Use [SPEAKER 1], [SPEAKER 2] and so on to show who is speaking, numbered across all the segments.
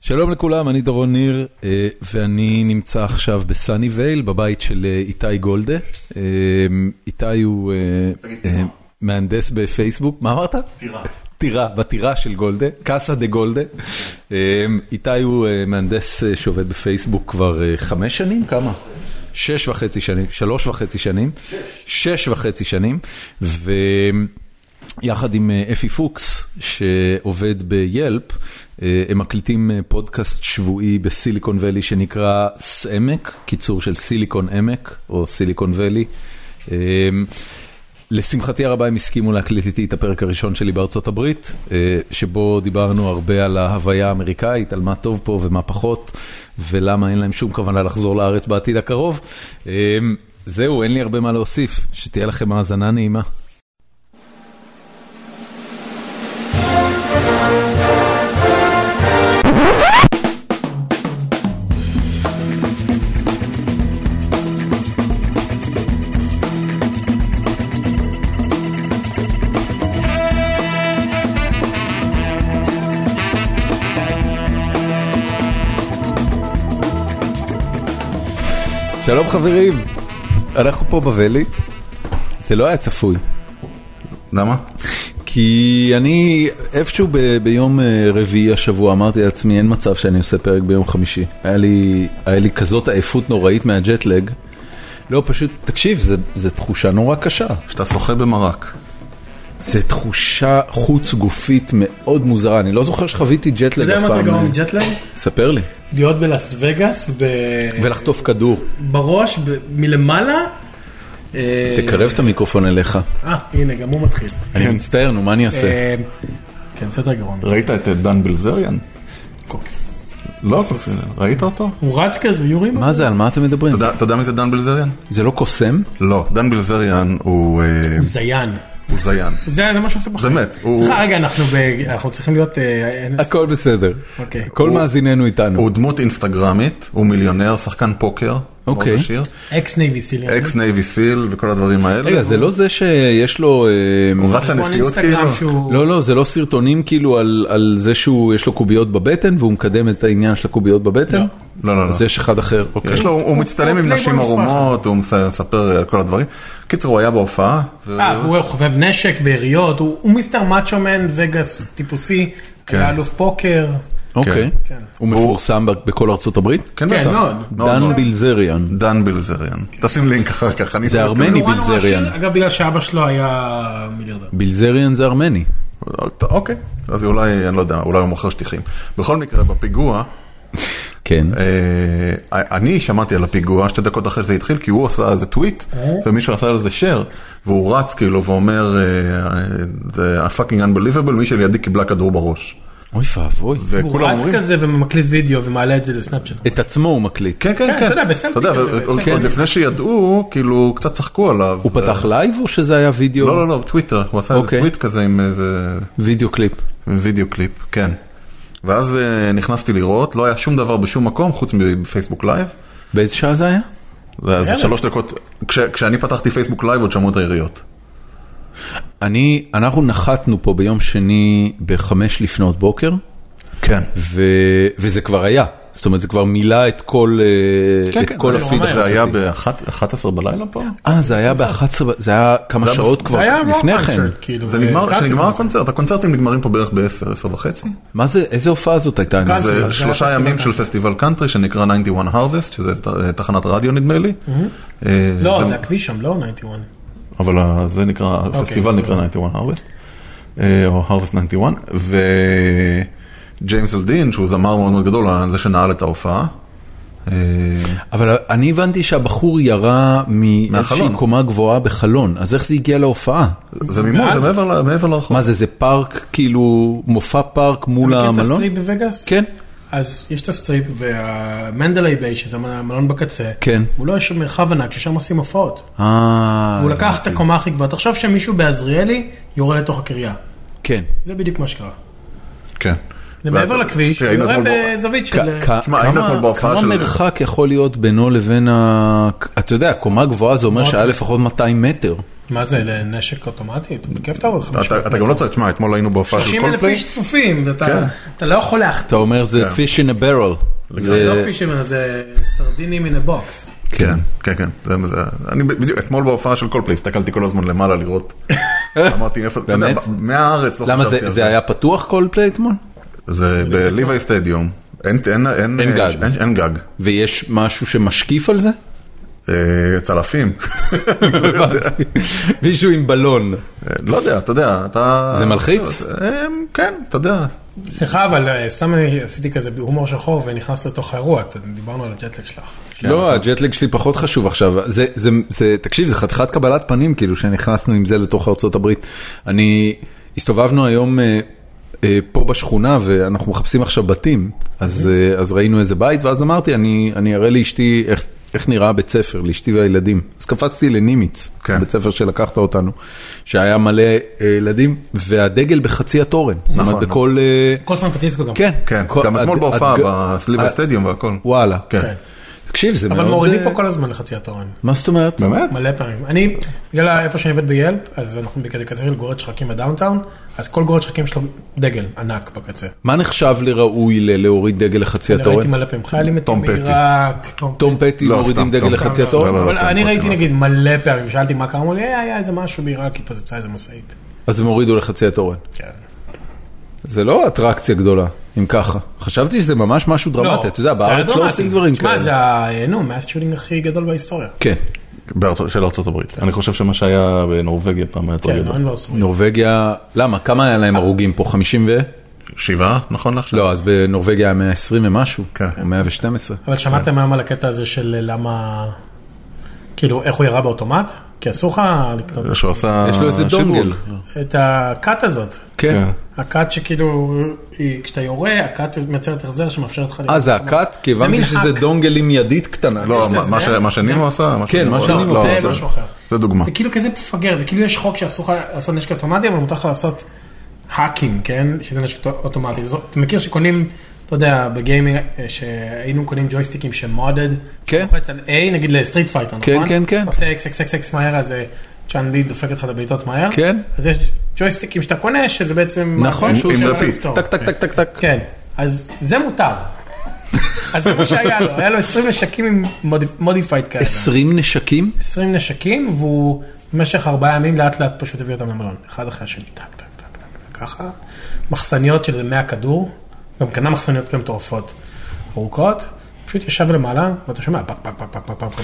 [SPEAKER 1] שלום לכולם, אני דורון ניר, אה, ואני נמצא עכשיו בסאני וייל, בבית של אה, איתי גולדה. אה, איתי הוא אה, מהנדס בפייסבוק, מה אמרת?
[SPEAKER 2] טירה.
[SPEAKER 1] טירה, בטירה של גולדה, קאסה דה גולדה. אמ, איתי הוא אה, מהנדס שעובד בפייסבוק כבר אה, חמש שנים, כמה? שש וחצי שנים, שלוש וחצי שנים, שש וחצי שנים, ויחד עם אה, אפי פוקס, שעובד ביילפ, אה, הם מקליטים פודקאסט שבועי בסיליקון ואלי שנקרא סעמק, קיצור של סיליקון עמק, או סיליקון ואלי. אמ, לשמחתי הרבה הם הסכימו להקליט איתי את הפרק הראשון שלי בארצות הברית, אה, שבו דיברנו הרבה על ההוויה האמריקאית, על מה טוב פה ומה פחות, ולמה אין להם שום כוונה לחזור לארץ בעתיד הקרוב. אה, זהו, אין לי הרבה מה להוסיף, שתהיה לכם האזנה נעימה. שלום חברים, אנחנו פה בוואלי, זה לא היה צפוי.
[SPEAKER 2] למה?
[SPEAKER 1] כי אני איפשהו ב, ביום אה, רביעי השבוע אמרתי לעצמי אין מצב שאני עושה פרק ביום חמישי. היה לי, היה לי כזאת עייפות נוראית מהג'טלג. לא, פשוט, תקשיב, זו תחושה נורא קשה.
[SPEAKER 2] שאתה שוחה במרק.
[SPEAKER 1] זו תחושה חוץ גופית מאוד מוזרה, אני לא זוכר שחוויתי ג'טלג אף פעם. אה,
[SPEAKER 3] אתה יודע מה אתה גרוע מג'טלג?
[SPEAKER 1] ספר לי.
[SPEAKER 3] להיות בלאס וגאס ב...
[SPEAKER 1] ולחטוף כדור.
[SPEAKER 3] בראש, ב... מלמעלה.
[SPEAKER 1] תקרב את המיקרופון אליך.
[SPEAKER 3] אה, הנה, גם הוא מתחיל.
[SPEAKER 1] אני מצטער, נו, מה אני
[SPEAKER 3] אה,
[SPEAKER 1] אעשה?
[SPEAKER 3] כן, זה יותר גרוע.
[SPEAKER 2] ראית את אה, דן בלזריאן?
[SPEAKER 3] קוקס.
[SPEAKER 2] לא קוקס, ראית אותו?
[SPEAKER 3] הוא רץ כזה, יורים?
[SPEAKER 1] מה זה, על מה אתם מדברים?
[SPEAKER 2] אתה יודע מי זה דן בלזריאן?
[SPEAKER 1] זה לא קוסם?
[SPEAKER 2] לא, דן בלזריאן הוא... אה,
[SPEAKER 3] הוא זיין.
[SPEAKER 2] הוא זיין.
[SPEAKER 3] זה מה שעושה בחיים.
[SPEAKER 2] באמת.
[SPEAKER 3] סליחה, רגע, אנחנו צריכים להיות... אה,
[SPEAKER 1] הכל בסדר.
[SPEAKER 3] אוקיי.
[SPEAKER 1] כל מאזיננו איתנו.
[SPEAKER 2] הוא דמות אינסטגרמית, הוא מיליונר, שחקן פוקר.
[SPEAKER 1] אוקיי.
[SPEAKER 3] אקס נייבי סיל.
[SPEAKER 1] אה,
[SPEAKER 2] אקס נייבי סיל וכל הדברים האלה.
[SPEAKER 1] רגע, זה לא זה שיש לו... אה,
[SPEAKER 2] הוא רץ לנשיאות כאילו?
[SPEAKER 1] לא, לא, זה לא סרטונים כאילו על זה שיש לו קוביות בבטן והוא מקדם את העניין של הקוביות בבטן?
[SPEAKER 2] לא, לא, לא.
[SPEAKER 1] אז יש אחד אחר. אוקיי.
[SPEAKER 2] יש לו, הוא מצטלם עם נשים ערומות, הוא מספר אה, על כל הדברים. קיצר, הוא היה בהופעה.
[SPEAKER 1] לא,
[SPEAKER 3] אה, והוא חובב נשק ויריות, הוא מיסטר מאצ'ומן, וגאס טיפוסי,
[SPEAKER 1] כן.
[SPEAKER 3] היה אלוף פוקר.
[SPEAKER 1] אוקיי. הוא לא, מפורסם בכל ארצות הברית?
[SPEAKER 2] כן, בטח.
[SPEAKER 1] דן בילזריאן.
[SPEAKER 2] דן בילזריאן. תשים לינק אחר כך.
[SPEAKER 1] זה ארמני בילזריאן.
[SPEAKER 3] אגב, בגלל שאבא שלו היה מיליארדר.
[SPEAKER 1] בילזריאן זה ארמני.
[SPEAKER 2] אוקיי, אז אולי, אני לא יודע, אולי הוא מוכר שטיחים. בכל מקרה, בפיגוע... אה,
[SPEAKER 1] כן.
[SPEAKER 2] אני שמעתי על הפיגוע שתי דקות אחרי שזה התחיל, כי הוא עשה איזה טוויט,
[SPEAKER 3] אה?
[SPEAKER 2] ומישהו עשה על זה share, והוא רץ כאילו ואומר, אה, זה fucking unbelievable, מי שלידי קיבלה כדור בראש.
[SPEAKER 1] אוי ואבוי.
[SPEAKER 3] הוא רץ כזה ומקליט וידאו ומעלה את זה לסנאפצ'אט.
[SPEAKER 1] את עצמו הוא מקליט.
[SPEAKER 2] כן, כן, כן.
[SPEAKER 3] אתה יודע, בסלפי כזה.
[SPEAKER 2] עוד לפני שידעו, כאילו, קצת צחקו עליו.
[SPEAKER 1] הוא פתח אוקיי. לייב או שזה היה וידאו?
[SPEAKER 2] לא, לא, לא, טוויטר. הוא עשה איזה טוויט כזה עם איזה...
[SPEAKER 1] וידאו קליפ.
[SPEAKER 2] וידאו קליפ, כן. ואז נכנסתי לראות, לא היה שום דבר בשום מקום חוץ מפייסבוק לייב.
[SPEAKER 1] באיזה שעה זה היה?
[SPEAKER 2] זה היה שלוש דקות, כש, כשאני פתחתי פייסבוק לייב עוד שמעו את היריות.
[SPEAKER 1] אני, אנחנו נחתנו פה ביום שני בחמש לפנות בוקר.
[SPEAKER 2] כן.
[SPEAKER 1] ו, וזה כבר היה, זאת אומרת זה כבר מילא את כל, כן, את כן, כל הפיד.
[SPEAKER 2] זה היה ב-11 בלילה פה?
[SPEAKER 1] אה, זה היה ב-11, זה היה כמה שעות כבר לפני כן.
[SPEAKER 3] כאילו,
[SPEAKER 2] זה
[SPEAKER 3] אה,
[SPEAKER 2] נגמר, כשנגמר הקונצרט, הקונצרטים נגמרים פה בערך ב-10, 10 וחצי.
[SPEAKER 1] מה זה, איזה הופעה זאת הייתה?
[SPEAKER 2] זה שלושה ימים של פסטיבל קאנטרי שנקרא 91 Harvest, שזה תחנת רדיו נדמה לי. אה,
[SPEAKER 3] לא, זה הכביש שם, לא 91.
[SPEAKER 2] אבל זה נקרא,
[SPEAKER 4] אוקיי,
[SPEAKER 2] הפסטיבל נקרא 91 Harvest, אה, או Harvest 91, וג'יימס אלדין, שהוא זמר מאוד מאוד גדול, זה שנעל את ההופעה. אה,
[SPEAKER 1] אבל אני הבנתי שהבחור ירה מאיזושהי קומה גבוהה בחלון, אז איך זה הגיע להופעה?
[SPEAKER 2] זה מימון, זה מעבר לרחוב.
[SPEAKER 1] מה זה, זה פארק, כאילו מופע פארק מול המלון?
[SPEAKER 3] אתה מכיר את הסטריפ בווגאס?
[SPEAKER 1] לא? כן.
[SPEAKER 3] אז יש את הסטריפ והמנדלי ביי, שזה המלון בקצה,
[SPEAKER 1] כן.
[SPEAKER 3] מולו יש מרחב ענק ששם עושים הופעות.
[SPEAKER 1] אה...
[SPEAKER 3] והוא לקח את הקומה הכי גבוהה, תחשוב שמישהו בעזריאלי יורה לתוך הקריה.
[SPEAKER 1] כן.
[SPEAKER 3] זה בדיוק מה שקרה.
[SPEAKER 2] כן.
[SPEAKER 4] זה לא מעבר לכביש, הוא
[SPEAKER 2] ראינו
[SPEAKER 4] יורה
[SPEAKER 2] אתמול ב-
[SPEAKER 4] בזווית של... אה,
[SPEAKER 1] כ- כ-
[SPEAKER 2] תשמע, היינו
[SPEAKER 1] כמה-
[SPEAKER 2] אתמול בהופעה
[SPEAKER 1] כמה
[SPEAKER 2] של-
[SPEAKER 1] מרחק יכול להיות בינו לבין ה... אתה יודע, קומה גבוהה זה אומר
[SPEAKER 4] מאוד.
[SPEAKER 1] שהיה לפחות 200 מטר.
[SPEAKER 4] מה זה, לנשק אוטומטי? אתה מתקף את האורך.
[SPEAKER 2] אתה- אתה גם לא צריך, תשמע, אתמול היינו בהופעה של
[SPEAKER 4] 30 אלף
[SPEAKER 2] קולפליי.
[SPEAKER 4] איש צפופים,
[SPEAKER 2] כן.
[SPEAKER 4] ואתה אתה לא יכול להחתום.
[SPEAKER 1] אתה אומר זה
[SPEAKER 2] כן.
[SPEAKER 1] fish in a barrel.
[SPEAKER 4] זה
[SPEAKER 1] זה-
[SPEAKER 4] לא פישמן, זה סרדינים in a box.
[SPEAKER 2] כן, כן, כן. זה- זה- אני בדיוק, אתמול בהופעה של קולפליי הסתכלתי כל הזמן למעלה לראות. אמרתי איפה, אתה יודע,
[SPEAKER 1] באמת?
[SPEAKER 2] ב- מהארץ לא
[SPEAKER 1] למה זה-
[SPEAKER 2] חשבתי על
[SPEAKER 1] זה היה פתוח כל פליי אתמול?
[SPEAKER 2] זה בליוואי סטדיום. אין אין- אין-
[SPEAKER 1] אין גג.
[SPEAKER 2] אין- אין גג.
[SPEAKER 1] ויש משהו שמשקיף על זה?
[SPEAKER 2] אה, צלפים.
[SPEAKER 1] הבנתי. מישהו עם בלון.
[SPEAKER 2] אה, לא יודע, אתה יודע, אתה...
[SPEAKER 1] זה מלחיץ?
[SPEAKER 2] אה, כן, אתה יודע.
[SPEAKER 4] סליחה, אבל אה, סתם אני עשיתי כזה בהומור שחור ונכנס לתוך האירוע, אתה- דיברנו על הג'טלג שלך.
[SPEAKER 2] כן, נכון.
[SPEAKER 1] לא, הג'טלג שלי פחות חשוב עכשיו. זה, זה, זה, תקשיב, זה חתיכת קבלת פנים, כאילו, שנכנסנו עם זה לתוך ארצות הברית. אני, הסתובבנו היום אה, אה, פה בשכונה, ואנחנו מחפשים עכשיו בתים, אז,
[SPEAKER 2] אוקיי.
[SPEAKER 1] אה, אז ראינו איזה בית, ואז אמרתי, אני, אני אראה לאשתי איך, איך נראה הבית ספר, לאשתי והילדים. אז קפצתי לנימיץ,
[SPEAKER 2] כן.
[SPEAKER 1] בית ספר שלקחת אותנו, שהיה מלא אה, ילדים, והדגל בחצי התורן. נכון. זאת
[SPEAKER 2] נכון,
[SPEAKER 1] אומרת,
[SPEAKER 2] נכון.
[SPEAKER 1] בכל... אה,
[SPEAKER 4] כל סן פרנסיסקו גם.
[SPEAKER 1] כן,
[SPEAKER 2] כן,
[SPEAKER 1] כל-
[SPEAKER 2] גם אתמול
[SPEAKER 1] הד-
[SPEAKER 2] בהופעה
[SPEAKER 1] הדג-
[SPEAKER 2] בסליבר סטדיום והכל.
[SPEAKER 1] וואלה.
[SPEAKER 2] כן.
[SPEAKER 4] כן.
[SPEAKER 1] תקשיב, זה מאוד...
[SPEAKER 4] אבל מורידים
[SPEAKER 1] אה,
[SPEAKER 4] פה כל הזמן לחצי התורן.
[SPEAKER 1] מה זאת אומרת?
[SPEAKER 2] באמת?
[SPEAKER 4] מלא פעמים. אני, בגלל איפה שאני עובד ביילפ, אז אנחנו בקטע כזה של גורד שחקים בדאונטאון, אז כל גורד שחקים יש לו דגל ענק בקצה.
[SPEAKER 1] מה נחשב לראוי ל- להוריד דגל לחצי
[SPEAKER 4] ראיתי
[SPEAKER 1] התורן?
[SPEAKER 4] מלא פעמים חיילים מתים
[SPEAKER 2] תום פטי.
[SPEAKER 4] בעיראק,
[SPEAKER 1] תום פטי
[SPEAKER 2] לא,
[SPEAKER 1] מורידים
[SPEAKER 2] סתם,
[SPEAKER 1] דגל
[SPEAKER 2] תום.
[SPEAKER 1] לחצי
[SPEAKER 2] לא,
[SPEAKER 1] התורן?
[SPEAKER 2] לא, לא.
[SPEAKER 4] אבל
[SPEAKER 2] תום
[SPEAKER 4] אני
[SPEAKER 2] פטי
[SPEAKER 4] ראיתי
[SPEAKER 2] לא.
[SPEAKER 4] נגיד מלא פעמים, שאלתי מה קרה, אמרו לי, "אה, היה איזה משהו בעיראק, התפוצצה איזה משאית.
[SPEAKER 1] אז הם הורידו לחצי התורן.
[SPEAKER 4] כן.
[SPEAKER 1] זה לא אטרקציה גדולה, אם ככה. חשבתי שזה ממש משהו דרמטי, אתה יודע,
[SPEAKER 4] זה היה
[SPEAKER 1] בארץ לא
[SPEAKER 4] דרמטי.
[SPEAKER 1] עושים דברים
[SPEAKER 4] שמע, זה
[SPEAKER 1] כאלה.
[SPEAKER 4] ה... אה, נו, מאסט שולינג הכי גדול בהיסטוריה.
[SPEAKER 1] כן,
[SPEAKER 2] בארצות- של ארצות הברית. אני חושב שמה שהיה בנורבגיה פעם היה יותר
[SPEAKER 4] כן,
[SPEAKER 2] גדול.
[SPEAKER 4] אין לו ספק.
[SPEAKER 1] נורבגיה, למה? כמה היה להם הרוגים פה? 50 ו...
[SPEAKER 2] שבעה, נכון לעכשיו?
[SPEAKER 1] לא, אז בנורבגיה היה 120 ומשהו,
[SPEAKER 2] כן.
[SPEAKER 1] או 112.
[SPEAKER 4] אבל שמעתם היום על הקטע הזה של אה, למה... כאילו, איך הוא ירה באוטומט? כי אסור לך לקנות
[SPEAKER 2] שהוא עשה
[SPEAKER 1] לא. יש לו איזה דונגל.
[SPEAKER 4] את הכת הזאת.
[SPEAKER 1] כן.
[SPEAKER 2] כן.
[SPEAKER 4] הכת שכאילו, היא- כשאתה יורה, הכת מייצרת החזר שמאפשר אותך...
[SPEAKER 1] אה,
[SPEAKER 4] לראות
[SPEAKER 1] זה
[SPEAKER 4] אוטומט.
[SPEAKER 1] הכת? כי
[SPEAKER 4] זה
[SPEAKER 1] הבנתי
[SPEAKER 4] מין
[SPEAKER 1] שזה
[SPEAKER 4] האק.
[SPEAKER 1] דונגל עם ידית קטנה.
[SPEAKER 2] לא,
[SPEAKER 4] יש
[SPEAKER 2] מה-
[SPEAKER 4] לזה-
[SPEAKER 2] מה ש- מה שנימו
[SPEAKER 4] זה-
[SPEAKER 2] עשה?
[SPEAKER 1] כן, מה
[SPEAKER 2] לא,
[SPEAKER 1] שנימו
[SPEAKER 2] לא,
[SPEAKER 1] עשה,
[SPEAKER 4] זה משהו אחר.
[SPEAKER 2] זה דוגמה.
[SPEAKER 4] זה כאילו כזה מפגר, זה כאילו יש חוק שאסור לך לעשות נשק אוטומטי, אבל מותר לך לעשות האקינג, כן? שזה נשק אוטומטי. זו- אתה מכיר שקונים, לא יודע, בגיימינג, אה, שהיינו קונים ג'ויסטיקים שמודד,
[SPEAKER 1] כן.
[SPEAKER 4] לוחץ על A, נגיד לסטריט פייטר,
[SPEAKER 1] כן,
[SPEAKER 4] נכון?
[SPEAKER 1] כן, כן.
[SPEAKER 4] אתה עושה אקס אקס אקס אקס מהר, אז אה, צ'אן לי דופק אותך את הבעיטות מהר.
[SPEAKER 1] כן.
[SPEAKER 4] אז יש ג'ויסטיקים שאתה קונה, שזה בעצם...
[SPEAKER 1] נכון,
[SPEAKER 4] מה-
[SPEAKER 1] שהוא
[SPEAKER 2] עם
[SPEAKER 4] אפשר
[SPEAKER 2] לפיד.
[SPEAKER 4] לפתור.
[SPEAKER 1] טק, טק, טק, טק, טק.
[SPEAKER 4] לא. כן, אז זה מותר. אז זה מה שהיה לו, היה לו 20 נשקים עם מודיפייד כאלה.
[SPEAKER 1] 20 נשקים?
[SPEAKER 4] 20 נשקים, והוא במשך ארבעה ימים לאט לאט פשוט הביא אותם למלון. אחד אחרי השני, טק, טק, טק, טק, טק, ככה. מחסניות של 100 כדור, גם קנה מחסניות כאלה מטורפות ארוכות, פשוט ישב למעלה, ואתה שומע פק, פק, פק, פק, פק, פק, פק.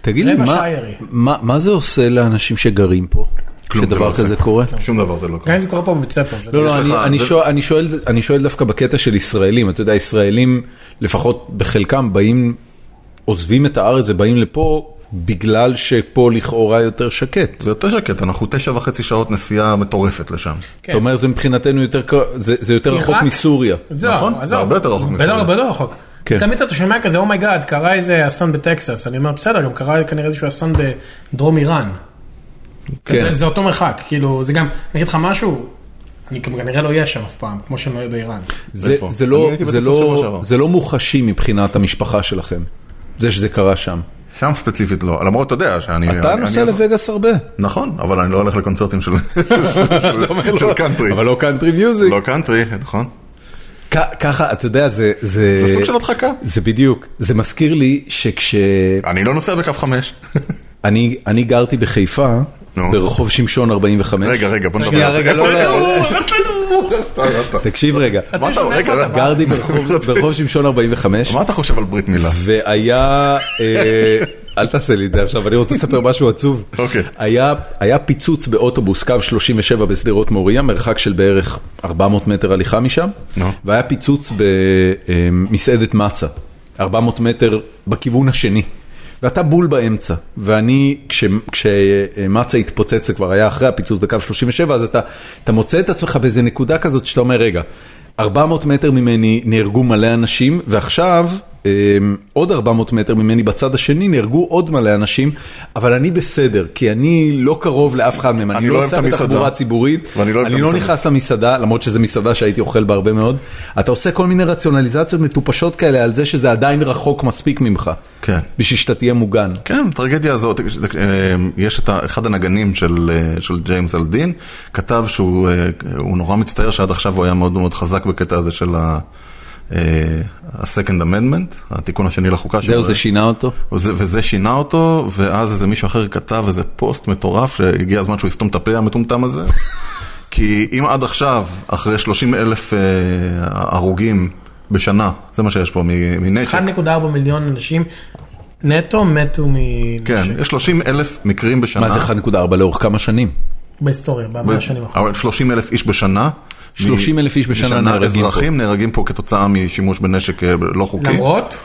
[SPEAKER 1] תגיד לי,
[SPEAKER 4] רבע
[SPEAKER 1] מה,
[SPEAKER 4] שעה ירי.
[SPEAKER 1] מה, מה זה עושה לאנשים שגרים פה?
[SPEAKER 2] כלום, זה לא
[SPEAKER 1] שדבר
[SPEAKER 2] עושה.
[SPEAKER 1] כזה קורה?
[SPEAKER 2] שום דבר זה לא קורה.
[SPEAKER 4] גם אם זה קורה פה בבית ספר. זה
[SPEAKER 1] לא, לא,
[SPEAKER 2] יש
[SPEAKER 1] אני,
[SPEAKER 2] לך-
[SPEAKER 1] אני,
[SPEAKER 2] זה-
[SPEAKER 1] שואל, אני, שואל, אני שואל דווקא בקטע של ישראלים, אתה יודע, ישראלים לפחות בחלקם באים, עוזבים את הארץ ובאים לפה בגלל שפה לכאורה יותר שקט.
[SPEAKER 2] זה יותר שקט, אנחנו תשע וחצי שעות נסיעה מטורפת לשם.
[SPEAKER 1] אתה אומר זה מבחינתנו יותר, ק- זה, זה יותר
[SPEAKER 4] כן. עיראק?
[SPEAKER 1] רחוק מסוריה.
[SPEAKER 4] זהו,
[SPEAKER 2] נכון,
[SPEAKER 4] עזוב.
[SPEAKER 2] זה הרבה יותר רחוק
[SPEAKER 4] בלא-
[SPEAKER 2] מסוריה.
[SPEAKER 4] הרבה יותר רחוק.
[SPEAKER 1] כן.
[SPEAKER 4] תמיד אתה שומע כזה, אומייגאד, קרה איזה אסון בטקסס. אני אומר, בסדר, גם קרה כנראה איזשהו אסון בדרום איראן.
[SPEAKER 1] כן.
[SPEAKER 4] זה, זה אותו מרחק, כאילו, זה גם, אני אגיד לך משהו, אני גם כנראה לא אהיה שם אף פעם, כמו שאני לא אהיה באיראן.
[SPEAKER 1] זה,
[SPEAKER 2] איפה?
[SPEAKER 1] זה, לא,
[SPEAKER 2] אני הייתי
[SPEAKER 1] זה,
[SPEAKER 2] בטקסס שבוע
[SPEAKER 1] לא,
[SPEAKER 2] שעבר.
[SPEAKER 1] זה לא מוחשי מבחינת המשפחה שלכם, זה שזה קרה שם.
[SPEAKER 2] שם ספציפית לא, למרות אתה יודע שאני...
[SPEAKER 1] אתה
[SPEAKER 2] אני-
[SPEAKER 1] נוסע
[SPEAKER 2] אני-
[SPEAKER 1] לווגאס הרבה.
[SPEAKER 2] נכון, אבל אני לא הולך לקונצרטים של של- של- של קאנטרי.
[SPEAKER 1] אבל לא קאנטרי מיוזיק.
[SPEAKER 2] לא קאנטרי, נכון.
[SPEAKER 1] כ- ככה, אתה יודע, זה... זה
[SPEAKER 2] זה סוג של הדחקה.
[SPEAKER 1] זה בדיוק. זה מזכיר לי שכש...
[SPEAKER 2] אני לא נוסע בקו חמש.
[SPEAKER 1] אה, אני, אני גרתי בחיפה,
[SPEAKER 2] נו.
[SPEAKER 1] ברחוב שמשון 45.
[SPEAKER 2] רגע, רגע, בוא נדבר
[SPEAKER 1] שנייה,
[SPEAKER 2] על זה.
[SPEAKER 1] רגע,
[SPEAKER 2] איפה-
[SPEAKER 1] לא, לא,
[SPEAKER 2] איפה-
[SPEAKER 1] לא.
[SPEAKER 2] סתם, סתם.
[SPEAKER 1] תקשיב רגע,
[SPEAKER 2] מה אתה-
[SPEAKER 4] רציתי
[SPEAKER 2] רגע,
[SPEAKER 4] לשאול
[SPEAKER 2] רגע.
[SPEAKER 1] גרתי ברחוב, ברחוב שמשון 45,
[SPEAKER 2] מה אתה חושב על ברית מילה?
[SPEAKER 1] והיה... אה, אל תעשה לי את זה עכשיו, אני רוצה לספר משהו עצוב.
[SPEAKER 2] אוקיי.
[SPEAKER 1] היה, היה פיצוץ באוטובוס קו 37 בשדרות מוריה, מרחק של בערך 400 מטר הליכה משם,
[SPEAKER 2] נו.
[SPEAKER 1] והיה פיצוץ במסעדת מצה, 400 מטר בכיוון השני. ואתה בול באמצע, ואני, כש- כשמצה התפוצץ, זה כבר היה אחרי הפיצוץ בקו 37, אז אתה, אתה מוצא את עצמך באיזה נקודה כזאת שאתה אומר, רגע, 400 מטר ממני נהרגו מלא אנשים, ועכשיו אמ, עוד 400 מטר ממני בצד השני נהרגו עוד מלא אנשים, אבל אני בסדר, כי אני לא קרוב לאף אחד מהם, אני
[SPEAKER 2] אני לא
[SPEAKER 1] לא
[SPEAKER 2] אוהב
[SPEAKER 1] נוסע
[SPEAKER 2] את המסעדה.
[SPEAKER 1] בתחבורה ציבורית,
[SPEAKER 2] ואני לא אוהב את
[SPEAKER 1] אני לא
[SPEAKER 2] המסעדה.
[SPEAKER 1] נכנס למסעדה, למרות שזו מסעדה שהייתי אוכל בה הרבה מאוד, אתה עושה כל מיני רציונליזציות מטופשות כאלה על זה שזה עדיין רחוק מספיק ממך,
[SPEAKER 2] כן.
[SPEAKER 1] בשביל שאתה תהיה מוגן.
[SPEAKER 2] כן, הטרגדיה הזאת, אה, יש את ה- אחד הנגנים של, אה, של ג'יימס אלדין, כתב שהוא אה, הוא נורא מצטער שעד עכשיו הוא היה מאוד מאוד חזק בקטע הזה של ה- אה, ה-Second Amendment, התיקון השני לחוקה.
[SPEAKER 1] זהו,
[SPEAKER 2] שהוא-
[SPEAKER 1] זה שינה אותו?
[SPEAKER 2] וזה, וזה שינה אותו, ואז איזה מישהו אחר כתב איזה פוסט מטורף, שהגיע הזמן שהוא יסתום את הפה המטומטם הזה. כי אם עד עכשיו, אחרי 30 אלף אה, הרוגים בשנה, זה מה שיש פה, מ- מנשק.
[SPEAKER 4] 1.4 מיליון אנשים נטו מתו מנשק.
[SPEAKER 2] כן, יש 30 אלף מקרים בשנה.
[SPEAKER 1] מה זה 1.4 לאורך כמה שנים?
[SPEAKER 4] בהיסטוריה, במאה השנים האחרונות.
[SPEAKER 2] אבל 30 אלף איש בשנה.
[SPEAKER 1] 30,000 איש בשנה נהרגים פה.
[SPEAKER 2] אזרחים נהרגים פה כתוצאה משימוש בנשק אה, לא חוקי. אה.
[SPEAKER 4] למרות,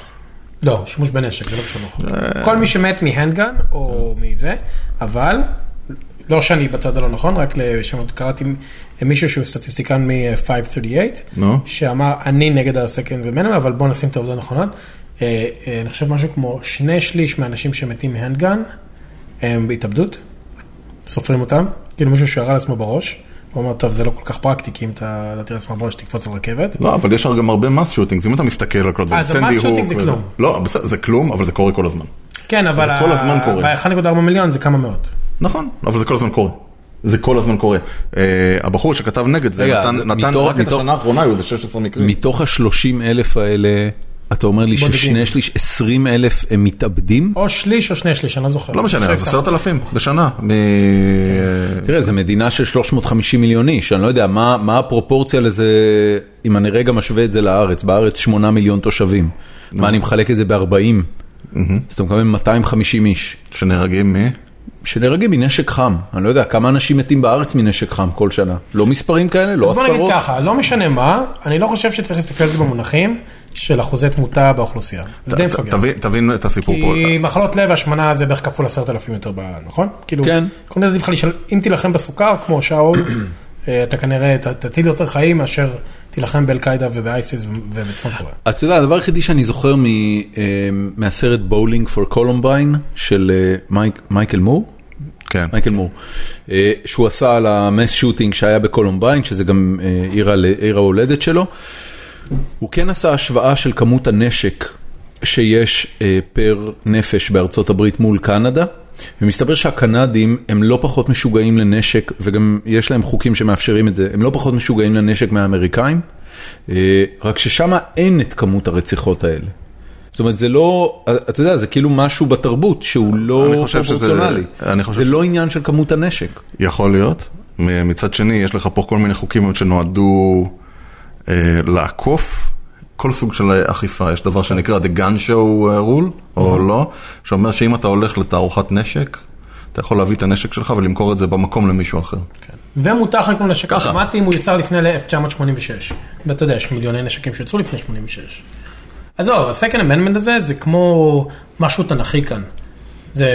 [SPEAKER 4] לא, שימוש בנשק, זה לא קשור לחוק. כל מי שמת מהנדגן או מזה, אבל, לא שאני בצד הלא נכון, רק לשנות, קראתי מישהו שהוא סטטיסטיקן מ-538,
[SPEAKER 2] נו.
[SPEAKER 4] שאמר, אני נגד הסקנד ומנם, אבל בואו נשים את העובדות הנכונות. אה, אה, אני חושב משהו כמו שני שליש מהאנשים שמתים מהנדגן הם בהתאבדות, סופרים אותם, כאילו מישהו שירה לעצמו בראש. הוא אומר, טוב, זה לא כל כך פרקטי, כי אם אתה לא תראה לעצמך בראש, תקפוץ על רכבת.
[SPEAKER 2] לא, אבל יש גם הרבה מס שוטינגס, אם אתה מסתכל על כל
[SPEAKER 1] אה,
[SPEAKER 2] הדברים,
[SPEAKER 4] אז המס shooting
[SPEAKER 2] וזה-
[SPEAKER 4] זה כלום.
[SPEAKER 2] לא, בסדר, זה כלום, אבל זה קורה כל הזמן.
[SPEAKER 4] כן, אבל...
[SPEAKER 2] זה כל הזמן קורה.
[SPEAKER 4] ב-1.4 מיליון זה כמה מאות.
[SPEAKER 2] נכון, אבל זה כל הזמן קורה. זה כל הזמן קורה. אה, הבחור שכתב נגד זה,
[SPEAKER 1] רגע,
[SPEAKER 2] נתן,
[SPEAKER 1] אז
[SPEAKER 2] נתן
[SPEAKER 1] מתוך-
[SPEAKER 2] רק את
[SPEAKER 1] מתוך-
[SPEAKER 2] השנה האחרונה, היו איזה 16 מקרים.
[SPEAKER 1] מתוך ה-30 אלף האלה, אתה אומר לי
[SPEAKER 4] בודדים.
[SPEAKER 1] ששני שליש, 20 אלף הם מתאבדים?
[SPEAKER 4] או שליש או שני שליש, אני לא זוכר.
[SPEAKER 2] לא משנה,
[SPEAKER 4] חושב
[SPEAKER 2] אז
[SPEAKER 4] ככה.
[SPEAKER 2] 10,000 בשנה. מ-
[SPEAKER 1] תראה, זו מדינה של 350 מיליון איש, אני לא יודע, מה, מה הפרופורציה לזה, אם אני רגע משווה את זה לארץ, בארץ 8 מיליון תושבים, מה אני מחלק את זה ב-40, אז אתה מקבל 250 איש,
[SPEAKER 2] שנהרגים מ...
[SPEAKER 1] שנהרגים מנשק חם, אני לא יודע, כמה אנשים מתים בארץ מנשק חם כל שנה, לא מספרים כאלה, לא
[SPEAKER 4] אז בוא נגיד
[SPEAKER 1] עשרות,
[SPEAKER 4] ככה, לא משנה מה, אני לא חושב שצריך להסתכל על זה במונחים של אחוזי תמותה באוכלוסייה. זה די
[SPEAKER 2] ת-
[SPEAKER 4] מפגר.
[SPEAKER 2] תבין- תבין את הסיפור פה.
[SPEAKER 4] כי מחלות לב, השמנה זה בערך כפול עשרת אלפים יותר, ב- נכון? כאילו,
[SPEAKER 1] כן.
[SPEAKER 4] כל מיני עדיף לך לשאול, אם תילחם בסוכר, כמו שאול, אה, אתה כנראה ת- תטיל יותר חיים מאשר תילחם באל-קאידה ובאייסיס ו- ובצפון קוריאה.
[SPEAKER 1] אתה יודע, הדבר היחידי שאני זוכר מ, אה, מהסרט בולינג פור קולומביין של אה, מייק, מייקל מור,
[SPEAKER 2] כן.
[SPEAKER 1] מייקל מור, אה, שהוא עשה על המס שוטינג שהיה בקולומביין, שזה גם אה, עיר, ה- עיר ההולדת שלו. הוא כן עשה השוואה של כמות הנשק שיש אה, פר נפש בארצות הברית מול קנדה. ומסתבר שהקנדים הם לא פחות משוגעים לנשק, וגם יש להם חוקים שמאפשרים את זה, הם לא פחות משוגעים לנשק מהאמריקאים, אה, רק ששם אין את כמות הרציחות האלה. זאת אומרת, זה לא, אתה יודע, זה כאילו משהו בתרבות שהוא לא
[SPEAKER 2] אני חושב שזה-
[SPEAKER 1] פרופורציונלי.
[SPEAKER 2] אני חושב
[SPEAKER 1] זה
[SPEAKER 2] ש-
[SPEAKER 1] לא עניין של כמות הנשק.
[SPEAKER 2] יכול להיות. מ- מצד שני, יש לך פה כל מיני חוקים שנועדו אה, לעקוף כל סוג של אכיפה. יש דבר שנקרא The Gun Show אה, Rule, או לא, שאומר שאם אתה הולך לתערוכת נשק, אתה יכול להביא את הנשק שלך ולמכור את זה במקום למישהו אחר.
[SPEAKER 4] ומותר לך לקנות נשק
[SPEAKER 2] ככה.
[SPEAKER 4] אוטומטי אם הוא יוצר לפני ל-1986. ואתה יודע, יש מיליוני נשקים שיצאו לפני 86. אז לא, ה-Second Amendment הזה זה כמו משהו תנכי כאן. זה,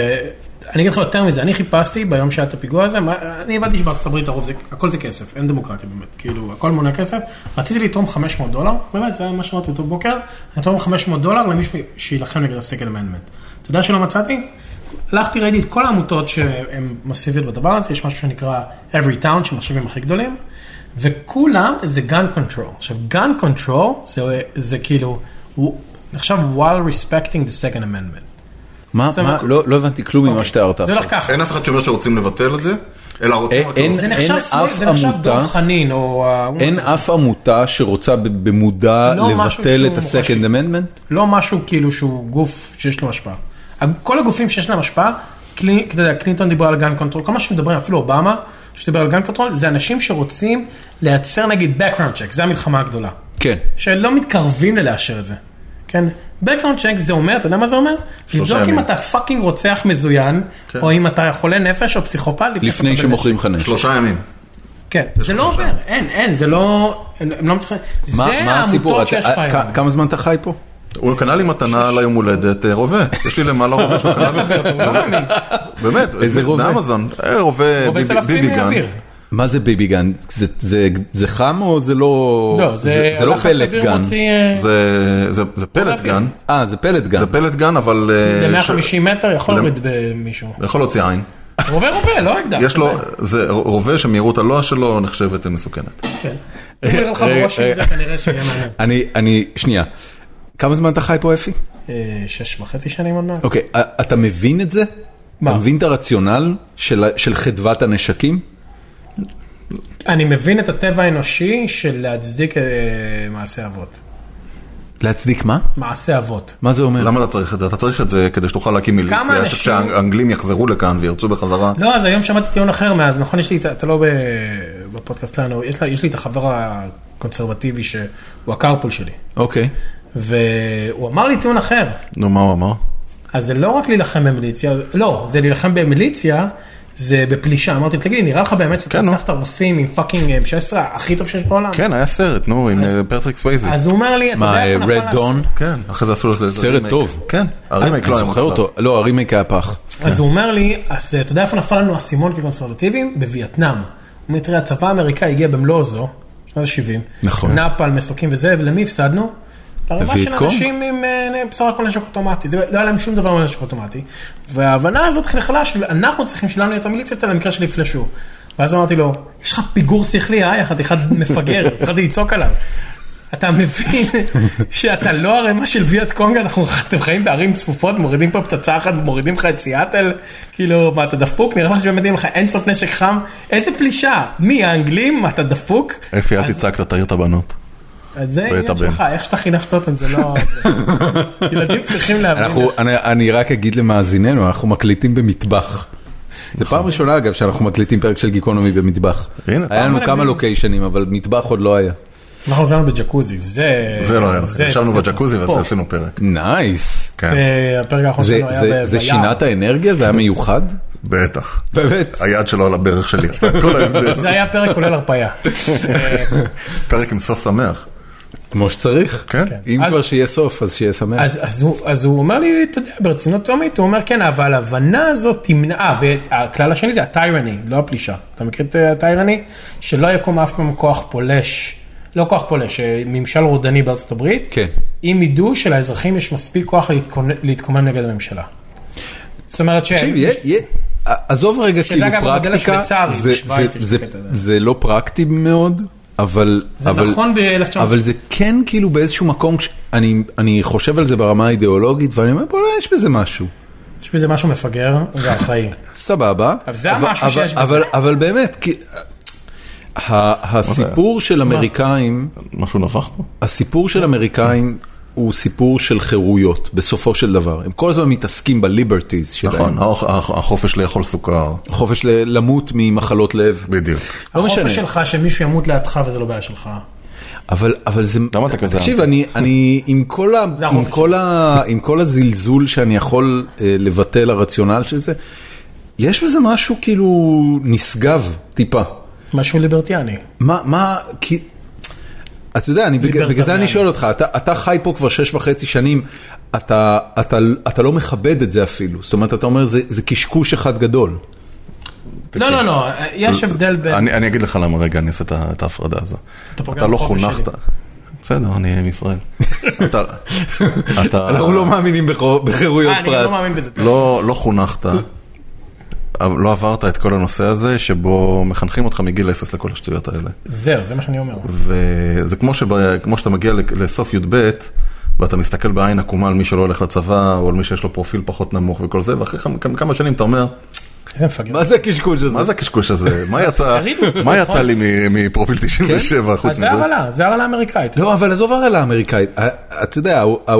[SPEAKER 4] אני אגיד לך יותר מזה, אני חיפשתי ביום שהיה את הפיגוע הזה, מה, אני הבנתי שבארצות הברית הרוב זה, הכל זה כסף, אין דמוקרטיה באמת, כאילו, הכל מונע כסף. רציתי לתרום 500 דולר, באמת, זה היה מה שאמרתי אותו בוקר, אני אתרום 500 דולר למישהו שיילחם נגד ה-Second Amendment. אתה יודע שלא מצאתי? הלכתי, ראיתי את כל העמותות שהן מסיביות בדבר הזה, יש משהו שנקרא Every Town, שהם מחשבים הכי גדולים, וכולם זה Gun Control. עכשיו, Gun Control זה, זה כאילו, הוא נחשב while respecting the Second Amendment.
[SPEAKER 1] מה,
[SPEAKER 4] זאת
[SPEAKER 1] מה,
[SPEAKER 4] אומרת-
[SPEAKER 1] לא לא הבנתי כלום ממה שתיארת
[SPEAKER 4] אוקיי. זה הולך
[SPEAKER 1] עכשיו.
[SPEAKER 4] ככה.
[SPEAKER 2] אין אף אחד שאומר שרוצים לבטל את זה, אלא רוצים... רק
[SPEAKER 1] אין-
[SPEAKER 2] להוסיף.
[SPEAKER 4] זה
[SPEAKER 1] אין
[SPEAKER 4] נחשב שמאל,
[SPEAKER 1] אף
[SPEAKER 4] זה נחשב
[SPEAKER 1] עמותה-
[SPEAKER 4] דב חנין, או... אה, ה-
[SPEAKER 1] אין אף עמותה שרוצה ב- במודע
[SPEAKER 4] לא משהו
[SPEAKER 1] לבטל את
[SPEAKER 4] שהוא מוחשי.
[SPEAKER 1] ה-Second Amendment?
[SPEAKER 4] לא משהו כאילו שהוא גוף שיש לו השפעה. ה- כל הגופים שיש להם השפעה, קלי- אתה יודע, קלינטון דיבר על גן קונטרול, כל מה שמדברים, אפילו אובמה, שדיבר על גן קונטרול, זה אנשים שרוצים לייצר נגיד background check, זה המלחמה הגדולה.
[SPEAKER 1] כן.
[SPEAKER 4] שלא מתקרבים ללאשר את זה, כן? background check זה אומר, אתה יודע מה זה אומר? לבדוק
[SPEAKER 2] ימים.
[SPEAKER 4] אם אתה פאקינג רוצח מזוין,
[SPEAKER 2] כן.
[SPEAKER 4] או אם אתה חולה נפש או פסיכופת שאתה
[SPEAKER 1] לפני
[SPEAKER 4] מקבל
[SPEAKER 1] שמוכרים לך נשק.
[SPEAKER 2] שלושה ימים.
[SPEAKER 4] כן, זה לא עובר, אין, אין, זה לא, הם הם לא מצליחים, זה
[SPEAKER 1] מה מה הסיפור?
[SPEAKER 4] העמותות שיש לך
[SPEAKER 1] אתה-
[SPEAKER 4] היום.
[SPEAKER 1] כ- כמה זמן אתה חי פה?
[SPEAKER 2] הוא קנה לי מתנה ליום הולדת אה, רובה. יש לי למעלה רובה שהוא קנה לי.
[SPEAKER 4] אתה לא מאמין.
[SPEAKER 2] באמת,
[SPEAKER 1] איזה רובה?
[SPEAKER 2] באמזון. אה, רובה
[SPEAKER 4] רובה
[SPEAKER 2] ביבי-
[SPEAKER 4] צלפים
[SPEAKER 2] ביבי גן. לא,
[SPEAKER 4] מהאוויר.
[SPEAKER 1] מה זה ביבי גן? זה- זה- זה חם או זה לא...
[SPEAKER 4] לא, זה
[SPEAKER 1] זה לא
[SPEAKER 4] לחץ
[SPEAKER 1] פלט
[SPEAKER 4] אוויר
[SPEAKER 1] גן.
[SPEAKER 4] מוציא אה,
[SPEAKER 2] זה- זה זה פלט
[SPEAKER 4] אוויר.
[SPEAKER 2] גן,
[SPEAKER 1] אה, זה פלט גן.
[SPEAKER 2] זה פלט גן, אבל... אה,
[SPEAKER 4] ל-
[SPEAKER 2] ש- לא.
[SPEAKER 4] 150 מטר, יכול
[SPEAKER 2] למ-
[SPEAKER 4] להוריד במישהו.
[SPEAKER 2] יכול להוציא עין.
[SPEAKER 4] רובה רובה, לא אקדח.
[SPEAKER 2] יש לו, זה רובה שמהירות הלוע שלו נחשבת מסוכנת.
[SPEAKER 4] כן. הוא יראה
[SPEAKER 2] אה,
[SPEAKER 4] לך בראש עם זה, כנראה שיהיה מעניין.
[SPEAKER 1] אני, אני, שנייה. כמה זמן אתה חי פה, אפי?
[SPEAKER 4] אה, שש וחצי שנים עוד מעט.
[SPEAKER 1] אוקיי, א- אתה מבין את זה?
[SPEAKER 4] מה?
[SPEAKER 1] אתה מבין את הרציונל של, ה- של חדוות הנשקים?
[SPEAKER 2] אוקיי.
[SPEAKER 4] אני מבין את הטבע האנושי של להצדיק אה, מעשה אבות.
[SPEAKER 1] להצדיק מה?
[SPEAKER 4] מעשה אבות.
[SPEAKER 1] מה זה אומר?
[SPEAKER 2] למה אתה צריך את זה? אתה צריך את זה כדי שתוכל להקים
[SPEAKER 4] כמה
[SPEAKER 2] מיליציה,
[SPEAKER 4] אנשים-
[SPEAKER 2] שכשהאנגלים יחזרו לכאן וירצו בחזרה.
[SPEAKER 4] לא, אז היום שמעתי טיעון אחר מאז, נכון, יש לי, את ה- אתה לא ב- בפודקאסט שלנו, יש, לי- יש לי את החבר הקונסרבטיבי שהוא הקרפול שלי,
[SPEAKER 1] אוקיי.
[SPEAKER 4] והוא אמר לי טיעון אחר,
[SPEAKER 2] נו, מה הוא אמר?
[SPEAKER 4] אז זה לא רק להילחם במיליציה, לא, זה להילחם במיליציה, זה בפלישה, אמרתי, תגיד לי, נראה לך באמת שאתה
[SPEAKER 2] כן, נו.
[SPEAKER 4] תנצח את הרוסים עם פאקינג אה, M16 הכי טוב שיש בעולם?
[SPEAKER 2] כן, היה סרט, נו, עם אה, פטריק סווייזי.
[SPEAKER 4] אז הוא אומר לי, אתה
[SPEAKER 1] מה, אה,
[SPEAKER 4] יודע איפה נפל...
[SPEAKER 1] רד
[SPEAKER 4] הס-
[SPEAKER 1] דון?
[SPEAKER 2] כן, אחרי זה עשו לזה איזה
[SPEAKER 1] סרט
[SPEAKER 2] רימייק.
[SPEAKER 1] טוב.
[SPEAKER 2] כן, הרימייק לא היה
[SPEAKER 1] אני זוכר
[SPEAKER 2] מוצלח.
[SPEAKER 1] אותו. לא, הרימייק היה פח.
[SPEAKER 4] אז הוא אומר לי, אז אה, אתה יודע איפה נפל לנו האסימון כקונסרבטיבים? בווייטנאם. הוא אומר, תראה, הצבא האמריקאי הגיע במלוא עוזו, שנות ה-70.
[SPEAKER 1] נכון.
[SPEAKER 4] נפל, מסוקים וזה, ולמי הפסדנו? לרמה של
[SPEAKER 1] לווייטקונג?
[SPEAKER 4] אנשים עם אה, בסך הכל נשק אוטומטי. זה- לא היה להם שום דבר מנשק אוטומטי. וההבנה הזאת חלחלה של אנחנו צריכים שלנו יהיה את המיליציות האלה למקרה של יפלשו. ואז אמרתי לו, יש לך פיגור שכלי, אה, יא חתיכת מפגר, התחלתי לצעוק עליו. אתה מבין שאתה לא ערימה של ויאט קונג, אנחנו אתם חיים בערים צפופות, מורידים פה פצצה אחת, מורידים לך את סיאטל, כאילו, מה, אתה דפוק? נראה לך שבאמת אין לך אינסוף נשק חם? איזה פלישה? מי, האנגלים? מה, אתה דפוק?
[SPEAKER 2] אפי, אל תצעק, אתה תעיר את הבנות.
[SPEAKER 4] אז זה
[SPEAKER 2] ואת
[SPEAKER 4] עניין
[SPEAKER 2] הבן.
[SPEAKER 4] שלך, איך שאתה חינכת אותם, זה לא... ילדים צריכים להבין.
[SPEAKER 1] אנחנו, אני, אני רק אגיד למאזיננו, אנחנו מקליטים במטבח. זה פעם ראשונה אגב שאנחנו מקליטים פרק של גיקונומי במטבח.
[SPEAKER 2] הנה,
[SPEAKER 1] היה
[SPEAKER 2] פעם
[SPEAKER 1] לנו
[SPEAKER 4] אחת.
[SPEAKER 1] כמה לוקיישנים, אבל מטבח עוד לא היה.
[SPEAKER 4] אנחנו ישבנו בג'קוזי, זה...
[SPEAKER 2] זה לא היה לך,
[SPEAKER 4] זה-
[SPEAKER 2] ישבנו
[SPEAKER 4] זה-
[SPEAKER 2] בג'קוזי
[SPEAKER 4] פה.
[SPEAKER 2] ועשינו פרק.
[SPEAKER 1] נייס.
[SPEAKER 2] כן,
[SPEAKER 4] זה- הפרק האחרון
[SPEAKER 1] זה-
[SPEAKER 4] שלנו היה
[SPEAKER 1] זה-
[SPEAKER 4] ב-
[SPEAKER 1] זה
[SPEAKER 4] ביער.
[SPEAKER 1] שינה את האנרגיה? זה היה מיוחד?
[SPEAKER 2] בטח.
[SPEAKER 1] באמת.
[SPEAKER 2] היד שלו על הברך שלי, עשתה את כל ההבדל.
[SPEAKER 4] זה היה פרק כולל הרפאיה. אה,
[SPEAKER 2] פרק עם סוף שמח.
[SPEAKER 1] כמו שצריך.
[SPEAKER 2] כן.
[SPEAKER 4] כן.
[SPEAKER 1] אם
[SPEAKER 4] אז-
[SPEAKER 1] כבר שיהיה סוף, אז שיהיה שמח.
[SPEAKER 4] אז, אז, הוא, אז הוא אומר לי, אתה יודע, ברצינות תהומית, הוא אומר, כן, אבל ההבנה הזאת תמנעה, והכלל השני זה הטיירני, לא הפלישה. אתה מכיר את אה, הטיירני? שלא יקום אף פעם כוח פולש, לא כוח פולש, אה, ממשל רודני בארצות הברית,
[SPEAKER 1] כן.
[SPEAKER 4] אם ידעו שלאזרחים יש מספיק כוח להתכונן, להתקומם נגד הממשלה. זאת אומרת ש...
[SPEAKER 1] תקשיב, יש- יש- עזוב רגע
[SPEAKER 4] כן. שזה
[SPEAKER 1] כאילו
[SPEAKER 4] אגב המודל
[SPEAKER 1] פרקטיקה,
[SPEAKER 4] השוויצרי,
[SPEAKER 1] זה-
[SPEAKER 4] בשוויץ
[SPEAKER 1] זה-
[SPEAKER 4] יש
[SPEAKER 1] זה-
[SPEAKER 4] את הקטע הזה.
[SPEAKER 1] זה לא פרקטי מאוד, אבל...
[SPEAKER 4] זה
[SPEAKER 1] אבל-
[SPEAKER 4] נכון ב-1990.
[SPEAKER 1] אבל זה כן כאילו באיזשהו מקום, כש- אני- אני חושב על זה ברמה האידיאולוגית, ואני אומר, בוא'נה, יש בזה משהו.
[SPEAKER 4] יש בזה משהו מפגר ואחראי.
[SPEAKER 1] סבבה.
[SPEAKER 4] אבל זה המשהו
[SPEAKER 1] אבל-
[SPEAKER 4] שיש בזה.
[SPEAKER 1] אבל- אבל באמת, כי- ה- הסיפור של אמריקאים...
[SPEAKER 2] משהו נפח פה?
[SPEAKER 1] הסיפור של אמריקאים הוא סיפור של חירויות, בסופו של דבר. הם כל הזמן מתעסקים בליברטיז שלהם.
[SPEAKER 2] נכון, הח- הח- החופש לאכול סוכר.
[SPEAKER 1] חופש ל- למות ממחלות לב.
[SPEAKER 2] בדיוק.
[SPEAKER 1] לא משנה.
[SPEAKER 4] החופש שלך שמישהו ימות לידך וזה לא בעיה שלך.
[SPEAKER 1] אבל, אבל זה...
[SPEAKER 2] למה אתה כזה?
[SPEAKER 1] תקשיב, אני, אני עם, כל ה,
[SPEAKER 4] זה
[SPEAKER 1] עם,
[SPEAKER 4] החופש.
[SPEAKER 1] כל ה, עם כל הזלזול שאני יכול אה, לבטל הרציונל של זה, יש בזה משהו כאילו נשגב טיפה.
[SPEAKER 4] משהו ליברטיאני.
[SPEAKER 1] מה, מה, כי... אתה יודע, אני, בג- בגלל זה
[SPEAKER 4] ליברטריאני.
[SPEAKER 1] אני שואל אותך, אתה, אתה חי פה כבר שש וחצי שנים, אתה, אתה, אתה לא מכבד את זה אפילו. זאת אומרת, אתה אומר, זה, זה קשקוש אחד גדול.
[SPEAKER 4] לא, לא, לא, יש הבדל בין...
[SPEAKER 2] אני אני אגיד לך למה רגע אני אעשה את ה- את ההפרדה הזו.
[SPEAKER 4] פוגע
[SPEAKER 2] אתה לא
[SPEAKER 4] בחופש
[SPEAKER 2] חונכת.
[SPEAKER 4] שלי.
[SPEAKER 2] בסדר, אני מישראל. אתה... אתה-
[SPEAKER 1] אנחנו לא מאמינים בחו- בחירויות
[SPEAKER 4] אה, אני גם לא
[SPEAKER 1] פרט.
[SPEAKER 4] מאמין בזה.
[SPEAKER 2] לא, לא חונכת, אבל לא עברת את כל הנושא הזה שבו מחנכים אותך מגיל אפס לכל השטויות האלה.
[SPEAKER 4] זהו, זה מה שאני אומר.
[SPEAKER 2] וזה כמו, שב, כמו שאתה מגיע לסוף י"ב, ואתה מסתכל בעין עקומה על מי שלא הולך לצבא, או על מי שיש לו פרופיל פחות נמוך וכל זה, ואחרי כמה, כמה, כמה שנים אתה אומר,
[SPEAKER 4] איזה מפגר.
[SPEAKER 1] מה זה הקשקוש הזה?
[SPEAKER 2] מה זה הקשקוש הזה? מה יצא,
[SPEAKER 4] תרימו,
[SPEAKER 2] מה יצא לי מ- מפרופיל 97
[SPEAKER 4] נכון. כן? אז
[SPEAKER 2] חוץ
[SPEAKER 4] זה
[SPEAKER 2] מזה?
[SPEAKER 4] הרעלה, זה הרעלה האמריקאית.
[SPEAKER 1] לא, אבל עזוב הרעלה האמריקאית. אה, אתה יודע, ה-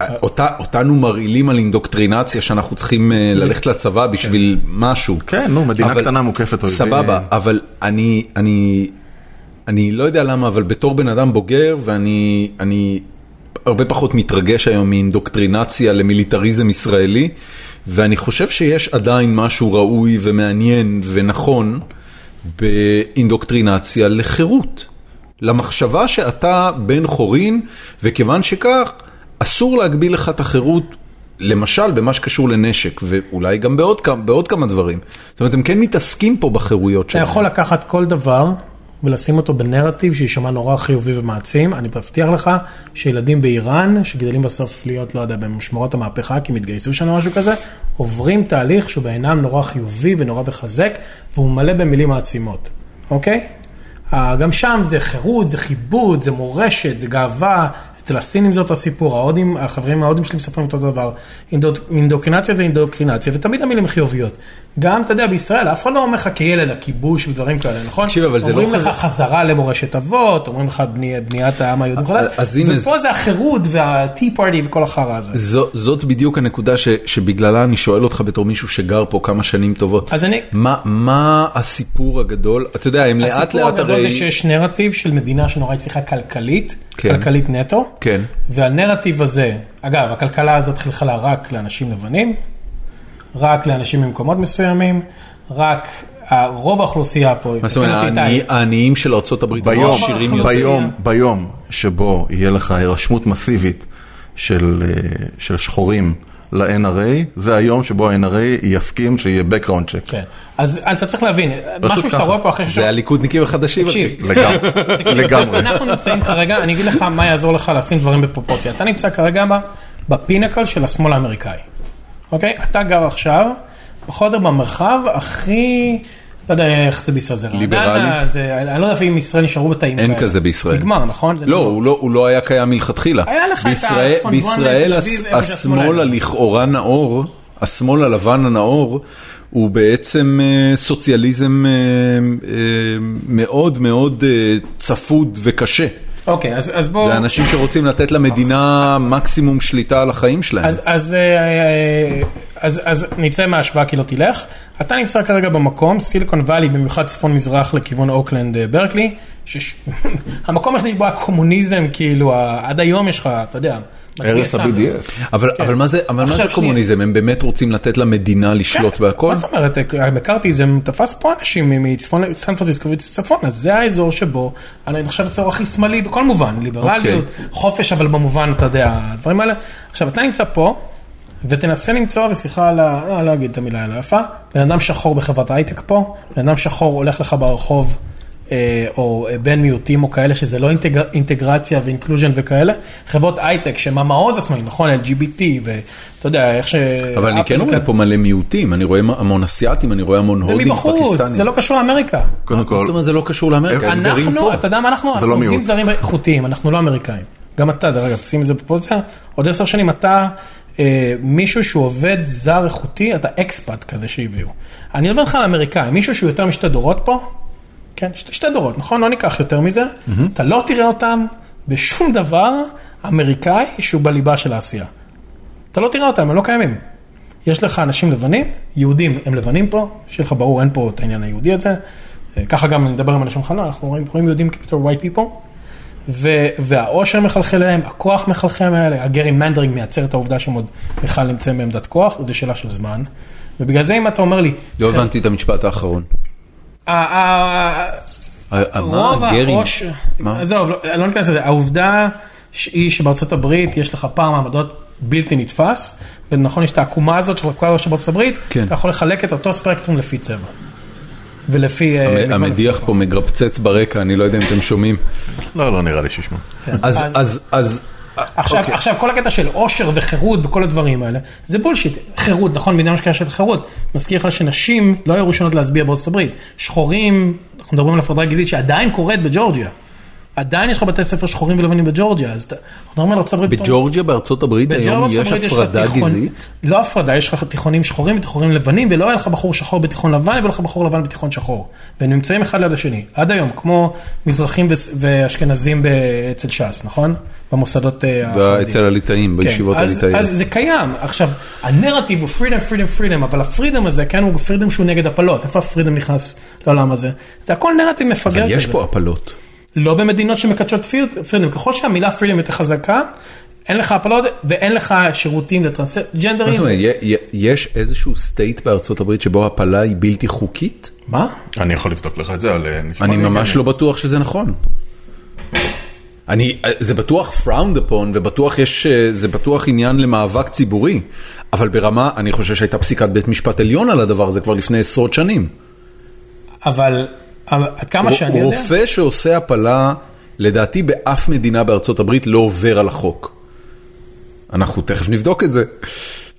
[SPEAKER 1] ה- אותה, אותנו מרעילים על אינדוקטרינציה שאנחנו צריכים אה, ללכת לצבא בשביל משהו.
[SPEAKER 2] כן, נו, מדינה
[SPEAKER 1] אבל-
[SPEAKER 2] קטנה מוקפת אויבים.
[SPEAKER 1] סבבה, אבל אני, אני, אני לא יודע למה, אבל בתור בן אדם בוגר, ואני אני הרבה פחות מתרגש היום מאינדוקטרינציה למיליטריזם ישראלי, ואני חושב שיש עדיין משהו ראוי ומעניין ונכון באינדוקטרינציה לחירות. למחשבה שאתה בן חורין, וכיוון שכך, אסור להגביל לך את החירות למשל במה שקשור לנשק, ואולי גם בעוד כמה, בעוד כמה דברים. זאת אומרת, הם כן מתעסקים פה בחירויות
[SPEAKER 4] אתה
[SPEAKER 1] שלהם.
[SPEAKER 4] יכול לקחת כל דבר ולשים אותו בנרטיב שיישמע נורא חיובי ומעצים. אני מבטיח לך שילדים באיראן, שגדלים בסוף להיות, לא יודע, במשמרות המהפכה, כי הם התגייסו שם או משהו כזה, עוברים תהליך שהוא בעינם נורא חיובי ונורא מחזק, והוא מלא במילים מעצימות, אוקיי? אה, גם שם זה חירות, זה כיבוד, זה מורשת, זה גאווה. אצל הסינים זה אותו סיפור, ההודים, החברים ההודים שלי מספרים אותו דבר. אינדו- אינדוקרינציה זה אינדוקרינציה, ותמיד המילים חיוביות. גם, אתה יודע, בישראל אף אחד לא אומר לך כילד, הכיבוש ודברים כאלה, נכון?
[SPEAKER 1] תקשיב, אבל זה לא
[SPEAKER 4] אומרים
[SPEAKER 1] חז-
[SPEAKER 4] לך חזרה למורשת אבות, אומרים לך בני, בניית העם היהודי וכו',
[SPEAKER 1] אז הנה
[SPEAKER 4] ופה
[SPEAKER 1] זה-
[SPEAKER 4] זה החירות וה-tea party וכל החרא הזה.
[SPEAKER 1] זו, זאת בדיוק הנקודה ש, שבגללה אני שואל אותך בתור מישהו שגר פה כמה שנים טובות.
[SPEAKER 4] אז אני,
[SPEAKER 1] מה, מה הסיפור הגדול? אתה יודע, הם לאט
[SPEAKER 4] הסיפור
[SPEAKER 1] לאט
[SPEAKER 4] הגדול
[SPEAKER 1] הרי...
[SPEAKER 4] זה שיש נרטיב של מדינה שנורא הצליחה כלכלית,
[SPEAKER 1] כן.
[SPEAKER 4] כלכלית נטו,
[SPEAKER 1] כן.
[SPEAKER 4] והנרטיב הזה, אגב, הכלכלה הזאת חלחלה רק לאנשים לבנים, רק לאנשים ממקומות מסוימים, רק ה- רוב האוכלוסייה פה,
[SPEAKER 1] מה זאת אומרת,
[SPEAKER 4] תקן אותי,
[SPEAKER 1] העני-
[SPEAKER 4] איתי.
[SPEAKER 1] העניים של ארה"ב לא
[SPEAKER 2] ביום,
[SPEAKER 1] עשירים
[SPEAKER 4] האחוז.
[SPEAKER 1] יותר.
[SPEAKER 2] ביום, ביום שבו יהיה לך הירשמות מסיבית של, אה, של שחורים ל-NRA, זה היום שבו ה-NRA יסכים שיהיה background check.
[SPEAKER 4] כן. אז אתה צריך להבין, משהו שאתה
[SPEAKER 2] ככה.
[SPEAKER 4] רואה פה אחרי
[SPEAKER 1] זה הליכודניקים החדשים.
[SPEAKER 4] תקשיב,
[SPEAKER 2] לגמרי, לגמרי.
[SPEAKER 4] אנחנו נמצאים כרגע, אני אגיד לך מה יעזור לך לשים דברים בפרופורציה. אתה נמצא כרגע ב- בפינקל של השמאל האמריקאי, אוקיי? אתה גר עכשיו, פחות או יותר במרחב הכי, לא יודע איך זה בישראל, זה
[SPEAKER 1] ליברלי?
[SPEAKER 4] רעננה, זה- אני לא יודע אם ישראל נשארו בתאים
[SPEAKER 1] אין
[SPEAKER 4] האלה.
[SPEAKER 1] כזה בישראל.
[SPEAKER 4] נגמר, נכון? זה
[SPEAKER 1] לא,
[SPEAKER 4] נגמר.
[SPEAKER 1] הוא לא, הוא לא היה קיים מלכתחילה.
[SPEAKER 4] היה לך את
[SPEAKER 1] בישראל-
[SPEAKER 4] הצפון דרום
[SPEAKER 1] בישראל
[SPEAKER 4] ותל
[SPEAKER 1] הס-
[SPEAKER 4] אביב, איפה שהשמאל
[SPEAKER 1] השמאל
[SPEAKER 4] היה.
[SPEAKER 1] הלכאורה נאור, השמאל הלבן הנאור, הוא בעצם אה, סוציאליזם אה, אה, מאוד מאוד אה, צפוד וקשה.
[SPEAKER 4] אוקיי, אז אז בואו...
[SPEAKER 1] זה אנשים שרוצים לתת למדינה מקסימום שליטה על החיים שלהם.
[SPEAKER 4] אז, אז, אה, אה, אז, אז נצא מההשוואה כי לא תלך. אתה נמצא כרגע במקום, סיליקון וואלי, במיוחד צפון-מזרח לכיוון אוקלנד אה, ברקלי, שהמקום היחיד שבו הקומוניזם, כאילו, ה- עד היום יש לך, אתה יודע, מצביעי
[SPEAKER 2] הרס
[SPEAKER 4] סאמר.
[SPEAKER 2] ה-BDS.
[SPEAKER 1] אבל, אבל מה זה, אבל מה
[SPEAKER 4] כן.
[SPEAKER 1] זה
[SPEAKER 4] עכשיו שנייה. כן.
[SPEAKER 1] קומוניזם? הם באמת רוצים לתת למדינה לשלוט בהכל?
[SPEAKER 4] מה זאת אומרת, מקארתיזם תפס פה אנשים מ- מצפון, סן פרנסיסקו וצפון, אז זה האזור שבו, אני נחשב לצור הכי שמאלי בכל מובן, ליברליות,
[SPEAKER 1] אוקיי.
[SPEAKER 4] חופש, אבל במובן, אתה יודע, הדברים האלה. עכשיו, אתה נמצא פה, ותנסה למצוא, וסליחה על ה... לא, לא אגיד את המילה הלא יפה, בן אדם שחור בחברת הייטק פה, בן אדם שחור הולך לך ברחוב. אה, או אה, בן מיעוטים או כאלה שזה לא אינטגר, אינטגרציה ואינקלוז'ן וכאלה, חברות הייטק שהם המעוז השמאלי, נכון? LGBT ואתה יודע איך ש...
[SPEAKER 1] אבל אני כן
[SPEAKER 4] אפל
[SPEAKER 1] רואה
[SPEAKER 4] כאן.
[SPEAKER 1] פה מלא מיעוטים, אני רואה המון אסיאתים, אני רואה המון
[SPEAKER 4] לא זה
[SPEAKER 1] הודים, פקיסטנים.
[SPEAKER 4] מבחוץ, זה לא קשור לאמריקה.
[SPEAKER 2] קודם
[SPEAKER 1] זאת
[SPEAKER 2] כל,
[SPEAKER 1] אומרת, זה לא קשור לאמריקה, הם גרים פה.
[SPEAKER 4] אנחנו, אתה יודע מה אנחנו, אנחנו
[SPEAKER 2] לא
[SPEAKER 4] עובדים
[SPEAKER 2] מיעוט.
[SPEAKER 4] זרים איכותיים, אנחנו לא אמריקאים. גם אתה, דרך אגב, שים את זה בפרופורציה, עוד עשר שנים אתה אה, מישהו שהוא עובד זר איכותי, אתה אקספאט כזה שהביאו. אני מדבר לך על אמריקאי, מישהו שהוא יותר משתי דורות פה, כן, שתי, שתי דורות, נכון? לא ניקח יותר מזה, אתה לא תראה אותם בשום דבר אמריקאי שהוא בליבה של העשייה. אתה לא תראה אותם, הם לא קיימים. יש לך אנשים לבנים, יהודים הם לבנים פה, שיהיה לך ברור, אין פה את העניין היהודי הזה. אה, ככה גם נדבר עם אנשים חנה, אנחנו רואים, רואים יהודים כפתור white people. ו- והאושר מחלחל אליהם, הכוח מחלחל אליהם, הגרי מנדרינג מייצר את העובדה שהם עוד בכלל נמצאים בעמדת כוח, זו שאלה של זמן. ובגלל זה אם אתה אומר לי, אה,
[SPEAKER 1] לא הבנתי את המשפט האחרון.
[SPEAKER 4] "ה- ה-
[SPEAKER 1] ה- ה- מה
[SPEAKER 4] רוב
[SPEAKER 1] הגרים?
[SPEAKER 4] העושר,
[SPEAKER 1] מה?
[SPEAKER 4] עזוב, לא- לא ניכנס לזה, העובדה ש- היא שבארצות הברית יש לך פער מעמדות בלתי נתפס, ונכון יש את העקומה הזאת של כל העושר בארצות הברית,
[SPEAKER 1] כן.
[SPEAKER 4] אתה יכול לחלק את אותו ספקטרום לפי צבע. ולפי... אה,
[SPEAKER 1] המ-
[SPEAKER 4] מגוון
[SPEAKER 1] המדיח
[SPEAKER 4] לפי-
[SPEAKER 1] פה מגרפצץ ברקע, אני לא יודע אם אתם שומעים.
[SPEAKER 2] לא, לא נראה לי שישמע.
[SPEAKER 1] אז,
[SPEAKER 4] אז-
[SPEAKER 1] אז, אז,
[SPEAKER 4] עכשיו,
[SPEAKER 1] אוקיי.
[SPEAKER 4] עכשיו, כל הקטע של עושר וחירות וכל הדברים האלה, זה בולשיט. חירות, נכון, מדינה שקרה של חירות. מזכיר לך שנשים לא היו ראשונות להצביע בארצות הברית. שחורים, אנחנו מדברים על הפרדה גזעית שעדיין קורית בג'ורג'יה. עדיין יש לך בתי ספר שחורים ולבנים בג'ורג'יה, אז אתה- אנחנו מדברים על ארצות הברית. בתור-
[SPEAKER 1] בג'ורג'יה בארצות הברית היום
[SPEAKER 4] בג'ורג'יה
[SPEAKER 1] יש
[SPEAKER 4] בארצות הברית
[SPEAKER 1] הפרדה
[SPEAKER 4] לך תיכון-
[SPEAKER 1] גזעית?
[SPEAKER 4] לא הפרדה, יש לך תיכונים שחורים ותיכונים לבנים, ולא היה לך בחור שחור בתיכון לבן, ולא היה לך בחור לבן בתיכון שחור. והם נמצאים אחד ליד השני, עד היום, כמו מזרחים וס- ואשכנזים ב- אצל ש"ס, נכון? במוסדות אה, החרדיים.
[SPEAKER 1] אצל הליטאים, בישיבות
[SPEAKER 4] כן, אז- אז
[SPEAKER 1] הליטאיות.
[SPEAKER 4] זה קיים. עכשיו, הנרטיב הוא פרידום, פרידום, פרידום, אבל הפרידום הזה, כן, הוא פרידום שהוא נגד הפלות. איפה הפרידום נכנס לעולם הזה? זה הכל נרטיב מפגר כזה.
[SPEAKER 1] יש פה הפלות.
[SPEAKER 4] לא במדינות שמקדשות פריד- פרידום. ככל שהמילה פרידום יותר חזקה, אין לך הפלות ואין לך שירותים
[SPEAKER 1] מה זאת
[SPEAKER 4] לטרנסג'נדרים.
[SPEAKER 1] אומרת, יה- יה- יש איזשהו סטייט בארצות הברית שבו הפלה היא בלתי חוקית?
[SPEAKER 4] מה?
[SPEAKER 2] אני יכול לבדוק לך את זה, אבל אה, נשמע
[SPEAKER 1] אני
[SPEAKER 2] לי
[SPEAKER 1] ממש
[SPEAKER 2] הגיוני.
[SPEAKER 1] לא בטוח שזה נכון. אני, זה בטוח frowned upon, ובטוח יש, אה, זה בטוח עניין למאבק ציבורי, אבל ברמה, אני חושב שהייתה פסיקת בית משפט עליון על הדבר הזה כבר לפני עשרות שנים.
[SPEAKER 4] אבל אבל עד כמה שאני יודע...
[SPEAKER 1] רופא שעושה הפלה, לדעתי באף מדינה בארצות הברית לא עובר על החוק. אנחנו תכף נבדוק את זה.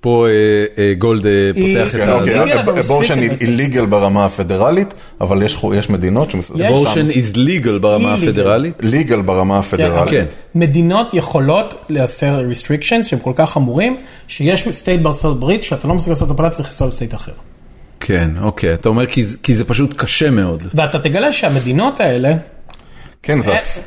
[SPEAKER 1] פה אה, אה, גולד אה,
[SPEAKER 4] היא-
[SPEAKER 1] פותח את
[SPEAKER 2] כן,
[SPEAKER 4] אתה-
[SPEAKER 1] ה...
[SPEAKER 2] אוקיי,
[SPEAKER 4] illegal, אבל
[SPEAKER 2] אבורשן
[SPEAKER 4] restricted.
[SPEAKER 2] איליגל ברמה הפדרלית, אבל יש חו- יש מדינות ש...
[SPEAKER 1] abortion is legal ברמה
[SPEAKER 4] Illegal.
[SPEAKER 1] הפדרלית.
[SPEAKER 2] ליגל ברמה
[SPEAKER 1] כן.
[SPEAKER 2] הפדרלית.
[SPEAKER 4] מדינות יכולות לייצר restrictions שהם כל כך חמורים, שיש סטייט בארצות הברית שאתה לא מסוגל לעשות הפלה, צריך לנסוע לסטייט אחר.
[SPEAKER 1] כן, אוקיי, אתה אומר כי, זה- כי זה פשוט קשה מאוד.
[SPEAKER 4] ואתה תגלה שהמדינות האלה, אה,
[SPEAKER 2] כן,
[SPEAKER 1] אה,
[SPEAKER 2] זה... הס-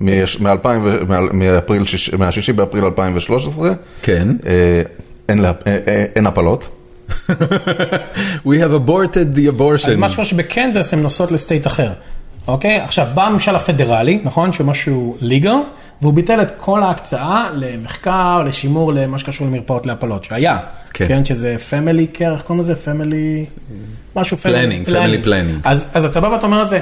[SPEAKER 2] מ- מאלפיים ו- מה- מאפריל שיש- מהשישי באפריל 2013,
[SPEAKER 1] כן.
[SPEAKER 2] אה, אין לה- אה, אה, אין הפלות.
[SPEAKER 1] We have aborted the abortion.
[SPEAKER 4] אז מה שקורה שבקנזס הן נוסעות לסטייט אחר. אוקיי? עכשיו, בא הממשל הפדרלי, נכון? שמשהו ליגר, והוא ביטל את כל ההקצאה למחקר, לשימור, למה שקשור למרפאות להפלות, שהיה.
[SPEAKER 1] כן.
[SPEAKER 4] כן, שזה פמילי קר, איך קוראים לזה? פמילי... משהו
[SPEAKER 1] Planning, family planning.
[SPEAKER 4] אז, אז אתה בא ואתה אומר את זה,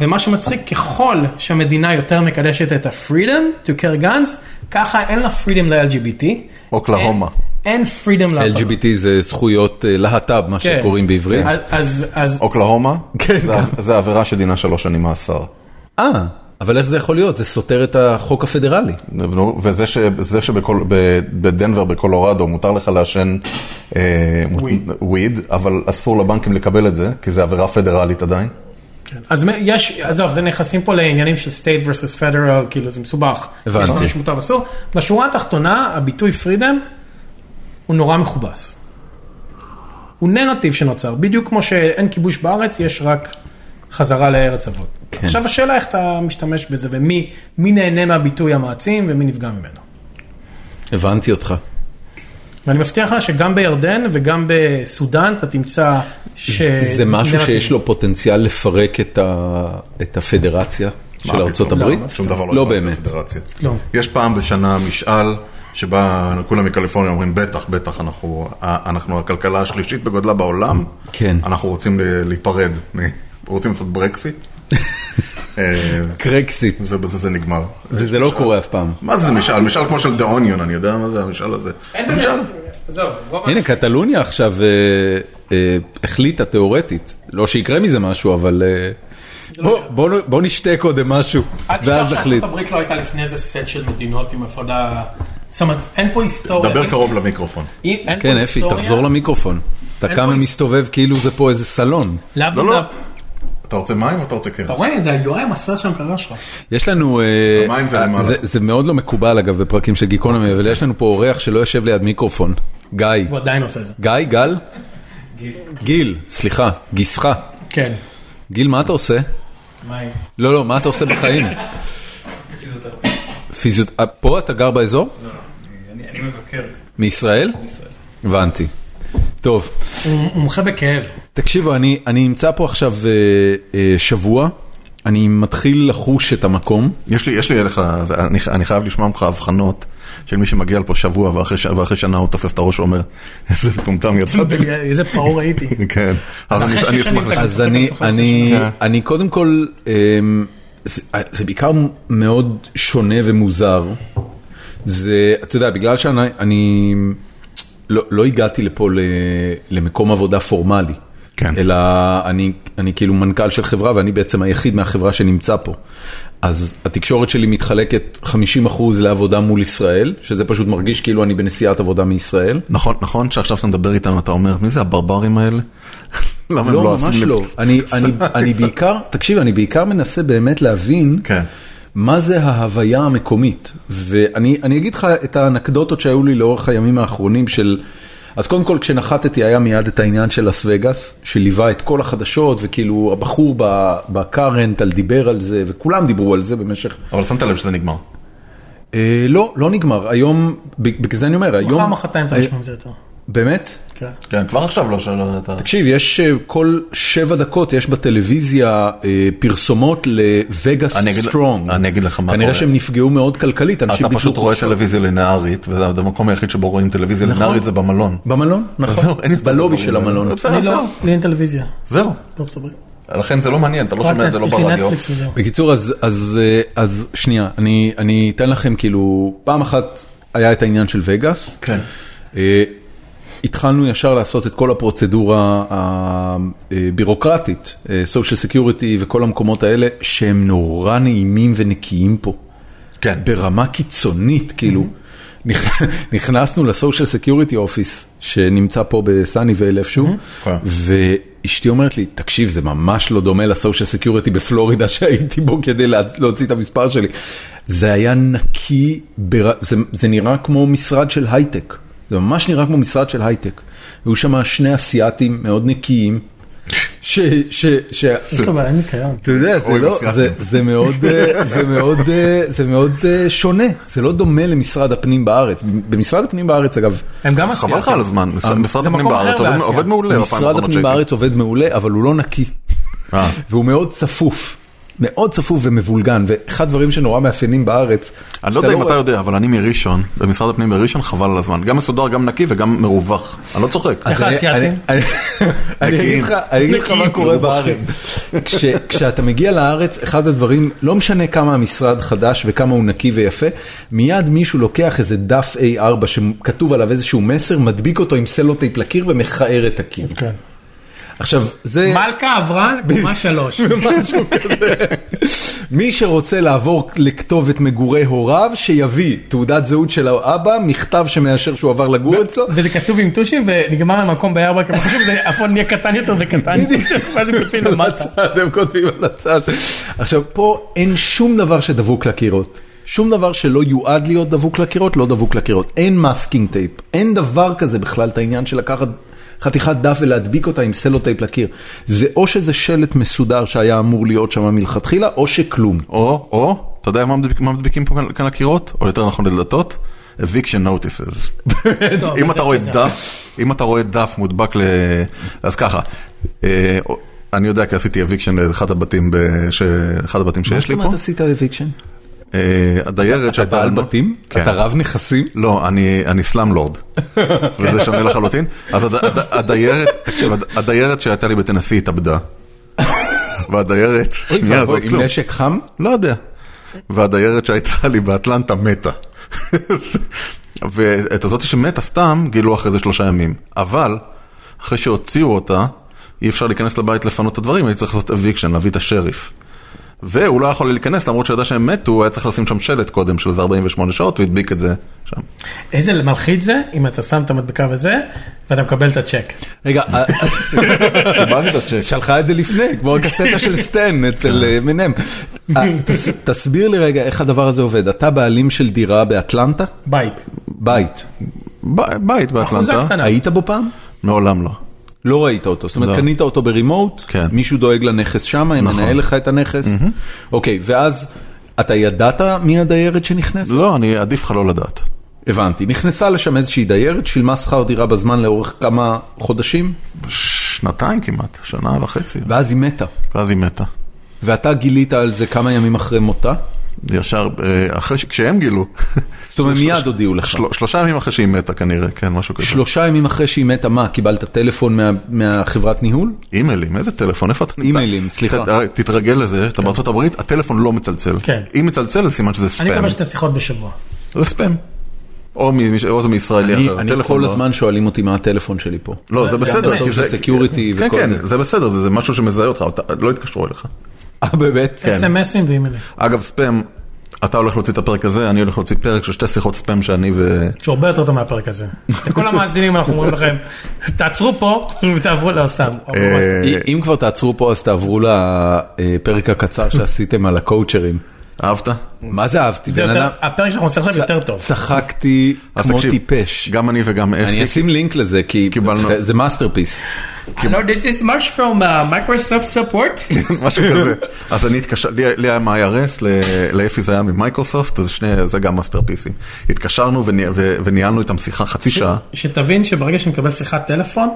[SPEAKER 4] ומה שמצחיק, ככל שהמדינה יותר מקדשת את ה-freedom to care guns, ככה אין לה freedom ל-LGBT. אה.
[SPEAKER 2] אוקלהומה.
[SPEAKER 4] אין freedom להפלות.
[SPEAKER 1] LGBT זה זכויות אה, להט"ב, מה
[SPEAKER 4] כן.
[SPEAKER 1] שקוראים בעברית.
[SPEAKER 4] אז, אז, אז
[SPEAKER 2] אוקלהומה,
[SPEAKER 1] כן.
[SPEAKER 2] זה- זה עבירה שדינה שלוש שנים מאסר.
[SPEAKER 1] אה, אבל איך זה יכול להיות? זה סותר את החוק הפדרלי.
[SPEAKER 2] נו, וזה ש- זה שבדנבר בקולורדו מותר לך לעשן אה, מות-
[SPEAKER 4] וויד.
[SPEAKER 2] וויד, אבל אסור לבנקים לקבל את זה, כי זה עבירה פדרלית עדיין.
[SPEAKER 4] כן. אז מ- יש, עזוב, זה נכנסים פה לעניינים של state versus federal, כאילו זה מסובך.
[SPEAKER 1] הבנתי.
[SPEAKER 4] יש דברים שמותר ואסור. בשורה התחתונה, הביטוי freedom הוא נורא מכובס. הוא נרטיב שנוצר, בדיוק כמו שאין כיבוש בארץ, יש רק חזרה לארץ אבות.
[SPEAKER 1] כן.
[SPEAKER 4] עכשיו השאלה איך אתה משתמש בזה ומי מי נהנה מהביטוי המעצים ומי נפגע ממנו.
[SPEAKER 1] הבנתי אותך.
[SPEAKER 4] ואני מבטיח לך שגם בירדן וגם בסודאן אתה תמצא ש...
[SPEAKER 1] זה משהו
[SPEAKER 4] אה, נרטיב.
[SPEAKER 1] שיש לו פוטנציאל לפרק את, ה... את הפדרציה של ארצות
[SPEAKER 2] פתאום?
[SPEAKER 1] הברית?
[SPEAKER 2] למה? שום דבר לא
[SPEAKER 1] לא
[SPEAKER 2] יפרק את
[SPEAKER 1] באמת.
[SPEAKER 2] הפדרציה.
[SPEAKER 4] לא.
[SPEAKER 2] יש פעם בשנה משאל שבה כולם מקליפורניה אומרים בטח, בטח, אנחנו, אנחנו הכלכלה השלישית בגודלה בעולם,
[SPEAKER 1] כן.
[SPEAKER 2] אנחנו רוצים ל- להיפרד, מ- רוצים לעשות ברקסיט, אה,
[SPEAKER 1] קרקסיט,
[SPEAKER 2] ובזה זה נגמר.
[SPEAKER 1] וזה לא קורה אף פעם.
[SPEAKER 2] מה זה משאל? משאל כמו של דה אוניון, אני יודע מה זה המשאל הזה.
[SPEAKER 4] אין זה-
[SPEAKER 2] משאל.
[SPEAKER 4] עזוב, רוב
[SPEAKER 1] הנה, קטלוניה עכשיו אה, אה, החליטה תיאורטית, לא שיקרה מזה משהו, אבל אה,
[SPEAKER 4] לא
[SPEAKER 1] בוא, בוא, נ- בוא נשתה קודם משהו,
[SPEAKER 4] אל תשכח
[SPEAKER 1] ואז נחליט.
[SPEAKER 4] שארצות הברית לא הייתה לפני איזה סט של מדינות עם הפרדה, זאת אומרת, אין פה היסטוריה.
[SPEAKER 2] דבר
[SPEAKER 4] לא, אין-
[SPEAKER 2] קרוב למיקרופון.
[SPEAKER 4] אין פה
[SPEAKER 1] כן, אפי,
[SPEAKER 4] היסטוריה.
[SPEAKER 1] תחזור למיקרופון. אתה
[SPEAKER 4] אין
[SPEAKER 1] קם
[SPEAKER 4] פה-
[SPEAKER 1] ומסתובב כאילו זה פה איזה סלון.
[SPEAKER 4] להבדיל
[SPEAKER 2] לא, לא.
[SPEAKER 4] מה-
[SPEAKER 2] אתה רוצה מים או אתה רוצה
[SPEAKER 4] אתה
[SPEAKER 2] קרח?
[SPEAKER 4] רואה, זה היורם עשה שם קרה שלך.
[SPEAKER 1] יש לנו, אה,
[SPEAKER 2] המים זה
[SPEAKER 1] אה,
[SPEAKER 2] למעלה.
[SPEAKER 1] זה, זה מאוד לא מקובל אגב בפרקים של גיקונומי, אבל יש לנו פה אורח שלא יושב ליד מיקרופון, גיא.
[SPEAKER 4] הוא עדיין עושה את זה.
[SPEAKER 1] גיא, גל? גיל, סליחה, גיסך.
[SPEAKER 4] כן.
[SPEAKER 1] גיל, מה אתה עושה?
[SPEAKER 4] מים.
[SPEAKER 1] לא, לא, מה אתה עושה בחיים? פיזיות... אה, פה אתה גר באזור?
[SPEAKER 5] לא, אני, אני מבקר.
[SPEAKER 1] מישראל? הבנתי. טוב,
[SPEAKER 4] הוא הוא מומחה בכאב.
[SPEAKER 1] תקשיבו, אני, אני נמצא פה עכשיו אה, אה, שבוע, אני מתחיל לחוש את המקום.
[SPEAKER 2] יש לי, יש לי אליך, אני, אני חייב לשמוע ממך הבחנות של מי שמגיע לפה שבוע ואחרי, ש- ואחרי שנה הוא תופס את הראש ואומר, איזה מטומטם יצאתי. לי."
[SPEAKER 4] איזה פעור הייתי.
[SPEAKER 2] כן, אז
[SPEAKER 4] אחרי
[SPEAKER 2] אני,
[SPEAKER 4] שש
[SPEAKER 2] אני
[SPEAKER 4] שנים
[SPEAKER 2] אשמח
[SPEAKER 4] אתה-
[SPEAKER 2] לך.
[SPEAKER 1] אז אני,
[SPEAKER 4] אתה-
[SPEAKER 1] אני, כן.
[SPEAKER 2] אתה-
[SPEAKER 1] אני קודם כל, אמ, זה, זה בעיקר מאוד שונה ומוזר. זה, אתה יודע, בגלל שאני אני, לא, לא הגעתי לפה ל, למקום עבודה פורמלי.
[SPEAKER 2] כן.
[SPEAKER 1] אלא אני, אני כאילו מנכ"ל של חברה ואני בעצם היחיד מהחברה שנמצא פה. אז התקשורת שלי מתחלקת 50% לעבודה מול ישראל, שזה פשוט מרגיש כאילו אני בנסיעת עבודה מישראל.
[SPEAKER 2] נכון, נכון שעכשיו אתה מדבר איתנו, אתה אומר, מי זה הברברים האלה? למה הם
[SPEAKER 1] לא,
[SPEAKER 2] עפים
[SPEAKER 1] ממש
[SPEAKER 2] לי?"
[SPEAKER 1] לא. אני- אני- אני בעיקר, תקשיב, אני בעיקר מנסה באמת להבין
[SPEAKER 2] כן.
[SPEAKER 1] מה זה ההוויה המקומית. ואני אני אגיד לך את האנקדוטות שהיו לי לאורך הימים האחרונים של... אז קודם כל, כשנחתתי היה מיד את העניין של לס וגאס, שליווה את כל החדשות, וכאילו הבחור ב- בקארנטל דיבר על זה, וכולם דיברו על זה במשך...
[SPEAKER 2] אבל שמת לב שזה נגמר.
[SPEAKER 1] אה, לא, לא נגמר. היום, בגלל זה אני אומר, היום...
[SPEAKER 4] מחר מחרתיים אתה תשמע מזה יותר.
[SPEAKER 1] באמת?
[SPEAKER 4] אה, כן.
[SPEAKER 2] כן, כבר עכשיו לא שלא אתה...
[SPEAKER 1] תקשיב, יש אה, כל שבע דקות, יש בטלוויזיה אה, פרסומות לווגאס
[SPEAKER 2] אני אגיד-
[SPEAKER 1] סטרונג.
[SPEAKER 2] אני אגיד לך מה
[SPEAKER 1] כנראה
[SPEAKER 2] קורה.
[SPEAKER 1] שהם נפגעו מאוד כלכלית, אנשים
[SPEAKER 2] אתה
[SPEAKER 1] ביטלו
[SPEAKER 2] פשוט רואה
[SPEAKER 1] חופשות.
[SPEAKER 2] טלוויזיה לינארית, וזה המקום היחיד שבו רואים טלוויזיה לינארית זה במלון.
[SPEAKER 1] במלון,
[SPEAKER 2] זהו,
[SPEAKER 1] נכון,
[SPEAKER 2] לא, אין יותר
[SPEAKER 1] בלובי
[SPEAKER 2] דברים.
[SPEAKER 1] של המלון.
[SPEAKER 2] בסדר,
[SPEAKER 4] אני לא,
[SPEAKER 2] זהו.
[SPEAKER 4] לי אין טלוויזיה.
[SPEAKER 2] זהו.
[SPEAKER 4] בארצות הברית.
[SPEAKER 2] לכן זה לא מעניין, אתה לא שומע את זה לא ברדיו.
[SPEAKER 1] בקיצור, אז, אז, אה, אז שנייה, אני, אני אתן לכם כאילו, פעם אחת היה את העניין של וגאס.
[SPEAKER 2] כן.
[SPEAKER 1] אה, התחלנו ישר לעשות את כל הפרוצדורה הבירוקרטית, אה, social security וכל המקומות האלה, שהם נורא נעימים ונקיים פה.
[SPEAKER 2] כן. Mm-hmm.
[SPEAKER 1] ברמה קיצונית, כאילו. נכ- נכנסנו לסושיאל סקיוריטי אופיס, שנמצא פה בסאניבל איפשהו,
[SPEAKER 2] כן.
[SPEAKER 1] ואשתי אומרת לי, תקשיב, זה ממש לא דומה לסושיאל סקיוריטי בפלורידה שהייתי בו כדי לה- להוציא את המספר שלי. זה היה נקי, בר... זה, זה נראה כמו משרד של הייטק. זה ממש נראה כמו משרד של הייטק. היו שם שני אסיאתים מאוד נקיים, ש... ש, ש
[SPEAKER 3] יש לו בעיה עם ניקיון.
[SPEAKER 1] אתה יודע, זה
[SPEAKER 2] אוי,
[SPEAKER 1] לא,
[SPEAKER 2] מסיעת.
[SPEAKER 1] זה, זה מאוד, אה, זה מאוד, אה, זה מאוד אה, שונה, זה לא דומה למשרד הפנים בארץ. במשרד הפנים בארץ, אגב,
[SPEAKER 3] הם גם עשו.
[SPEAKER 2] חבל לך על הזמן, משרד-
[SPEAKER 1] אה,
[SPEAKER 2] משרד
[SPEAKER 3] זה
[SPEAKER 2] הפנים
[SPEAKER 3] מקום אחר
[SPEAKER 2] בארץ עובד-
[SPEAKER 3] באסיה.
[SPEAKER 2] עובד מעולה.
[SPEAKER 1] משרד הפנים בארץ עובד מעולה, אבל הוא לא נקי.
[SPEAKER 2] אה.
[SPEAKER 1] והוא מאוד צפוף, מאוד צפוף ומבולגן, ואחד הדברים שנורא מאפיינים בארץ,
[SPEAKER 2] אני לא
[SPEAKER 1] שאתה
[SPEAKER 2] יודע אם אתה
[SPEAKER 1] רואה-
[SPEAKER 2] יודע, אבל אני מראשון, במשרד הפנים בראשון חבל על הזמן. גם מסודר, גם נקי וגם מרווח. אני לא צוחק.
[SPEAKER 1] אז
[SPEAKER 3] איך
[SPEAKER 1] אני-
[SPEAKER 3] האסייתים?
[SPEAKER 1] אני- אני
[SPEAKER 2] נקיים.
[SPEAKER 1] אגיד לך- אני אגיד לך מה
[SPEAKER 3] נקיים,
[SPEAKER 1] קורה בארץ. כש- כשאתה מגיע לארץ, אחד הדברים, לא משנה כמה המשרד חדש וכמה הוא נקי ויפה, מיד מישהו לוקח איזה דף A4 שכתוב עליו איזשהו מסר, מדביק אותו עם סלוטייפ לקיר ומכער את הקיר.
[SPEAKER 3] כן.
[SPEAKER 1] עכשיו, זה...
[SPEAKER 3] מלכה עברה לקומה שלוש.
[SPEAKER 1] משהו כזה. מי שרוצה לעבור לכתובת מגורי הוריו, שיביא תעודת זהות של האבא, מכתב שמאשר שהוא עבר לגור אצלו,
[SPEAKER 3] וזה כתוב עם טושים ונגמר המקום בארבע, כי הם חושבים שזה הפון נהיה קטן יותר וקטן.
[SPEAKER 1] בדיוק.
[SPEAKER 3] ואז הם כותבים
[SPEAKER 1] על
[SPEAKER 3] למטה.
[SPEAKER 1] הצד, כאילו, הם כותבים על הצד. עכשיו, פה אין שום דבר שדבוק לקירות. שום דבר שלא יועד להיות דבוק לקירות, לא דבוק לקירות. אין מאסקינג טייפ. אין דבר כזה בכלל את העניין של לקחת חתיכת דף ולהדביק אותה עם סלוטייפ לקיר. זה או שזה שלט מסודר שהיה אמור להיות שם מלכתחילה, או שכלום.
[SPEAKER 2] או, או, אתה יודע מה מדביק- מה מדביקים פה כאן- כאן לקירות? או יותר נכון לדלתות? eviction notices.
[SPEAKER 3] טוב,
[SPEAKER 2] אם
[SPEAKER 3] זה-
[SPEAKER 2] אתה רואה
[SPEAKER 3] זה-
[SPEAKER 2] דף, אם אתה רואה דף מודבק ל... אז ככה, אה, אני יודע כי עשיתי אביקשן לאחד הבתים, ב- ש- אחד הבתים שיש לי
[SPEAKER 1] מה
[SPEAKER 2] פה.
[SPEAKER 1] זאת אומרת עשית אביקשן?
[SPEAKER 2] אה, הדיירת
[SPEAKER 1] אתה
[SPEAKER 2] שהייתה
[SPEAKER 1] בעל
[SPEAKER 2] לנו-
[SPEAKER 1] בתים?
[SPEAKER 2] כן.
[SPEAKER 1] אתה רב נכסים?
[SPEAKER 2] לא, אני, אני סלאמלורד, וזה שונה לחלוטין. אז הד, הד, הדיירת, תקשיב, הד, הדיירת שהייתה לי בטנסי התאבדה. והדיירת,
[SPEAKER 1] אוי
[SPEAKER 2] שנייה, זה
[SPEAKER 1] ואבוי,
[SPEAKER 2] עוד
[SPEAKER 1] עם
[SPEAKER 2] כלום.
[SPEAKER 1] נשק חם?
[SPEAKER 2] לא יודע. והדיירת שהייתה לי באטלנטה מתה. ואת הזאת שמתה סתם גילו אחרי זה שלושה ימים. אבל, אחרי שהוציאו אותה, אי אפשר להיכנס לבית לפנות את הדברים, הייתי צריך לעשות אביקשן, להביא את השריף. והוא לא יכול להיכנס, למרות שידע שהם מתו, הוא היה צריך לשים שם שלט קודם של איזה 48 שעות, הוא הדביק את זה שם.
[SPEAKER 3] איזה מלחיץ זה אם אתה שם את המדבקה וזה ואתה מקבל את הצ'ק.
[SPEAKER 1] רגע, אה, שלחה את זה לפני, כמו הקסטה של סטן אצל אה, מנם. אה, תס- תסביר לי רגע איך הדבר הזה עובד. אתה בעלים של דירה באטלנטה?
[SPEAKER 3] בית.
[SPEAKER 1] בית.
[SPEAKER 2] ב- בית
[SPEAKER 3] אחוזה
[SPEAKER 2] באטלנטה,
[SPEAKER 3] קטנה.
[SPEAKER 1] היית בו פעם?
[SPEAKER 2] מעולם לא.
[SPEAKER 1] לא ראית אותו. זאת
[SPEAKER 2] לא.
[SPEAKER 1] אומרת, קנית אותו ברימוט,
[SPEAKER 2] כן.
[SPEAKER 1] מישהו דואג לנכס שם, הם
[SPEAKER 2] נכון.
[SPEAKER 1] מנהל לך את הנכס. אוקיי, ואז אתה ידעת מי הדיירת שנכנסת?
[SPEAKER 2] לא, אני עדיף לך לא לדעת.
[SPEAKER 1] הבנתי. נכנסה לשם איזושהי דיירת, שילמה שכר דירה בזמן לאורך כמה חודשים,
[SPEAKER 2] שנתיים כמעט, שנה וחצי,
[SPEAKER 1] ואז היא מתה.
[SPEAKER 2] ואז היא מתה.
[SPEAKER 1] ואתה גילית על זה כמה ימים אחרי מותה?
[SPEAKER 2] ישר, אה, אחרי ש... כשהם גילו.
[SPEAKER 1] זאת אומרת,
[SPEAKER 2] של-
[SPEAKER 1] מיד
[SPEAKER 2] של-
[SPEAKER 1] הודיעו לך.
[SPEAKER 2] של- שלושה ימים אחרי שהיא מתה כנראה, כן, משהו כזה.
[SPEAKER 1] שלושה ימים אחרי שהיא מתה, מה, קיבלת טלפון מה, מהחברת ניהול?
[SPEAKER 2] אימיילים, איזה טלפון, איפה אתה נמצא?
[SPEAKER 1] אימיילים, סליחה. כן.
[SPEAKER 2] ת- אה, תתרגל לזה, אתה בארצות הברית, הטלפון לא מצלצל.
[SPEAKER 3] כן.
[SPEAKER 2] אם מצלצל, זה סימן שזה
[SPEAKER 3] אני
[SPEAKER 2] ספאם.
[SPEAKER 3] מקבל שתי שיחות בשבוע.
[SPEAKER 2] זה ספאם. או מ- או זה מישראלי
[SPEAKER 1] אני,
[SPEAKER 2] אחר.
[SPEAKER 1] אני
[SPEAKER 2] הטלפון
[SPEAKER 1] כל
[SPEAKER 2] לא.
[SPEAKER 1] הזמן שואלים אותי מה הטלפון שלי פה.
[SPEAKER 2] לא, זה בסדר. כי
[SPEAKER 1] בסושיאל
[SPEAKER 2] זה-
[SPEAKER 1] סקיוריטי
[SPEAKER 2] כן,
[SPEAKER 1] וכל
[SPEAKER 2] כן,
[SPEAKER 1] זה.
[SPEAKER 2] זה בסדר, זה זה משהו שמזהה אותך, אתה- לא התקשרו אליך.
[SPEAKER 1] אה, באמת?
[SPEAKER 2] כן,
[SPEAKER 3] אס.אם.אסים ואימיילים.
[SPEAKER 2] אגב, ספאם, אתה הולך להוציא את הפרק הזה, אני הולך להוציא פרק של שתי שיחות ספאם שאני ו...
[SPEAKER 3] שהוא הרבה יותר טוב מהפרק הזה. לכל המאזינים אנחנו אומרים לכם, תעצרו פה ותעברו לא סתם.
[SPEAKER 2] אה,
[SPEAKER 1] אם- אם כבר תעצרו פה, אז תעברו לפרק הקצר שעשיתם על הקואוצ'רים.
[SPEAKER 2] אהבת?
[SPEAKER 1] מה זה אהבתי?
[SPEAKER 3] זה
[SPEAKER 1] בן
[SPEAKER 3] יותר-
[SPEAKER 1] אדם...
[SPEAKER 3] הפרק שאנחנו עושים עכשיו יותר טוב.
[SPEAKER 1] צחקתי
[SPEAKER 2] אז
[SPEAKER 1] כמו
[SPEAKER 2] תקשיב,
[SPEAKER 1] טיפש.
[SPEAKER 2] גם אני וגם
[SPEAKER 1] אני
[SPEAKER 2] אפי.
[SPEAKER 1] אשים לינק לזה, כי
[SPEAKER 2] קיבלנו.
[SPEAKER 1] זה מאסטרפיס.
[SPEAKER 3] Hello, this is much from uh, Microsoft support.
[SPEAKER 2] משהו כזה. אז אני התקשר, לי לי היה מה-IRS, ל- לאפי זה היה ממייקרוסופט, אז שני, זה גם מאסטרפיסים. התקשרנו וני- ו- וניהלנו איתם שיחה חצי שעה.
[SPEAKER 3] שתבין שברגע שאני מקבל שיחת טלפון,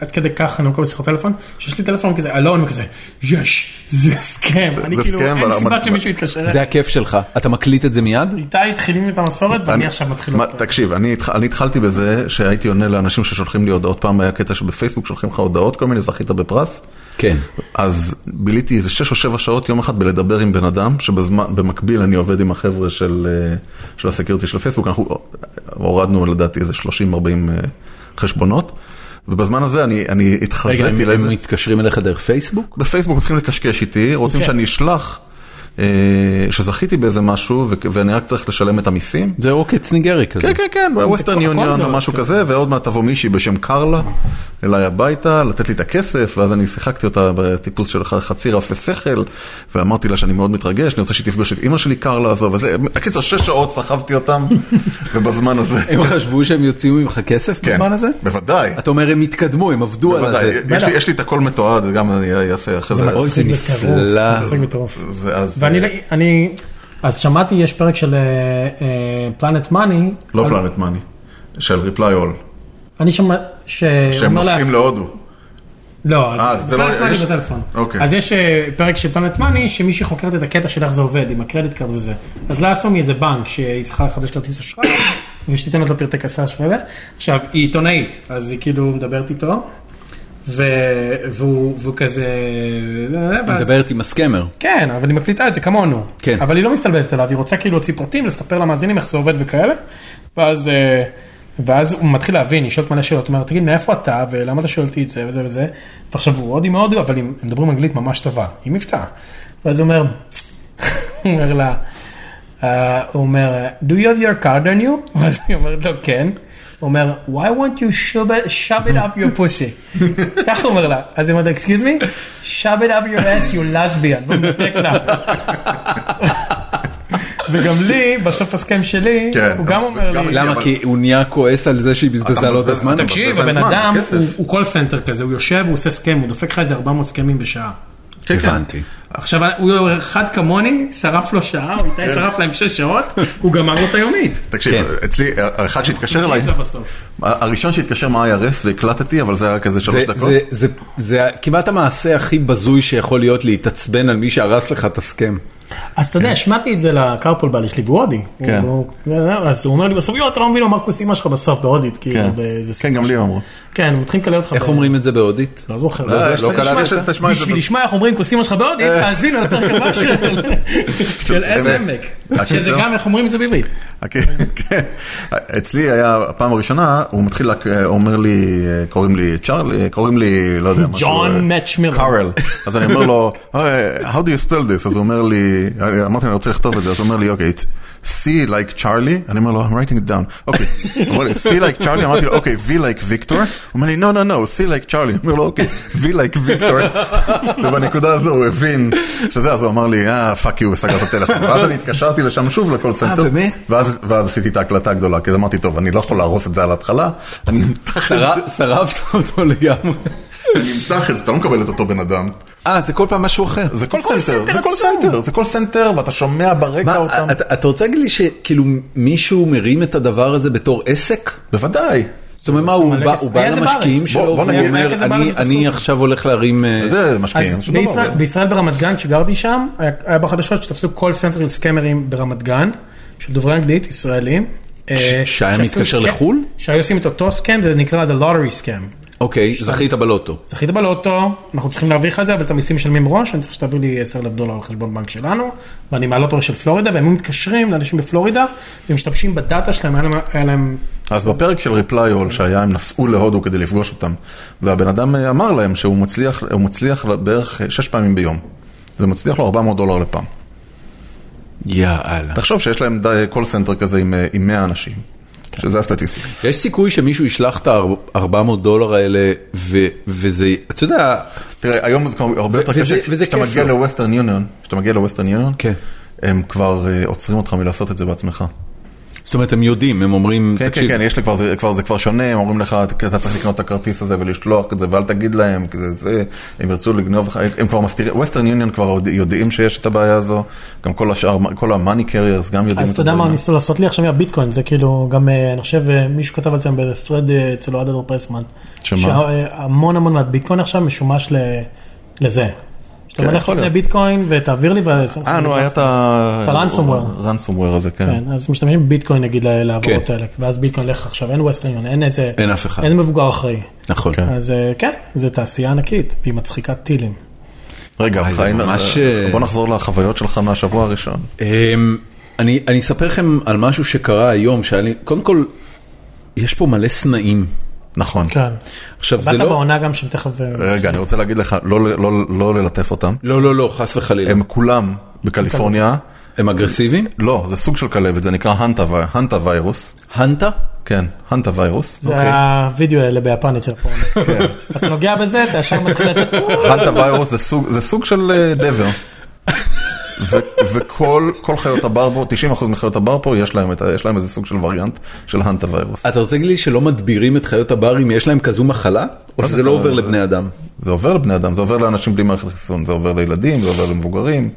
[SPEAKER 3] עד כדי כך אני מקבל שיחות טלפון, שיש לי טלפון כזה, אלון וכזה, יש, זה סכם. אני
[SPEAKER 2] זה
[SPEAKER 3] כאילו,
[SPEAKER 2] סכם,
[SPEAKER 3] אין
[SPEAKER 2] אבל-
[SPEAKER 3] סיבה שמישהו יתקשר אליי.
[SPEAKER 1] זה הכיף שלך. אתה מקליט את זה מיד?
[SPEAKER 3] איתי התחילים את המסורת ואני עכשיו מתחיל
[SPEAKER 2] מה-
[SPEAKER 3] עוד פעם.
[SPEAKER 2] תקשיב, אני התח- אני התחלתי בזה שהייתי עונה לאנשים ששולחים לי הודעות. פעם היה קטע שבפייסבוק שולחים לך הודעות, כל מיני זכית בפרס.
[SPEAKER 1] כן.
[SPEAKER 2] אז ביליתי איזה 6 או 7 שעות יום אחד בלדבר עם בן אדם, שבמקביל אני עובד עם החבר'ה של, אה, של הסקיורטי של הפייסבוק, אנחנו הורדנו לדעתי איזה 30-40 אה, חשבונות, ובזמן הזה אני, אני
[SPEAKER 1] רגע,
[SPEAKER 2] התחזיתי
[SPEAKER 1] הם הם
[SPEAKER 2] לאיזה...
[SPEAKER 1] מתקשרים אליך דרך פייסבוק?
[SPEAKER 2] בפייסבוק מתחילים לקשקש איתי, רוצים
[SPEAKER 4] כן.
[SPEAKER 2] שאני אשלח אה, שזכיתי באיזה משהו, ו- ואני רק צריך לשלם את המיסים.
[SPEAKER 1] זה עוקץ ניגרי כזה.
[SPEAKER 2] כן, כן, כן, ווסטרן
[SPEAKER 4] הכל
[SPEAKER 2] יוניון
[SPEAKER 4] זה
[SPEAKER 2] או
[SPEAKER 4] רק,
[SPEAKER 2] משהו
[SPEAKER 4] כן.
[SPEAKER 2] כזה, ועוד מעט תבוא מישהי בשם קרלה אליי הביתה, לתת לי את הכסף, ואז אני שיחקתי אותה בטיפוס של ח- חצי רפה שכל, ואמרתי לה שאני מאוד מתרגש, אני רוצה שהיא תפגוש את אימא שלי קרלה הזו, וזה, בקיצר, שש שעות סחבתי אותם, ובזמן הזה...
[SPEAKER 1] הם חשבו שהם יוציאו ממך כסף
[SPEAKER 2] כן,
[SPEAKER 1] בזמן הזה?
[SPEAKER 2] בוודאי,
[SPEAKER 1] אתה אומר, הם התקדמו, הם עבדו על
[SPEAKER 2] בוודאי,
[SPEAKER 1] זה.
[SPEAKER 2] יש לי- יש לי את הכל מתועד, גם אני אעשה אחרי זה.
[SPEAKER 1] אוי, זה
[SPEAKER 4] מצחיק בטירוף,
[SPEAKER 1] נפלא.
[SPEAKER 4] מצחיק בטירוף.
[SPEAKER 2] זה- אז- אה,
[SPEAKER 4] ואני, אני, אז שמעתי, יש פרק של
[SPEAKER 3] אה,
[SPEAKER 4] פלנט מאני.
[SPEAKER 2] לא פלנט מאני, של ריפליי אול,
[SPEAKER 4] אני שמע,
[SPEAKER 2] שהם
[SPEAKER 4] שאומר לה,
[SPEAKER 2] נוסעים להודו.
[SPEAKER 4] לא,
[SPEAKER 2] אה,
[SPEAKER 4] אז
[SPEAKER 2] זה לא-
[SPEAKER 4] פלנט מאני
[SPEAKER 2] יש-
[SPEAKER 4] בטלפון.
[SPEAKER 2] אוקיי.
[SPEAKER 4] אז יש אה, פרק של פלנט מאני, שמישהי חוקרת את הקטע של איך זה עובד, עם הקרדיט קארד וזה. אז לה עשו מאיזה בנק, שהיא צריכה לחדש כרטיס אשראי, ושתיתן לו את הפרטי קסש וזה. עכשיו, היא עיתונאית, אז היא כאילו מדברת איתו, ו- והוא והוא כזה... אה,
[SPEAKER 1] היא
[SPEAKER 4] ואז-
[SPEAKER 1] מדברת עם הסקמר.
[SPEAKER 4] כן, אבל היא מקליטה את זה כמונו.
[SPEAKER 1] כן.
[SPEAKER 4] אבל היא לא מסתלבטת עליו, היא רוצה כאילו להוציא פרטים, לספר למאזינים איך זה עובד וכאלה. ואז, אה, ואז הוא מתחיל להבין, היא שואלת מלא שאלות, אומרת, תגיד, מאיפה אתה, ולמה אתה שואל אותי את זה וזה וזה. ועכשיו הוא הודי מהודו, אבל הם הם מדברים אנגלית ממש טובה, עם מבטא. ואז הוא אומר, הוא אומר לה, אה, הוא אומר, do you have your card on you? ואז היא אומרת לו, כן. הוא אומר, why won't you shove it, shove it up your pussy? ככה הוא אומר לה, אז היא אומרת, excuse me, shove it up your ass, you lesbian, והוא מנתק לה. וגם לי, בסוף הסכם שלי,
[SPEAKER 2] כן,
[SPEAKER 4] הוא גם אומר
[SPEAKER 2] וגם-
[SPEAKER 4] לי,
[SPEAKER 1] למה?
[SPEAKER 2] אבל-
[SPEAKER 1] כי הוא נהיה כועס על זה שהיא בזבזה
[SPEAKER 2] אתה
[SPEAKER 1] לו את
[SPEAKER 2] מבזבז-
[SPEAKER 1] הזמן?
[SPEAKER 2] אתה-
[SPEAKER 4] תקשיב,
[SPEAKER 2] זה
[SPEAKER 4] הבן
[SPEAKER 2] זמן, זה
[SPEAKER 4] אדם
[SPEAKER 2] כסף.
[SPEAKER 4] הוא- הוא קול סנטר כזה, הוא יושב, הוא עושה סכם, הוא דופק לך איזה 400 סכמים בשעה.
[SPEAKER 2] כן, כן.
[SPEAKER 1] הבנתי.
[SPEAKER 4] עכשיו, הוא אחד כמוני, שרף לו שעה, או
[SPEAKER 2] כן.
[SPEAKER 4] איתי שרף להם שש שעות, הוא גמר לו את היומית.
[SPEAKER 2] תקשיב,
[SPEAKER 1] כן.
[SPEAKER 2] אצלי, האחד שהתקשר אליי,
[SPEAKER 4] זה בסוף.
[SPEAKER 2] הראשון שהתקשר מה IRS והקלטתי, אבל זה היה כזה שלוש
[SPEAKER 1] זה-
[SPEAKER 2] דקות.
[SPEAKER 1] זה- זה- זה כמעט המעשה הכי בזוי שיכול להיות להתעצבן על מי שהרס לך את הסכם.
[SPEAKER 4] אז אתה יודע, השמעתי את זה לקרפול בעלי שלי, והוא הודי.
[SPEAKER 2] כן.
[SPEAKER 4] הוא- אז הוא אומר לי בסוף, יואו, אתה לא מבין מה מרקוס אימא שלך בסוף בהודית, כאילו,
[SPEAKER 2] כן.
[SPEAKER 4] באיזה
[SPEAKER 2] כן, גם לי הם אמרו.
[SPEAKER 4] כן, הם מתחילים לקלל אותך.
[SPEAKER 1] איך
[SPEAKER 4] ב-
[SPEAKER 1] אומרים את זה בהודית?
[SPEAKER 4] לא זוכר.
[SPEAKER 1] לא, זה- לא
[SPEAKER 2] תשמע,
[SPEAKER 1] קלטת?
[SPEAKER 2] תשמע, תשמע את זה. לא-
[SPEAKER 4] בשביל לשמוע איך אומרים כוס אימא שלך בהודית, תאזינו לפרק הבא של- של איזה עמק. שזה
[SPEAKER 2] הקיצר-
[SPEAKER 4] גם איך אומרים את זה בעברית.
[SPEAKER 2] כן, כן. אצלי היה הפעם הראשונה, הוא מתחיל, לק- אומר לי, קוראים לי צ'ארלי, קוראים לי, לא יודע, משהו.
[SPEAKER 4] John
[SPEAKER 2] אה,
[SPEAKER 4] Match Miller.
[SPEAKER 2] קארל. אז אני אומר לו, "אה, How do you spell this? אז הוא אומר לי, אה, אמרתי לו, אני רוצה לכתוב את זה, אז הוא אומר לי, אוקיי, it's C like Charlie, אני אומר לו, I'm writing it down. אוקיי, הוא אומר לי, C like Charlie, אמרתי לו, אוקיי, V like Victor, הוא אומר לי, no, no, no, C like Charlie, אני אומר לו, אוקיי, V like Victor, ובנקודה הזו הוא הבין שזה, אז הוא אמר לי, אה, fuck you, וסגר את הטלפון, ואז אני התקשרתי לשם שוב לכל סנטר,
[SPEAKER 1] באמת?
[SPEAKER 2] ואז ואז עשיתי את ההקלטה הגדולה, כי אז אמרתי, טוב, אני לא יכול להרוס את זה על ההתחלה, אני אמתח את זה,
[SPEAKER 1] שרף- שרפת אותו לגמרי.
[SPEAKER 2] אני אמתח את זה, אתה לא מקבל את אותו בן אדם.
[SPEAKER 1] אה, זה כל פעם משהו אחר.
[SPEAKER 2] זה כל
[SPEAKER 4] קול
[SPEAKER 2] סנטר,
[SPEAKER 4] סנטר
[SPEAKER 2] זה כל
[SPEAKER 4] עצום.
[SPEAKER 2] סנטר, זה כל סנטר, ואתה שומע ברקע
[SPEAKER 1] מה,
[SPEAKER 2] אותם.
[SPEAKER 1] אתה- אתה רוצה להגיד לי שכאילו מישהו מרים את הדבר הזה בתור עסק?
[SPEAKER 2] בוודאי.
[SPEAKER 1] זאת אומרת, מה, הוא
[SPEAKER 4] מלא
[SPEAKER 1] בא-
[SPEAKER 4] כסף.
[SPEAKER 1] הוא בא
[SPEAKER 4] היה זה
[SPEAKER 1] למשקיעים
[SPEAKER 4] בארץ.
[SPEAKER 1] שלו,
[SPEAKER 2] בוא- בוא
[SPEAKER 1] והוא
[SPEAKER 2] נגיד,
[SPEAKER 1] אומר,
[SPEAKER 4] היה כזה
[SPEAKER 1] "אני-
[SPEAKER 4] בארץ, זה
[SPEAKER 1] אני
[SPEAKER 4] פסול".
[SPEAKER 1] עכשיו הולך להרים... אה,
[SPEAKER 2] זה לא משקיעים.
[SPEAKER 4] אז
[SPEAKER 2] שום דבר.
[SPEAKER 4] בישראל- בישראל ברמת גן, כשגרתי שם, היה- היה בחדשות שתפסו כל סנטר של סקמרים ברמת גן, של דוברי אנגלית, ישראלים. אה,
[SPEAKER 1] שהיה
[SPEAKER 4] שעשו
[SPEAKER 1] מתקשר
[SPEAKER 4] סקם-
[SPEAKER 1] לחו"ל?
[SPEAKER 4] שהיו עושים את אותו סקם, זה נקרא The Lottery Scam.
[SPEAKER 1] אוקיי, זכית בלוטו.
[SPEAKER 4] זכית בלוטו, אנחנו צריכים להעביר לך את זה, אבל את המיסים משלמים מראש, אני צריך שתעביר לי 10 אלף דולר לחשבון בנק שלנו, ואני מהלוטו של פלורידה, והם מתקשרים לאנשים בפלורידה, ומשתמשים בדאטה שלהם, היה להם- היה להם
[SPEAKER 2] אז בפרק של ריפליי אול שהיה, הם נסעו להודו כדי לפגוש אותם, והבן אדם אה, אמר להם שהוא מצליח, הוא מצליח בערך אה, שש פעמים ביום. זה מצליח לו 400 דולר לפעם.
[SPEAKER 1] יאללה.
[SPEAKER 2] תחשוב שיש להם קול סנטר כזה עם, אה, עם 100 אנשים, שזה הסטטיסטיקה.
[SPEAKER 1] יש סיכוי שמישהו ישלח את ה-400 דולר האלה, ו- וזה, אתה יודע,
[SPEAKER 2] תראה, היום זה כבר הרבה
[SPEAKER 1] ו-
[SPEAKER 2] יותר
[SPEAKER 1] וזה-
[SPEAKER 2] קשה,
[SPEAKER 1] וזה
[SPEAKER 2] כשאתה
[SPEAKER 1] כיף
[SPEAKER 2] מגיע
[SPEAKER 1] לו.
[SPEAKER 2] לווסטרן יוניון, כשאתה מגיע לווסטרן יוניון,
[SPEAKER 1] כן.
[SPEAKER 2] הם כבר אה, עוצרים אותך מלעשות את זה בעצמך.
[SPEAKER 1] זאת אומרת, הם יודעים, הם אומרים,
[SPEAKER 2] כן, כן,
[SPEAKER 1] תקשיב,
[SPEAKER 2] כן, יש לי כבר, זה כבר, זה כבר שונה, הם אומרים לך, אתה צריך לקנות את הכרטיס הזה ולשלוח את זה, ואל תגיד להם, כי זה, זה, הם ירצו לגנוב לך, הם כבר מסתירים, ווסטרן יוניון כבר עוד יודעים שיש את הבעיה הזו, גם כל השאר, כל המאני קריירס גם יודעים
[SPEAKER 4] אז אתה יודע מה
[SPEAKER 2] הדברים.
[SPEAKER 4] ניסו לעשות לי עכשיו עם הביטקוין, זה כאילו גם, אה, אני חושב, אה, מישהו כתב על זה באיזה thread אה, אצל אוהד אדר פרסמן.
[SPEAKER 2] שמה?
[SPEAKER 3] אה,
[SPEAKER 4] שהמון המון מהביטקוין עכשיו משומש ל- לזה.
[SPEAKER 3] אתה מנח
[SPEAKER 2] יכול
[SPEAKER 3] לי
[SPEAKER 2] להיות.
[SPEAKER 3] ביטקוין ותעביר לי ואז...
[SPEAKER 2] אה, נו, היה את ה...
[SPEAKER 3] את ה-ransomware.
[SPEAKER 2] ransomware הזה, כן.
[SPEAKER 3] כן, אז משתמשים בביטקוין נגיד ל- להעברות
[SPEAKER 1] כן.
[SPEAKER 3] האלה, ואז ביטקוין לך עכשיו, אין ווסט יוניון, אין איזה...
[SPEAKER 1] אין אף אחד.
[SPEAKER 3] אין מבוגר אחראי.
[SPEAKER 1] נכון.
[SPEAKER 2] כן.
[SPEAKER 3] אז אה, כן, זו תעשייה ענקית, והיא מצחיקה טילים.
[SPEAKER 2] רגע,
[SPEAKER 1] אה, זה
[SPEAKER 2] חיים,
[SPEAKER 1] ממש,
[SPEAKER 2] אה,
[SPEAKER 1] אה,
[SPEAKER 2] בוא נחזור לחוויות שלך מהשבוע הראשון.
[SPEAKER 1] אמ, אני, אני אספר לכם על משהו שקרה היום, שהיה לי, קודם כל, יש פה מלא סנאים.
[SPEAKER 2] נכון.
[SPEAKER 3] כן.
[SPEAKER 1] עכשיו זה
[SPEAKER 3] באת
[SPEAKER 1] לא,
[SPEAKER 3] בעונה גם שם תכף... אה,
[SPEAKER 2] רגע, אני רוצה להגיד לך, לא- לא- לא ללטף אותם.
[SPEAKER 1] לא, לא, לא, חס וחלילה. הם,
[SPEAKER 2] הם כולם בקליפורניה.
[SPEAKER 1] הם אגרסיביים?
[SPEAKER 2] לא, זה סוג של כלבת, זה נקרא הנטה וי- הנטה ויירוס.
[SPEAKER 1] הנטה?
[SPEAKER 2] כן, הנטה ויירוס.
[SPEAKER 3] זה
[SPEAKER 1] אוקיי.
[SPEAKER 3] הווידאו האלה ביפנית של הפורנו. אתה נוגע בזה, אתה ישר מתחיל לצאת...
[SPEAKER 2] כן. הנטה ויירוס זה סוג- זה סוג של אה, דבר. ו- וכל כל חיות הבר פה, 90% מחיות הבר פה, יש להם את ה- יש להם איזה סוג של וריאנט של הנטה ויירוס.
[SPEAKER 1] אתה רוצה להגיד לי שלא מדבירים את חיות הבר אם יש להם כזו מחלה? או שזה לא עובר
[SPEAKER 2] זה?
[SPEAKER 1] לבני אדם?
[SPEAKER 2] זה עובר לבני אדם, זה עובר לאנשים בלי מערכת חיסון, זה עובר לילדים, זה עובר למבוגרים.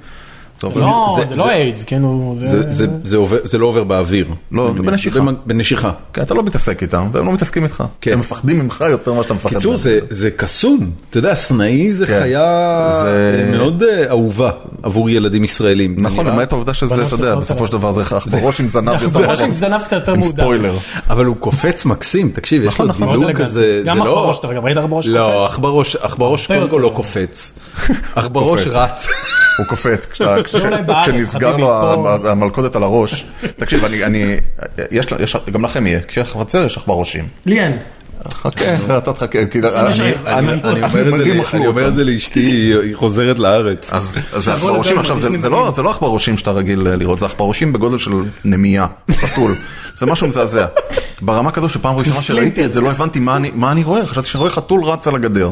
[SPEAKER 2] זה עובר...
[SPEAKER 3] לא,
[SPEAKER 1] זה-
[SPEAKER 3] זה
[SPEAKER 1] זה-
[SPEAKER 3] לא איידס, כאילו...
[SPEAKER 1] זה- זה- זה עובר- זה לא עובר באוויר.
[SPEAKER 2] לא,
[SPEAKER 1] אני
[SPEAKER 2] זה
[SPEAKER 1] מניח.
[SPEAKER 2] בנשיכה.
[SPEAKER 1] במ- בנשיכה.
[SPEAKER 2] כן, אתה לא מתעסק איתם, והם לא מתעסקים איתך.
[SPEAKER 1] כן.
[SPEAKER 2] הם מפחדים ממך יותר ממה שאתה מפחד.
[SPEAKER 1] קיצור,
[SPEAKER 2] מהם.
[SPEAKER 1] זה- זה קסום. אתה יודע, סנאי זה
[SPEAKER 2] כן.
[SPEAKER 1] חיה
[SPEAKER 2] זה-
[SPEAKER 1] מאוד אה, אהובה עבור ילדים ישראלים. זה
[SPEAKER 2] נכון,
[SPEAKER 1] נראה-
[SPEAKER 2] למעט העובדה שזה, אתה יודע,
[SPEAKER 3] שחורות
[SPEAKER 2] בסופו
[SPEAKER 3] עליו.
[SPEAKER 2] של דבר זה אח בראש עם זנב יותר
[SPEAKER 3] בראש
[SPEAKER 2] נכון.
[SPEAKER 3] עם זנב קצת יותר
[SPEAKER 2] עם
[SPEAKER 3] מודע.
[SPEAKER 2] ספוילר.
[SPEAKER 1] אבל הוא קופץ מקסים, תקשיב, יש
[SPEAKER 2] נכון,
[SPEAKER 1] לו
[SPEAKER 2] נכון,
[SPEAKER 3] מאוד
[SPEAKER 1] דילוג
[SPEAKER 3] אלגנטי.
[SPEAKER 1] כזה,
[SPEAKER 3] גם
[SPEAKER 1] זה לא...
[SPEAKER 3] עכברוש, דרך אגב, ראית עכברוש
[SPEAKER 1] לא,
[SPEAKER 3] קופץ?
[SPEAKER 1] עכברוש, עכברוש
[SPEAKER 3] הרבה
[SPEAKER 1] קודם כל
[SPEAKER 3] יותר.
[SPEAKER 1] לא קופץ. עכברוש
[SPEAKER 2] קופץ.
[SPEAKER 1] רץ.
[SPEAKER 2] הוא קופץ, כשאתה- כש-
[SPEAKER 3] אולי בארץ,
[SPEAKER 2] כשנסגר
[SPEAKER 3] חביבי,
[SPEAKER 2] לו
[SPEAKER 3] פה.
[SPEAKER 2] המ- המלכודת על הראש. תקשיב, אני, אני, יש, לה- יש- גם לכם יהיה, כשיש חצר יש עכברושים.
[SPEAKER 3] לי אין.
[SPEAKER 2] חכה, אתה תחכה, כאילו,
[SPEAKER 1] אני- אני- אני אומר את זה
[SPEAKER 2] המנהיגים
[SPEAKER 1] ל-
[SPEAKER 2] אכלו
[SPEAKER 1] אני אומר את
[SPEAKER 2] אותם. אה.
[SPEAKER 1] זה לאשתי, היא- היא חוזרת לארץ.
[SPEAKER 2] אז אז זה עכברושים,
[SPEAKER 3] לדבר,
[SPEAKER 2] עכשיו
[SPEAKER 3] יש
[SPEAKER 2] זה-
[SPEAKER 3] לי
[SPEAKER 2] זה
[SPEAKER 3] מדהים.
[SPEAKER 2] לא זה לא עכברושים שאתה רגיל אה, לראות, זה עכברושים בגודל של נמייה, חתול. זה משהו מזעזע. ברמה כזו שפעם ראשונה שראיתי את זה לא הבנתי מה אני- מה אני רואה, חשבתי שאני רואה חתול רץ על הגדר.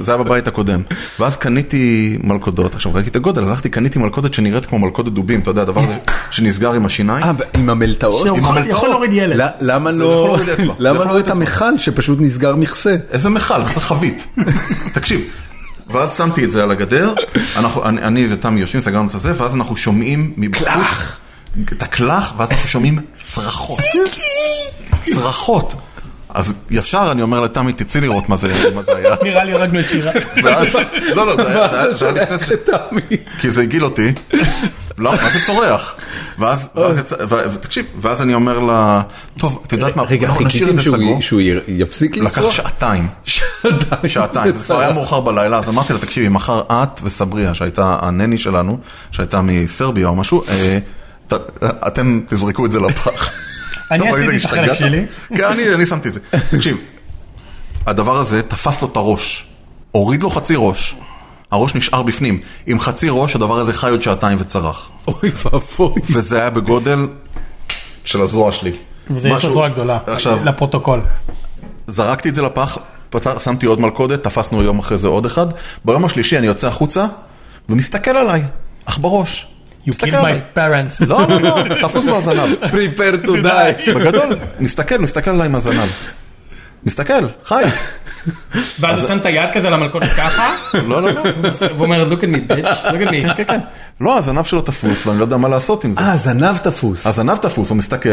[SPEAKER 2] זה היה בבית הקודם. ואז קניתי מלכודות, עכשיו ראיתי את הגודל, הלכתי קניתי מלכודת שנראית כמו מלכודת דובים, אתה יודע, הדבר הזה שנסגר עם השיניים.
[SPEAKER 1] אה, עם המלטעות?
[SPEAKER 3] שהוא יכול- לא, יכול להוריד ילד.
[SPEAKER 1] ל- למה
[SPEAKER 2] זה
[SPEAKER 1] לא-
[SPEAKER 2] יכול להוריד אצבע. זה
[SPEAKER 1] למה
[SPEAKER 2] יכול
[SPEAKER 1] לא
[SPEAKER 2] להוריד
[SPEAKER 1] את המכל שפשוט נסגר מכסה?
[SPEAKER 2] איזה מכל, זה חבית. תקשיב. ואז שמתי את זה על הגדר, אנחנו, אני, אני ותמי יושבים, סגרנו את הזה, ואז אנחנו שומעים מבחוץ את הקלח, ואז אנחנו שומעים צרחות. צרחות. אז ישר אני אומר לתמי, תצאי לראות מה זה, מה זה היה.
[SPEAKER 3] נראה לי הרגנו את שירה.
[SPEAKER 2] ואז, לא, לא, זה היה- זה היה- זה היה לפני...
[SPEAKER 1] תמי.
[SPEAKER 2] כי זה הגיל אותי. לא, מה זה צורח? ואז, ואז, יצא- ו- ותקשיב, ואז אני אומר לה, טוב, את יודעת מה,
[SPEAKER 1] רגע,
[SPEAKER 2] אנחנו נשאיר את
[SPEAKER 1] חיכיתם
[SPEAKER 2] זה
[SPEAKER 1] שהוא
[SPEAKER 2] סגור.
[SPEAKER 1] י- שהוא י- יפסיק
[SPEAKER 2] לקח
[SPEAKER 1] לצרוח?
[SPEAKER 2] שעתיים.
[SPEAKER 1] שעתיים.
[SPEAKER 2] שעתיים, זה כבר היה מאוחר בלילה, אז אמרתי לה, תקשיבי, מחר את וסבריה, שהייתה הנני שלנו, שהייתה מסרביה או משהו, אה, ת- אה, אתם תזרקו את זה לפח.
[SPEAKER 3] אני
[SPEAKER 2] לא,
[SPEAKER 3] עשיתי
[SPEAKER 2] ראית,
[SPEAKER 3] את החלק
[SPEAKER 2] השתגעת?
[SPEAKER 3] שלי.
[SPEAKER 2] כן, אני אני שמתי את זה. תקשיב, הדבר הזה תפס לו את הראש, הוריד לו חצי ראש, הראש נשאר בפנים. עם חצי ראש הדבר הזה חי עוד שעתיים וצרח.
[SPEAKER 1] אוי ואבוי.
[SPEAKER 2] וזה היה בגודל של הזרוע שלי.
[SPEAKER 3] וזה יש לו
[SPEAKER 2] משהו-
[SPEAKER 3] זרוע גדולה.
[SPEAKER 2] עכשיו,
[SPEAKER 3] לפרוטוקול.
[SPEAKER 2] זרקתי את זה לפח, פתח, שמתי עוד מלכודת, תפסנו יום אחרי זה עוד אחד. ביום השלישי אני יוצא החוצה, ומסתכל עליי, אך בראש.
[SPEAKER 3] You
[SPEAKER 2] מסתכל
[SPEAKER 3] killed
[SPEAKER 2] עליי.
[SPEAKER 3] my parents.
[SPEAKER 2] לא, לא, לא, תפוס לו הזנב.
[SPEAKER 1] prepare to die.
[SPEAKER 2] בגדול, מסתכל, מסתכל עליי עם הזנב. מסתכל, חי.
[SPEAKER 4] ואז הוא שם את היד כזה על המלכודת ככה,
[SPEAKER 2] לא, לא, לא.
[SPEAKER 4] והוא אומר, look at me, bitch, look at me.
[SPEAKER 2] כן, כן. לא, הזנב שלו תפוס, ואני לא יודע מה לעשות עם זה.
[SPEAKER 1] אה, זנב תפוס.
[SPEAKER 2] הזנב תפוס, הוא מסתכל.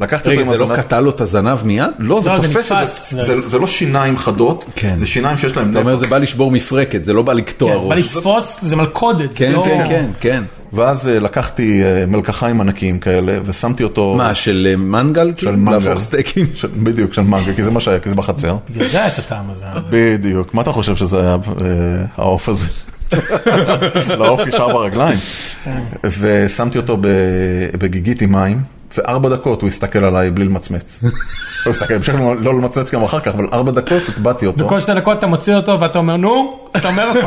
[SPEAKER 2] לקחתי אותו
[SPEAKER 1] רגע,
[SPEAKER 2] עם
[SPEAKER 1] זה לא
[SPEAKER 2] הזנב.
[SPEAKER 1] קטע לו את הזנב מיד?
[SPEAKER 2] לא, זה
[SPEAKER 3] לא, זה
[SPEAKER 2] תופס,
[SPEAKER 3] נתפס.
[SPEAKER 2] זה- זה- זה לא שיניים חדות,
[SPEAKER 1] כן.
[SPEAKER 2] זה שיניים שיש להם
[SPEAKER 1] אתה אומר
[SPEAKER 2] נפח.
[SPEAKER 1] זה בא לשבור מפרקת, זה לא בא לקטוע
[SPEAKER 3] כן, בא
[SPEAKER 1] ראש.
[SPEAKER 3] לתפוס, זה מלכודת. זה
[SPEAKER 1] כן,
[SPEAKER 3] לא-
[SPEAKER 1] כן, כן, כן.
[SPEAKER 2] ואז אה, לקחתי אה, מלקחיים ענקיים כאלה, ושמתי אותו...
[SPEAKER 1] מה, של אה, מנגל?
[SPEAKER 2] של מנגה.
[SPEAKER 1] להפוך סטייקים?
[SPEAKER 2] של- בדיוק, של מנגה, כי זה מה שהיה, כי זה בחצר.
[SPEAKER 3] בגלל זה היה את הטעם הזה.
[SPEAKER 2] בדיוק. מה אתה חושב שזה היה, אה, העוף הזה? לעוף ישר ברגליים.
[SPEAKER 3] כן.
[SPEAKER 2] ושמתי אותו ב- בגיגית עם מים, וארבע דקות הוא הסתכל עליי בלי למצמץ. הוא הסתכל, המשך לא למצמץ גם אחר כך, אבל ארבע דקות הטבעתי אותו.
[SPEAKER 3] כל שתי דקות אתה מוציא אותו ואתה אומר, נו, אתה אומר לו,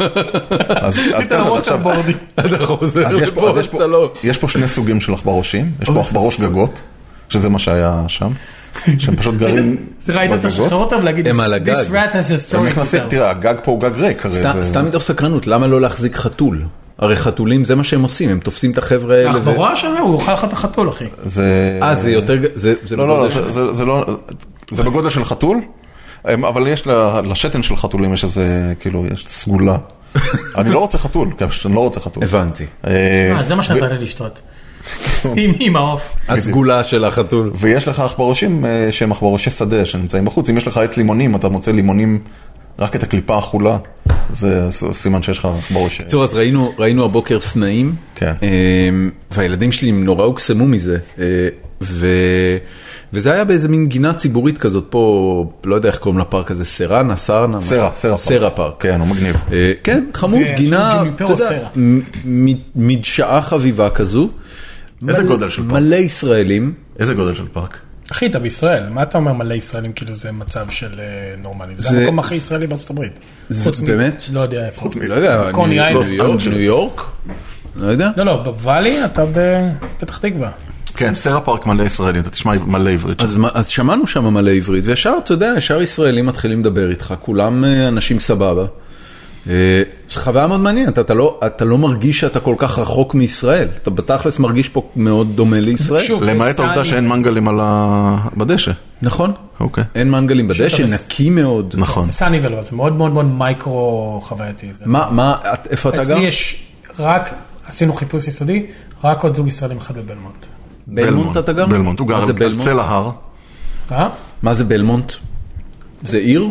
[SPEAKER 2] אז- אז
[SPEAKER 3] עשית
[SPEAKER 2] ככה,
[SPEAKER 3] לו
[SPEAKER 2] אז
[SPEAKER 3] ווטר
[SPEAKER 2] עכשיו-
[SPEAKER 3] בורדי.
[SPEAKER 1] אתה לא חוזר
[SPEAKER 2] אז יש פה- אז
[SPEAKER 1] לפה,
[SPEAKER 2] יש פה- אה,
[SPEAKER 1] אתה לא...
[SPEAKER 2] יש פה שני סוגים של עכברושים, יש פה עכברוש גגות, שזה מה שהיה שם, שהם פשוט גרים
[SPEAKER 3] ראית את לא, השחרר אותה ולהגיד,
[SPEAKER 1] הם על הגג.
[SPEAKER 3] this rat has a
[SPEAKER 2] הם
[SPEAKER 3] story. to
[SPEAKER 2] נכנסים,
[SPEAKER 3] tell."
[SPEAKER 2] תראה, הגג פה הוא גג ריק, הרי
[SPEAKER 1] סתם-
[SPEAKER 2] זה-
[SPEAKER 1] סתם מתוך סקרנות, למה לא להחזיק חתול? הרי חתולים זה מה שהם עושים, הם תופסים את החבר'ה האלה. ו-
[SPEAKER 3] החבורה שלו, הוא אוכל לך את החתול, אחי.
[SPEAKER 2] כן. זה...
[SPEAKER 1] אה, זה יותר... ג- זה- זה
[SPEAKER 2] לא, לא, לא,
[SPEAKER 1] בגודל של-
[SPEAKER 2] זה- זה- זה לא... זה בגודל של חתול, הם- אבל יש ל- לשתן של חתולים, יש איזה, כאילו, יש סגולה. אני לא רוצה חתול, כי אני לא רוצה חתול.
[SPEAKER 1] הבנתי.
[SPEAKER 2] אה,
[SPEAKER 3] אה, זה מה שנתת לי לשתות. עם עם העוף.
[SPEAKER 1] הסגולה של החתול.
[SPEAKER 2] ויש לך עכברושים אה, שהם עכברושי שדה שנמצאים בחוץ. אם יש לך עץ לימונים, אתה מוצא לימונים, רק את הקליפה החולה. זה ס- סימן שיש לך בראש.
[SPEAKER 1] בקיצור, אז ראינו, ראינו הבוקר סנאים,
[SPEAKER 2] כן.
[SPEAKER 1] אמ, והילדים שלי נורא הוקסמו מזה, אה, ו... וזה היה באיזה מין גינה ציבורית כזאת פה, לא יודע איך קוראים לפארק הזה, סרנה, סרנה?
[SPEAKER 2] סרה,
[SPEAKER 1] מה?
[SPEAKER 2] סרה
[SPEAKER 1] סרה פארק.
[SPEAKER 2] כן, הוא מגניב.
[SPEAKER 1] אה, כן, חמוד,
[SPEAKER 4] זה של
[SPEAKER 1] גינה,
[SPEAKER 4] ג'ימי
[SPEAKER 1] אתה
[SPEAKER 4] פרו,
[SPEAKER 1] יודע,
[SPEAKER 4] סרה.
[SPEAKER 1] מ- מ- מדשאה חביבה כזו.
[SPEAKER 2] איזה
[SPEAKER 1] מלא-
[SPEAKER 2] גודל של פארק?
[SPEAKER 1] מלא ישראלים.
[SPEAKER 2] איזה גודל של פארק?
[SPEAKER 4] אחי, אתה בישראל, מה אתה אומר מלא ישראלים כאילו זה מצב של אה, נורמלי? זה
[SPEAKER 1] זה-
[SPEAKER 4] המקום הכי ישראלי בארצות הברית.
[SPEAKER 1] זה
[SPEAKER 4] חוץ מ-
[SPEAKER 1] באמת?
[SPEAKER 4] לא יודע איפה.
[SPEAKER 2] חוץ מ-
[SPEAKER 1] לא יודע,
[SPEAKER 4] קוני
[SPEAKER 1] ניו-
[SPEAKER 4] איילנד.
[SPEAKER 1] ניו יורק,
[SPEAKER 2] לוס
[SPEAKER 1] ניו
[SPEAKER 2] אנג'לס.
[SPEAKER 1] יורק? לא יודע.
[SPEAKER 4] לא, לא, בוואלי אתה בפתח תקווה.
[SPEAKER 2] כן, סרה פארק מלא ישראלים, אתה תשמע מלא עברית.
[SPEAKER 1] אז, מה- אז שמענו שם מלא עברית, וישר, אתה יודע, ישר ישראלים מתחילים לדבר איתך, כולם אה, אנשים סבבה. אה, זו חוויה מאוד מעניינת, אתה לא, אתה לא מרגיש שאתה כל כך רחוק מישראל, אתה בתכלס מרגיש פה מאוד דומה לישראל.
[SPEAKER 4] שוב,
[SPEAKER 2] למעט
[SPEAKER 3] אה,
[SPEAKER 4] בסן-
[SPEAKER 2] העובדה שאין מנגלים על ה... בדשא.
[SPEAKER 1] נכון,
[SPEAKER 2] אוקיי.
[SPEAKER 1] אין מנגלים בדשא,
[SPEAKER 4] שאתה מס-
[SPEAKER 1] נקי מאוד.
[SPEAKER 2] נכון.
[SPEAKER 4] זה סאניבל, אבל זה מאוד מאוד מאוד מייקרו חווייתי. זה-
[SPEAKER 1] מה, מה, את- איפה אתה גר?
[SPEAKER 4] אצלי יש רק, עשינו חיפוש יסודי, רק עוד זוג ישראלים אחד בבלמונט.
[SPEAKER 1] בלמונט אתה גר?
[SPEAKER 2] בלמונט, הוא גר
[SPEAKER 1] מה
[SPEAKER 2] על
[SPEAKER 1] זה
[SPEAKER 2] על
[SPEAKER 1] בלמונט?
[SPEAKER 2] צל ההר.
[SPEAKER 4] אה?
[SPEAKER 1] מה זה בלמונט? זה עיר?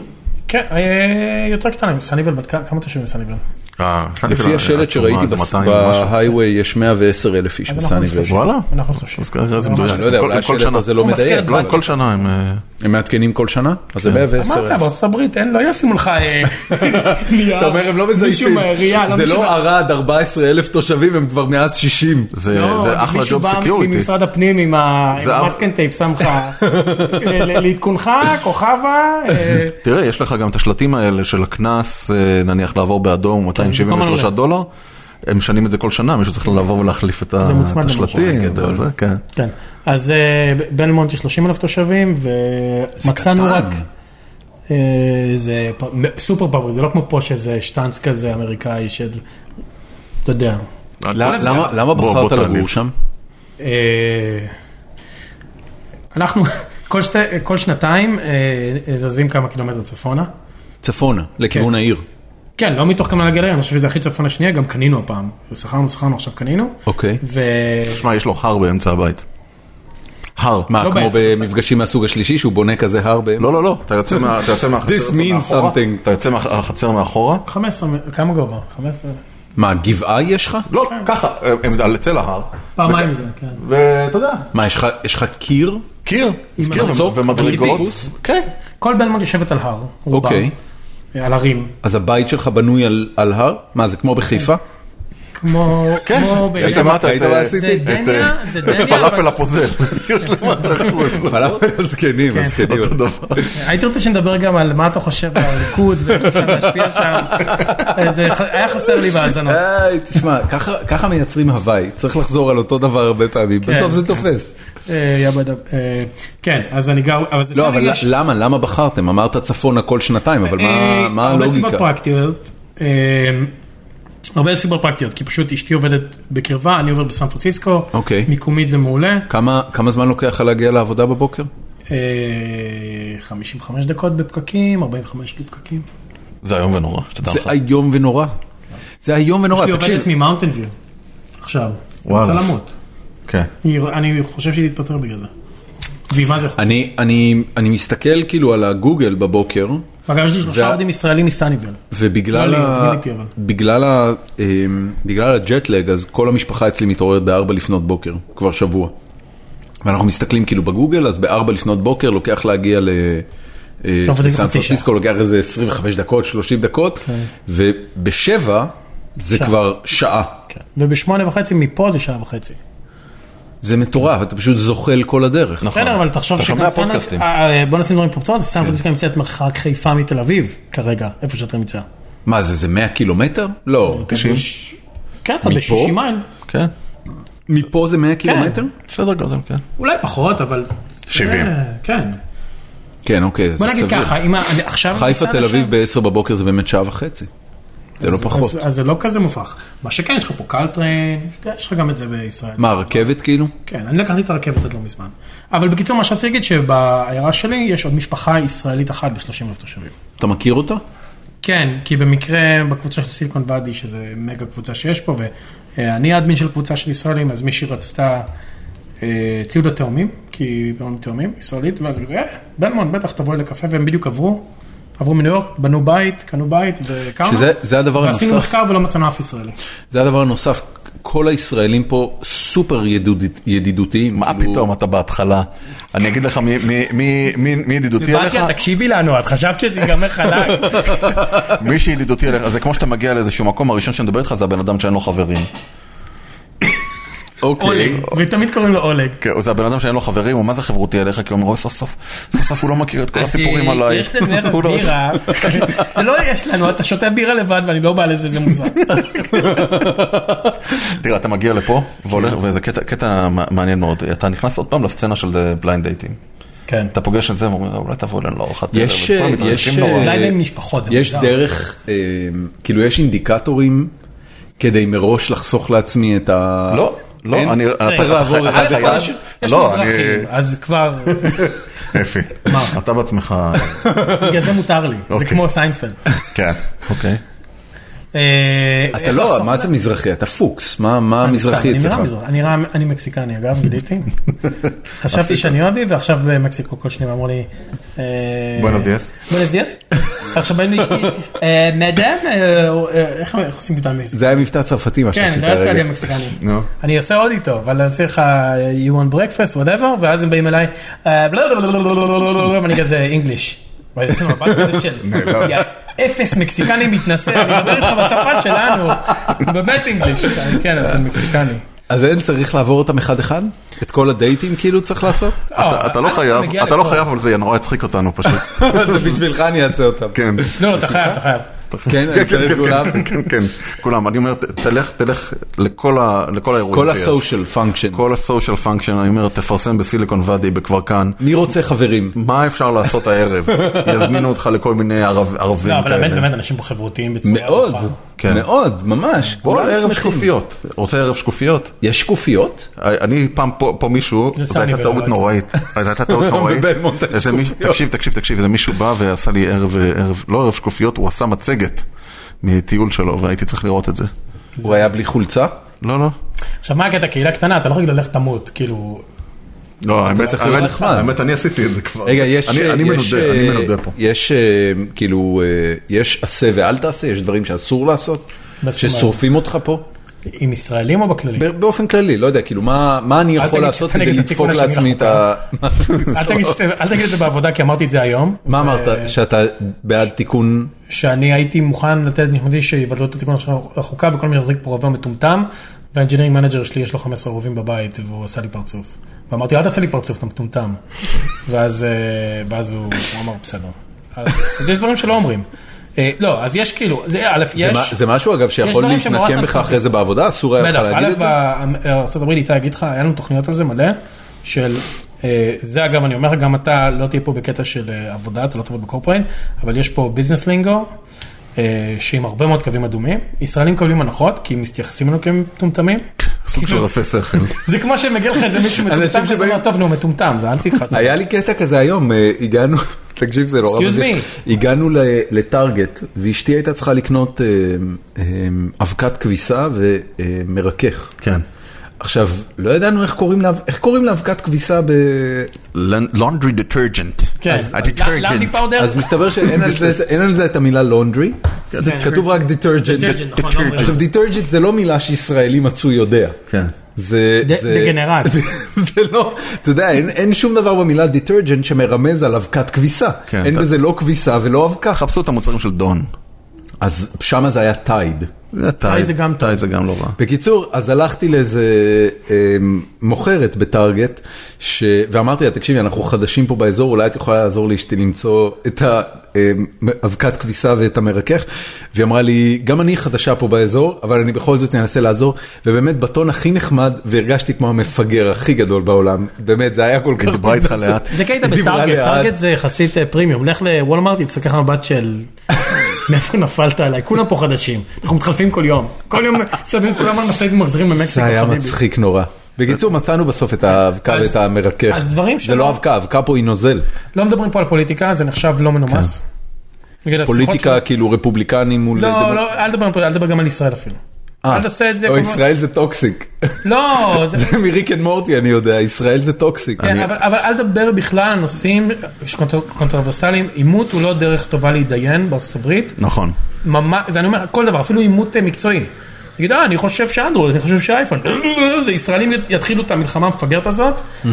[SPEAKER 4] כן, אה, יותר קטנים, סניבל, בת כמה תושבים בסניבל?
[SPEAKER 2] אה, סנדוויץ'
[SPEAKER 1] לפי
[SPEAKER 2] העצומה,
[SPEAKER 1] השלט שראיתי
[SPEAKER 2] זה
[SPEAKER 1] בס-
[SPEAKER 2] 200 ומשהו.
[SPEAKER 1] בהיי-ווי יש 110 אלף איש
[SPEAKER 4] אז אנחנו
[SPEAKER 1] בסאניבל.
[SPEAKER 4] שלושים.
[SPEAKER 2] וואלה.
[SPEAKER 4] אנחנו שלושים.
[SPEAKER 2] אז כרגע זה
[SPEAKER 4] ממש-
[SPEAKER 2] מדויק.
[SPEAKER 1] אני לא יודע,
[SPEAKER 2] כל-
[SPEAKER 1] אולי
[SPEAKER 2] כל
[SPEAKER 1] השלט
[SPEAKER 2] שנה.
[SPEAKER 1] הזה לא
[SPEAKER 4] הוא מזכיר
[SPEAKER 1] מדייק.
[SPEAKER 4] את
[SPEAKER 2] לא,
[SPEAKER 1] אבל-
[SPEAKER 2] כל שנה הם... אה,
[SPEAKER 1] הם מעדכנים כל שנה? אז
[SPEAKER 2] כן.
[SPEAKER 1] זה 110 אלף.
[SPEAKER 4] אמרת, בארצות הברית, אין, לא ישימו לך... אה, נייר.
[SPEAKER 1] אתה אומר הם לא
[SPEAKER 4] מישהו
[SPEAKER 1] מזייפים,
[SPEAKER 4] מהעירייה, לא
[SPEAKER 1] זה
[SPEAKER 4] מישהו...
[SPEAKER 1] לא ערד 14 אלף תושבים הם כבר מאז 60.
[SPEAKER 2] זה
[SPEAKER 6] לא,
[SPEAKER 2] זה אחלה
[SPEAKER 6] מישהו
[SPEAKER 2] ג'וב
[SPEAKER 6] בא
[SPEAKER 2] סקיוריטי.
[SPEAKER 6] ממשרד הפנים עם ה- עם
[SPEAKER 2] זה-
[SPEAKER 6] המסקנטייפ שם לך אה, ל- ל- לעדכונך, כוכבה, אה,
[SPEAKER 2] תראה, יש לך גם את השלטים האלה של הקנס, אה, נניח לעבור
[SPEAKER 1] כן,
[SPEAKER 2] באדום,
[SPEAKER 6] זה כל הזמן
[SPEAKER 2] 273
[SPEAKER 6] עולה.
[SPEAKER 2] דולר. הם משנים את זה כל שנה, מישהו צריך לעבור ולהחליף את ה-
[SPEAKER 4] זה מוצמד
[SPEAKER 2] את
[SPEAKER 4] למשהו,
[SPEAKER 2] השלטים. וזה, כן.
[SPEAKER 4] כן. אז אה, ב- בלמונט יש 30 אלף תושבים, ומצאנו רק...
[SPEAKER 1] קטן.
[SPEAKER 4] אה, זה פ- מ- סופר פאבר, זה לא כמו פה שזה שטאנץ כזה אמריקאי של... אתה יודע.
[SPEAKER 1] למה- למה- למה
[SPEAKER 2] בוא-
[SPEAKER 1] בחרת
[SPEAKER 2] בוא תענה.
[SPEAKER 1] לגור שם?
[SPEAKER 4] אה, אנחנו כל שתי- כל שנתיים אה, זזים כמה קילומטר צפונה.
[SPEAKER 1] צפונה, לכיוון העיר.
[SPEAKER 4] כן, לא מתוך כמה לגלריה, אני חושב שזה הכי צפון השנייה, גם קנינו הפעם. שכרנו, שכרנו, עכשיו קנינו.
[SPEAKER 1] אוקיי.
[SPEAKER 4] ו...
[SPEAKER 2] תשמע, יש לו הר באמצע הבית. הר.
[SPEAKER 1] מה,
[SPEAKER 4] לא
[SPEAKER 1] כמו
[SPEAKER 4] באמצע,
[SPEAKER 1] במפגשים מהסוג השלישי שהוא בונה כזה הר באמצע?
[SPEAKER 2] לא, לא, לא, אתה יוצא מה- אתה יוצא מהחצר
[SPEAKER 1] This
[SPEAKER 2] הזאת
[SPEAKER 1] means
[SPEAKER 2] מאחורה,
[SPEAKER 1] something.
[SPEAKER 2] אתה יוצא מהחצר מאחורה,
[SPEAKER 4] 15, מ- כמה גובה? 15?
[SPEAKER 1] מה, גבעה יש לך?
[SPEAKER 2] לא, ככה, הם על צל ההר,
[SPEAKER 4] פעמיים זה, כן.
[SPEAKER 2] ואתה יודע,
[SPEAKER 1] מה, יש לך- יש לך קיר?
[SPEAKER 2] קיר, קיר
[SPEAKER 1] מצוק?
[SPEAKER 2] ומדרגות,
[SPEAKER 1] טיפוס?
[SPEAKER 2] כן,
[SPEAKER 4] כל בלמונט יושבת על הר, רובה,
[SPEAKER 1] אוקיי.
[SPEAKER 4] על הרים.
[SPEAKER 1] אז הבית שלך בנוי על- על הר? מה, זה כמו בחיפה?
[SPEAKER 4] כן. כמו...
[SPEAKER 2] כן,
[SPEAKER 4] כמו ב-
[SPEAKER 2] יש למטה
[SPEAKER 1] היית
[SPEAKER 2] את אה,
[SPEAKER 1] בעשיתי?
[SPEAKER 2] את,
[SPEAKER 4] זה דניה,
[SPEAKER 2] אה,
[SPEAKER 4] זה דניה,
[SPEAKER 2] את הפלאפל
[SPEAKER 4] אבל-
[SPEAKER 2] הפוזל, יש למטה,
[SPEAKER 1] פלאפל
[SPEAKER 4] כן.
[SPEAKER 1] הזקנים, הזקנים.
[SPEAKER 2] אותו דבר.
[SPEAKER 4] הייתי רוצה שנדבר גם על מה אתה חושב על הליכוד ואיך אפשר להשפיע שם. זה ח- היה חסר לי בהאזנות.
[SPEAKER 1] היי, תשמע, ככה- ככה מייצרים הוואי, צריך לחזור על אותו דבר הרבה פעמים,
[SPEAKER 4] כן.
[SPEAKER 1] בסוף זה תופס.
[SPEAKER 4] אה, יא בדב- אה, כן, אז אני גר... זה
[SPEAKER 1] לא,
[SPEAKER 4] בסדר,
[SPEAKER 1] אבל
[SPEAKER 4] יש-
[SPEAKER 1] למה, למה בחרתם? אמרת צפונה כל שנתיים, אבל מה-
[SPEAKER 4] אה,
[SPEAKER 1] מה
[SPEAKER 4] הרבה סיבות
[SPEAKER 1] הלוגיקה?
[SPEAKER 4] פרקטיות. אה, הרבה סיבות פרקטיות, כי פשוט אשתי עובדת בקרבה, אני עובד בסן פרנסיסקו,
[SPEAKER 1] אוקיי.
[SPEAKER 4] מיקומית זה מעולה,
[SPEAKER 1] כמה, כמה זמן לוקח לך להגיע לעבודה בבוקר?
[SPEAKER 4] אה, 55 דקות בפקקים, 45 בפקקים.
[SPEAKER 1] אה,
[SPEAKER 2] זה איום ונורא, שתדע
[SPEAKER 1] זה
[SPEAKER 2] לך.
[SPEAKER 1] איום ונורא. זה איום ונורא,
[SPEAKER 4] אשתי
[SPEAKER 1] תקשיב.
[SPEAKER 4] עובדת ממאונטן ויו, עכשיו,
[SPEAKER 2] וואלה.
[SPEAKER 4] רוצה למות.
[SPEAKER 2] כן.
[SPEAKER 4] אני- אני חושב שהיא תתפטר בגלל זה. והיא מה זה יכול?
[SPEAKER 1] אני, אני, אני מסתכל כאילו על הגוגל בבוקר,
[SPEAKER 4] אגב, יש לי
[SPEAKER 1] וה-
[SPEAKER 4] שלושה עובדים ישראלים מסניבל.
[SPEAKER 1] ובגלל
[SPEAKER 4] לא לי,
[SPEAKER 1] ה...
[SPEAKER 4] עובדים איתי, אבל.
[SPEAKER 1] בגלל, ה... אמ, בגלל הג'טלג, אז כל המשפחה אצלי מתעוררת בארבע לפנות בוקר, כבר שבוע. ואנחנו מסתכלים כאילו בגוגל, אז בארבע לפנות בוקר לוקח להגיע ל... אה,
[SPEAKER 4] סן פרנסיסקו כן.
[SPEAKER 1] לסן
[SPEAKER 4] חצי שעה.
[SPEAKER 1] פרנסיסקו לוקח איזה 25 דקות, 30 דקות, ובשבע זה כבר שעה.
[SPEAKER 4] ובשמונה וחצי מפה זה שעה וחצי.
[SPEAKER 1] זה מטורף, אתה פשוט זוכל כל הדרך.
[SPEAKER 2] נכון.
[SPEAKER 4] בסדר, אבל תחשוב
[SPEAKER 2] אתה שומע
[SPEAKER 4] סן-
[SPEAKER 2] פודקאסטים.
[SPEAKER 4] אה, אה, בוא נשים דברים פרופורציות,
[SPEAKER 1] כן.
[SPEAKER 4] סן פרנסיסקו נמצאת מרחק חיפה מתל אביב, כרגע, איפה שאתה נמצא.
[SPEAKER 1] מה זה, זה 100 קילומטר? לא.
[SPEAKER 2] 90,
[SPEAKER 4] כן, אבל ב-60 מייל.
[SPEAKER 2] כן,
[SPEAKER 1] מפה זה
[SPEAKER 4] כן.
[SPEAKER 1] 100 קילומטר?
[SPEAKER 2] בסדר גודל, כן.
[SPEAKER 4] אולי פחות, אבל...
[SPEAKER 2] 70.
[SPEAKER 4] אה, כן.
[SPEAKER 1] כן, אוקיי, זה
[SPEAKER 4] בוא
[SPEAKER 1] סביר.
[SPEAKER 4] נגיד ככה, אם אני- עכשיו...
[SPEAKER 1] חיפה,
[SPEAKER 4] אני
[SPEAKER 1] תל
[SPEAKER 4] נוסע
[SPEAKER 1] אביב
[SPEAKER 4] לשם,
[SPEAKER 1] ב-10 בבוקר זה באמת שעה וחצי. זה לא פחות.
[SPEAKER 4] אז- אז זה לא כזה מופרך. מה שכן, יש לך פה קלטריין, יש לך גם את זה בישראל.
[SPEAKER 1] מה, רכבת כאילו?
[SPEAKER 4] כן, אני לקחתי את הרכבת עד לא מזמן. אבל בקיצור, מה שרציתי להגיד, שבעיירה שלי יש עוד משפחה ישראלית אחת ב-30 אלף תושבים.
[SPEAKER 1] אתה מכיר אותה?
[SPEAKER 4] כן, כי במקרה בקבוצה של סיליקון ואדי, שזה מגה קבוצה שיש פה, ואני האדמין של קבוצה של ישראלים, אז מישהי רצתה אה, ציוד התאומים, כי היא בהון תאומים, ישראלית, ואז היא אמרה, אה, בלמון, בטח תבואי לקפה, והם בדיוק עברו, עברו מניו יורק, בנו בית, קנו בית והכרנו.
[SPEAKER 1] שזה- זה הדבר
[SPEAKER 4] ועשינו
[SPEAKER 1] הנוסף.
[SPEAKER 4] מחקר ולא מצאנו אף ישראלי.
[SPEAKER 1] זה הדבר הנוסף, כל הישראלים פה סופר ידוד- ידידותיים.
[SPEAKER 2] מה
[SPEAKER 1] כאילו,
[SPEAKER 2] פתאום, אתה בהתחלה. אני אגיד לך מי- מי- מי- מי מי ידידותי אליך,
[SPEAKER 7] בתיה, תקשיבי לנו, את חשבת שזה ייגמר חלק.
[SPEAKER 2] מי שידידותי אליך, זה כמו שאתה מגיע לאיזשהו מקום, הראשון שמדבר איתך זה הבן אדם שאין לו חברים.
[SPEAKER 1] אוקיי.
[SPEAKER 4] ותמיד קוראים לו אולג.
[SPEAKER 2] כן, זה הבן אדם שאין לו חברים, הוא מה זה חברותי אליך, כי הוא אומר, "אוי, סוף סוף, סוף סוף הוא לא מכיר את כל הסיפורים עליי.
[SPEAKER 7] יש להם ערב
[SPEAKER 2] הוא לא-
[SPEAKER 7] בירה,
[SPEAKER 4] זה לא יש לנו, אתה שותה בירה לבד ואני לא בא לזה, זה מוזר.
[SPEAKER 2] תראה, אתה מגיע לפה,
[SPEAKER 1] כן.
[SPEAKER 2] והולך- וזה קטע- קטע מע- מעניין מאוד, אתה נכנס עוד פעם לסצנה של בליינד דייטינג.
[SPEAKER 7] כן.
[SPEAKER 2] אתה פוגש את זה ואומר, אולי תבוא אלינו לארוחת ערב",
[SPEAKER 1] יש,
[SPEAKER 2] וכולם
[SPEAKER 1] אה,
[SPEAKER 2] מתרגשים
[SPEAKER 1] יש,
[SPEAKER 2] נורא.
[SPEAKER 1] אה,
[SPEAKER 7] אולי בין משפחות, זה
[SPEAKER 1] יש
[SPEAKER 7] מוזר.
[SPEAKER 1] דרך, אה, כאילו יש אינדיקטורים כדי מראש לחסוך לעצמי את ה...
[SPEAKER 2] לא, לא,
[SPEAKER 1] אין?
[SPEAKER 2] אני... אתה-
[SPEAKER 1] צריך
[SPEAKER 2] אתה-
[SPEAKER 1] לעבור
[SPEAKER 2] אתה
[SPEAKER 1] את
[SPEAKER 2] חייב-
[SPEAKER 1] זה.
[SPEAKER 4] אבל יש יש
[SPEAKER 2] לא, אני-
[SPEAKER 4] מזרחים, אז כבר,
[SPEAKER 2] אפי, אתה בעצמך...
[SPEAKER 7] בגלל זה מותר לי, זה
[SPEAKER 2] אוקיי.
[SPEAKER 7] כמו סיינפלד.
[SPEAKER 2] כן, אוקיי.
[SPEAKER 7] אה,
[SPEAKER 1] אתה
[SPEAKER 7] יש
[SPEAKER 1] לא,
[SPEAKER 7] לחסוך
[SPEAKER 1] מה
[SPEAKER 7] לה-
[SPEAKER 1] זה מזרחי? אתה פוקס, מה מה
[SPEAKER 4] אני סתם,
[SPEAKER 1] המזרחי
[SPEAKER 4] אני לא
[SPEAKER 1] אצלך?
[SPEAKER 4] נראה מזרח- אני נראה- אני מקסיקני אגב, גיליתי. חשבתי שאני הודי ועכשיו
[SPEAKER 7] אה,
[SPEAKER 4] במקסיקו כל שניה אמרו לי... אה,
[SPEAKER 2] בואנוס דיאס.
[SPEAKER 7] בואנס דיאס. עכשיו באים לאשתי, אה, מאדם, אה, אה, איך איך עושים את המקסיקני?
[SPEAKER 1] זה היה מבטא צרפתי מה
[SPEAKER 7] כן,
[SPEAKER 1] שעשית
[SPEAKER 7] לא יצא לי
[SPEAKER 1] הרגע.
[SPEAKER 7] המקסיקני.
[SPEAKER 2] נו.
[SPEAKER 4] אני עושה עוד איתו, אבל אני עושה לך אה, you want breakfast, whatever, ואז הם באים אליי, אה, בלה-בלה-בלה-בלה-בלה-בלה-בלה, ואני כזה אינגליש. ואני עושה מבט כזה של,
[SPEAKER 2] נהדר.
[SPEAKER 4] יא אפס מקסיקני מתנשא, אני מדבר איתך בשפה שלנו, באמת אינגליש. כן, אז אני מקסיקני.
[SPEAKER 1] אז אין צריך לעבור אותם אחד אחד? את כל הדייטים כאילו צריך לעשות?
[SPEAKER 2] אתה- אתה לא
[SPEAKER 1] אה,
[SPEAKER 4] עד
[SPEAKER 2] חייב,
[SPEAKER 4] מגיע
[SPEAKER 2] אתה לא
[SPEAKER 4] לפה.
[SPEAKER 2] חייב, אבל זה נורא יצחיק אותנו פשוט.
[SPEAKER 1] זה בשבילך אני אעשה אותם.
[SPEAKER 2] כן.
[SPEAKER 4] לא, לא, אתה חייב, אתה חייב.
[SPEAKER 1] כן, אני צריך את כולם.
[SPEAKER 2] כן, כן, כן, כולם. אני אומר, ת- תלך, תלך לכל ה- לכל האירועים
[SPEAKER 1] כל
[SPEAKER 2] שיש.
[SPEAKER 1] הסושיאל פונקשן.
[SPEAKER 2] כל הסושיאל פונקשן, אני אומר, תפרסם בסיליקון ואדי, בכפר כאן.
[SPEAKER 1] מי רוצה חברים?
[SPEAKER 2] מה אפשר לעשות הערב? יזמינו אותך לכל מיני ערב- ערבים
[SPEAKER 4] לא, אבל באמת,
[SPEAKER 2] כאלה.
[SPEAKER 4] באמת, אנשים פה חברותיים בצורה
[SPEAKER 1] מאוד,
[SPEAKER 4] יפה.
[SPEAKER 2] כן.
[SPEAKER 1] מאוד, ממש.
[SPEAKER 2] בוא
[SPEAKER 1] כולם
[SPEAKER 2] ערב
[SPEAKER 1] שמחים.
[SPEAKER 2] שקופיות. רוצה ערב שקופיות? אה,
[SPEAKER 1] יש שקופיות?
[SPEAKER 2] אני פעם פה פה מישהו,
[SPEAKER 4] זה
[SPEAKER 2] זו
[SPEAKER 4] סמי
[SPEAKER 2] הייתה טעות
[SPEAKER 4] בלרוץ.
[SPEAKER 2] נוראית, זו הייתה טעות נוראית,
[SPEAKER 1] בבלמונט על
[SPEAKER 2] איזה מישהו-
[SPEAKER 1] שקופיות.
[SPEAKER 2] תקשיב תקשיב תקשיב, איזה מישהו בא ועשה לי ערב, ערב- לא ערב שקופיות, הוא עשה מצגת מטיול שלו והייתי צריך לראות את זה.
[SPEAKER 1] הוא היה בלי חולצה?
[SPEAKER 2] לא לא.
[SPEAKER 4] עכשיו, מה הקטע? קהילה קטנה, אתה לא יכול ללכת תמות, כאילו...
[SPEAKER 2] לא, האמת,
[SPEAKER 1] צריך להיות
[SPEAKER 2] האמת-
[SPEAKER 1] נחמד.
[SPEAKER 2] האמת, אני עשיתי את זה כבר.
[SPEAKER 1] רגע, יש...
[SPEAKER 2] אני- אני
[SPEAKER 1] יש,
[SPEAKER 2] מנודה, אני
[SPEAKER 1] אה,
[SPEAKER 2] מנודה פה.
[SPEAKER 1] יש אה, כאילו, אה, יש עשה ואל תעשה, יש דברים שאסור לעשות,
[SPEAKER 4] מה זאת אומרת?
[SPEAKER 1] ששורפים אותך פה.
[SPEAKER 4] עם ישראלים או בכללי?
[SPEAKER 1] ב- באופן כללי, לא יודע, כאילו, מה מה אני יכול
[SPEAKER 4] תגיד
[SPEAKER 1] לעשות
[SPEAKER 4] שאתה
[SPEAKER 1] כדי
[SPEAKER 4] נגד
[SPEAKER 1] לדפוק
[SPEAKER 4] התיקון השני
[SPEAKER 1] לעצמי את ה...
[SPEAKER 4] אל תגיד שאתה- אל תגיד את זה בעבודה, כי אמרתי את זה היום.
[SPEAKER 1] מה
[SPEAKER 4] אה,
[SPEAKER 1] אמרת? שאתה בעד תיקון?
[SPEAKER 4] שאני הייתי מוכן לתת נשמתי שיבטלו את התיקון של החוקה וכל מי שיחזיק פה רובה הוא מטומטם, והאנג'ינרינג מנג'ר שלי יש לו 15 רובים בבית והוא עשה לי פרצוף. ואמרתי, אל תעשה לי פרצוף, אתה מטומטם. ואז, אה, ואז הוא הוא אמר, בסדר. אז אז יש דברים שלא אומרים. אה, לא, אז יש כאילו, זה א',
[SPEAKER 1] זה
[SPEAKER 4] יש...
[SPEAKER 1] מה- זה משהו, אגב, שיכול
[SPEAKER 4] דברים שהם נורא
[SPEAKER 1] להתנקם בך
[SPEAKER 4] סנקרסיסטיים.
[SPEAKER 1] אחרי זה בעבודה? אסור היה לך
[SPEAKER 4] בטח,
[SPEAKER 1] לא להגיד
[SPEAKER 4] א'
[SPEAKER 1] את זה?
[SPEAKER 4] בארה"ב איתי אגיד לך, היה לנו תוכניות על זה מלא, של, אה, זה אגב אני אומר לך, גם אתה לא תהיה פה בקטע של אה, עבודה, אתה לא תעבוד בקורפרין, אבל יש פה ביזנס לינגו, אה, שעם הרבה מאוד קווים אדומים, ישראלים מקבלים הנחות, כי מתייחסים אלינו כמטומטמים,
[SPEAKER 2] סוג של רפי שכל.
[SPEAKER 4] זה כמו שמגיע לך איזה מישהו
[SPEAKER 1] אנשים
[SPEAKER 4] מטומטם, כזה
[SPEAKER 1] שבאים-
[SPEAKER 4] אומר, טוב נו מטומטם, זה אל תכעס.
[SPEAKER 1] היה לי קטע כזה היום, אה, הגענו, תקשיב זה נורא
[SPEAKER 4] Excuse
[SPEAKER 1] מזיק. הגענו ל- לטארגט, ואשתי הייתה צריכה לקנות אה, אה, אבקת כביסה ומרכך.
[SPEAKER 2] כן.
[SPEAKER 1] עכשיו, לא ידענו איך קוראים לאב- איך קוראים לאבקת כביסה ב...
[SPEAKER 2] לונדרי דטרג'נט.
[SPEAKER 4] כן, לאמפי פאודר,
[SPEAKER 1] אז מסתבר שאין על זה- אין על זה את המילה laundry, כתוב רק detergent.
[SPEAKER 4] Detergent, נכון, לא אומרים.
[SPEAKER 1] עכשיו, detergent זה לא מילה שישראלי מצוי יודע.
[SPEAKER 2] כן.
[SPEAKER 1] זה...
[SPEAKER 4] ד-
[SPEAKER 1] זה-
[SPEAKER 4] דגנרט.
[SPEAKER 1] זה לא, אתה יודע, אין, אין שום דבר במילה דיטרג'נט שמרמז על אבקת כביסה.
[SPEAKER 2] כן,
[SPEAKER 1] אין
[SPEAKER 2] אתה-
[SPEAKER 1] בזה לא כביסה ולא אבקה.
[SPEAKER 2] חפשו את המוצרים של דון.
[SPEAKER 1] אז שמה זה היה טייד.
[SPEAKER 2] זה טייד,
[SPEAKER 4] זה גם
[SPEAKER 2] טייד זה גם לא רע.
[SPEAKER 1] בקיצור, אז הלכתי לאיזה אה, מוכרת בטארגט, ש... ואמרתי לה, תקשיבי, אנחנו חדשים פה באזור, אולי את יכולה לעזור לאשתי למצוא את האבקת כביסה ואת המרכך. והיא אמרה לי, גם אני חדשה פה באזור, אבל אני בכל זאת אנסה לעזור, ובאמת בטון הכי נחמד, והרגשתי כמו המפגר הכי גדול בעולם, באמת, זה היה כל כך...
[SPEAKER 2] היא דיברה איתך לאט.
[SPEAKER 4] זה קטע
[SPEAKER 1] היא דיברה
[SPEAKER 4] בטארגט,
[SPEAKER 1] לאט.
[SPEAKER 4] טארגט זה יחסית אה, פרימיום, לך לוולמרט, תסתכל לך מבט של מאיפה נפלת עליי, כולם פה חדשים, אנחנו מתחלפים כל יום, כל יום שמים כולם על משאית ומחזירים
[SPEAKER 1] זה
[SPEAKER 4] למקסיקו,
[SPEAKER 1] היה
[SPEAKER 4] חביבי.
[SPEAKER 1] מצחיק נורא. בקיצור, מצאנו בסוף את האבקה
[SPEAKER 4] אז-
[SPEAKER 1] ואת המרכך.
[SPEAKER 4] אז דברים
[SPEAKER 1] זה
[SPEAKER 4] שלא-
[SPEAKER 1] לא אבקה, אבקה פה היא נוזל.
[SPEAKER 4] לא מדברים פה על פוליטיקה, זה נחשב לא מנומס. נגיד, השיחות
[SPEAKER 1] כן. פוליטיקה,
[SPEAKER 4] שלנו-
[SPEAKER 1] כאילו רפובליקנים מול...
[SPEAKER 4] לא,
[SPEAKER 1] דמוק-
[SPEAKER 4] לא, אל תדבר על פוליטיקה, אל תדבר גם על ישראל אפילו.
[SPEAKER 1] אה,
[SPEAKER 4] אל תעשה את זה.
[SPEAKER 1] או
[SPEAKER 4] כמו-
[SPEAKER 1] ישראל זה טוקסיק.
[SPEAKER 4] לא, זה...
[SPEAKER 1] זה מריק אנד מורטי אני יודע, ישראל זה טוקסיק.
[SPEAKER 4] כן,
[SPEAKER 1] אני-
[SPEAKER 4] אבל, אבל אל תדבר בכלל על נושאים קונטרוברסליים, עימות הוא לא דרך טובה להתדיין בארצות הברית,
[SPEAKER 2] נכון.
[SPEAKER 4] ממש, זה אני אומר, כל דבר, אפילו עימות אה, מקצועי. תגיד, אה, אני חושב שאנדרואיד, אני חושב שאייפון. זה ישראלים ית- יתחילו את המלחמה המפגרת הזאת. אה,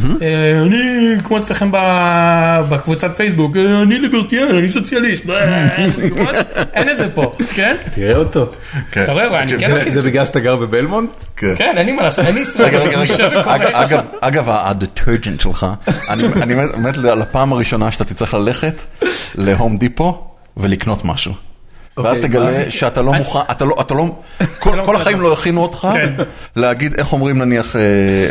[SPEAKER 4] אני, כמו אצלכם ב- בקבוצת פייסבוק, אה, אני ליברטיאן, אני סוציאליסט. אה, ממש, אין את זה פה, כן?
[SPEAKER 1] תראה אותו.
[SPEAKER 2] כן.
[SPEAKER 4] אתה רואה, אני
[SPEAKER 2] תקשיב,
[SPEAKER 4] כן
[SPEAKER 2] זה-
[SPEAKER 4] מכיר.
[SPEAKER 1] אה, זה בגלל שאתה גר בבלמונט?
[SPEAKER 2] כן.
[SPEAKER 4] כן, אין לי מה לעשות, אני ישראלי.
[SPEAKER 2] רגע, רגע,
[SPEAKER 4] אני
[SPEAKER 2] רגע,
[SPEAKER 4] יושב וקורא.
[SPEAKER 2] אגב, אגב, אגב, הדטרג'נט שלך, אני אני מת- מת על הפעם הראשונה שאתה תצטרך ללכת להום דיפו ולקנות משהו. ואז
[SPEAKER 1] אוקיי, מה
[SPEAKER 2] תגלה
[SPEAKER 1] זה?
[SPEAKER 2] שאתה לא מוכן, אתה לא, אתה לא, כל כל החיים לא הכינו אותך
[SPEAKER 4] כן.
[SPEAKER 2] להגיד איך אומרים נניח, אה,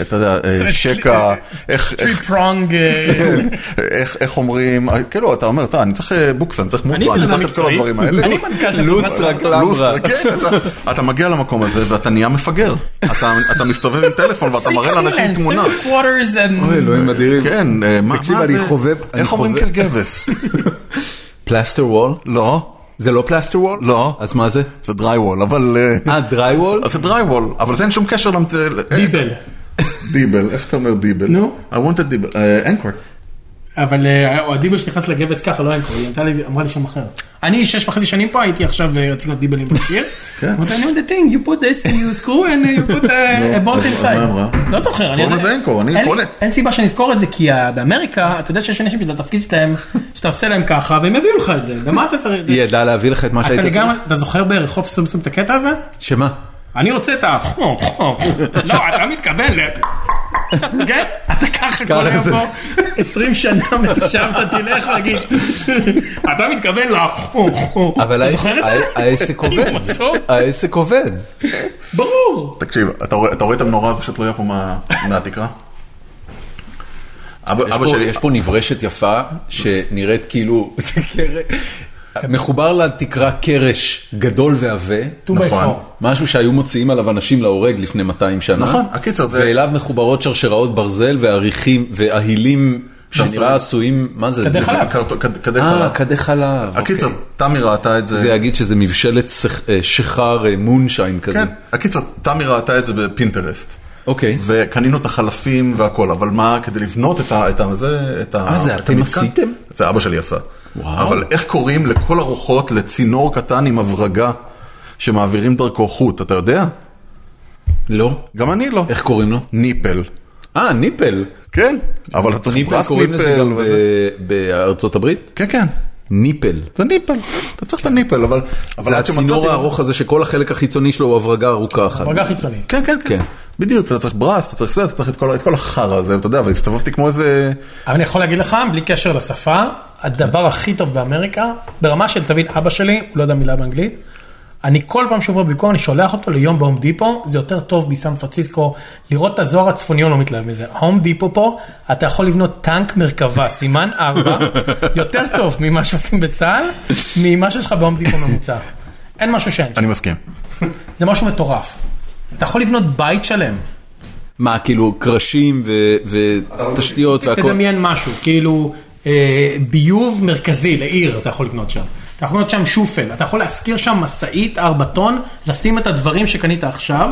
[SPEAKER 2] אתה יודע, אה, שקע, איך- איך-
[SPEAKER 4] Three prong, אה,
[SPEAKER 2] איך- איך אומרים, אה, כאילו אתה אומר, "טוב, אני צריך אה, בוקס, אני צריך מוטו, אני
[SPEAKER 4] בן אדם
[SPEAKER 2] צריך את כל
[SPEAKER 4] מקצועי.
[SPEAKER 2] הדברים האלה.
[SPEAKER 4] אני מנכ"ל של
[SPEAKER 1] לוסטרה,
[SPEAKER 4] חברת סטארט-אפ.
[SPEAKER 1] קלאברה.
[SPEAKER 2] לוסטרה, כן, אתה- אתה מגיע למקום הזה ואתה נהיה מפגר. אתה- אתה מסתובב עם טלפון ואתה מראה לאנשים
[SPEAKER 4] Six
[SPEAKER 2] תמונה.
[SPEAKER 4] and three quarters and-
[SPEAKER 1] אוי, אלוהים אדירים.
[SPEAKER 2] כן, אה, מה
[SPEAKER 1] תקשיב,
[SPEAKER 2] מה
[SPEAKER 1] אני
[SPEAKER 2] זה?
[SPEAKER 1] חובב- אני
[SPEAKER 2] איך אומרים
[SPEAKER 1] חובב-
[SPEAKER 2] קלגבס?
[SPEAKER 1] פלסטר וול?
[SPEAKER 2] לא,
[SPEAKER 1] זה לא פלסטר וול?
[SPEAKER 2] לא.
[SPEAKER 1] אז מה זה?
[SPEAKER 2] זה דרייוול, אבל... אה,
[SPEAKER 1] אה, דרי וול?
[SPEAKER 2] אז זה דרייוול, אבל זה אין שום קשר למת...
[SPEAKER 4] דיבל.
[SPEAKER 2] דיבל, איך אתה אומר דיבל?
[SPEAKER 4] נו.
[SPEAKER 2] I wanted דיבל, אה, אנקור.
[SPEAKER 4] אבל אה, או הדיבל שנכנס לגבס ככה לא היה קורה, היא ענתה לי- אמרה לי שם אחר. אני שש וחצי שנים פה הייתי עכשיו אה, רציתי להיות דיבלים בשיר.
[SPEAKER 2] כן.
[SPEAKER 4] אמרתי, I know the thing, you put this, you screw and uh, you put a- a bolt
[SPEAKER 2] לא, אז- אז מה אמרה?
[SPEAKER 4] inside. לא זוכר. אני
[SPEAKER 2] קוראים
[SPEAKER 4] יודע-
[SPEAKER 2] לזה אנקור, אני
[SPEAKER 4] אין-
[SPEAKER 2] קונה.
[SPEAKER 4] אין סיבה שנזכור את זה, כי ה- באמריקה, אתה יודע שיש אנשים שזה התפקיד שלהם, שאתה עושה להם ככה, והם יביאו לך את זה. ומה אתה צריך?
[SPEAKER 1] היא ידעה להביא לך את מה
[SPEAKER 4] אתה
[SPEAKER 1] שהיית
[SPEAKER 4] לגמרי,
[SPEAKER 1] צריך?
[SPEAKER 4] אתה זוכר ברחוב סומסום את הקטע הזה?
[SPEAKER 1] שמה?
[SPEAKER 4] אני רוצה את ה... לא, אתה מתכוון ל... כן? אתה ככה כל היום
[SPEAKER 1] זה.
[SPEAKER 4] פה 20 שנה מעכשיו אתה תלך להגיד, אתה מתכוון ל...
[SPEAKER 1] אבל
[SPEAKER 4] אתה
[SPEAKER 1] העסק-
[SPEAKER 4] זוכר את זה?
[SPEAKER 1] הע- העסק עובד.
[SPEAKER 4] עם מסוק?
[SPEAKER 1] העסק עובד.
[SPEAKER 4] ברור.
[SPEAKER 2] תקשיב, אתה רואה אתה רואה את המנורה הזו שתלויה פה מה- מהתקרה? אבא
[SPEAKER 1] יש
[SPEAKER 2] אבא
[SPEAKER 1] פה-
[SPEAKER 2] שלי,
[SPEAKER 1] יש פה נברשת יפה שנראית כאילו זה קרש. מחובר לתקרה קרש גדול ועבה.
[SPEAKER 2] נכון,
[SPEAKER 1] משהו שהיו מוציאים עליו אנשים להורג לפני 200 שנה.
[SPEAKER 2] נכון, הקיצר זה,
[SPEAKER 1] ואליו מחוברות שרשראות ברזל והעריכים וההילים שנראה עשויים, מה זה?
[SPEAKER 4] כדי
[SPEAKER 1] זה-
[SPEAKER 4] חלב.
[SPEAKER 2] קרטו- קד- קדי
[SPEAKER 1] אה,
[SPEAKER 2] חלב.
[SPEAKER 1] כדי חלב.
[SPEAKER 2] הקיצר,
[SPEAKER 1] אוקיי.
[SPEAKER 2] תמי ראתה את זה.
[SPEAKER 1] ויגיד שזה מבשלת שכ- אה, שיכר אה, מונשיין כזה.
[SPEAKER 2] כן, הקיצר, תמי ראתה את זה בפינטרסט.
[SPEAKER 1] אוקיי.
[SPEAKER 2] וקנינו את החלפים והכל, אבל מה, כדי לבנות את ה... את ה... זה, את ה...
[SPEAKER 1] אה, זה
[SPEAKER 2] את
[SPEAKER 1] אתם
[SPEAKER 2] המתקן?
[SPEAKER 1] עשיתם?
[SPEAKER 2] זה אבא שלי עשה.
[SPEAKER 1] וואו.
[SPEAKER 2] אבל איך קוראים לכל הרוחות לצינור קטן עם הברגה שמעבירים דרכו חוט, אתה יודע?
[SPEAKER 1] לא.
[SPEAKER 2] גם אני לא.
[SPEAKER 1] איך קוראים לו?
[SPEAKER 2] ניפל.
[SPEAKER 1] אה, ניפל.
[SPEAKER 2] כן, אבל אתה צריך
[SPEAKER 1] ניפל
[SPEAKER 2] פרס
[SPEAKER 1] קוראים לזה
[SPEAKER 2] ניפל
[SPEAKER 1] גם
[SPEAKER 2] וזה.
[SPEAKER 1] ב- בארצות הברית?
[SPEAKER 2] כן, כן,
[SPEAKER 1] ניפל.
[SPEAKER 2] זה ניפל. אתה צריך את הניפל, אבל... אבל
[SPEAKER 1] זה
[SPEAKER 2] עד שמצאתי
[SPEAKER 1] הצינור
[SPEAKER 2] לו-
[SPEAKER 1] הארוך הזה שכל החלק החיצוני שלו הוא הברגה ארוכה אחת.
[SPEAKER 4] דרגה חיצונית.
[SPEAKER 2] כן, כן, כן.
[SPEAKER 1] כן.
[SPEAKER 2] בדיוק, אתה צריך ברס, אתה צריך זה, אתה צריך את כל, את כל החרא הזה, אתה יודע, והסתובבתי כמו איזה...
[SPEAKER 4] אבל אני יכול להגיד לך, בלי קשר לשפה, הדבר הכי טוב באמריקה, ברמה של תבין, אבא שלי, הוא לא יודע מילה באנגלית, אני כל פעם שעובר ביקור, אני שולח אותו ליום בהום דיפו, זה יותר טוב מסן פרנסיסקו, לראות את הזוהר הצפוני, הוא לא מתלהב מזה. הום דיפו פה, אתה יכול לבנות טנק מרכבה, סימן 4, יותר טוב ממה שעושים בצה"ל, ממה שיש לך בהום דיפו ממוצע. אין משהו שאין, שם.
[SPEAKER 2] אני מסכים.
[SPEAKER 4] זה משהו מטורף. אתה יכול לבנות בית שלם,
[SPEAKER 1] מה, כאילו קרשים ו- ותשתיות והכל?
[SPEAKER 4] תדמיין משהו, כאילו אה, ביוב מרכזי לעיר אתה יכול לקנות שם. אתה יכול לקנות שם שופל, אתה יכול להשכיר שם משאית 4 טון, לשים את הדברים שקנית עכשיו.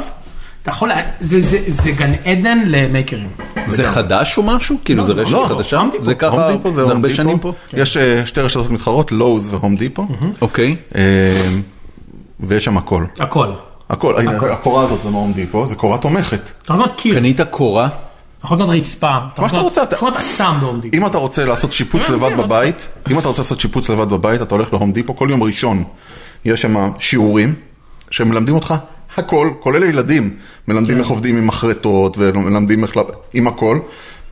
[SPEAKER 4] אתה יכול, לה- זה, זה, זה גן עדן למייקרים.
[SPEAKER 1] זה חדש או משהו? כאילו זה רשת
[SPEAKER 2] לא,
[SPEAKER 1] חדשה?
[SPEAKER 4] הום דיפו.
[SPEAKER 1] זה ככה,
[SPEAKER 2] הום דיפו
[SPEAKER 1] זה הרבה שנים פה?
[SPEAKER 2] יש אה, שתי רשתות מתחרות, לואוז והום דיפו,
[SPEAKER 1] אוקיי.
[SPEAKER 2] אה, ויש שם הכל.
[SPEAKER 4] הכל.
[SPEAKER 2] הכל, הנה, הקורה הזאת זה מהום דיפו, זה קורה תומכת.
[SPEAKER 4] אתה יכול לקנות קיר,
[SPEAKER 1] קנית קורה?
[SPEAKER 4] אתה יכול לקנות רצפה, אתה
[SPEAKER 2] שאתה
[SPEAKER 4] יכול
[SPEAKER 2] רוצה,
[SPEAKER 4] לקנות- אתה יכול לקנות אסם בעומדים.
[SPEAKER 2] אם אתה רוצה לעשות שיפוץ
[SPEAKER 1] אה,
[SPEAKER 4] כן,
[SPEAKER 2] לבד
[SPEAKER 4] כן,
[SPEAKER 2] בבית, אם אתה רוצה לעשות שיפוץ לבד בבית, אתה הולך להום דיפו, כל יום ראשון יש שם שיעורים שמלמדים אותך הכל, כולל ילדים,
[SPEAKER 1] כן.
[SPEAKER 2] מלמדים איך עובדים עם מחרטות ומלמדים איך, ל- עם הכל,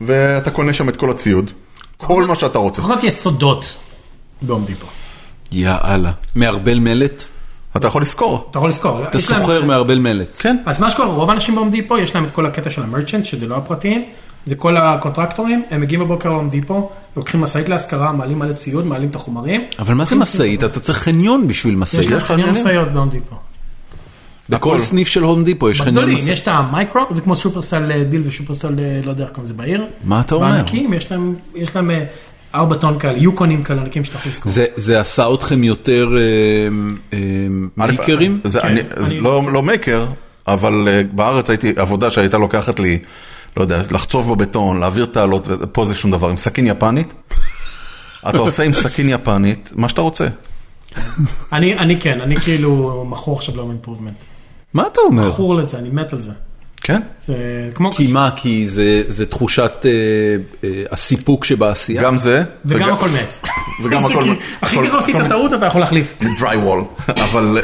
[SPEAKER 2] ואתה קונה שם את כל הציוד, כל מה שאתה רוצה.
[SPEAKER 4] אתה יכול לקנות יסודות בעומדים פה.
[SPEAKER 1] יאללה. מערבל מלט?
[SPEAKER 2] אתה יכול לשכור,
[SPEAKER 4] אתה יכול לזכור.
[SPEAKER 1] אתה סוחר מערבל מלט.
[SPEAKER 2] כן.
[SPEAKER 4] אז מה שקורה, רוב האנשים בהום דיפו, יש להם את כל הקטע של המרצ'נט, שזה לא הפרטיים, זה כל הקונטרקטורים, הם מגיעים בבוקר להום דיפו, לוקחים משאית להשכרה, מעלים מלא ציוד, מעלים את החומרים.
[SPEAKER 1] אבל מה זה משאית? אתה צריך חניון בשביל משאית.
[SPEAKER 4] יש להם
[SPEAKER 2] לך
[SPEAKER 4] חניון
[SPEAKER 2] עניינים?
[SPEAKER 4] משאיות בהום דיפו.
[SPEAKER 1] בכל
[SPEAKER 2] הכל.
[SPEAKER 1] סניף של הום דיפו יש חניון
[SPEAKER 4] בגדולים,
[SPEAKER 1] משאית.
[SPEAKER 4] יש את המייקרו, זה כמו שופרסל אה, דיל ושופרסל, אה, לא יודע איך קוראים לזה בעיר.
[SPEAKER 1] מה אתה אומר?
[SPEAKER 4] בענקים, יש להם- יש להם אה, ארבע טון כאלה, יוקונים כאלה ענקים שאתה יכול לזכור.
[SPEAKER 1] זה- זה עשה אתכם יותר אה, אה,
[SPEAKER 2] א',
[SPEAKER 1] מייקרים?
[SPEAKER 2] אה, זה אני- זה
[SPEAKER 4] אני-
[SPEAKER 2] לא לא מייקר, אבל אה, בארץ הייתי, עבודה שהייתה לוקחת לי, לא יודע, לחצוב בבטון, להעביר תעלות, ו- פה זה שום דבר, עם סכין יפנית. אתה עושה עם סכין יפנית מה שאתה רוצה.
[SPEAKER 4] אני, אני כן, אני כאילו מכור עכשיו להום אימפרובמנט.
[SPEAKER 1] מה אתה אומר?
[SPEAKER 4] מכור לזה, אני מת על זה.
[SPEAKER 2] כן?
[SPEAKER 4] זה כמו...
[SPEAKER 1] אה. כי מה? כי זה, זה תחושת אה, אה, הסיפוק שבעשייה?
[SPEAKER 2] גם זה.
[SPEAKER 4] וגם הכל מעץ.
[SPEAKER 2] וגם הכל-
[SPEAKER 4] כאילו, הכי
[SPEAKER 2] הכל-
[SPEAKER 4] גרוע עשית
[SPEAKER 2] הכל-
[SPEAKER 4] טעות, אתה יכול להחליף.
[SPEAKER 2] זה drywall, אבל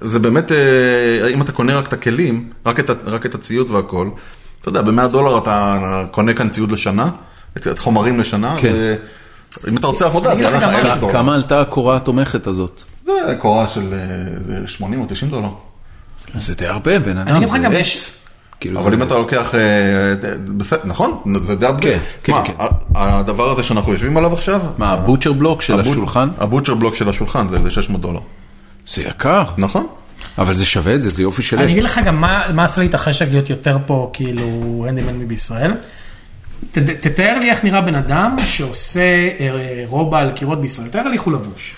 [SPEAKER 2] זה באמת, אה, אם אתה קונה רק את הכלים, רק את, ה- רק את הציוד והכל, אתה יודע, ב-100 דולר אתה קונה כאן ציוד לשנה, את את חומרים לשנה,
[SPEAKER 1] כן.
[SPEAKER 2] ואם אתה רוצה עבודה, זה
[SPEAKER 4] אגיד
[SPEAKER 2] יעלה
[SPEAKER 4] לך
[SPEAKER 2] לך
[SPEAKER 4] גם
[SPEAKER 2] אלף
[SPEAKER 4] משהו.
[SPEAKER 2] דולר.
[SPEAKER 1] כמה עלתה הקורה התומכת הזאת?
[SPEAKER 2] זה קורה של אה, זה 80 או 90 דולר.
[SPEAKER 1] זה די הרבה, בן
[SPEAKER 8] אני
[SPEAKER 1] אדם,
[SPEAKER 8] אגיד לך גם
[SPEAKER 1] זה
[SPEAKER 8] יש-
[SPEAKER 1] עץ. כאילו,
[SPEAKER 2] אבל
[SPEAKER 1] זה-
[SPEAKER 2] אם אתה לוקח, אה, אה, בסדר, נכון? זה די הרבה.
[SPEAKER 1] כן, כן,
[SPEAKER 2] מה,
[SPEAKER 1] כן.
[SPEAKER 2] ה- הדבר הזה שאנחנו יושבים עליו עכשיו,
[SPEAKER 1] מה, הבוטשר בלוק של
[SPEAKER 2] הבוט-
[SPEAKER 1] השולחן?
[SPEAKER 2] הבוטשר בלוק של השולחן זה איזה 600 דולר,
[SPEAKER 1] זה יקר,
[SPEAKER 2] נכון?
[SPEAKER 1] אבל זה שווה את זה, זה יופי של
[SPEAKER 4] אני אגיד
[SPEAKER 1] עץ.
[SPEAKER 4] לך גם מה מה עשה לי את החשק להיות יותר פה, כאילו, הנדימן מבישראל. ת- תתאר לי איך נראה בן אדם שעושה אה, רובע על קירות בישראל, תאר לי איך הוא לבוש.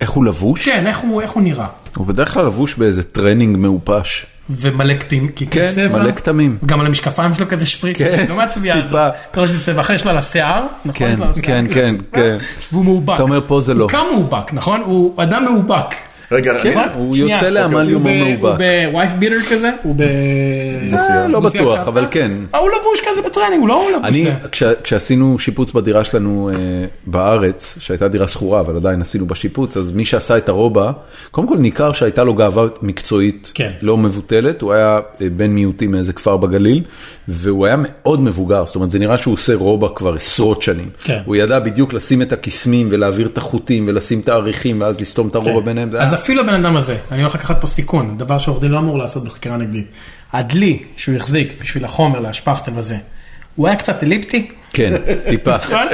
[SPEAKER 1] איך הוא לבוש?
[SPEAKER 4] כן, איך הוא איך הוא נראה.
[SPEAKER 1] הוא בדרך כלל לבוש באיזה טרנינג מעופש.
[SPEAKER 4] ומלא קטעים, כי
[SPEAKER 1] כן,
[SPEAKER 4] צבע.
[SPEAKER 1] מלא כתמים.
[SPEAKER 4] גם על המשקפיים שלו כזה שפריץ,
[SPEAKER 1] כן,
[SPEAKER 4] לא מהצביעה הזאת.
[SPEAKER 1] טיפה.
[SPEAKER 4] אתה רואה שזה צבע אחר שלו על השיער, נכון?
[SPEAKER 1] כן,
[SPEAKER 4] יש לו על השיער
[SPEAKER 1] כן,
[SPEAKER 4] כזה
[SPEAKER 1] כן,
[SPEAKER 4] צבע,
[SPEAKER 1] כן.
[SPEAKER 4] והוא מאובק.
[SPEAKER 1] אתה אומר, פה זה לא.
[SPEAKER 4] הוא קם מאובק, נכון? הוא אדם מאובק.
[SPEAKER 2] רגע,
[SPEAKER 1] כן,
[SPEAKER 2] רגע,
[SPEAKER 1] הוא
[SPEAKER 4] שנייה, אוקיי,
[SPEAKER 1] יוצא לעמל
[SPEAKER 4] הוא
[SPEAKER 1] יומו
[SPEAKER 4] ב-
[SPEAKER 1] מעובק.
[SPEAKER 4] הוא בווייף ביטר כזה, הוא ב...
[SPEAKER 1] אה, לא
[SPEAKER 4] לפי
[SPEAKER 1] בטוח,
[SPEAKER 4] הצעתך?
[SPEAKER 1] אבל כן.
[SPEAKER 4] אה, הוא לבוש כזה בטרנינג, הוא לא הוא לבוש.
[SPEAKER 1] אני,
[SPEAKER 4] זה.
[SPEAKER 1] כש, כשעשינו שיפוץ בדירה שלנו אה, בארץ, שהייתה דירה שכורה, אבל עדיין עשינו בה שיפוץ, אז מי שעשה את הרובע, קודם כל ניכר שהייתה לו גאווה מקצועית
[SPEAKER 4] כן.
[SPEAKER 1] לא מבוטלת, הוא היה אה, בן מיעוטים מאיזה כפר בגליל, והוא היה מאוד מבוגר, זאת אומרת, זה נראה שהוא עושה רובע כבר עשרות שנים.
[SPEAKER 4] כן.
[SPEAKER 1] הוא ידע בדיוק לשים את הקסמים ולהעביר את החוטים ולשים את האריכים ואז לסתום את הרובע ביניהם. זה היה-
[SPEAKER 4] כן. אז אפילו הבן אדם הזה, אני הולך לקחת פה סיכון, דבר שעורך דין לא אמור לעשות בחקירה נגדית. הדלי שהוא החזיק בשביל החומר להשפכתם הזה, הוא היה קצת אליפטי,
[SPEAKER 1] כן, טיפה.
[SPEAKER 4] נכון?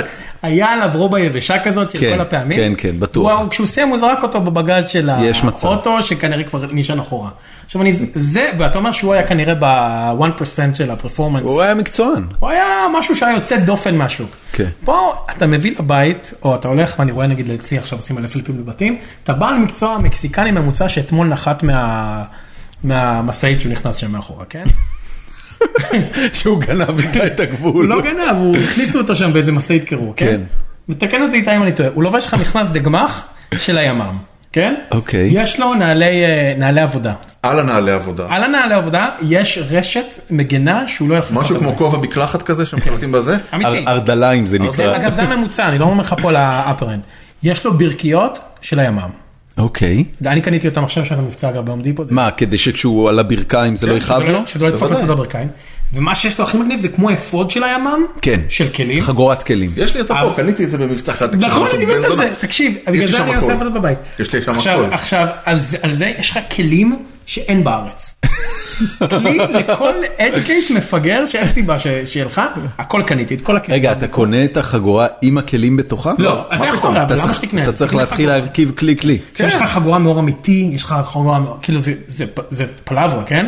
[SPEAKER 4] היה עליו רובע יבשה כזאת של
[SPEAKER 1] כן,
[SPEAKER 4] כל הפעמים.
[SPEAKER 1] כן, כן, בטוח.
[SPEAKER 4] וואו, כשהוא סיים הוא זרק אותו בבגז של
[SPEAKER 1] יש מצב.
[SPEAKER 4] האוטו, שכנראה כבר נשען אחורה. עכשיו אני, זה, ואתה אומר שהוא היה כנראה ב-1% של הפרפורמנס.
[SPEAKER 1] הוא היה מקצוען.
[SPEAKER 4] הוא היה משהו שהיה יוצא דופן מהשוק.
[SPEAKER 1] כן.
[SPEAKER 4] פה אתה מביא לבית, או אתה הולך, ואני רואה נגיד אצלי עכשיו עושים אלף פליפים בבתים, אתה בעל מקצוע מקסיקני ממוצע שאתמול נחת מה... מהמשאית שהוא נכנס שם מאחורה, כן?
[SPEAKER 1] שהוא גנב איתה את
[SPEAKER 4] הוא
[SPEAKER 1] הגבול.
[SPEAKER 4] לא גנב, הוא הכניסו אותו שם באיזה משאית קירור, כן?
[SPEAKER 1] כן.
[SPEAKER 4] ותקן אותי איתה אם אני טועה, הוא לובש לך מכנס דגמח של הימ"מ, כן?
[SPEAKER 1] אוקיי.
[SPEAKER 4] יש לו נעלי, אה, נעלי עבודה.
[SPEAKER 2] על הנעלי עבודה.
[SPEAKER 4] על הנעלי עבודה יש רשת מגנה שהוא לא ילך...
[SPEAKER 2] משהו
[SPEAKER 4] לחתוך
[SPEAKER 2] כמו
[SPEAKER 4] את
[SPEAKER 2] כובע בקלחת כזה שמחלקים בזה?
[SPEAKER 4] הבית. אמיתי.
[SPEAKER 1] ארדליים זה
[SPEAKER 4] זה,
[SPEAKER 2] אה.
[SPEAKER 1] נקרא.
[SPEAKER 4] אוקיי, אגב זה הממוצע, אני לא אומר לך פה על האפרנד. יש לו ברכיות של הימ"מ.
[SPEAKER 1] אוקיי.
[SPEAKER 4] אני קניתי אותם עכשיו יש לכם מבצע אגב בהום דיפו. זה-
[SPEAKER 1] מה, כדי שכשהוא על הברכיים זה לא יכאב
[SPEAKER 4] שלא-
[SPEAKER 1] לו?
[SPEAKER 4] שלא ידפוק
[SPEAKER 2] בוודאי.
[SPEAKER 4] לעצמו בברכיים. ומה שיש לו הכי מגניב זה כמו אפוד של הימ"מ.
[SPEAKER 1] כן.
[SPEAKER 4] של כלים.
[SPEAKER 1] חגורת כלים.
[SPEAKER 2] יש לי את
[SPEAKER 4] אבל-
[SPEAKER 2] פה, קניתי את זה במבצע חד.
[SPEAKER 4] נכון, אני מת על זה, תקשיב, בגלל
[SPEAKER 2] לי
[SPEAKER 4] זה
[SPEAKER 2] שם
[SPEAKER 4] אני
[SPEAKER 2] הכל.
[SPEAKER 4] עושה עבודות בבית.
[SPEAKER 2] יש לי שם
[SPEAKER 4] עכשיו,
[SPEAKER 2] הכל.
[SPEAKER 4] עכשיו, על זה- על זה יש לך כלים שאין בארץ. כלי לכל אד קייס מפגר שאין סיבה ש- שיהיה לך, הכל קניתי, את כל הכלים.
[SPEAKER 1] רגע, אתה קונה את החגורה עם הכלים בתוכה?
[SPEAKER 4] לא, אתה
[SPEAKER 2] מה
[SPEAKER 4] יכול,
[SPEAKER 2] פתאום?
[SPEAKER 1] אתה
[SPEAKER 4] אבל למה
[SPEAKER 1] צריך-
[SPEAKER 4] שתקנה? את כן.
[SPEAKER 1] אתה
[SPEAKER 4] זה?
[SPEAKER 1] צריך
[SPEAKER 4] תקנה
[SPEAKER 1] להתחיל
[SPEAKER 4] חגורה.
[SPEAKER 1] להרכיב כלי כלי.
[SPEAKER 4] כשיש לך חגורה מאור אמיתי, יש לך חגורה מאור, כאילו זה, זה, פ- זה פלברה, כן?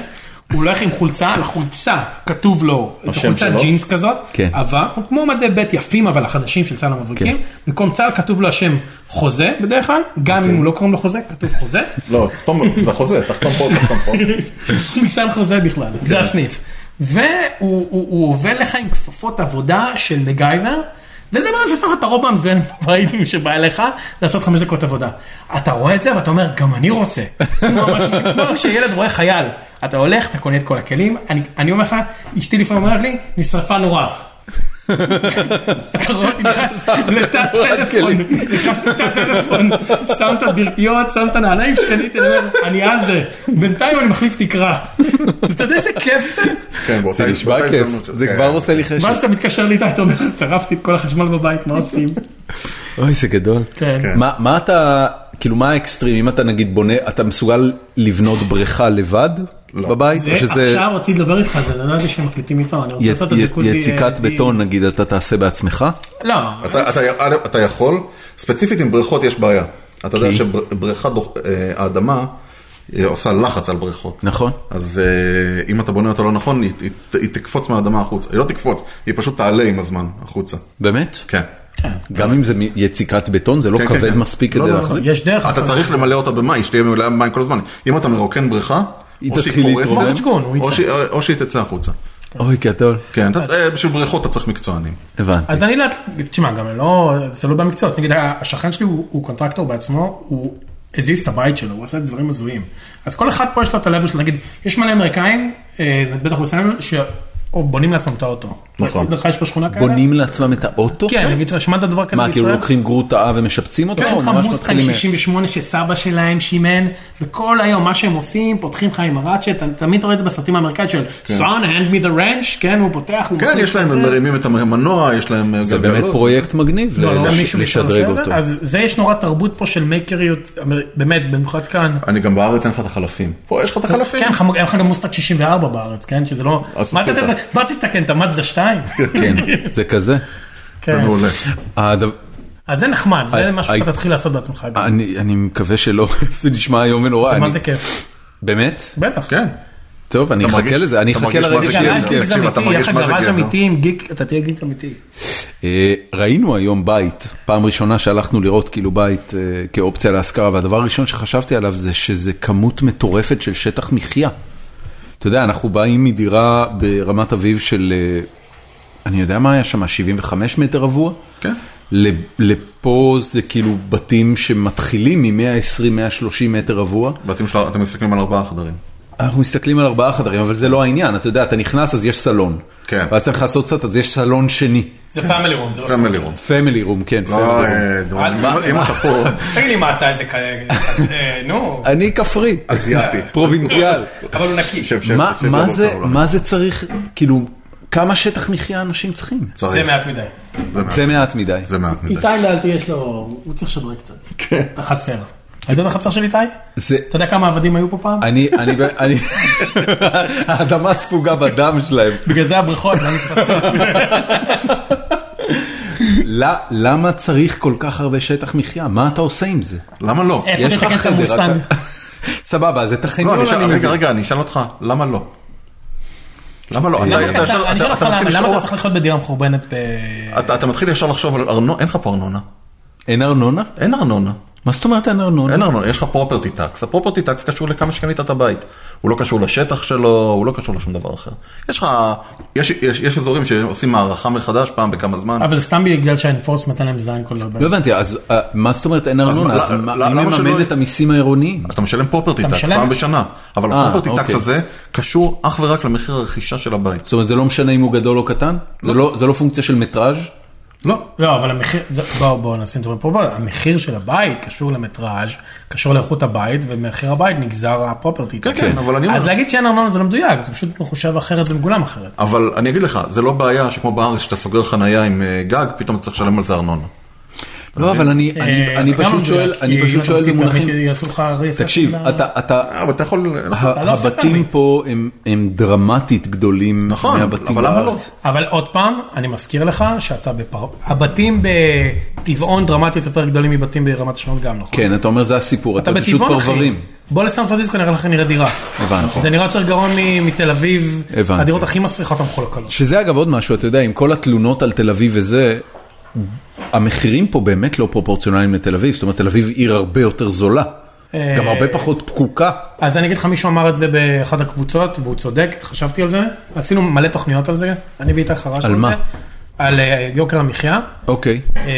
[SPEAKER 4] הוא הולך עם חולצה, על החולצה כתוב לו, זו
[SPEAKER 2] השם
[SPEAKER 4] חולצה
[SPEAKER 2] שלו?
[SPEAKER 4] ג'ינס כזאת,
[SPEAKER 1] כן.
[SPEAKER 4] אבל כמו מדי ב' יפים אבל החדשים של צה"ל המבריקים,
[SPEAKER 1] כן.
[SPEAKER 4] במקום צה"ל כתוב לו השם חוזה בדרך כלל, גם אם הוא לא קוראים לו חוזה, כתוב חוזה,
[SPEAKER 2] לא, תחתום, זה חוזה, תחתום פה, תחתום פה.
[SPEAKER 4] הוא מסיים חוזה בכלל, זה הסניף. והוא הוא- הוא עובד לך עם כפפות עבודה של מגייבר, וזה בן אדם ששם לך את הרובע המזוין בבית שבא אליך לעשות חמש דקות עבודה. אתה רואה את זה ואתה אומר, גם אני רוצה. כמו ממש- כמו שילד רואה חייל. אתה הולך, אתה קונה את כל הכלים, אני- אני אומר לך, אשתי לפעמים אומרת לי, נשרפה נורא. אתה רואה אותי נכנס לתא טלפון, נכנס לתא טלפון, שם את הברכיות, שם את הנעליים שקניתי, אני אומר, אני על זה, בינתיים אני מחליף תקרה. אתה יודע איזה כיף זה?
[SPEAKER 2] כן, באותה
[SPEAKER 1] זה נשמע
[SPEAKER 2] באותה
[SPEAKER 1] כיף,
[SPEAKER 2] הזדמנות.
[SPEAKER 1] זה
[SPEAKER 2] כן.
[SPEAKER 1] כבר עושה לי חשק.
[SPEAKER 4] ואז אתה מתקשר לי איתה, אתה אומר, שרפתי את כל החשמל בבית, מה עושים?
[SPEAKER 1] אוי, זה גדול.
[SPEAKER 4] כן.
[SPEAKER 1] מה מה אתה, כאילו, מה האקסטרים? אם אתה נגיד בונה, אתה מסוגל לבנות בריכה לבד
[SPEAKER 2] לא.
[SPEAKER 1] בבית? או שזה
[SPEAKER 4] עכשיו רציתי לדבר איתך על זה, לא ידעתי שמקליטים איתו, אני רוצה
[SPEAKER 1] י-
[SPEAKER 4] לעשות את אה,
[SPEAKER 1] י-
[SPEAKER 4] הדיקוזי.
[SPEAKER 1] יציקת בטון, נגיד, אתה תעשה בעצמך?
[SPEAKER 4] לא,
[SPEAKER 2] אתה- אתה- אתה יכול, ספציפית עם בריכות יש בעיה. אתה יודע שבריכה, דוח- אה, האדמה אה, עושה לחץ על בריכות.
[SPEAKER 1] נכון.
[SPEAKER 2] אז אה, אם אתה בונה אותה לא נכון, היא- היא- היא תקפוץ מהאדמה החוצה. היא לא תקפוץ, היא פשוט תעלה עם הזמן החוצה.
[SPEAKER 1] באמת?
[SPEAKER 2] כן.
[SPEAKER 1] גם אם זה מ- יציקת בטון, זה לא
[SPEAKER 2] כן, כן,
[SPEAKER 1] כבד
[SPEAKER 2] כן.
[SPEAKER 1] מספיק
[SPEAKER 2] לא,
[SPEAKER 1] כדי
[SPEAKER 2] לא,
[SPEAKER 1] להחזיק?
[SPEAKER 4] יש דרך.
[SPEAKER 2] אתה
[SPEAKER 4] לעשות-
[SPEAKER 2] צריך למלא אותה במים, שתהיה מלאה במים כל הזמן. אם אתה מרוקן בריכה,
[SPEAKER 1] היא
[SPEAKER 2] או שהיא
[SPEAKER 1] תתחיל
[SPEAKER 2] קורסת,
[SPEAKER 1] להתרומם.
[SPEAKER 4] כמו חצ'קון, הוא
[SPEAKER 2] או
[SPEAKER 4] יצא.
[SPEAKER 2] שהיא- אה, או שהיא תצא החוצה.
[SPEAKER 1] אוי, גדול.
[SPEAKER 2] כן, אתה- אה, בשביל בריכות אתה צריך מקצוענים.
[SPEAKER 1] הבנתי.
[SPEAKER 4] אז אני לא, תשמע, גם לא, זה תלוי במקצועות, נגיד השכן שלי הוא, הוא קונטרקטור בעצמו, הוא הזיז את הבית שלו, הוא עשה דברים הזויים. אז כל אחד פה יש לו את הלב שלו, נגיד, יש מלא אמריקאים, אה, בטח בסנאבל, שבונים לעצמם את האוטו.
[SPEAKER 2] נכון.
[SPEAKER 4] לך יש בשכונה כאלה?
[SPEAKER 1] בונים לעצמם את האוטו?
[SPEAKER 4] כן, נגיד, שמעת דבר כזה
[SPEAKER 1] מה, כאילו
[SPEAKER 4] בישראל? כן,
[SPEAKER 1] לוקחים גרוטאה ומשפצים אותו?
[SPEAKER 4] יש
[SPEAKER 1] או
[SPEAKER 4] לך
[SPEAKER 1] ממש
[SPEAKER 4] מוסטנג
[SPEAKER 1] מתחילים-
[SPEAKER 4] 68 שסבא שלהם שימן, וכל היום מה שהם עושים, פותחים לך עם הראצ'ט, אתה תמיד רואה את זה בסרטים האמריקאים של
[SPEAKER 1] כן.
[SPEAKER 4] son hand me the wrench, כן, הוא פותח, הוא
[SPEAKER 2] כן,
[SPEAKER 4] מחליף
[SPEAKER 2] יש להם,
[SPEAKER 4] את
[SPEAKER 2] הם
[SPEAKER 4] זה.
[SPEAKER 2] מרימים את המנוע, יש להם אה,
[SPEAKER 1] זה באמת
[SPEAKER 2] גלגלות.
[SPEAKER 1] פרויקט מגניב
[SPEAKER 4] לא, לא,
[SPEAKER 1] אה, לש-
[SPEAKER 4] מישהו
[SPEAKER 1] לשדרג
[SPEAKER 4] שעושה את זה.
[SPEAKER 1] אותו.
[SPEAKER 4] אז זה יש נורא תרבות פה של מייקריות, אמר- באמת, במיוחד כאן.
[SPEAKER 2] אני גם בארץ אין לך את החלפים. פה יש לך את החלפים.
[SPEAKER 4] כן, חמ- אין לך גם מוסטג 64 בארץ, כן? שזה לא...
[SPEAKER 2] אז
[SPEAKER 4] מה
[SPEAKER 2] עושים
[SPEAKER 4] אתה-
[SPEAKER 2] את ה-
[SPEAKER 4] מה תתקן את המאזדה 2?
[SPEAKER 1] כן, זה כזה. אה,
[SPEAKER 2] זה
[SPEAKER 4] כן.
[SPEAKER 2] מעולה.
[SPEAKER 1] הדבר-
[SPEAKER 4] אז זה נחמד,
[SPEAKER 1] I-
[SPEAKER 4] זה משהו
[SPEAKER 1] I-
[SPEAKER 4] שאתה תתחיל לעשות בעצמך. גם.
[SPEAKER 1] אה, אני אני מקווה שלא, זה נשמע איום ונורא.
[SPEAKER 4] זה מה
[SPEAKER 1] אני-
[SPEAKER 4] זה כיף,
[SPEAKER 1] באמת?
[SPEAKER 4] בטח.
[SPEAKER 2] כן.
[SPEAKER 1] טוב, אני
[SPEAKER 2] אתה
[SPEAKER 1] אחכה
[SPEAKER 2] מרגיש-
[SPEAKER 1] לזה, אני
[SPEAKER 2] אתה
[SPEAKER 1] אחכה
[SPEAKER 2] מרגיש
[SPEAKER 1] לרגע
[SPEAKER 2] מה זה
[SPEAKER 1] שיהיה לי
[SPEAKER 4] גראז'
[SPEAKER 2] גבר?
[SPEAKER 1] כיף.
[SPEAKER 4] גיג
[SPEAKER 2] תקשיב, אתה
[SPEAKER 4] אמיתי,
[SPEAKER 2] מרגיש
[SPEAKER 4] יהיה לך
[SPEAKER 2] מה זה
[SPEAKER 4] גראז'
[SPEAKER 2] גבר.
[SPEAKER 4] אמיתי עם גיק, אתה תהיה גיק אמיתי.
[SPEAKER 1] אה, ראינו היום בית, פעם ראשונה שהלכנו לראות כאילו בית אה, כאופציה להשכרה, והדבר הראשון שחשבתי עליו זה שזה כמות מטורפת של שטח מחיה. אתה יודע, אנחנו באים מדירה ברמת אביב של, אה, אני יודע מה היה שם, 75 מטר רבוע?
[SPEAKER 2] כן.
[SPEAKER 1] ל- לפה זה כאילו בתים שמתחילים מ-120-130 מטר רבוע.
[SPEAKER 2] בתים שלה, אתם מסתכלים על ארבעה חדרים.
[SPEAKER 1] אנחנו מסתכלים על ארבעה חדרים, אבל זה לא העניין, אתה יודע, אתה נכנס אז יש סלון.
[SPEAKER 2] כן.
[SPEAKER 1] ואז אתה נכנס עוד קצת אז יש סלון שני.
[SPEAKER 4] זה פאמילי רום, זה לא...
[SPEAKER 2] פמילי רום.
[SPEAKER 1] פמילי רום, כן, פמילי
[SPEAKER 2] לא,
[SPEAKER 1] רום.
[SPEAKER 2] אה, דורון,
[SPEAKER 4] אל
[SPEAKER 2] אם-
[SPEAKER 4] תשמע.
[SPEAKER 2] אם אתה פה,
[SPEAKER 4] תגיד לי מה אתה איזה כאלה, נו,
[SPEAKER 1] אני כפרי,
[SPEAKER 2] אסיאתי.
[SPEAKER 1] פרובינציאל.
[SPEAKER 4] אבל הוא נקי.
[SPEAKER 2] שב, שב,
[SPEAKER 1] מה-
[SPEAKER 2] שב,
[SPEAKER 1] מה
[SPEAKER 2] לא,
[SPEAKER 1] זה-
[SPEAKER 2] לא, לא, לא.
[SPEAKER 1] מה זה צריך, כאילו, כמה שטח מחיה אנשים צריכים?
[SPEAKER 2] צריך.
[SPEAKER 4] זה מעט מדי.
[SPEAKER 2] זה מעט.
[SPEAKER 1] זה מעט מדי.
[SPEAKER 2] זה מעט מדי.
[SPEAKER 9] איתי לדעתי יש לו, הוא צריך לשדרג קצת.
[SPEAKER 2] כן.
[SPEAKER 4] החצר. אתה יודע את החצר של איתי?
[SPEAKER 1] זה...
[SPEAKER 4] אתה יודע כמה עבדים היו פה פעם?
[SPEAKER 1] אני, אני, ב- אני, האדמה ספוגה בדם שלהם.
[SPEAKER 4] בגלל זה הבריכות לא נתפסות.
[SPEAKER 1] ל- למה צריך כל כך הרבה שטח מחיה? מה אתה עושה עם זה?
[SPEAKER 2] למה לא?
[SPEAKER 4] איפה
[SPEAKER 1] יש לך
[SPEAKER 4] תתקן את
[SPEAKER 1] חדר,
[SPEAKER 4] המוסטנג?
[SPEAKER 1] אתה- סבבה, אז את
[SPEAKER 2] לא,
[SPEAKER 1] החניון
[SPEAKER 2] אני אשאל,
[SPEAKER 1] אני
[SPEAKER 2] רגע,
[SPEAKER 1] מבין.
[SPEAKER 2] רגע, אני אשאל אותך, למה לא? למה לא?
[SPEAKER 4] למה
[SPEAKER 2] אתה- אתה
[SPEAKER 4] אתה-
[SPEAKER 2] ישר-
[SPEAKER 4] אני
[SPEAKER 2] אתה-
[SPEAKER 4] שואל אותך
[SPEAKER 2] אתה מתחיל
[SPEAKER 4] למה למה
[SPEAKER 2] לשאול-
[SPEAKER 4] אתה צריך לחיות בדירה מחורבנת ב...
[SPEAKER 2] אתה אתה מתחיל ישר לחשוב על ארנונה, אין לך פה ארנונה.
[SPEAKER 1] אין ארנונה?
[SPEAKER 2] אין ארנונה.
[SPEAKER 1] מה זאת אומרת אין ארנונה?
[SPEAKER 2] אין ארנונה, יש לך פרופרטי טקס, הפרופרטי טקס קשור לכמה שקנית את הבית. הוא לא קשור לשטח שלו, הוא לא קשור לשום דבר אחר. יש לך, יש- יש יש אזורים שעושים הערכה מחדש פעם בכמה זמן.
[SPEAKER 4] אבל סתם בגלל שהאינפורסמנט אין להם זין כל דבר.
[SPEAKER 1] לא הבנתי, אז אה, מה זאת אומרת אין ארנונה?
[SPEAKER 2] מה-
[SPEAKER 1] אז
[SPEAKER 2] ל-
[SPEAKER 1] מה-
[SPEAKER 2] ל-
[SPEAKER 1] מי
[SPEAKER 2] למה שלא-
[SPEAKER 1] מממן את המיסים העירוניים?
[SPEAKER 2] אתה משלם פרופרטי
[SPEAKER 4] אתה
[SPEAKER 2] טקס
[SPEAKER 4] משלם?
[SPEAKER 2] פעם בשנה, אבל
[SPEAKER 1] אה,
[SPEAKER 2] הפרופרטי טקס
[SPEAKER 1] אוקיי.
[SPEAKER 2] הזה קשור אך ורק למחיר הרכישה של הבית.
[SPEAKER 1] זאת אומרת, זה לא משנה אם הוא גדול או קטן? זה לא- זה לא פונקציה של מטראז'?
[SPEAKER 2] לא.
[SPEAKER 4] לא, אבל המחיר, בואו בואו נשים את זה פה, בואו, המחיר של הבית קשור למטראז', קשור לאיכות הבית, ומחיר הבית נגזר הפרופרטי.
[SPEAKER 2] כן, כן, אבל אני
[SPEAKER 4] אז
[SPEAKER 2] אומר,
[SPEAKER 4] להגיד שאין ארנונה זה לא מדויק, זה פשוט מחושב אחרת ומגולם אחרת.
[SPEAKER 2] אבל אני אגיד לך, זה לא בעיה שכמו בארץ שאתה סוגר חנייה עם אה, גג, פתאום אתה צריך לשלם על זה ארנונה.
[SPEAKER 1] לא, אבל אני- אני
[SPEAKER 4] אה,
[SPEAKER 1] אני
[SPEAKER 4] זה גם לא
[SPEAKER 1] פשוט
[SPEAKER 4] מדויק,
[SPEAKER 1] שואל,
[SPEAKER 4] כי
[SPEAKER 1] אני
[SPEAKER 4] אם
[SPEAKER 1] פשוט
[SPEAKER 4] אתה
[SPEAKER 1] שואל
[SPEAKER 4] מוציא
[SPEAKER 1] במונחים...
[SPEAKER 4] פרמיט, יעשו לך ריסט
[SPEAKER 1] תקשיב,
[SPEAKER 4] ל-
[SPEAKER 1] אתה, אתה,
[SPEAKER 2] אה, אבל אתה יכול...
[SPEAKER 1] ה-
[SPEAKER 4] לא עושה
[SPEAKER 1] הבתים
[SPEAKER 4] פרמיט.
[SPEAKER 1] פה הם- הם דרמטית גדולים
[SPEAKER 2] נכון,
[SPEAKER 1] מהבתים
[SPEAKER 2] אבל למה לא?
[SPEAKER 1] בארץ.
[SPEAKER 4] אבל עוד פעם, אני מזכיר לך שאתה בפר... הבתים בטבעון דרמטית יותר גדולים מבתים ברמת השרון גם, נכון?
[SPEAKER 1] כן, אתה אומר זה הסיפור, אתה
[SPEAKER 4] אתה
[SPEAKER 1] פשוט
[SPEAKER 4] בטבעון אחי.
[SPEAKER 1] פרברים.
[SPEAKER 4] בוא לסן פרנסיסקו נראה לך נראה דירה.
[SPEAKER 1] הבנתי.
[SPEAKER 4] זה נראה יותר גרוע מ- מתל אביב.
[SPEAKER 1] הבנתי.
[SPEAKER 4] הדירות הכי מסריחות המחולקלות.
[SPEAKER 1] שזה אגב עוד משהו, אתה יודע, עם כל התלונות על תל אביב וזה, המחירים פה באמת לא פרופורציונליים לתל אביב, זאת אומרת, תל אביב עיר הרבה יותר זולה.
[SPEAKER 4] אה,
[SPEAKER 1] גם הרבה פחות פקוקה.
[SPEAKER 4] אז אני אגיד לך, מישהו אמר את זה באחד הקבוצות, והוא צודק, חשבתי על זה. עשינו מלא תוכניות על זה, אני ואיתך חרשנו
[SPEAKER 1] על
[SPEAKER 4] על
[SPEAKER 1] מה?
[SPEAKER 4] זה. על אה, יוקר המחיה.
[SPEAKER 1] אוקיי.
[SPEAKER 4] אה,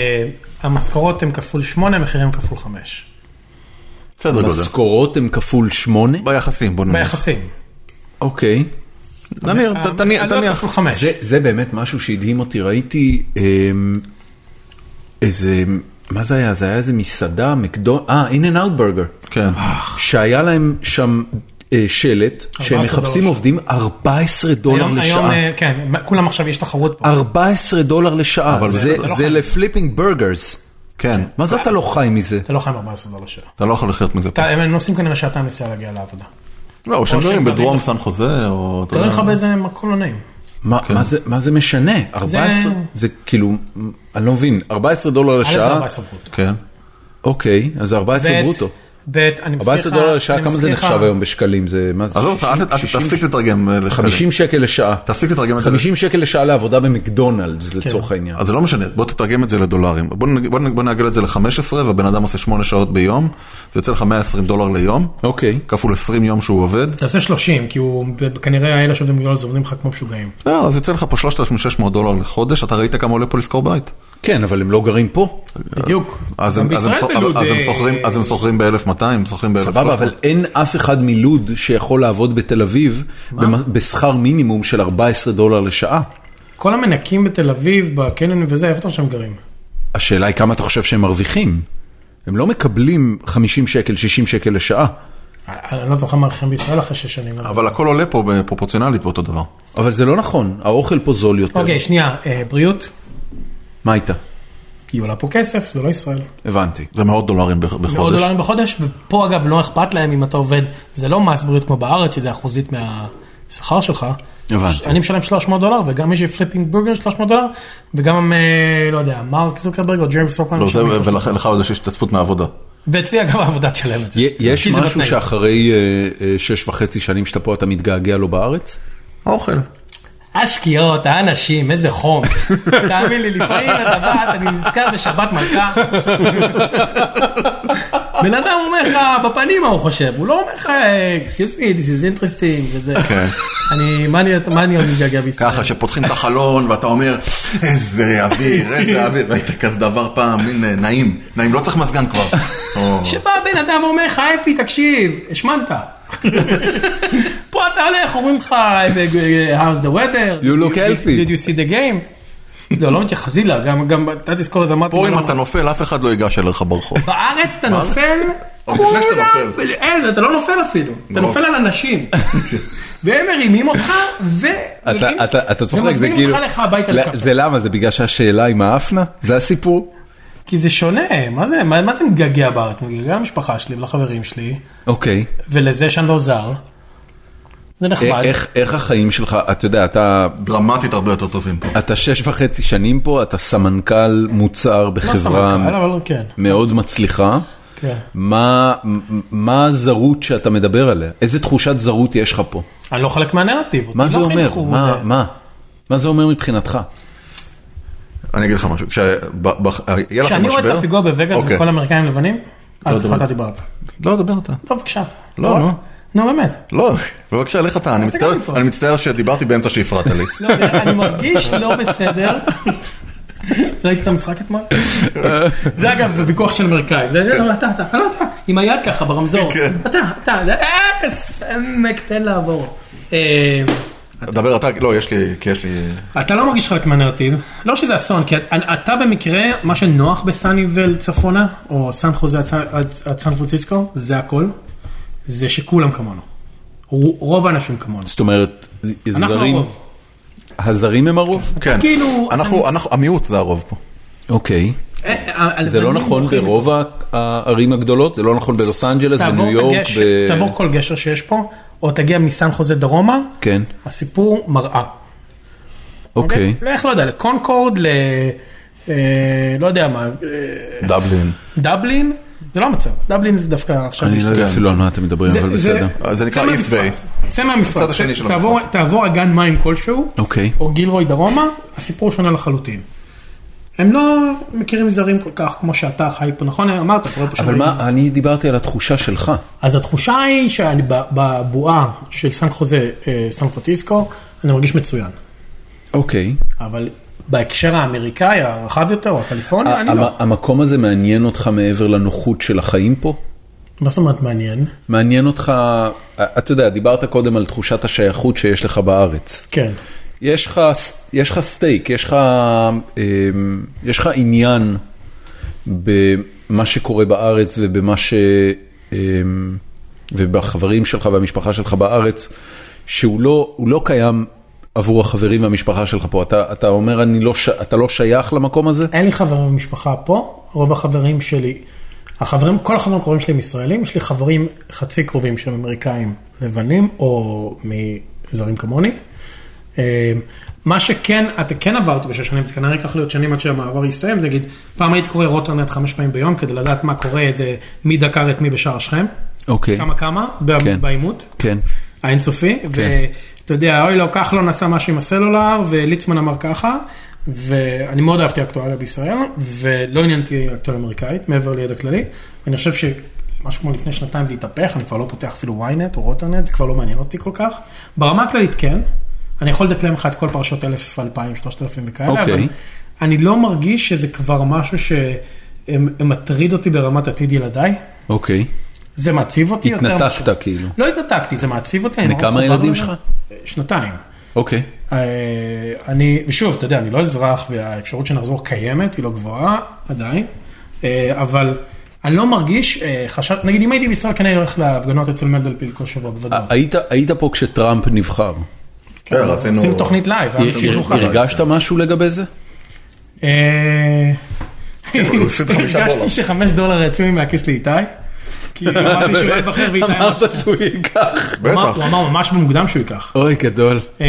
[SPEAKER 4] המשכורות הן כפול 8, המחירים כפול 5.
[SPEAKER 2] בסדר גודל.
[SPEAKER 1] משכורות הם כפול שמונה?
[SPEAKER 2] ביחסים, בוא נניח.
[SPEAKER 4] ביחסים.
[SPEAKER 1] אוקיי.
[SPEAKER 2] נניח, ת- תניח,
[SPEAKER 4] העלויות
[SPEAKER 2] תניח.
[SPEAKER 4] כפול 5.
[SPEAKER 1] זה, זה באמת משהו שהדהים אותי, ראיתי אמ, איזה, מה זה היה? זה היה איזה מסעדה, מקדונלד, אה, אין אנד אאוטברגר,
[SPEAKER 2] כן.
[SPEAKER 1] שהיה להם שם אה, שלט, שהם
[SPEAKER 4] 14
[SPEAKER 1] מחפשים
[SPEAKER 4] דולר.
[SPEAKER 1] עובדים 14 דולר
[SPEAKER 4] היום, היום,
[SPEAKER 1] לשעה.
[SPEAKER 4] אה, כן, מה- כולם עכשיו יש תחרות
[SPEAKER 2] אה.
[SPEAKER 4] פה.
[SPEAKER 1] 14 דולר לשעה,
[SPEAKER 2] אבל
[SPEAKER 1] זה-
[SPEAKER 2] אתה
[SPEAKER 4] לא
[SPEAKER 1] זה
[SPEAKER 4] חייב.
[SPEAKER 1] לפליפינג ברגרס.
[SPEAKER 2] כן.
[SPEAKER 1] מה זה אתה לא חי מזה?
[SPEAKER 4] אתה לא חייב 14 דולר לשעה.
[SPEAKER 2] אתה לא יכול לחיות מזה.
[SPEAKER 4] אתה- הם נוסעים כנראה שעתיים נסיעה להגיע לעבודה.
[SPEAKER 2] לא, או שהם
[SPEAKER 4] או
[SPEAKER 2] גרים
[SPEAKER 4] שהם
[SPEAKER 2] בדרום
[SPEAKER 4] גרים
[SPEAKER 2] סן חוזה, או... אתה
[SPEAKER 4] תראה
[SPEAKER 2] יודע.
[SPEAKER 4] לך באיזה מקום לא נעים.
[SPEAKER 1] מה מה זה- מה זה משנה? 14, זה כאילו, אני לא מבין, 14 דולר
[SPEAKER 4] א' זה
[SPEAKER 1] לשעה,
[SPEAKER 4] 14 ברוטו.
[SPEAKER 2] כן.
[SPEAKER 1] אוקיי, אז 14
[SPEAKER 4] ב',
[SPEAKER 1] ברוטו.
[SPEAKER 3] ב', אני מזכיר לך...
[SPEAKER 1] 14 דולר לשעה,
[SPEAKER 3] אני
[SPEAKER 1] כמה זה
[SPEAKER 3] מזכיר לך-
[SPEAKER 1] נחשב היום בשקלים? זה מה זה?
[SPEAKER 2] עזוב אותך, אל ת- אל ת-
[SPEAKER 1] 60
[SPEAKER 2] תפסיק לתרגם אה, לשקלים.
[SPEAKER 1] 50 שקל לשעה.
[SPEAKER 2] תפסיק לתרגם את זה.
[SPEAKER 1] 50 שקל לשעה לעבודה
[SPEAKER 3] כן.
[SPEAKER 1] במקדונלדס לצורך העניין.
[SPEAKER 2] אז זה לא משנה, בוא תתרגם את זה לדולרים. בוא, נג- בוא, נג- בוא נעגל את זה ל-15 והבן אדם עושה 8 שעות ביום, זה יוצא לך 120 דולר ליום,
[SPEAKER 1] אוקיי.
[SPEAKER 2] כפול 20 יום שהוא עובד,
[SPEAKER 3] תעשה 30, כי הוא כנראה האלה שעובדים בגלל זה עובדים לך כמו משוגעים.
[SPEAKER 2] זהו, לא, אז יוצא לך פה 3,600 דולר לחודש, אתה ראית כמה עולה פה לשכור בית.
[SPEAKER 1] כן, אבל הם לא גרים פה.
[SPEAKER 3] בדיוק.
[SPEAKER 2] אה, אז
[SPEAKER 3] גם
[SPEAKER 2] הם- אז הם
[SPEAKER 3] בישראל
[SPEAKER 2] סוח-
[SPEAKER 3] בלוד,
[SPEAKER 2] אז הם
[SPEAKER 3] אה,
[SPEAKER 2] סוחרים- אז הם סוחרים ב-1,200, הם סוחרים ב-1,300.
[SPEAKER 1] סבבה, אבל אין אף אחד מלוד שיכול לעבוד בתל אביב במ- בשכר מינימום של 14 דולר לשעה.
[SPEAKER 3] כל המנקים בתל אביב, בקניונים וזה, איפה אתה חושב שהם גרים?
[SPEAKER 1] השאלה היא כמה אתה חושב שהם מרוויחים. הם לא מקבלים 50 שקל, 60 שקל לשעה,
[SPEAKER 3] אני אני לא זוכר מה הולכים בישראל אחרי שש שנים.
[SPEAKER 2] אבל הכל עולה פה בפרופורציונלית באותו דבר.
[SPEAKER 1] אבל זה לא נכון, האוכל פה זול יותר.
[SPEAKER 3] אוקיי, שנייה, אה, בריאות,
[SPEAKER 1] מה הייתה?
[SPEAKER 3] היא עולה פה כסף, זה לא ישראל.
[SPEAKER 1] הבנתי.
[SPEAKER 2] זה מאות דולרים בח-
[SPEAKER 4] מאות
[SPEAKER 2] בחודש.
[SPEAKER 4] דולרים בחודש, ופה אגב לא אכפת להם אם אתה עובד, זה לא מס בריאות כמו בארץ, שזה אחוזית מהשכר שלך.
[SPEAKER 1] הבנתי.
[SPEAKER 4] אני משלם 300 דולר, וגם מי שפליפינג בורגר 300 דולר, וגם, אה, לא יודע, מרק זוקרברג או ג'רמס פרופן.
[SPEAKER 2] לא, זה- ולך לך עוד יש השתתפות מהעבודה.
[SPEAKER 4] ואצלי גם העבודה תשלם את זה.
[SPEAKER 1] י- יש
[SPEAKER 4] כן. כי זה
[SPEAKER 1] משהו
[SPEAKER 4] בתנאים.
[SPEAKER 1] שאחרי אה, אה, שש וחצי שנים שאתה פה אתה מתגעגע לו בארץ?
[SPEAKER 2] אוכל.
[SPEAKER 4] השקיעות, האנשים, איזה חום. תאמין לי, לפעמים אתה בא, אני נזכר בשבת מלכה. בן אדם אומר לך בפנים מה הוא חושב, הוא לא אומר לך, excuse me, this is interesting, וזה.
[SPEAKER 2] כן.
[SPEAKER 4] אני, מה אני- מה אני עוד מתגעגע בישראל?
[SPEAKER 2] ככה שפותחים את החלון ואתה אומר איזה אוויר, איזה אוויר, ראית כזה דבר פעם, הנה, נעים, נעים, לא צריך מזגן כבר. או,
[SPEAKER 4] שבא בן אדם ואומר לך, אפי, תקשיב, השמנת. פה אתה הולך, אומרים לך, how's the weather?
[SPEAKER 1] You look healthy.
[SPEAKER 4] Did you see the game? לא, לא מתייחס, חזילה, גם, גם, אתה תזכור את זה, אמרתי.
[SPEAKER 2] פה
[SPEAKER 4] לא,
[SPEAKER 2] אם אתה נופל אף אחד לא ייגש אליך ברחוב.
[SPEAKER 4] בארץ אתה נופל,
[SPEAKER 2] עוד לפני שאתה
[SPEAKER 4] כולם-
[SPEAKER 2] נופל.
[SPEAKER 4] אין, אתה לא נופל אפילו, אתה
[SPEAKER 2] ברור.
[SPEAKER 4] נופל על אנשים. והם מרימים אותך, ו...
[SPEAKER 1] אתה- אתה אתה צוחק, זה
[SPEAKER 4] ומזמינים
[SPEAKER 1] כאילו...
[SPEAKER 4] אותך לך הביתה
[SPEAKER 1] לא,
[SPEAKER 4] לקפה.
[SPEAKER 1] זה למה? זה בגלל שהשאלה היא מה אפנה? זה הסיפור?
[SPEAKER 4] כי זה שונה, מה זה, מה מה אתה מתגעגע בארץ? אני מתגעגע למשפחה שלי ולחברים שלי,
[SPEAKER 1] אוקיי.
[SPEAKER 4] ולזה שאני לא זר. זה
[SPEAKER 1] אה,
[SPEAKER 4] נחמד.
[SPEAKER 1] איך- איך החיים שלך, אתה יודע, אתה...
[SPEAKER 2] דרמטית הרבה יותר טובים פה.
[SPEAKER 1] אתה שש וחצי שנים פה, אתה סמנכ"ל מוצר
[SPEAKER 4] לא
[SPEAKER 1] בחברה
[SPEAKER 4] סמנכ"ל, אבל כן,
[SPEAKER 1] מאוד מצליחה.
[SPEAKER 4] כן.
[SPEAKER 1] מה, מ- מה הזרות שאתה מדבר עליה? איזה תחושת זרות יש לך פה?
[SPEAKER 4] אני לא חלק מהנרטיב. אותי
[SPEAKER 1] מה
[SPEAKER 4] לא
[SPEAKER 1] זה אומר?
[SPEAKER 4] חינכו,
[SPEAKER 1] מה,
[SPEAKER 4] אה,
[SPEAKER 1] מה? מה זה אומר מבחינתך?
[SPEAKER 2] אני אגיד לך משהו, כשיהיה אה, לך
[SPEAKER 4] כשאני
[SPEAKER 2] משבר...
[SPEAKER 4] רואה את הפיגוע בווגאס
[SPEAKER 2] אוקיי.
[SPEAKER 4] וכל האמריקאים לבנים,
[SPEAKER 2] לא
[SPEAKER 4] אז
[SPEAKER 2] יודע.
[SPEAKER 4] סליחה, אתה דיברת.
[SPEAKER 2] לא, דבר אתה.
[SPEAKER 4] לא, בבקשה.
[SPEAKER 2] לא, נו.
[SPEAKER 4] נו, באמת.
[SPEAKER 2] לא, בבקשה, לך אתה, אני מצטער-
[SPEAKER 4] מפה.
[SPEAKER 2] אני מצטער שדיברתי באמצע שהפרעת לי.
[SPEAKER 4] לא יודע, אני מרגיש לא בסדר. ראית את המשחק אתמול? זה אגב זה ויכוח של אמריקאים, זה לא אתה, אתה, לא אתה, עם היד ככה ברמזור,
[SPEAKER 2] כן.
[SPEAKER 4] אתה, אתה, אפס, עמק, תן לעבור. אה,
[SPEAKER 2] דבר אתה, לא, יש לי, כי יש לי...
[SPEAKER 4] אתה לא מרגיש חלק מהנרטיב, לא שזה אסון, כי אתה במקרה, מה שנוח בסאניבל צפונה, או סן חוזה עד סן- עד עד סן פרנסיסקו, זה הכל, זה שכולם כמונו, רוב האנשים כמונו,
[SPEAKER 1] זאת אומרת,
[SPEAKER 4] אנחנו
[SPEAKER 1] זרים,
[SPEAKER 4] הרוב.
[SPEAKER 1] הזרים הם הרוב?
[SPEAKER 2] כן.
[SPEAKER 4] כאילו-
[SPEAKER 2] אנחנו, אנחנו, המיעוט זה הרוב פה.
[SPEAKER 1] אוקיי.
[SPEAKER 4] אה, אה,
[SPEAKER 1] זה לא
[SPEAKER 4] הלבנים
[SPEAKER 1] נכון
[SPEAKER 4] מוחים
[SPEAKER 1] ברוב ה- הערים הגדולות? זה לא נכון בלוס אנג'לס,
[SPEAKER 4] תעבור
[SPEAKER 1] בניו
[SPEAKER 4] את
[SPEAKER 1] יורק?
[SPEAKER 4] הגשר,
[SPEAKER 1] ב-
[SPEAKER 4] תעבור כל גשר שיש פה, או תגיע מסן חוזה דרומה,
[SPEAKER 1] כן,
[SPEAKER 4] הסיפור מראה.
[SPEAKER 1] אוקיי.
[SPEAKER 4] לך, לא יודע, לקונקורד, ל... אה, לא יודע מה, אה,
[SPEAKER 2] דבלין.
[SPEAKER 4] דבלין, זה לא המצב, דבלין זה דווקא עכשיו...
[SPEAKER 1] אני לא יודע
[SPEAKER 2] כן.
[SPEAKER 1] אפילו על מה אתם מדברים, אבל בסדר.
[SPEAKER 2] זה נקרא
[SPEAKER 4] צא
[SPEAKER 2] East
[SPEAKER 4] מהמפרץ,
[SPEAKER 2] Bay.
[SPEAKER 4] צא מהמפרץ,
[SPEAKER 2] הצד השני של
[SPEAKER 4] תעבור-
[SPEAKER 2] המפרץ.
[SPEAKER 4] תעבור אגן מים כלשהו,
[SPEAKER 1] אוקיי.
[SPEAKER 4] או גילרוי דרומה, הסיפור שונה לחלוטין. הם לא מכירים זרים כל כך כמו שאתה חי פה, נכון? אמרת, אתה רואה פה
[SPEAKER 1] אבל
[SPEAKER 4] שם-
[SPEAKER 1] מה, אני דיברתי על התחושה שלך.
[SPEAKER 4] אז התחושה היא שאני ב- בבועה של סן חוזה, אה, סן פרנסיסקו, אני מרגיש מצוין.
[SPEAKER 1] אוקיי.
[SPEAKER 4] אבל בהקשר האמריקאי הרחב יותר, או הקליפורני,
[SPEAKER 1] ה-
[SPEAKER 4] אני לא.
[SPEAKER 1] המ- המקום הזה מעניין אותך מעבר לנוחות של החיים פה?
[SPEAKER 4] מה זאת אומרת מעניין?
[SPEAKER 1] מעניין אותך, אתה יודע, דיברת קודם על תחושת השייכות שיש לך בארץ.
[SPEAKER 4] כן.
[SPEAKER 1] יש לך, יש לך סטייק, יש לך, אמ, יש לך עניין במה שקורה בארץ ובמה ש... אמ, ובחברים שלך והמשפחה שלך בארץ, שהוא לא, הוא לא קיים עבור החברים והמשפחה שלך פה. אתה, אתה אומר, אני לא, ש- אתה לא שייך למקום הזה?
[SPEAKER 4] אין לי חברים במשפחה פה, רוב החברים שלי, החברים, כל החברים הקרובים שלי הם ישראלים, יש לי חברים חצי קרובים שהם אמריקאים לבנים, או מזרים כמוני. אה, מה שכן, אתה כן עברת בשש שנים, זה כנראה ייקח לי עוד שנים עד שהמעבר יסתיים, זה נגיד, פעם הייתי קורא רוטרנט חמש פעמים ביום כדי לדעת מה קורה, איזה, מי דקר את מי בשער שכם,
[SPEAKER 1] אוקיי,
[SPEAKER 4] כמה כמה, ב-
[SPEAKER 1] כן.
[SPEAKER 4] בעימות,
[SPEAKER 1] כן.
[SPEAKER 4] האינסופי,
[SPEAKER 1] כן.
[SPEAKER 4] ואתה יודע, אוי לו, כחלון עשה משהו עם הסלולר, וליצמן אמר ככה, ואני מאוד אהבתי אקטואליה בישראל, ולא עניין אותי אקטואליה אמריקאית, מעבר לידע כללי. אני חושב שמשהו כמו לפני שנתיים זה התהפך, אני כבר לא פותח אפילו ynet או רוטרנט, זה כבר לא מעניין אותי כל כך. ברמה הכללית כן, אני יכול לדקלם לך את כל פרשות 1000, 2000, 3000 וכאלה,
[SPEAKER 1] אוקיי.
[SPEAKER 4] אבל אני לא מרגיש שזה כבר משהו שמטריד אותי ברמת עתיד ילדיי.
[SPEAKER 1] אוקיי.
[SPEAKER 4] זה מעציב אותי יותר.
[SPEAKER 1] התנתקת כאילו.
[SPEAKER 4] לא התנתקתי, זה מעציב אותי. אני
[SPEAKER 1] בני כמה
[SPEAKER 4] נורא מחובר
[SPEAKER 1] ילדים
[SPEAKER 4] לזה.
[SPEAKER 1] שלך?
[SPEAKER 4] שנתיים.
[SPEAKER 1] אוקיי.
[SPEAKER 4] אה, אני, ושוב, אתה יודע, אני לא אזרח, והאפשרות שנחזור קיימת, היא לא גבוהה עדיין, אה, אבל אני לא מרגיש, אה, חשד, נגיד אם הייתי בישראל, כנראה הולך להפגנות אצל מנדלבליט כל שבוע בוודאי.
[SPEAKER 1] ה- היית- היית פה כשטראמפ נבחר.
[SPEAKER 2] כן, עשינו...
[SPEAKER 4] אה, עושים תוכנית לייב, אה,
[SPEAKER 1] הר-
[SPEAKER 4] אנשים
[SPEAKER 1] הר-
[SPEAKER 4] יוכלו.
[SPEAKER 1] הרגשת משהו לגבי זה?
[SPEAKER 4] אה,
[SPEAKER 2] הוא הפסיד חמישה דולר.
[SPEAKER 4] הרגשתי שחמש דולר יצאו לי מהכיס לאיתי, כי אמרתי שהוא לא יבחר ואיתי
[SPEAKER 1] אמרת
[SPEAKER 4] ממש-
[SPEAKER 1] שהוא ייקח.
[SPEAKER 4] הוא אמר-
[SPEAKER 2] בטח.
[SPEAKER 4] הוא אמר ממש במוקדם שהוא ייקח.
[SPEAKER 1] אוי, גדול.
[SPEAKER 4] אמ,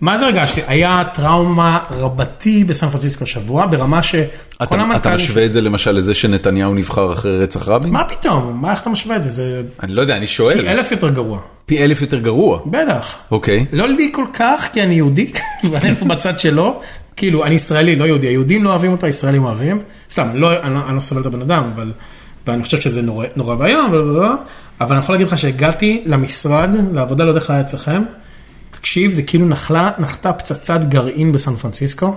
[SPEAKER 4] מה זה הרגשתי? היה טראומה רבתי בסן פרנסיסקו שבוע, ברמה שכל
[SPEAKER 1] אתה אתה משווה את זה למשל לזה שנתניהו נבחר אחרי רצח רבין?
[SPEAKER 4] מה פתאום? מה, איך אתה משווה את זה? זה
[SPEAKER 1] אני לא יודע, אני
[SPEAKER 4] פי
[SPEAKER 1] שואל.
[SPEAKER 4] אלף יותר גרוע.
[SPEAKER 1] פי אלף יותר גרוע.
[SPEAKER 4] בטח.
[SPEAKER 1] אוקיי.
[SPEAKER 4] לא לי כל כך, כי אני יהודי, ואנחנו בצד שלו. כאילו, אני ישראלי, לא יהודי. היהודים לא אוהבים אותו, הישראלים אוהבים. סתם, לא, אני לא- אני לא סובל את הבן אדם, אבל... ואני חושב שזה נורא- נורא ואיום, אבל- אבל- אבל- אבל אני יכול להגיד לך שהגעתי למשרד, לעבודה, לא יודע איך היה אצלכם. תקשיב, זה כאילו נחלה, נחתה פצצת גרעין בסן פרנסיסקו.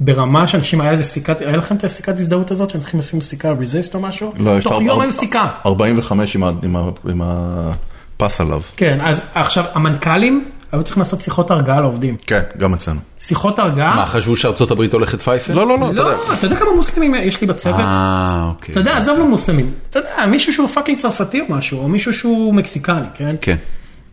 [SPEAKER 4] ברמה שאנשים, היה איזה סיכת, היה לכם את הסיכת הזדהות הזאת, שאתם הולכים לשים סיכה ריזיסט או משהו?
[SPEAKER 2] לא, יש
[SPEAKER 4] תוך
[SPEAKER 2] ארבע-
[SPEAKER 4] יום
[SPEAKER 2] ארבע-
[SPEAKER 4] היו סיכה.
[SPEAKER 2] 45 עם ה- עם ה- עם הפס עליו.
[SPEAKER 4] כן, אז עכשיו, המנכ"לים היו צריכים לעשות שיחות הרגעה לעובדים.
[SPEAKER 2] כן, גם אצלנו.
[SPEAKER 4] שיחות הרגעה?
[SPEAKER 1] מה, חשבו שארצות הברית הולכת פייפר?
[SPEAKER 2] לא, לא, לא, אתה יודע.
[SPEAKER 4] לא, אתה יודע כמה מוסלמים יש לי בצוות?
[SPEAKER 1] אה, אוקיי.
[SPEAKER 4] אתה יודע, עזוב לא מוסלמים. אתה יודע, מישהו שהוא פאקינג צרפתי או משהו, או מישהו שהוא מקסיקני, כן?
[SPEAKER 1] כן.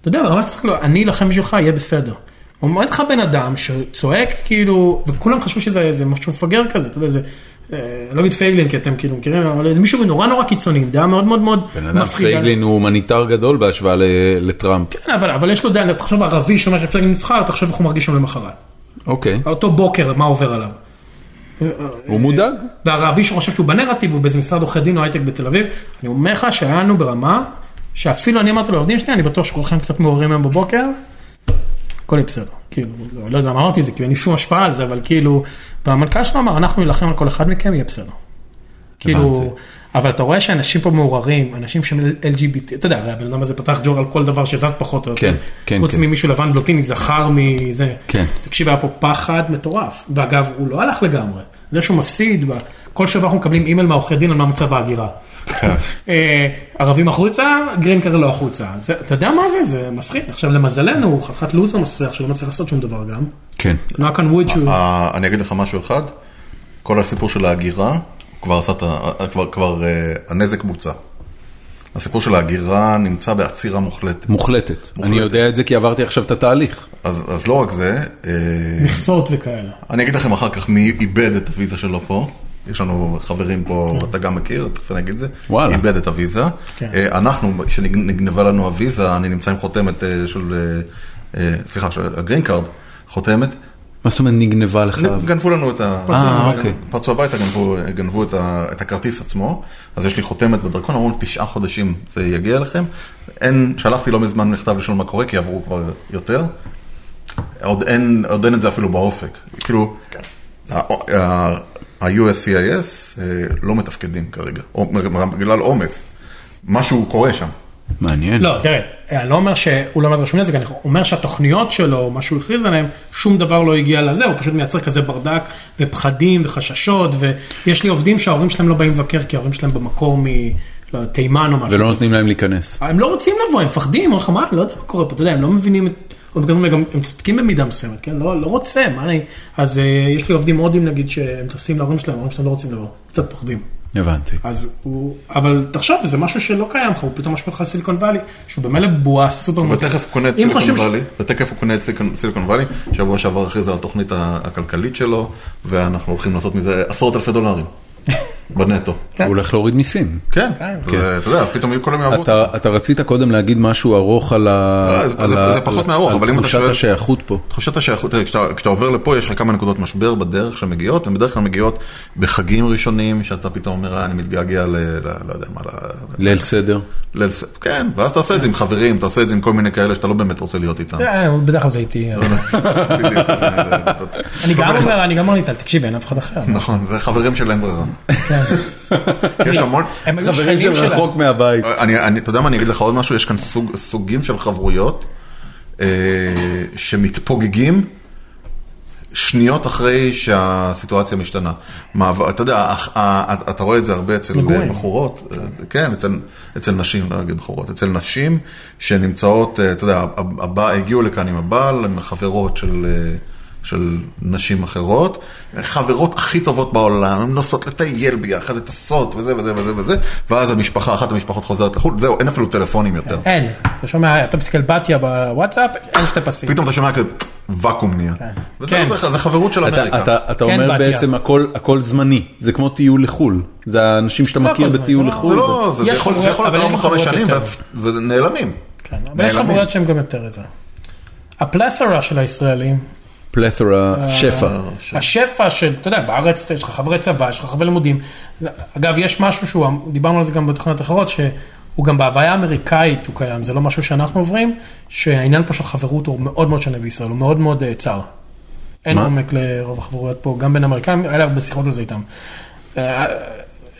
[SPEAKER 4] אתה יודע, ממש צריך, לו, אני אלחם בשבילך, יהיה בסדר. עומד לך בן אדם שצועק כאילו, וכולם חשבו שזה איזה משהו מפגר כזה, אתה יודע, זה, אה, לא אגיד פייגלין, כי אתם כאילו מכירים, אבל זה מישהו נורא נורא קיצוני, עם דעה מאוד מאוד מאוד
[SPEAKER 1] בן אדם
[SPEAKER 4] מפחידה.
[SPEAKER 1] פייגלין הוא הומניטר גדול בהשוואה ל- לטראמפ.
[SPEAKER 4] כן, אבל, אבל יש לו דעה, תחשוב ערבי שאומר שפייגלין נבחר, תחשוב איך הוא מרגיש שם למחרת.
[SPEAKER 1] אוקיי.
[SPEAKER 4] אותו בוקר, מה עובר עליו.
[SPEAKER 1] הוא מודאג?
[SPEAKER 4] והערבי שחושב שהוא בנרטיב, הוא באיזה משרד עורכי דין או הייטק בתל אביב, אני אומר לך שהיה לנו ברמה, שאפילו אני אמרתי לעובדים שלי, אני בטוח שכולכם קצת מעוררים היום בבוקר, הכל יהיה בסדר. כאילו, לא יודע למה אמרתי את זה, כי אין לי שום השפעה על זה, אבל כאילו, והמנכ"ל שלנו אמר, אנחנו נילחם על כל אחד מכם, יהיה בסדר. כאילו, אבל אתה רואה שאנשים פה מעורערים, אנשים שהם LGBT, אתה יודע, הרי הבן אדם הזה פתח ג'ור על כל דבר שזז פחות או יותר.
[SPEAKER 1] כן, כן,
[SPEAKER 4] חוץ
[SPEAKER 1] כן.
[SPEAKER 4] ממישהו לבן בלוטיני זכר מזה.
[SPEAKER 1] כן.
[SPEAKER 4] תקשיב, היה פה פחד מטורף. ואגב, הוא לא הלך לגמרי. זה שהוא מפסיד, ב- כל שבוע אנחנו מקבלים אימייל מהעורכי דין על מה מצב ההגירה.
[SPEAKER 2] כן.
[SPEAKER 4] אה, ערבים החוצה, גרין קארד לא החוצה. זה- אתה יודע מה זה? זה מפחיד. עכשיו, למזלנו, הוא חתיכת לוזר מסריח שלא מצליח לעשות שום דבר גם.
[SPEAKER 1] כן.
[SPEAKER 4] לא היה כאן ווד שהוא...
[SPEAKER 2] אה, אני אגיד לך משהו אחד, כל הסיפור של ההגירה, כבר עשה את ה... אה, כבר, כבר אה, הנזק בוצע. הסיפור של ההגירה נמצא בעצירה מוחלטת.
[SPEAKER 1] מוחלטת. אני יודע את זה כי עברתי עכשיו את התהליך.
[SPEAKER 2] אז, אז לא רק זה, אה,
[SPEAKER 4] מכסות וכאלה.
[SPEAKER 2] אני אגיד לכם אחר כך מי איבד את הוויזה שלו פה. יש לנו חברים פה, אתה גם מכיר, תכף אני אגיד את זה.
[SPEAKER 1] וואלה.
[SPEAKER 2] איבד את הוויזה.
[SPEAKER 4] כן.
[SPEAKER 2] אה, אנחנו, כשנגנבה לנו הוויזה, אני נמצא עם חותמת אה, של, אה, אה, סליחה, של הגרין קארד, חותמת.
[SPEAKER 1] מה זאת אומרת נגנבה לך?
[SPEAKER 2] גנבו לנו את ה...
[SPEAKER 1] פרצו לנו הביתה. אוקיי.
[SPEAKER 2] פרצו הביתה, גנבו, גנבו את, ה... את הכרטיס עצמו, אז יש לי חותמת בדרכון, אמרו לי תשעה חודשים זה יגיע אליכם. אין, שלחתי לא מזמן מכתב לשאול מה קורה, כי עברו כבר יותר. עוד אין, עוד אין את זה אפילו באופק. כאילו, ה- ה- ה-USCIS אה, לא מתפקדים כרגע, או- בגלל עומס. משהו קורה שם.
[SPEAKER 1] מעניין.
[SPEAKER 4] לא, תראה, אני לא אומר שהוא לא מזרשום נזק, אני אומר שהתוכניות שלו, מה שהוא הכריז עליהם, שום דבר לא הגיע לזה, הוא פשוט מייצר כזה ברדק ופחדים וחששות, ויש לי עובדים שההורים שלהם לא באים לבקר, כי ההורים שלהם במקור מ... לא, יודע, תימן או משהו.
[SPEAKER 1] ולא נותנים להם להיכנס.
[SPEAKER 4] הם לא רוצים לבוא, הם מפחדים, אומרים לך, מה, לא יודע מה קורה פה, אתה יודע, הם לא מבינים, את- או בגלל זה גם הם צודקים במידה מסוימת, כן, לא, לא רוצה, מה אני, אז אה, יש לי עובדים הודים נגיד, שהם טסים להורים שלהם, ההורים שלהם לא רוצים לבוא, קצת פוחדים.
[SPEAKER 1] הבנתי.
[SPEAKER 4] אז הוא, אבל תחשוב, זה משהו שלא קיים לך, הוא פתאום משפיע לך על סיליקון וואלי, שהוא במילא בועה סופר
[SPEAKER 2] ותכף הוא קונה את
[SPEAKER 4] אם חושבים
[SPEAKER 2] סיליקון
[SPEAKER 4] ש-
[SPEAKER 2] וואלי, ותכף הוא קונה את סיליקון- סיליקון וואלי, שבוע שעבר הכריז על התוכנית ה- הכלכלית שלו, ואנחנו הולכים לעשות מזה עשרות אלפי דולרים. בנטו.
[SPEAKER 1] הוא הולך להוריד מיסים.
[SPEAKER 2] כן, זה- אתה יודע, פתאום יהיו כל מיני אבות.
[SPEAKER 1] אתה, אתה רצית קודם להגיד משהו ארוך על ה...
[SPEAKER 2] לא, זה-
[SPEAKER 1] על
[SPEAKER 2] זה-
[SPEAKER 1] ה-
[SPEAKER 2] זה פחות
[SPEAKER 1] על-
[SPEAKER 2] מארוך, אבל אם אתה
[SPEAKER 1] על
[SPEAKER 2] שואל-
[SPEAKER 1] תחושת השייכות פה.
[SPEAKER 2] תחושת השייכות, תראה, כשאתה, כשאתה עובר לפה יש לך כמה נקודות משבר בדרך שמגיעות, הן בדרך כלל מגיעות בחגים ראשונים, שאתה פתאום אומר, "אה, אני מתגעגע ל... ל- לא יודע מה, ל-
[SPEAKER 1] ליל סדר.
[SPEAKER 2] ליל ס- כן, ואז אתה עושה את זה עם חברים, אתה עושה את זה עם כל מיני כאלה שאתה לא באמת רוצה להיות איתם.
[SPEAKER 4] אה, הוא בדרך כלל זה איתי. אבל-
[SPEAKER 2] בדיוק, זה- זה-
[SPEAKER 4] אני גם אומר, אני גם אומר ליטל, תקשיב, אין אף אחד אחר.
[SPEAKER 2] נכון, זה חברים של אין ברירה. יש המון...
[SPEAKER 4] כן. הם היו
[SPEAKER 1] חברים
[SPEAKER 4] שכנים
[SPEAKER 1] של
[SPEAKER 4] שלהם.
[SPEAKER 1] רחוק מהבית.
[SPEAKER 2] אני, אני, אתה יודע מה, אני אגיד לך עוד משהו, יש כאן סוג, סוגים של חברויות אה, שמתפוגגים שניות אחרי שהסיטואציה משתנה. מעבר, אתה יודע, הח- ה- ה- אתה רואה את זה הרבה אצל
[SPEAKER 4] מגורים.
[SPEAKER 2] בחורות, אה, כן, אצל, אצל נשים, לא אגיד בחורות, אצל נשים שנמצאות, אה, אתה יודע, הב- הבא, הגיעו לכאן עם הבעל, הן חברות של... אה, של נשים אחרות, חברות הכי טובות בעולם, הן נוסעות לטייל ביחד, לטסות וזה וזה וזה וזה, ואז המשפחה, אחת המשפחות חוזרת לחו"ל, זהו, אין אפילו טלפונים יותר.
[SPEAKER 4] אין. אתה שומע, אתה מסתכל בתיה בוואטסאפ, אין שתי פסים.
[SPEAKER 2] פתאום אתה שומע כזה ואקום נהיה. וזה
[SPEAKER 4] כן.
[SPEAKER 2] זה- זה חברות של
[SPEAKER 1] אתה,
[SPEAKER 2] אמריקה.
[SPEAKER 1] אתה, אתה
[SPEAKER 4] כן,
[SPEAKER 1] אומר
[SPEAKER 4] בתיה.
[SPEAKER 1] בעצם הכל, הכל זמני, זה כמו טיול לחו"ל, זה האנשים שאתה
[SPEAKER 4] לא
[SPEAKER 1] מכיר
[SPEAKER 4] הכל זמני,
[SPEAKER 1] בטיול
[SPEAKER 4] זה לא-
[SPEAKER 1] לחו"ל.
[SPEAKER 2] זה לא, זה
[SPEAKER 4] יש
[SPEAKER 2] זה יכול זה
[SPEAKER 4] חברות,
[SPEAKER 2] יכול להיות
[SPEAKER 4] אבל אין
[SPEAKER 2] ארבע חמש
[SPEAKER 4] חברות
[SPEAKER 2] שנים
[SPEAKER 4] יותר.
[SPEAKER 2] ו- ונעלמים.
[SPEAKER 4] כן, אבל יש
[SPEAKER 2] נעלמים.
[SPEAKER 4] חבויות שהם גם יותר את זה. הפלת'רה של הישראלים, אה,
[SPEAKER 1] פלת'רה, שפע.
[SPEAKER 4] השפע של, אתה יודע, בארץ יש לך חברי צבא, יש לך חברי לימודים. זה- אגב, יש משהו שהוא, דיברנו על זה גם בתוכניות אחרות, שהוא גם בהוויה האמריקאית הוא קיים, זה לא משהו שאנחנו עוברים, שהעניין פה של חברות הוא מאוד מאוד שונה בישראל, הוא מאוד מאוד אה, צר. אין
[SPEAKER 1] מה?
[SPEAKER 4] עומק לרוב החברויות פה, גם בין אמריקאים, היה לי הרבה שיחות על זה איתם. אה,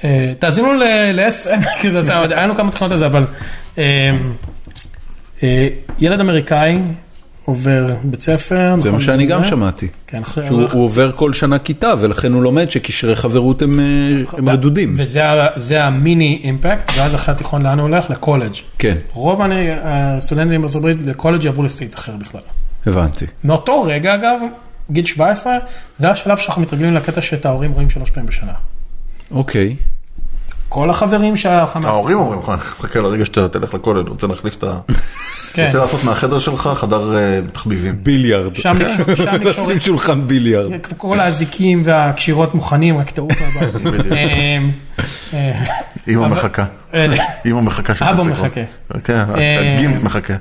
[SPEAKER 4] אה, תאזינו ל-SM, כי זה זה, היה לנו כמה תוכניות על זה, אבל אה, אה, ילד אמריקאי עובר בית ספר.
[SPEAKER 1] זה
[SPEAKER 4] נכון?
[SPEAKER 1] מה שאני גם
[SPEAKER 4] זה?
[SPEAKER 1] שמעתי.
[SPEAKER 4] כן, אחרי-
[SPEAKER 1] שהוא הוא עובר כל שנה כיתה, ולכן הוא לומד שקשרי חברות הם, אה, הם רדודים.
[SPEAKER 4] וזה ה- זה המיני אימפקט, ואז אחרי התיכון לאן הוא הולך? לקולג'.
[SPEAKER 1] כן,
[SPEAKER 4] רוב הנ- הסטודנטים בארצות הברית לקולג' יעברו לסטייט אחר בכלל.
[SPEAKER 1] הבנתי.
[SPEAKER 4] מאותו רגע אגב, גיל 17, זה השלב שאנחנו מתרגלים לקטע שאת ההורים רואים שלוש פעמים בשנה.
[SPEAKER 1] אוקיי.
[SPEAKER 4] כל החברים שהיה לך, מה-
[SPEAKER 2] ההורים אומרים לך, חכה לרגע שאתה תלך לכולל, רוצה להחליף את ה...
[SPEAKER 4] כן,
[SPEAKER 1] לא-
[SPEAKER 2] רוצה לעשות מהחדר שלך חדר אה, תחביבים.
[SPEAKER 1] ביליארד.
[SPEAKER 4] שם נקשור- שם
[SPEAKER 1] לשים
[SPEAKER 4] נקשורת,
[SPEAKER 1] שולחן ביליארד.
[SPEAKER 4] כל האזיקים והקשירות מוכנים, רק תעוף מהבית.
[SPEAKER 2] בדיוק.
[SPEAKER 4] אמ, אה,
[SPEAKER 2] אמא מחכה,
[SPEAKER 4] אה,
[SPEAKER 2] אמא מחכה שתצא
[SPEAKER 4] אבא
[SPEAKER 2] כבר.
[SPEAKER 4] מחכה.
[SPEAKER 2] כן,
[SPEAKER 4] אה,
[SPEAKER 2] הגימט מחכה.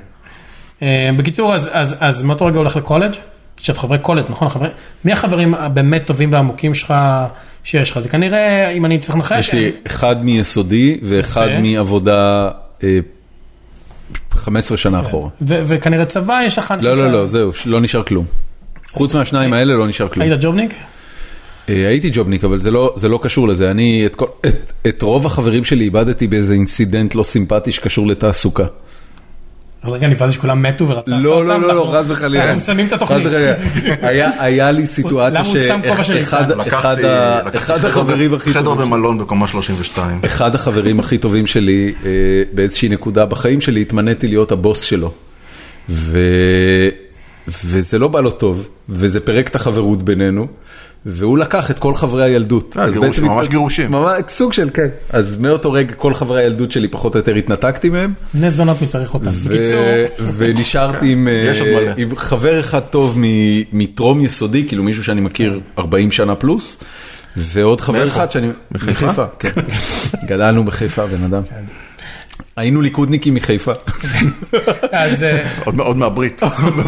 [SPEAKER 4] אה, בקיצור, אז, אז, אז מאותו רגע הולך לקולג', עכשיו חברי קולג', נכון? חברי... מי החברים הבאמת טובים והעמוקים שלך, שיש לך? זה כנראה, אם אני צריך לנחש, אה,
[SPEAKER 1] יש לי
[SPEAKER 4] אני-
[SPEAKER 1] אחד מיסודי ואחד
[SPEAKER 4] יפה.
[SPEAKER 1] מעבודה אה, 15 שנה
[SPEAKER 4] אוקיי.
[SPEAKER 1] אחורה.
[SPEAKER 4] ו- וכנראה צבא, יש לך אנשים
[SPEAKER 1] לא,
[SPEAKER 4] ש-
[SPEAKER 1] לא, לא, זהו, ש- לא נשאר כלום. חוץ מהשניים האלה לא נשאר כלום.
[SPEAKER 4] אוקיי. היית ג'ובניק?
[SPEAKER 1] אה, הייתי ג'ובניק, אבל זה לא, זה לא קשור לזה. אני את, כל- את, את רוב החברים שלי איבדתי באיזה אינסידנט לא סימפטי שקשור לתעסוקה.
[SPEAKER 4] אז רגע, נפלתי שכולם מתו ורצחת אותם.
[SPEAKER 1] לא, לא, לא,
[SPEAKER 4] אנחנו-
[SPEAKER 1] לא, חס וחלילה.
[SPEAKER 4] אנחנו מסיימים את
[SPEAKER 1] חס
[SPEAKER 4] התוכנית.
[SPEAKER 1] וחלילה. היה- היה לי סיטואציה
[SPEAKER 4] למה הוא שם כובע של
[SPEAKER 1] שאחד
[SPEAKER 4] ליצן?
[SPEAKER 1] אחד
[SPEAKER 2] לקחתי-
[SPEAKER 1] ה-
[SPEAKER 2] לקחתי
[SPEAKER 1] אחד
[SPEAKER 2] חדר-
[SPEAKER 1] החברים הכי
[SPEAKER 2] חדר
[SPEAKER 1] טובים שלי-
[SPEAKER 2] במלון בקומה 32.
[SPEAKER 1] אחד החברים הכי טובים שלי, אה, באיזושהי נקודה בחיים שלי, התמניתי להיות הבוס שלו. ו... וזה לא בא לו טוב, וזה פירק את החברות בינינו, והוא לקח את כל חברי הילדות.
[SPEAKER 2] אה,
[SPEAKER 1] אז
[SPEAKER 2] גירושים,
[SPEAKER 1] בעצם
[SPEAKER 2] ממש
[SPEAKER 1] התנ-
[SPEAKER 2] גירושים.
[SPEAKER 1] ממש סוג של, כן. אז מאותו רגע כל חברי הילדות שלי פחות או יותר התנתקתי מהם,
[SPEAKER 4] נס זונות מי צריך אותם.
[SPEAKER 1] ו...
[SPEAKER 4] בקיצור,
[SPEAKER 1] ונשארתי עם, אה,
[SPEAKER 2] יש עוד מלא.
[SPEAKER 1] עם חבר אחד טוב מ- מטרום יסודי, כאילו מישהו שאני מכיר 40 שנה פלוס, ועוד חבר
[SPEAKER 2] מאיפה?
[SPEAKER 1] אחד שאני...
[SPEAKER 2] מחיפה?
[SPEAKER 1] כן. גדלנו בחיפה, בן אדם.
[SPEAKER 4] כן.
[SPEAKER 1] היינו ליכודניקים מחיפה.
[SPEAKER 4] אז... אה,
[SPEAKER 2] עוד עוד מהברית,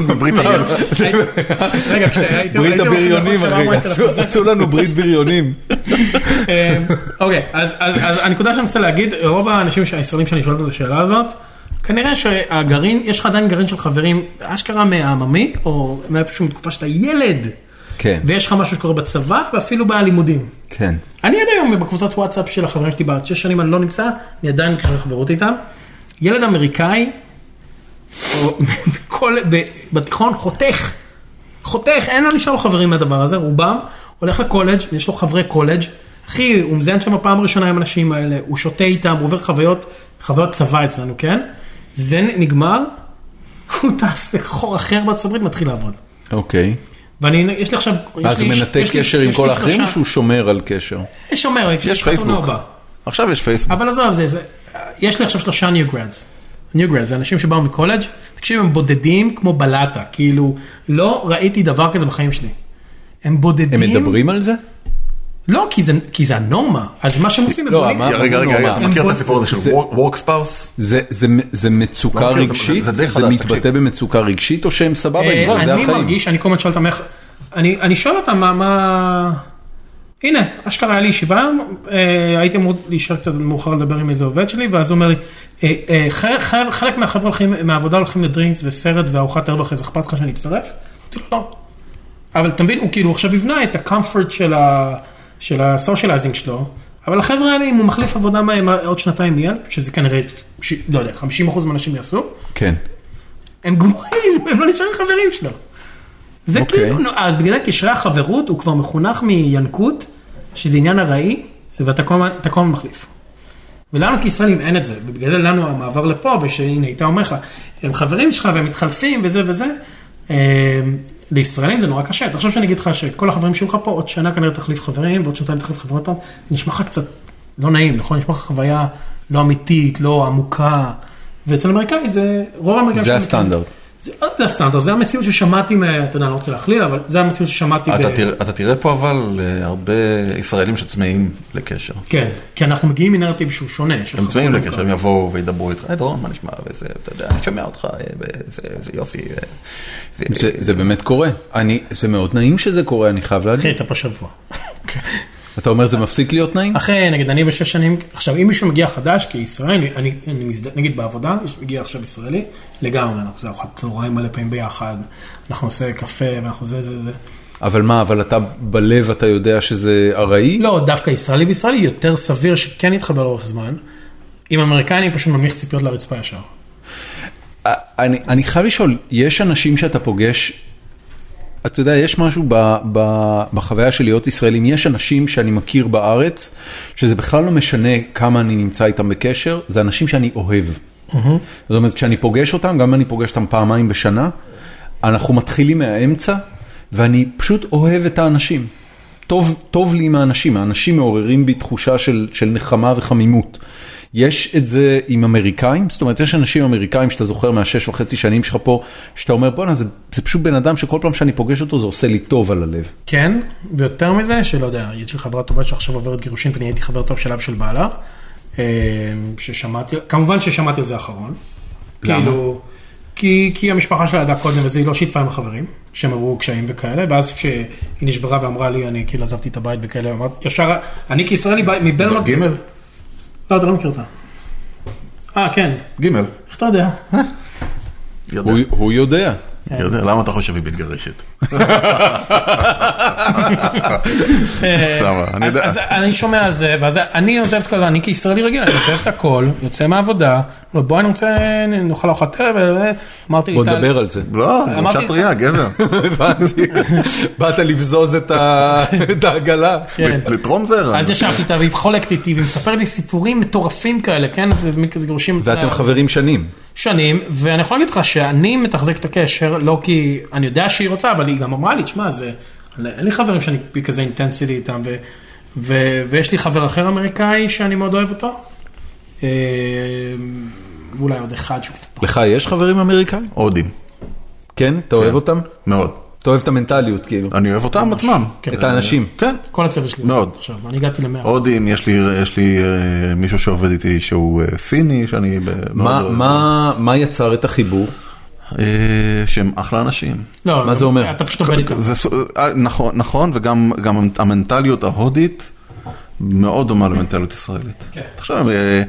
[SPEAKER 2] מברית המילה.
[SPEAKER 4] רגע, כשהייתם...
[SPEAKER 1] ברית
[SPEAKER 4] הייתם
[SPEAKER 1] הבריונים,
[SPEAKER 4] הולכים
[SPEAKER 1] אחי,
[SPEAKER 4] לחוש שאמרנו אצל
[SPEAKER 1] עשו-
[SPEAKER 4] הפוזל.
[SPEAKER 1] עשו לנו ברית בריונים.
[SPEAKER 4] אה, אוקיי, אז, אז, אז הנקודה שאני מנסה להגיד, רוב האנשים ש- הישראלים שאני שואל את השאלה הזאת, כנראה שהגרעין, יש לך עדיין גרעין של חברים, אשכרה מהעממי, או מאיפשהו מתקופה שאתה ילד,
[SPEAKER 1] כן,
[SPEAKER 4] ויש לך משהו שקורה בצבא, ואפילו בלימודים.
[SPEAKER 1] כן.
[SPEAKER 4] אני עד היום בקבוצת וואטסאפ של החברים שלי בארץ, שש שנים אני לא נמצא, אני עדיין בקשר חברות איתם. ילד אמריקאי, או, בכל, ב, בתיכון חותך, חותך, אין לו נשאר לו חברים מהדבר הזה, רובם, הולך לקולג', יש לו חברי קולג', אחי, הוא מזיין שם פעם ראשונה עם האנשים האלה, הוא שותה איתם, הוא עובר חוויות, חוויות צבא אצלנו, כן? זה נגמר, הוא טס לחור אחר בארצות הברית, מתחיל לעבוד.
[SPEAKER 1] אוקיי.
[SPEAKER 4] ואני, יש לי עכשיו,
[SPEAKER 1] אז
[SPEAKER 4] יש לי-
[SPEAKER 1] הוא מנתק
[SPEAKER 4] יש לי-
[SPEAKER 1] קשר עם
[SPEAKER 4] יש לי
[SPEAKER 1] כל האחרים או
[SPEAKER 4] שלושה-
[SPEAKER 1] שהוא שומר על קשר?
[SPEAKER 4] שומר,
[SPEAKER 2] יש
[SPEAKER 4] חתונה
[SPEAKER 2] פייסבוק.
[SPEAKER 4] הבאה.
[SPEAKER 2] עכשיו יש פייסבוק.
[SPEAKER 4] אבל עזוב, זה, זה, יש לי עכשיו שלושה ניו גרדס. ניו גרדס, זה אנשים שבאו מקולג', תקשיב, הם בודדים כמו בלטה, כאילו, לא ראיתי דבר כזה בחיים שלי. הם בודדים.
[SPEAKER 1] הם מדברים על זה?
[SPEAKER 4] לא, כי זה, כי זה הנורמה, אז מה שהם עושים, הם
[SPEAKER 1] לא,
[SPEAKER 4] בונים-
[SPEAKER 1] מה-
[SPEAKER 2] רגע, רגע,
[SPEAKER 1] נורא.
[SPEAKER 2] רגע, אתה מכיר
[SPEAKER 4] הם
[SPEAKER 2] את הסיפור הזה של
[SPEAKER 1] זה-
[SPEAKER 2] work- work spouse?
[SPEAKER 1] זה, זה, זה מצוקה
[SPEAKER 2] לא מכיר, זה-
[SPEAKER 1] רגשית?
[SPEAKER 2] זה- זה די
[SPEAKER 1] זה
[SPEAKER 2] חדש,
[SPEAKER 1] מתבטא
[SPEAKER 2] תקשיב.
[SPEAKER 1] במצוקה רגשית או שהם סבבה עם
[SPEAKER 4] אה,
[SPEAKER 1] זה? זה
[SPEAKER 4] אני
[SPEAKER 1] החיים.
[SPEAKER 4] מרגיש, אני כל הזמן שואל אותם איך, אני אני שואל אותם מה, מה, הנה, אשכרה היה לי ישיבה, אה, הייתי אמור להישאר קצת מאוחר לדבר עם איזה עובד שלי, ואז הוא אומר לי, אה, אה, חלק- חלק- חלק מהחבר'ה הולכים, מהעבודה הולכים לדרינקס וסרט וארוחת ערב אחרי זה, אכפת לך שאני אצטרף? אמרתי לו, לא. אבל אתה מבין, הוא כאילו עכשיו יבנה את הקומפורט של ה... של הסושיאלייזינג שלו, אבל החבר'ה האלה, אם הוא מחליף עבודה מה- מה- עוד שנתיים יהיה, שזה כנראה, ש... לא יודע, 50% מהאנשים יעשו,
[SPEAKER 1] כן.
[SPEAKER 4] הם גמורים, הם לא נשארים חברים שלו. זה okay.
[SPEAKER 1] אוקיי.
[SPEAKER 4] כאילו, נו, אז בגלל קשרי החברות הוא כבר מחונך מינקות, שזה עניין ארעי, ואתה כל הזמן אתה כל הזמן מחליף. ולנו כישראלים אין את זה, ובגלל זה לנו המעבר לפה, ושהנה, הייתה אומר לך, הם חברים שלך והם מתחלפים וזה וזה, אה, לישראלים זה נורא קשה. תחשוב שאני אגיד לך שכל החברים שלך פה, עוד שנה כנראה תחליף חברים, ועוד שנתיים תחליף חברים עוד פעם, זה נשמע לך קצת לא נעים, נכון? נשמע לך חוויה לא אמיתית, לא עמוקה, ואצל אמריקאי זה, רוב האמריקאים...
[SPEAKER 1] זה
[SPEAKER 4] שאני
[SPEAKER 1] הסטנדרט.
[SPEAKER 4] זה לא זה הסטנדרט, זה המציאות ששמעתי, מה- אתה יודע, אני לא רוצה להכליל, אבל זה המציאות ששמעתי.
[SPEAKER 2] אתה
[SPEAKER 4] ב-
[SPEAKER 2] תראה- אתה תראה פה אבל אה, הרבה ישראלים שצמאים לקשר.
[SPEAKER 4] כן, כי אנחנו מגיעים מנרטיב שהוא שונה. של
[SPEAKER 2] הם צמאים
[SPEAKER 4] חברות
[SPEAKER 2] לקשר, הם יבואו וידברו איתך, היי דורון, מה נשמע, וזה, אתה יודע, אני שומע אותך, אה, וזה זה יופי. אה,
[SPEAKER 1] זה, זה באמת קורה. אני, זה מאוד נעים שזה קורה, אני חייב
[SPEAKER 4] אחי,
[SPEAKER 1] להגיד.
[SPEAKER 4] אתה פה שבוע.
[SPEAKER 1] אתה אומר זה מפסיק להיות נעים?
[SPEAKER 4] אחרי, נגיד, אני בשש שנים, עכשיו, אם מישהו מגיע חדש, כישראלי, אני, אני מזד... נגיד בעבודה, יש- מגיע עכשיו ישראלי, לגמרי, אנחנו עושים ארוחת צהריים מלא פעמים ביחד, אנחנו עושה קפה, ואנחנו זה, זה, זה.
[SPEAKER 1] אבל מה, אבל אתה בלב אתה יודע שזה ארעי?
[SPEAKER 4] לא, דווקא ישראלי וישראלי, יותר סביר שכן יתחבר לאורך זמן. עם אמריקנים פשוט מנמיך ציפיות לרצפה ישר.
[SPEAKER 1] אני, אני חייב לשאול, יש אנשים שאתה פוגש, אתה יודע, יש משהו ב, ב, בחוויה של להיות ישראלים, יש אנשים שאני מכיר בארץ, שזה בכלל לא משנה כמה אני נמצא איתם בקשר, זה אנשים שאני אוהב. זאת אומרת, כשאני פוגש אותם, גם אם אני פוגש אותם פעמיים בשנה, אנחנו מתחילים מהאמצע, ואני פשוט אוהב את האנשים. טוב, טוב לי עם האנשים, האנשים מעוררים בי תחושה של, של נחמה וחמימות. יש את זה עם אמריקאים, זאת אומרת, יש אנשים אמריקאים שאתה זוכר מהשש וחצי שנים שלך פה, שאתה אומר, בואנה, זה, זה פשוט בן אדם שכל פעם שאני פוגש אותו זה עושה לי טוב על הלב.
[SPEAKER 4] כן, ויותר מזה, שלא יודע, יש לי חברה טובה שעכשיו עוברת גירושין ואני הייתי חבר טוב של אב של בעלה, אה, ששמעתי, כמובן ששמעתי על זה אחרון.
[SPEAKER 1] למה?
[SPEAKER 4] כאילו, כי, כי המשפחה שלה ידעה קודם וזה, היא לא שיתפה עם החברים, שהם עברו קשיים וכאלה, ואז כשהיא נשברה ואמרה לי, אני כאילו עזבתי את הבית וכאלה, אמרתי, ישר, אני כישראלי בא-
[SPEAKER 2] זה
[SPEAKER 4] מברלנד,
[SPEAKER 2] גימל?
[SPEAKER 4] לא, אתה לא מכיר אותה. אה, כן,
[SPEAKER 2] גימל.
[SPEAKER 4] איך אתה יודע?
[SPEAKER 2] יודע,
[SPEAKER 1] הוא, הוא יודע.
[SPEAKER 4] כן.
[SPEAKER 2] יודע, למה אתה חושב היא מתגרשת? סתם, אני
[SPEAKER 4] אה, אז,
[SPEAKER 2] יודע.
[SPEAKER 4] אז אני שומע על זה, ואז אני עוזב את כל זה, אני כישראלי רגיל, אני עוזב את הכל, יוצא מהעבודה, אומר, בוא אני רוצה, נאכל ארוחת ערב, אה, אמרתי לי,
[SPEAKER 1] בוא
[SPEAKER 4] "טל,
[SPEAKER 1] נדבר על זה.
[SPEAKER 2] לא, אני
[SPEAKER 4] אמרתי-
[SPEAKER 2] אישה טריה, גבר.
[SPEAKER 1] לא, הבנתי. באת לבזוז את ה- את העגלה.
[SPEAKER 4] כן.
[SPEAKER 2] לתרום זרע.
[SPEAKER 4] אז ישבתי איתה והיא חולקת איתי, והיא מספרת לי סיפורים מטורפים כאלה, כן? זה מין כזה גירושים. אה,
[SPEAKER 1] ואתם חברים שנים.
[SPEAKER 4] שנים, ואני יכול להגיד לך שאני מתחזק את הקשר, לא כי אני יודע שהיא רוצה, אבל היא גם אמרה לי, תשמע, זה, אין לי חברים שאני בכזה אינטנסיטי איתם, ו, ו, ויש לי חבר אחר אמריקאי שאני מאוד אוהב אותו, אה, אולי עוד אחד שהוא קצת...
[SPEAKER 1] לך יש חברים אמריקאים?
[SPEAKER 2] הודים,
[SPEAKER 1] כן? אתה אוהב אותם?
[SPEAKER 2] מאוד.
[SPEAKER 1] אתה אוהב את המנטליות, כאילו.
[SPEAKER 2] אני אוהב אותם עצמם.
[SPEAKER 1] את האנשים.
[SPEAKER 2] כן.
[SPEAKER 4] כל הצוות שלי.
[SPEAKER 2] מאוד.
[SPEAKER 4] עכשיו, אני הגעתי למאה.
[SPEAKER 2] הודים, יש לי, יש לי אה, מישהו שעובד איתי שהוא אה, סיני, שאני... ב-
[SPEAKER 1] מה-
[SPEAKER 2] מאוד-
[SPEAKER 1] מה- מה יצר את החיבור?
[SPEAKER 2] אה, שהם אחלה אנשים.
[SPEAKER 4] לא,
[SPEAKER 1] מה
[SPEAKER 4] לא,
[SPEAKER 1] זה אומר?
[SPEAKER 4] אתה פשוט עובד איתם.
[SPEAKER 2] זה, ס- אה, נכון, נכון, וגם גם המנטליות ההודית מאוד דומה למנטליות ישראלית.
[SPEAKER 4] כן.
[SPEAKER 2] עכשיו, אה,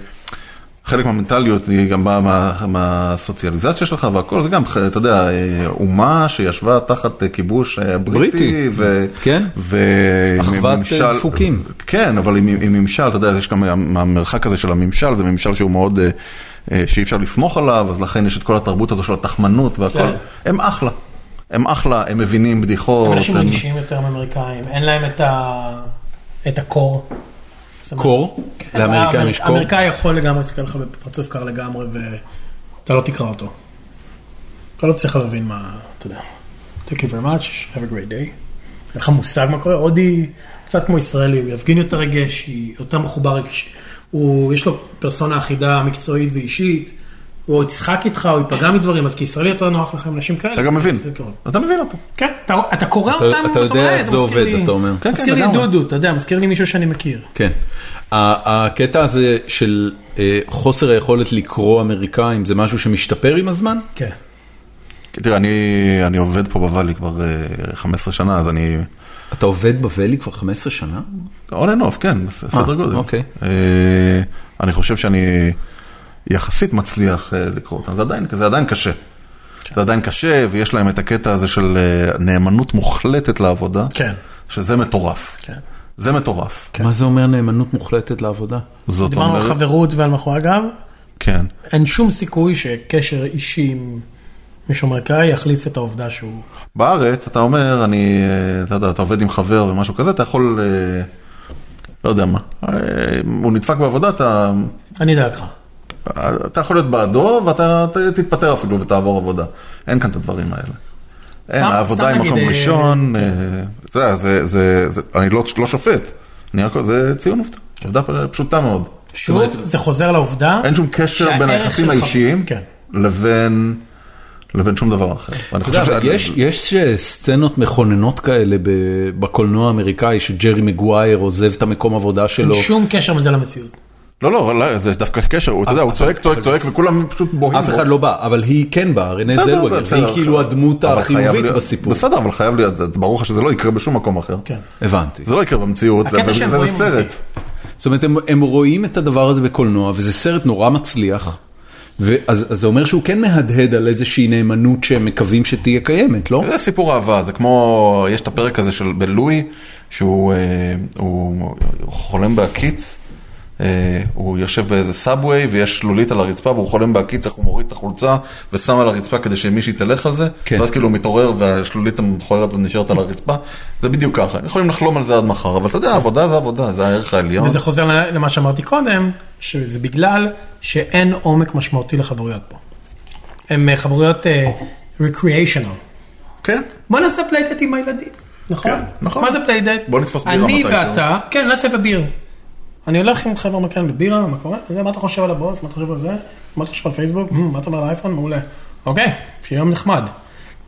[SPEAKER 2] חלק מהמנטליות היא גם באה מה- מהסוציאליזציה שלך והכל, זה גם, אתה יודע, אה, אומה שישבה תחת אה, כיבוש אה,
[SPEAKER 1] בריטי,
[SPEAKER 2] בריטי. ו-
[SPEAKER 1] כן.
[SPEAKER 2] ו-
[SPEAKER 1] אחוות,
[SPEAKER 2] ממשל-
[SPEAKER 1] אה, דפוקים.
[SPEAKER 2] כן, אבל עם, עם ממשל, אתה יודע, יש גם המרחק הזה של הממשל, זה ממשל שהוא מאוד, אה, אה, שאי אפשר לסמוך עליו, אז לכן יש את כל התרבות הזו של התחמנות והכל.
[SPEAKER 4] כן.
[SPEAKER 2] הם אחלה. הם אחלה, הם מבינים בדיחות.
[SPEAKER 4] הם אנשים
[SPEAKER 1] אוקיי.
[SPEAKER 4] רגישים יותר מאמריקאים, אין להם את ה... את הקור.
[SPEAKER 1] קור?
[SPEAKER 2] כן,
[SPEAKER 1] לאמריקאים יש קור?
[SPEAKER 4] אמריקאי יכול לגמרי להסתכל לך בפרצוף קר לגמרי, ואתה לא תקרא אותו. אתה לא צריך להבין מה, אתה יודע. Thank you very much, have a great day. אין לך מושג מה קורה, הודי קצת כמו ישראלי, הוא יפגין יותר רגש, היא יותר מחובר רגש. הוא, יש לו פרסונה אחידה מקצועית ואישית,
[SPEAKER 10] הוא עוד יצחק איתך, הוא ייפגע מדברים, אז כישראלי
[SPEAKER 4] לא
[SPEAKER 10] יותר נוח לך עם אנשים כאלה.
[SPEAKER 2] אתה גם מבין,
[SPEAKER 10] זה קורה.
[SPEAKER 2] אתה מבין אותו.
[SPEAKER 10] כן, אתה- אתה קורא
[SPEAKER 1] אתה-
[SPEAKER 10] אותם,
[SPEAKER 1] אתה
[SPEAKER 10] ואתה
[SPEAKER 1] יודע
[SPEAKER 10] רואה,
[SPEAKER 1] איך זה
[SPEAKER 10] מזכיר
[SPEAKER 1] עובד,
[SPEAKER 10] לי-
[SPEAKER 1] אתה אומר. כן,
[SPEAKER 2] כן,
[SPEAKER 10] מזכיר לי את
[SPEAKER 2] לגמרי.
[SPEAKER 10] דודו, אתה יודע, מזכיר לי מישהו שאני מכיר.
[SPEAKER 1] כן. ה- הקטע הזה של אה, חוסר היכולת לקרוא אמריקאים זה משהו שמשתפר עם הזמן?
[SPEAKER 10] כן.
[SPEAKER 2] תראה, אני, אני עובד פה בוואלי כבר אה, 15 שנה, אז אני...
[SPEAKER 1] אתה עובד בוואלי כבר 15 שנה?
[SPEAKER 2] און אנד אוף, כן, ס- סדר גודל.
[SPEAKER 1] אוקיי.
[SPEAKER 2] אה, אני חושב שאני יחסית מצליח אה, לקרוא אותם, זה עדיין, זה עדיין קשה. זה עדיין קשה, ויש להם את הקטע הזה של אה, נאמנות מוחלטת לעבודה,
[SPEAKER 4] כן.
[SPEAKER 2] שזה מטורף.
[SPEAKER 4] כן.
[SPEAKER 2] זה מטורף.
[SPEAKER 1] מה זה אומר נאמנות מוחלטת לעבודה?
[SPEAKER 2] זאת
[SPEAKER 4] דיברנו על
[SPEAKER 2] אומרת,
[SPEAKER 4] חברות ועל מאחורי הגב,
[SPEAKER 2] כן.
[SPEAKER 4] אין שום סיכוי שקשר אישי עם מישהו אמריקאי יחליף את העובדה שהוא...
[SPEAKER 2] בארץ אתה אומר, אני, אה, אתה יודע, אתה עובד עם חבר ומשהו כזה, אתה יכול, אה, לא יודע מה, אה, הוא נדפק בעבודה, אתה,
[SPEAKER 4] אני אדאג לך.
[SPEAKER 2] אתה יכול להיות בעדו ואתה ת- תתפטר אפילו ותעבור עבודה. אין כאן את הדברים האלה. אין,
[SPEAKER 10] סתם- סתם
[SPEAKER 2] העבודה היא
[SPEAKER 10] נגיד,
[SPEAKER 2] מקום
[SPEAKER 10] אה,
[SPEAKER 2] ראשון, אה, אתה יודע, זה, זה, זה, אני לא, לא שופט, אני רק, זה ציון עובדה, עובדה פ- פשוטה מאוד.
[SPEAKER 4] שוב, זה חוזר לעובדה.
[SPEAKER 2] אין שום קשר בין
[SPEAKER 4] שהערך
[SPEAKER 2] היחסים
[SPEAKER 4] שלך-
[SPEAKER 2] האישיים
[SPEAKER 4] כן.
[SPEAKER 2] לבין, לבין שום דבר אחר. ואני
[SPEAKER 1] אתה יודע,
[SPEAKER 2] חושב
[SPEAKER 1] אבל
[SPEAKER 2] ש-
[SPEAKER 1] יש- יש אה, סצנות מכוננות כאלה ב- בקולנוע האמריקאי שג'רי מגווייר עוזב את המקום עבודה
[SPEAKER 4] אין
[SPEAKER 1] שלו.
[SPEAKER 4] שום קשר מזה למציאות.
[SPEAKER 2] לא, לא, אבל לא, זה דווקא קשר, הוא, אתה יודע, הוא צועק, צועק, צועק, וכולם פשוט בוהים.
[SPEAKER 1] אה, אף
[SPEAKER 2] בו.
[SPEAKER 1] אחד לא בא, אבל היא כן באה, רנה
[SPEAKER 2] בסדר,
[SPEAKER 1] זלווגר,
[SPEAKER 2] בסדר,
[SPEAKER 1] והיא
[SPEAKER 2] בסדר.
[SPEAKER 1] כאילו הדמות
[SPEAKER 2] אבל חייב
[SPEAKER 1] החיובית
[SPEAKER 2] להיות-
[SPEAKER 1] בסיפור.
[SPEAKER 2] בסדר, אבל חייב להיות, ברור לך שזה לא יקרה בשום מקום אחר.
[SPEAKER 4] כן.
[SPEAKER 1] הבנתי.
[SPEAKER 2] זה לא יקרה במציאות,
[SPEAKER 4] הקטע
[SPEAKER 2] ובגלל
[SPEAKER 4] שהם
[SPEAKER 2] זה זה
[SPEAKER 4] רואים
[SPEAKER 2] סרט.
[SPEAKER 1] זאת אומרת, הם, הם רואים את הדבר הזה בקולנוע, וזה סרט נורא מצליח, ואז, אז זה אומר שהוא כן מהדהד על איזושהי נאמנות שהם מקווים שתהיה קיימת, לא?
[SPEAKER 2] זה סיפור אהבה, זה כמו, יש את הפרק הזה של בלואי, שהוא אה, הוא חולם בהקיץ, אה, הוא יושב באיזה סאבווי ויש שלולית על הרצפה והוא חולם בהקיץ, איך הוא מוריד את החולצה ושם על הרצפה כדי שמישהי תלך על זה,
[SPEAKER 1] כן.
[SPEAKER 2] ואז כאילו הוא מתעורר והשלולית המכוערת עוד נשארת על הרצפה, זה בדיוק ככה, יכולים לחלום על זה עד מחר, אבל אתה יודע, עבודה זה עבודה, זה הערך העליון.
[SPEAKER 4] וזה חוזר למה שאמרתי קודם, שזה בגלל שאין עומק משמעותי לחברויות פה. הן אה, חברויות recreational.
[SPEAKER 2] כן,
[SPEAKER 4] בוא נעשה פליידט עם הילדים. נכון.
[SPEAKER 2] כן, נכון.
[SPEAKER 4] מה זה פליידט?
[SPEAKER 2] בוא נתפוס בירה
[SPEAKER 10] אני
[SPEAKER 2] מתישהו.
[SPEAKER 10] ואתה,
[SPEAKER 4] כן, נעשה בביר. אני הולך עם חבר מכאן לבירה, מה קורה? זה, מה אתה חושב על הבוס? מה אתה חושב על זה? מה אתה חושב על פייסבוק? "מ, מה אתה אומר על האייפון? מעולה. אוקיי, שיהיה יום נחמד.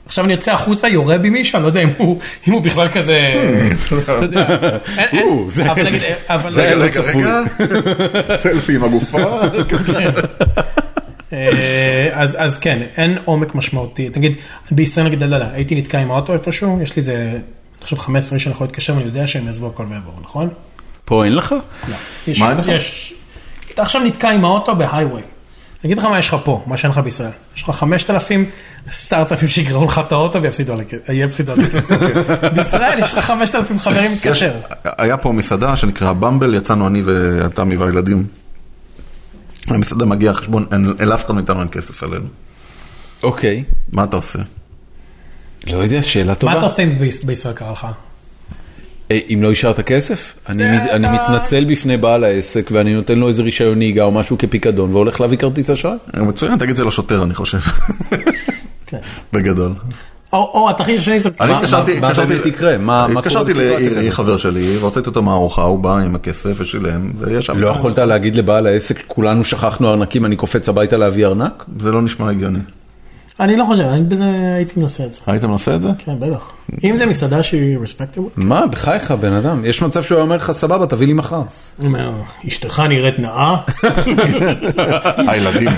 [SPEAKER 4] עכשיו אני יוצא החוצה, יורה בי מישהו, אני לא יודע אם הוא, אם הוא בכלל כזה...
[SPEAKER 2] Mm.
[SPEAKER 4] אתה יודע. אין- אין-
[SPEAKER 1] או, זה-
[SPEAKER 4] אבל נגיד, אבל...
[SPEAKER 2] רגע,
[SPEAKER 1] לא
[SPEAKER 2] רגע,
[SPEAKER 1] צפוי.
[SPEAKER 2] רגע, כן. סלפי עם הגופה,
[SPEAKER 4] אה, אז, אז כן, אין עומק משמעותי. נגיד, בישראל נגיד, לא, לא, הייתי נתקע עם האוטו איפשהו, יש לי איזה, אני חושב 15 איש שאני יכול להתקשר ואני יודע שהם יעזבו הכל ויעברו, נכון?
[SPEAKER 1] פה אין לך?
[SPEAKER 4] יש,
[SPEAKER 2] מה אין לך?
[SPEAKER 4] יש. אתה עכשיו נתקע עם האוטו בהיי-ווי. אני אגיד לך מה יש לך פה, מה שאין לך בישראל. יש לך 5,000 סטארט-אפים שיגרעו לך את האוטו ויפסידו על הכ- יפסידו על הכסף. בישראל יש לך 5,000 חברים להתקשר.
[SPEAKER 2] היה פה מסעדה שנקראה במבל, יצאנו אני והתמי והילדים. המסעדה מגיעה חשבון, אל אף אחד מאיתנו אין כסף עלינו.
[SPEAKER 1] אוקיי.
[SPEAKER 2] מה אתה עושה?
[SPEAKER 1] לא יודע, שאלה טובה.
[SPEAKER 4] מה אתה עושה אם ביש- בישראל קרה לך?
[SPEAKER 1] אה, אם לא השארת כסף? אני, מת, אני מתנצל בפני בעל העסק ואני נותן לו איזה רישיון נהיגה או משהו כפיקדון והולך להביא כרטיס אשראי?
[SPEAKER 2] "אה, מצוין, תגיד את זה לשוטר, אני חושב. בגדול.
[SPEAKER 4] או או התרחיש השני זה...
[SPEAKER 2] אני
[SPEAKER 1] מה-
[SPEAKER 2] התקשרתי,
[SPEAKER 1] מה
[SPEAKER 2] התקשרתי,
[SPEAKER 1] באמת יקרה? מה- מה קורה
[SPEAKER 2] התקשרתי
[SPEAKER 1] בסיטואציה כזאת?
[SPEAKER 2] לחבר שלי, והוצאתי אותו מהארוחה, הוא בא עם הכסף ושילם, ויש שם.
[SPEAKER 1] לא יכולת להגיד לבעל העסק, כולנו שכחנו ארנקים, אני קופץ הביתה להביא ארנק?
[SPEAKER 2] זה לא נשמע הגיוני.
[SPEAKER 4] אני לא חושב, אני בזה הייתי מנסה את זה.
[SPEAKER 2] היית מנסה את זה?
[SPEAKER 4] כן, בטח. אם זה מסעדה שהיא רספקטיבול.
[SPEAKER 1] מה, בחייך, בן אדם. יש מצב שהוא היה אומר לך, סבבה, תביא לי מחר.
[SPEAKER 4] אשתך נראית נאה,
[SPEAKER 2] הילדים,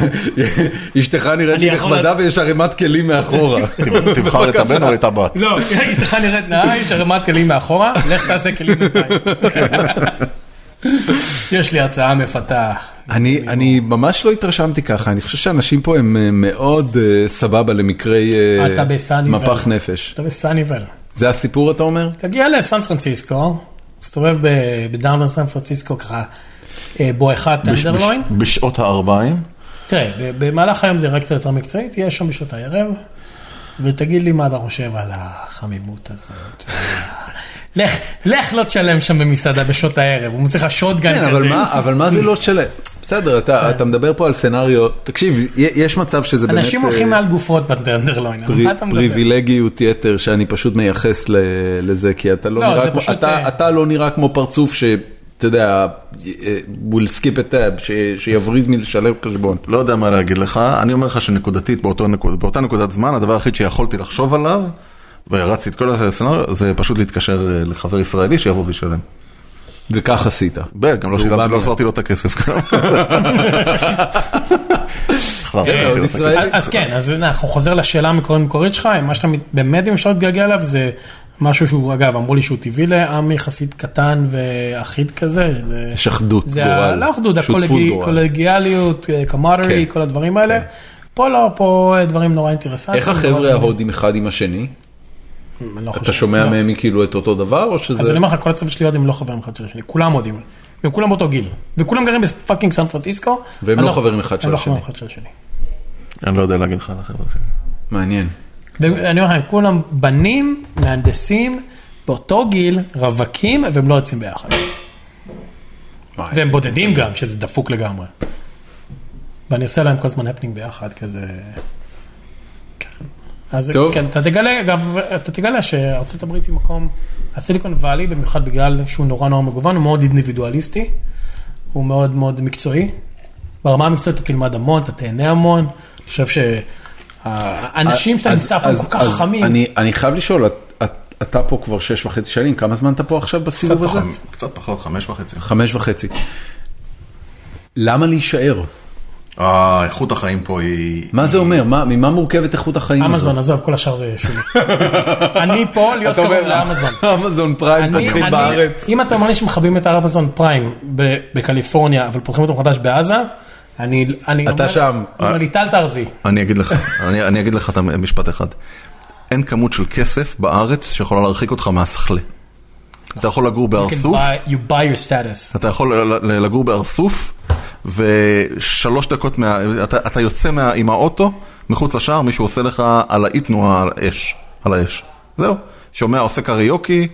[SPEAKER 1] אשתך נראית לי
[SPEAKER 4] אני יכול-
[SPEAKER 1] נחמדה ויש ערימת כלים מאחורה.
[SPEAKER 2] תבחר את הבן או את הבת.
[SPEAKER 4] לא, אשתך נראית נאה, יש ערימת כלים מאחורה, לך תעשה כלים בינתיים. יש לי הצעה מפתה.
[SPEAKER 1] אני, אני ממש לא התרשמתי ככה, אני חושב שאנשים פה הם אה, מאוד אה, סבבה למקרי אה,
[SPEAKER 4] אתה בסאני
[SPEAKER 1] מפח
[SPEAKER 4] ואני.
[SPEAKER 1] נפש.
[SPEAKER 4] אתה בסאניבל.
[SPEAKER 1] זה הסיפור אתה אומר?
[SPEAKER 4] תגיע לסן פרנסיסקו, מסתובב ב- בדאונר סן פרנסיסקו ככה, אה, בואכה
[SPEAKER 2] בש-
[SPEAKER 4] טנדרלוין.
[SPEAKER 2] בש- בשעות הארבעים,
[SPEAKER 4] תראה, ב- במהלך היום זה רק קצת יותר מקצועי, תהיה שם בשעות הערב, ותגיד לי מה אתה חושב על החמימות הזאת. לך, לך לא תשלם שם במסעדה בשעות הערב, הוא מוצא לך שוטגן
[SPEAKER 1] כן,
[SPEAKER 4] כזה.
[SPEAKER 1] אבל מה, אבל מה זה לא שלם? בסדר, אתה,
[SPEAKER 4] כן.
[SPEAKER 1] אתה מדבר פה על סנאריו, תקשיב, י- יש מצב שזה באמת
[SPEAKER 4] אנשים
[SPEAKER 1] אה,
[SPEAKER 4] הולכים מעל גופות בטנדרלוין, על
[SPEAKER 1] פרי-
[SPEAKER 4] מה אתה מדבר?
[SPEAKER 1] פריבילגיות יתר שאני פשוט מייחס ל- לזה, כי אתה לא
[SPEAKER 4] לא,
[SPEAKER 1] נראה
[SPEAKER 4] זה
[SPEAKER 1] כמו,
[SPEAKER 4] פשוט,
[SPEAKER 1] אתה-
[SPEAKER 4] אה,
[SPEAKER 1] אתה לא נראה כמו פרצוף ש... אתה יודע, will skip a tab, ש- שיבריז מלשלם חשבון.
[SPEAKER 2] לא יודע מה להגיד לך, אני אומר לך שנקודתית באותו נקוד, באותה נקודת זמן, הדבר היחיד שיכולתי לחשוב עליו, והרצתי את כל הסצנריו, זה פשוט להתקשר אה, לחבר ישראלי שיבוא וישלם.
[SPEAKER 1] וכך עשית.
[SPEAKER 2] בל, גם לא
[SPEAKER 1] והוא בא
[SPEAKER 2] שילמתי, לא
[SPEAKER 1] מיד.
[SPEAKER 2] החזרתי לו את הכסף. החזרתי
[SPEAKER 1] כן,
[SPEAKER 2] לו את
[SPEAKER 1] עוד
[SPEAKER 2] הכסף.
[SPEAKER 1] ישראל.
[SPEAKER 4] אז- אז כן, אז הנה, אנחנו חוזר לשאלה המקורית שלך, אם מה שאתה מת- באמת אם אפשר להתגעגע אליו זה משהו שהוא, אגב, אמרו לי שהוא טבעי לעם יחסית קטן ואחיד כזה. זה-
[SPEAKER 1] יש אחדות,
[SPEAKER 4] זה
[SPEAKER 1] גורל.
[SPEAKER 4] לא אחדוד,
[SPEAKER 1] שותפות גורל.
[SPEAKER 4] הקולגיאליות, קמררי,
[SPEAKER 1] כן.
[SPEAKER 4] אה, כל הדברים האלה. פה לא, פה אה, דברים נורא אינטרסנטיים.
[SPEAKER 1] איך
[SPEAKER 4] נורא
[SPEAKER 1] החבר'ה
[SPEAKER 4] שונים.
[SPEAKER 1] ההודים אחד עם השני?
[SPEAKER 4] אני לא
[SPEAKER 1] אתה
[SPEAKER 4] חושב,
[SPEAKER 1] שומע
[SPEAKER 4] לא.
[SPEAKER 1] מהם כאילו את אותו דבר, או שזה...
[SPEAKER 4] אז אני אומר לך, כל הצוות שלי הודים לא חברים אחד של השני, כולם הודים. וכולם באותו גיל. וכולם גרים בפאקינג סן פרנסיסקו.
[SPEAKER 1] והם
[SPEAKER 4] אני
[SPEAKER 1] לא חברים אחד של
[SPEAKER 4] הם לא
[SPEAKER 1] השני.
[SPEAKER 4] חברים אחד של השני.
[SPEAKER 2] אני לא יודע להגיד לך על החבר'ה. שלי.
[SPEAKER 1] מעניין.
[SPEAKER 4] ואני אומר לכם, כולם בנים, מהנדסים, באותו גיל, רווקים, והם לא יוצאים ביחד.
[SPEAKER 1] וואי,
[SPEAKER 4] והם
[SPEAKER 1] זה-
[SPEAKER 4] בודדים גם, שזה דפוק לגמרי. ואני עושה להם כל הזמן הפנינג ביחד, כזה... כן. אז
[SPEAKER 1] טוב.
[SPEAKER 4] כן, אתה תגלה, אגב, אתה תגלה שארצות הברית היא מקום, הסיליקון וואלי, במיוחד בגלל שהוא נורא נורא מגוון, הוא מאוד אינדיבידואליסטי, הוא מאוד מאוד מקצועי. ברמה המקצועית אתה תלמד המון, אתה תהנה המון, אני חושב שהאנשים שאתה
[SPEAKER 1] אה, אז-
[SPEAKER 4] נמצא פה הם
[SPEAKER 1] אז-
[SPEAKER 4] כל כך
[SPEAKER 1] אז
[SPEAKER 4] חכמים.
[SPEAKER 1] אני- אני חייב לשאול, את- את- אתה פה כבר שש וחצי שנים, כמה זמן אתה פה עכשיו בסיבוב הזה?
[SPEAKER 2] חמ- קצת פחות, חמש וחצי.
[SPEAKER 1] חמש וחצי. למה להישאר?
[SPEAKER 2] אה, איכות החיים פה היא...
[SPEAKER 1] מה זה אומר? מה- ממה מורכבת איכות החיים הזאת?
[SPEAKER 4] אמזון, עזוב, כל השאר זה שולי. אני פה להיות
[SPEAKER 1] אתה
[SPEAKER 4] קרוב
[SPEAKER 1] אומר,
[SPEAKER 4] לאמזון.
[SPEAKER 1] אמזון פריים
[SPEAKER 4] אני-
[SPEAKER 1] תתחיל
[SPEAKER 4] אני-
[SPEAKER 1] בארץ.
[SPEAKER 4] אם אתה אומר לי שמכבים את אמזון פריים ב- בקליפורניה, אבל פותחים אותו מחדש בעזה, אני... אני
[SPEAKER 1] אתה
[SPEAKER 4] אומר-
[SPEAKER 1] שם.
[SPEAKER 4] אני אומר לי, טל תארזי.
[SPEAKER 2] אני אגיד לך, אני, אני אגיד לך את המשפט אחד. אין כמות של כסף בארץ שיכולה להרחיק אותך מהשכלה. אתה יכול לגור בהר
[SPEAKER 4] You
[SPEAKER 2] סוף,
[SPEAKER 4] buy- You buy your status.
[SPEAKER 2] אתה יכול ל- ל- לגור בהר סוף, ושלוש דקות, מה, אתה, אתה יוצא מה, עם האוטו, מחוץ לשער, מישהו עושה לך על האי תנועה, על האש, על האש. זהו. שומע, עושה קריוקי,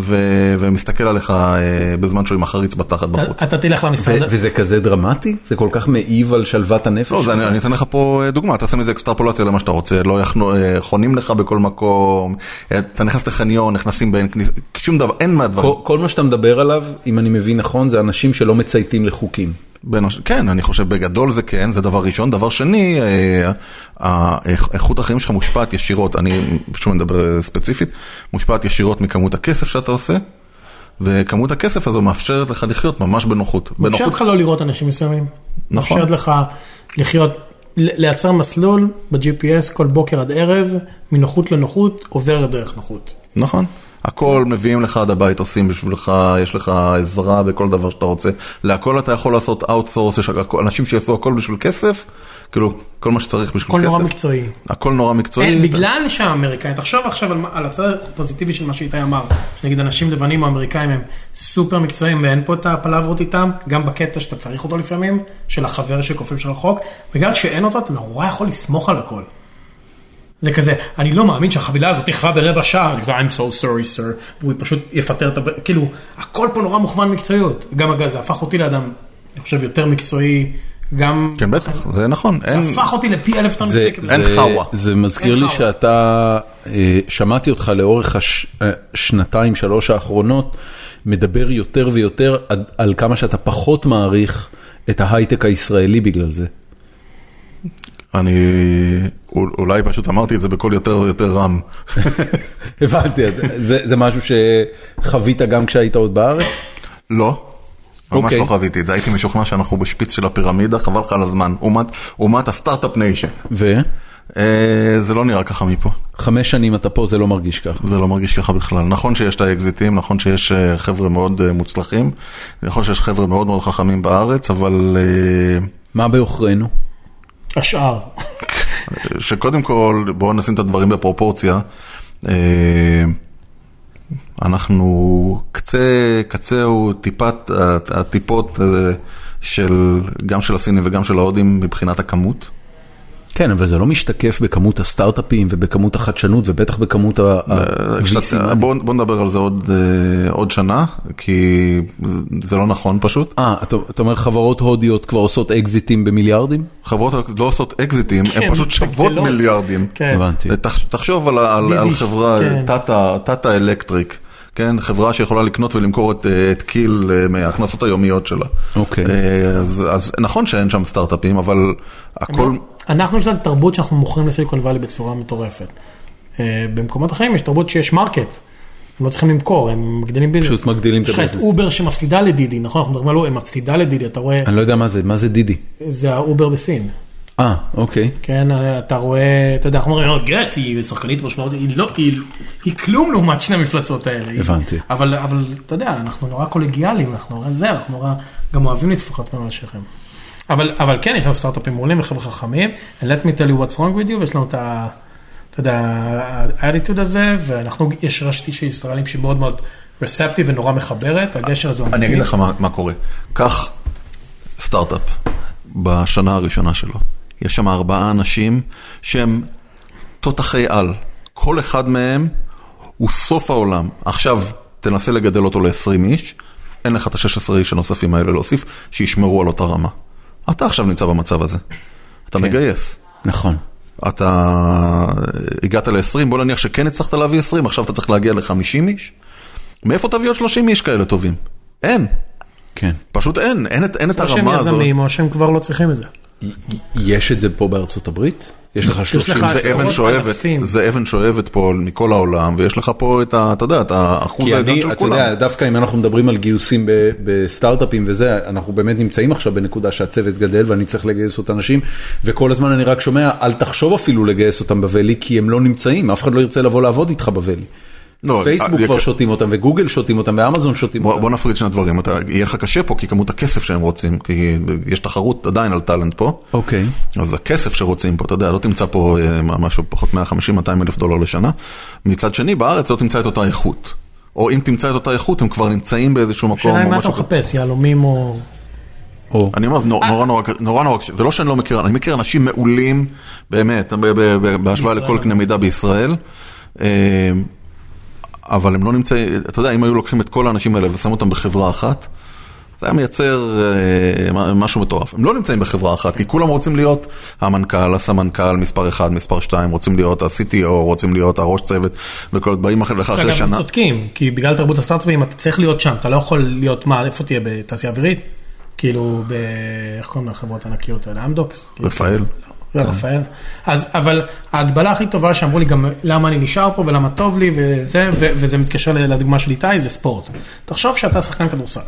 [SPEAKER 2] ו, ומסתכל עליך אה, בזמן שהוא עם החריץ בתחת בחוץ.
[SPEAKER 4] אתה תלך למשרד.
[SPEAKER 1] אוקיי. ו- וזה כזה דרמטי? זה כל כך מעיב על שלוות הנפש?
[SPEAKER 2] לא, זה, אני, אני אתן לך פה אה, דוגמה, תעשה מזה אקסטרפולציה למה שאתה רוצה, לא יחנו, אה, חונים לך בכל מקום, אה, אתה נכנס לחניון, נכנסים בין כניסה, שום דבר, אין מהדברים.
[SPEAKER 1] כל- כל מה שאתה מדבר עליו, אם אני מבין נכון, זה אנשים שלא מצייתים לחוקים.
[SPEAKER 2] בין הש... כן, אני חושב בגדול זה כן, זה דבר ראשון. דבר שני, אה, אה, איכ- איכות החיים שלך מושפעת ישירות, אני פשוט מדבר אה, ספציפית, מושפעת ישירות מכמות הכסף שאתה עושה, וכמות הכסף הזו מאפשרת לך לחיות ממש בנוחות.
[SPEAKER 4] מאפשרת
[SPEAKER 2] בנוחות,
[SPEAKER 4] לך לא לראות אנשים מסוימים.
[SPEAKER 2] נכון.
[SPEAKER 4] מאפשרת לך לחיות, ל- לייצר מסלול ב-GPS כל בוקר עד ערב, מנוחות לנוחות, עובר דרך נוחות.
[SPEAKER 2] נכון. הכל מביאים לך עד הבית, עושים בשבילך, יש לך עזרה בכל דבר שאתה רוצה. להכל אתה יכול לעשות אאוטסורס, יש הכל- אנשים שיעשו הכל בשביל כסף, כאילו כל מה שצריך בשביל
[SPEAKER 4] הכל
[SPEAKER 2] כסף.
[SPEAKER 4] נורא מקצועי.
[SPEAKER 2] הכל נורא מקצועי.
[SPEAKER 4] אין, בגלל שהאמריקאים, תחשוב עכשיו על, מה- על הצד הפוזיטיבי של מה שאיתי אמר, שנגיד אנשים לבנים או אמריקאים הם סופר מקצועיים ואין פה את הפלברות איתם, גם בקטע שאתה צריך אותו לפעמים, של החבר שכופף של רחוק, בגלל שאין אותו אתה נורא יכול לסמוך על הכל. זה כזה, אני לא מאמין שהחבילה הזאת תכווה ברבע שעה, I'm so sorry sir, והוא פשוט יפטר את ה... כאילו, הכל פה נורא מוכוון מקצועיות. גם אגב, זה הפך אותי לאדם, אני חושב, יותר מקצועי, גם...
[SPEAKER 2] כן, בטח, זה נכון. אין...
[SPEAKER 4] הפך אותי לפי אלף טון
[SPEAKER 1] זה-
[SPEAKER 4] מקצועי.
[SPEAKER 1] זה-
[SPEAKER 2] אין חאווה.
[SPEAKER 1] זה מזכיר
[SPEAKER 4] אין
[SPEAKER 1] לי
[SPEAKER 4] חאווה.
[SPEAKER 1] שאתה, אה, שמעתי אותך לאורך השנתיים, שלוש האחרונות, מדבר יותר ויותר עד- על כמה שאתה פחות מעריך את ההייטק הישראלי בגלל זה.
[SPEAKER 2] אני אול- אולי פשוט אמרתי את זה בקול יותר יותר רם.
[SPEAKER 1] הבנתי, אז זה זה משהו שחווית גם כשהיית עוד בארץ?
[SPEAKER 2] לא. ממש
[SPEAKER 1] אוקיי.
[SPEAKER 2] לא חוויתי את זה, הייתי משוכנע שאנחנו בשפיץ של הפירמידה, חבל לך על הזמן, לעומת- לעומת הסטארט-אפ ניישן.
[SPEAKER 1] וחמש
[SPEAKER 2] אה, זה לא נראה ככה מפה.
[SPEAKER 1] שנים אתה פה, זה לא מרגיש ככה.
[SPEAKER 2] זה לא מרגיש ככה בכלל. נכון שיש את האקזיטים, נכון שיש אה, חבר'ה מאוד אה, מוצלחים, נכון שיש חבר'ה מאוד מאוד חכמים בארץ, אבל אה,
[SPEAKER 1] מה בעוכרינו?
[SPEAKER 4] השאר.
[SPEAKER 2] שקודם כל, בואו נשים את הדברים בפרופורציה. אה, אנחנו קצה, קצהו טיפת, הט- הטיפות אה, של, גם של הסינים וגם של ההודים מבחינת הכמות.
[SPEAKER 1] כן, אבל זה לא משתקף בכמות הסטארט-אפים ובכמות החדשנות ובטח בכמות ה... ה- VC
[SPEAKER 2] כשאת-
[SPEAKER 1] money.
[SPEAKER 2] אה, בואו בוא נדבר על זה עוד, אה, עוד שנה, כי זה לא נכון פשוט.
[SPEAKER 1] אה, אתה אתה אומר חברות הודיות כבר עושות אקזיטים במיליארדים?
[SPEAKER 2] חברות לא עושות אקזיטים, הן
[SPEAKER 4] כן,
[SPEAKER 2] פשוט שוות
[SPEAKER 4] גדלות.
[SPEAKER 2] מיליארדים.
[SPEAKER 4] כן.
[SPEAKER 1] הבנתי.
[SPEAKER 2] תח- תחשוב על, ה- על, על
[SPEAKER 4] דידי,
[SPEAKER 2] חברה,
[SPEAKER 4] כן.
[SPEAKER 2] טאטה, טאטה אלקטריק, כן, חברה שיכולה לקנות ולמכור את, אה, את קיל אה, מההכנסות היומיות שלה.
[SPEAKER 1] אוקיי.
[SPEAKER 2] אה, אז, אז נכון שאין שם סטארט-אפים, אבל הכל...
[SPEAKER 1] לא-
[SPEAKER 4] אנחנו יש לנו תרבות שאנחנו מוכרים לסיליקון וואלי בצורה מטורפת. אה, במקומות אחרים יש תרבות שיש מרקט. הם לא צריכים למכור, הם מגדילים ביזנס.
[SPEAKER 1] פשוט מגדילים את
[SPEAKER 4] יש לך את
[SPEAKER 1] הביזנס.
[SPEAKER 4] אובר שמפסידה לדידי, נכון? אנחנו מדברים על אובר, מפסידה לדידי, אתה רואה,
[SPEAKER 1] אני לא יודע מה זה, מה זה דידי?
[SPEAKER 4] זה האובר בסין.
[SPEAKER 1] אה, אוקיי.
[SPEAKER 4] כן, אתה רואה, אתה יודע, אנחנו אומרים, "לא, גט, היא שחקנית משמעותית, היא לא, היא, היא כלום לעומת שני המפלצות האלה. היא-
[SPEAKER 1] הבנתי.
[SPEAKER 4] אבל, אבל אתה יודע, אנחנו נורא קולגיאליים, אנחנו נורא זה, אנחנו נורא גם אוהבים לטפוח לעצמנו על השכם. אבל, אבל כן, יש לנו סטארט-אפים מעולים וחבר'ה חכמים, and let me tell you what's wrong with you, ויש לנו את ה... אתה יודע, האדיטוד הזה, ואנחנו, יש רשת של ישראלים שהיא מאוד מאוד רספטיב ונורא מחברת, הגשר הזה הוא
[SPEAKER 2] אני
[SPEAKER 4] אמיתי.
[SPEAKER 2] אגיד לך מה, מה קורה. קח סטארט-אפ בשנה הראשונה שלו. יש שם ארבעה אנשים שהם תותחי על. כל אחד מהם הוא סוף העולם. עכשיו תנסה לגדל אותו ל-20 איש, אין לך את ה-16 איש הנוספים האלה להוסיף, שישמרו על אותה רמה. אתה עכשיו נמצא במצב הזה. אתה מגייס.
[SPEAKER 1] נכון.
[SPEAKER 2] אתה אה, הגעת ל-20, בוא נניח שכן הצלחת להביא 20, עכשיו אתה צריך להגיע ל-50 איש? מאיפה תביא עוד 30 איש כאלה טובים? אין,
[SPEAKER 1] כן.
[SPEAKER 2] פשוט אין, אין את, אין את
[SPEAKER 4] או לא שהם
[SPEAKER 2] הרמה הזאת.
[SPEAKER 4] יזמים, או שהם כבר לא צריכים את זה.
[SPEAKER 1] יש את זה פה בארצות הברית? יש לך
[SPEAKER 4] לך
[SPEAKER 1] 30?
[SPEAKER 2] זה אבן
[SPEAKER 4] עשרות
[SPEAKER 2] שואבת,
[SPEAKER 4] אלפים.
[SPEAKER 2] זה אבן שואבת פה מכל העולם, ויש לך פה את ה... אתה יודע, את האחוז
[SPEAKER 1] כי
[SPEAKER 2] העליון
[SPEAKER 1] אני,
[SPEAKER 2] של
[SPEAKER 1] אתה
[SPEAKER 2] כולם.
[SPEAKER 1] יודע, דווקא אם אנחנו מדברים על גיוסים ב- בסטארט-אפים וזה, אנחנו באמת נמצאים עכשיו בנקודה שהצוות גדל ואני צריך לגייס עוד אנשים, וכל הזמן אני רק שומע, אל תחשוב אפילו לגייס אותם בבלי, כי הם לא נמצאים, אף אחד לא ירצה לבוא לעבוד איתך בבלי.
[SPEAKER 2] לא,
[SPEAKER 1] פייסבוק
[SPEAKER 2] אה,
[SPEAKER 1] כבר
[SPEAKER 2] יקר-
[SPEAKER 1] שותים אותם, וגוגל שותים אותם, ואמזון שותים
[SPEAKER 2] בוא,
[SPEAKER 1] אותם.
[SPEAKER 2] בוא נפריד שני דברים, אתה, יהיה לך קשה פה כי כמות הכסף שהם רוצים, כי יש תחרות עדיין על טאלנט פה,
[SPEAKER 1] אוקיי.
[SPEAKER 2] אז הכסף שרוצים פה, אתה יודע, לא תמצא פה אה, משהו פחות 150-200 אלף דולר לשנה. מצד שני, בארץ לא תמצא את אותה איכות. או אם תמצא את אותה איכות, הם כבר נמצאים באיזשהו מקום.
[SPEAKER 4] השאלה
[SPEAKER 2] או
[SPEAKER 4] היא כן, מה אתה
[SPEAKER 2] משהו כזה.
[SPEAKER 4] מחפש, יהלומים או...
[SPEAKER 1] או,
[SPEAKER 2] אני אומר, זה
[SPEAKER 4] אה.
[SPEAKER 2] נור- נורא נורא, נורא נורא, קשה. זה לא שאני לא מכיר, אני מכיר אנשים מעולים, באמת, ב- ב- ב- בהשוואה לכל קנה מידה בישראל. אה, אבל הם לא נמצאים, אתה יודע, אם היו לוקחים את כל האנשים האלה ושמו אותם בחברה אחת, זה היה מייצר אה, מה- משהו מטורף. הם לא נמצאים בחברה אחת, כי כולם רוצים להיות המנכ"ל, הסמנכ"ל, מספר 1, מספר 2, רוצים להיות ה-CTO, רוצים להיות הראש צוות, וכל באים אחרי לך אחרי
[SPEAKER 4] אגב, הם
[SPEAKER 2] שנה.
[SPEAKER 4] צודקים, כי בגלל תרבות הסטארט-אפים אתה צריך להיות שם, אתה לא יכול להיות, מה, איפה תהיה, בתעשייה אווירית? כאילו, ב... איך קוראים לחברות הענקיות האלה? אמדוקס? כאילו,
[SPEAKER 2] רפאל.
[SPEAKER 4] ורפאל. אז, אבל ההגבלה הכי טובה שאמרו לי גם למה אני נשאר פה ולמה טוב לי וזה, ו- וזה מתקשר לדוגמה של איתי, זה ספורט. תחשוב שאתה שחקן כדורסל.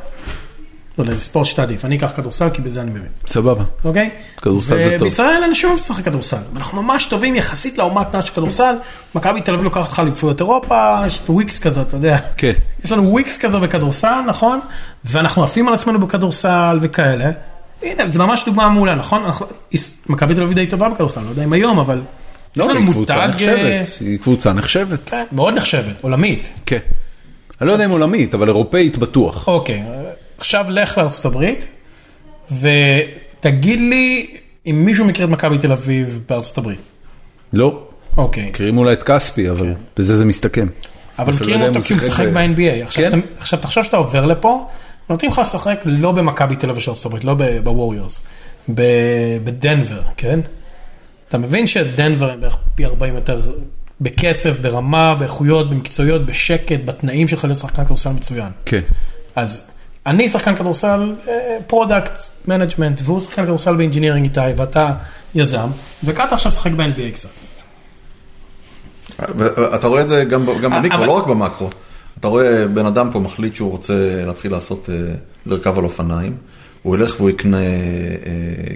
[SPEAKER 4] לא יודע, זה ספורט שאתה עדיף, אני אקח כדורסל כי בזה אני מבין.
[SPEAKER 1] סבבה.
[SPEAKER 4] אוקיי?
[SPEAKER 1] כדורסל זה טוב.
[SPEAKER 4] ובישראל אנשים אוהבים לשחק כדורסל. אנחנו ממש טובים יחסית לעומת נאש כדורסל. מכבי תל אביב לוקחת לך אליפויות אירופה, יש את וויקס כזה, אתה יודע.
[SPEAKER 1] כן.
[SPEAKER 4] יש לנו וויקס כזה בכדורסל, נכון? ואנחנו עפים על עצמנו בכדורסל וכאלה. הנה, זו ממש דוגמה מעולה, נכון? אנחנו- יש- מכבי תל אביב די טובה בכדורסל, לא יודע אם היום, אבל... יש
[SPEAKER 1] לא,
[SPEAKER 4] לנו
[SPEAKER 1] היא קבוצה
[SPEAKER 4] מותג, אה,
[SPEAKER 1] נחשבת. היא קבוצה נחשבת.
[SPEAKER 4] כן, מאוד נחשבת, עולמית.
[SPEAKER 1] כן. אני לא יודע אם עולמית, אבל אירופאית בטוח.
[SPEAKER 4] אוקיי, עכשיו לך לארה"ב ותגיד לי אם מישהו מכיר את מכבי תל אביב בארה"ב.
[SPEAKER 1] לא.
[SPEAKER 4] אוקיי.
[SPEAKER 1] מכירים אולי את כספי, אבל
[SPEAKER 4] כן.
[SPEAKER 1] בזה זה מסתכם. אפילו
[SPEAKER 4] אבל
[SPEAKER 1] לא
[SPEAKER 4] מכירים
[SPEAKER 1] יודע אם
[SPEAKER 4] אותו
[SPEAKER 1] הוא
[SPEAKER 4] כי הוא
[SPEAKER 1] שיחק
[SPEAKER 4] משחק
[SPEAKER 1] ב-
[SPEAKER 4] ב-NBA. עכשיו
[SPEAKER 1] כן?
[SPEAKER 4] אתה- עכשיו תחשוב שאתה עובר לפה, נותנים לך לשחק לא במכבי תל אביב של ארצות הברית, לא בווריורס, בדנבר, כן? אתה מבין שדנבר הם בערך פי 40 יותר בכסף, ברמה, באיכויות, במקצועיות, בשקט, בתנאים שלך להיות שחקן כדורסל מצוין.
[SPEAKER 1] כן.
[SPEAKER 4] אז אני שחקן כדורסל, פרודקט, מנג'מנט, והוא שחקן כדורסל באינג'ינירינג איתי, ואתה יזם, וקאטה עכשיו שחק ב-NBA קצת.
[SPEAKER 2] אתה רואה את זה גם, ב- גם
[SPEAKER 4] אה, אבל-
[SPEAKER 2] במיקרו, לא רק במקרו. אתה רואה בן אדם פה מחליט שהוא רוצה להתחיל לעשות, אה, לרכב על אופניים. הוא ילך והוא יקנה אה,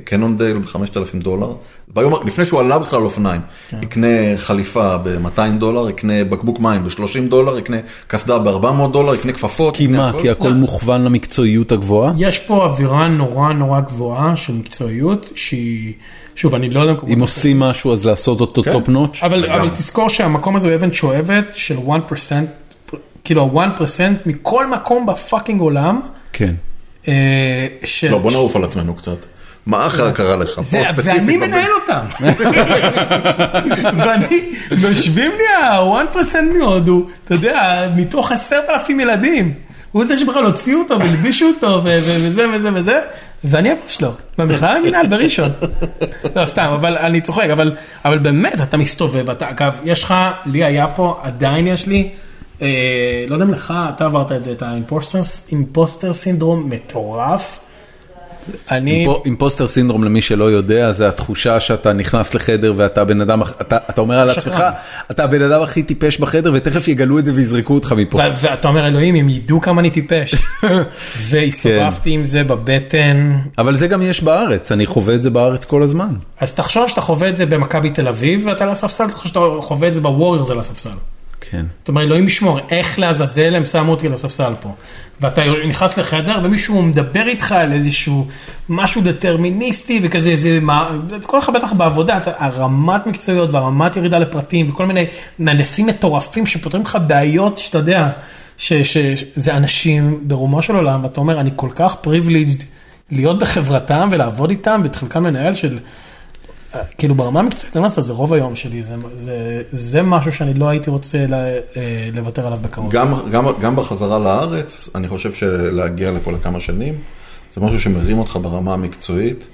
[SPEAKER 2] קנונדייל ב-5,000 דולר. ביום, ה- לפני שהוא עלה בכלל על אופניים,
[SPEAKER 4] כן.
[SPEAKER 2] יקנה חליפה ב-200 דולר, יקנה בקבוק מים ב-30 דולר, יקנה קסדה ב-400 דולר, יקנה כפפות.
[SPEAKER 1] כי
[SPEAKER 2] יקנה
[SPEAKER 1] מה?
[SPEAKER 2] הכל.
[SPEAKER 1] כי הכל מוכוון למקצועיות הגבוהה?
[SPEAKER 4] יש פה אווירה נורא נורא גבוהה של מקצועיות, שהיא, שוב, אני לא יודע...
[SPEAKER 1] אם עושים משהו אז לעשות אותו
[SPEAKER 2] כן.
[SPEAKER 1] טופ נוטש?
[SPEAKER 4] אבל,
[SPEAKER 2] לגמרי.
[SPEAKER 4] אבל תזכור שהמקום הזה הוא אבן שואבת של 1%, כאילו ה-1% מכל מקום בפאקינג עולם.
[SPEAKER 1] כן.
[SPEAKER 4] אה, של...
[SPEAKER 2] לא, בוא נעוף על עצמנו קצת. מה אחר קרה לך? פה
[SPEAKER 4] זה,
[SPEAKER 2] ספציפית
[SPEAKER 4] ואני
[SPEAKER 2] בבן-
[SPEAKER 4] מנהל אותם. ואני, יושבים לי ה-1% מהודו, אתה יודע, מתוך עשרת אלפים ילדים. הוא זה שבכלל הוציאו אותו והלבישו אותו ו- ו- וזה וזה וזה, ואני הבוס שלו, במכלל המינהל בראשון. לא, סתם, אבל אני צוחק, אבל, אבל באמת, אתה מסתובב, אתה, אגב, יש לך, לי היה פה, עדיין יש לי, אה, לא יודע אם לך, אתה עברת את זה, את האימפוסטר סינדרום מטורף. אני...
[SPEAKER 1] אימפו- אימפוסטר סינדרום למי שלא יודע זה התחושה שאתה נכנס לחדר ואתה בן אדם הכ- אתה אתה אומר על
[SPEAKER 4] שקרן.
[SPEAKER 1] עצמך אתה הבן אדם הכי טיפש בחדר ותכף יגלו את זה ויזרקו אותך מפה.
[SPEAKER 4] ו- ואתה אומר, אלוהים, הם ידעו כמה אני טיפש. והסתובבתי עם זה בבטן.
[SPEAKER 1] אבל זה גם יש בארץ אני חווה את זה בארץ כל הזמן.
[SPEAKER 4] אז תחשוב שאתה חווה את זה במכבי תל אביב, ואתה על הספסל, תחשוב שאתה חווה את זה בווריורס על הספסל.
[SPEAKER 1] כן.
[SPEAKER 4] אתה אומר, אלוהים ישמור, איך לעזאזל הם שמו אותי על הספסל פה. ואתה נכנס לחדר ומישהו מדבר איתך על איזשהו משהו דטרמיניסטי וכזה, איזה, מה, כל אחד בטח בעבודה, אתה- הרמת מקצועיות והרמת ירידה לפרטים וכל מיני מהנדסים מטורפים שפותרים לך בעיות שאתה יודע, שזה אנשים ברומו של עולם, ואתה אומר, אני כל כך פריבליג'ד להיות בחברתם ולעבוד איתם ואת חלקם לנהל של... כאילו ברמה המקצועית, אין מה לעשות, זה רוב היום שלי, זה, זה, זה משהו שאני לא הייתי רוצה ל, אה, לוותר עליו בקרוב.
[SPEAKER 2] גם, גם, גם בחזרה לארץ, אני חושב שלהגיע לפה לכמה שנים, זה משהו שמרים אותך ברמה המקצועית,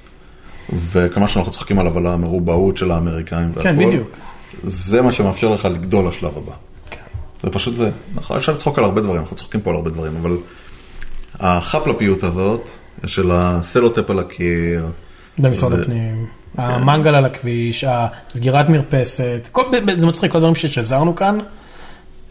[SPEAKER 2] וכמה שאנחנו צוחקים עליו על המרובעות של האמריקאים והכל.
[SPEAKER 4] כן, בדיוק. כן.
[SPEAKER 2] זה מה שמאפשר לך לגדול לשלב הבא. זה פשוט זה. נכון, אפשר לצחוק על הרבה דברים, אנחנו צוחקים פה על הרבה דברים, אבל החפלפיות הזאת, של הסלוטפ על הקיר,
[SPEAKER 4] במשרד
[SPEAKER 2] זה- כן.
[SPEAKER 4] הפנים, המנגל על הכביש, הסגירת מרפסת, כל, ב- ב- זה מצחיק, כל הדברים ששזרנו כאן,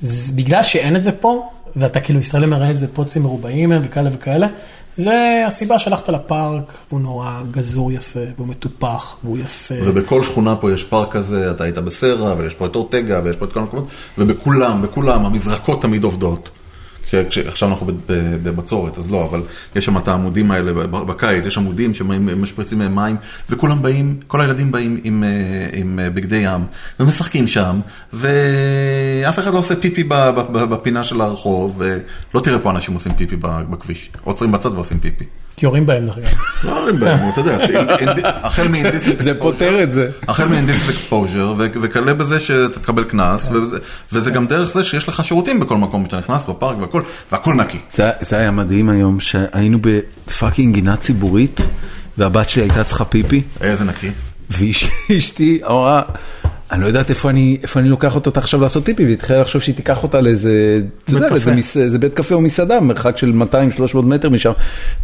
[SPEAKER 4] זה- בגלל שאין את זה פה, ואתה כאילו ישראלי מראה איזה פוצים מרובעים הם וכאלה וכאלה, זה הסיבה שהלכת לפארק, והוא נורא גזור יפה, והוא מטופח, והוא יפה.
[SPEAKER 2] ובכל שכונה פה יש פארק כזה, אתה היית בסרה, ויש פה את אורטגה, ויש פה את כל המקומות, ובכולם, בכולם, המזרקות תמיד עובדות. כש- עכשיו אנחנו ב- ב- בבצורת, אז לא, אבל יש שם את העמודים האלה ב- ב- בקיץ, יש עמודים שמשפריצים מהם מים, וכולם באים, כל הילדים באים עם, אה, עם אה, בגדי ים, ומשחקים שם, ואף אחד לא עושה פיפי ב- ב- ב- בפינה של הרחוב, ולא תראה פה אנשים עושים פיפי ב- בכביש, עוצרים בצד ועושים פיפי.
[SPEAKER 4] כי יורים בהם דרך אגב.
[SPEAKER 2] לא אומרים בהם, אתה יודע, אז אינד- החל מאינדיסט
[SPEAKER 1] זה פותר את זה.
[SPEAKER 2] החל מ-Indecent Exposure, ו- וכלה בזה שאתה תקבל קנס, וזה- וזה גם דרך זה שיש לך שירותים בכל מקום שאתה נכנס, בפארק והכל, והכל נקי.
[SPEAKER 1] זה, זה היה מדהים היום, שהיינו בפאקינג גינה ציבורית, והבת שלי הייתה צריכה פיפי,
[SPEAKER 2] איזה אה, נקי.
[SPEAKER 1] ואשתי אמרה, אני לא יודעת איפה אני, איפה אני לוקחת אותה עכשיו לעשות פיפי, והיא התחילה לחשוב שהיא תיקח אותה לאיזה, אתה יודע,
[SPEAKER 4] בית
[SPEAKER 1] לאיזה
[SPEAKER 4] קפה.
[SPEAKER 1] מס- איזה בית קפה או מסעדה, מרחק של 200-300 מטר משם.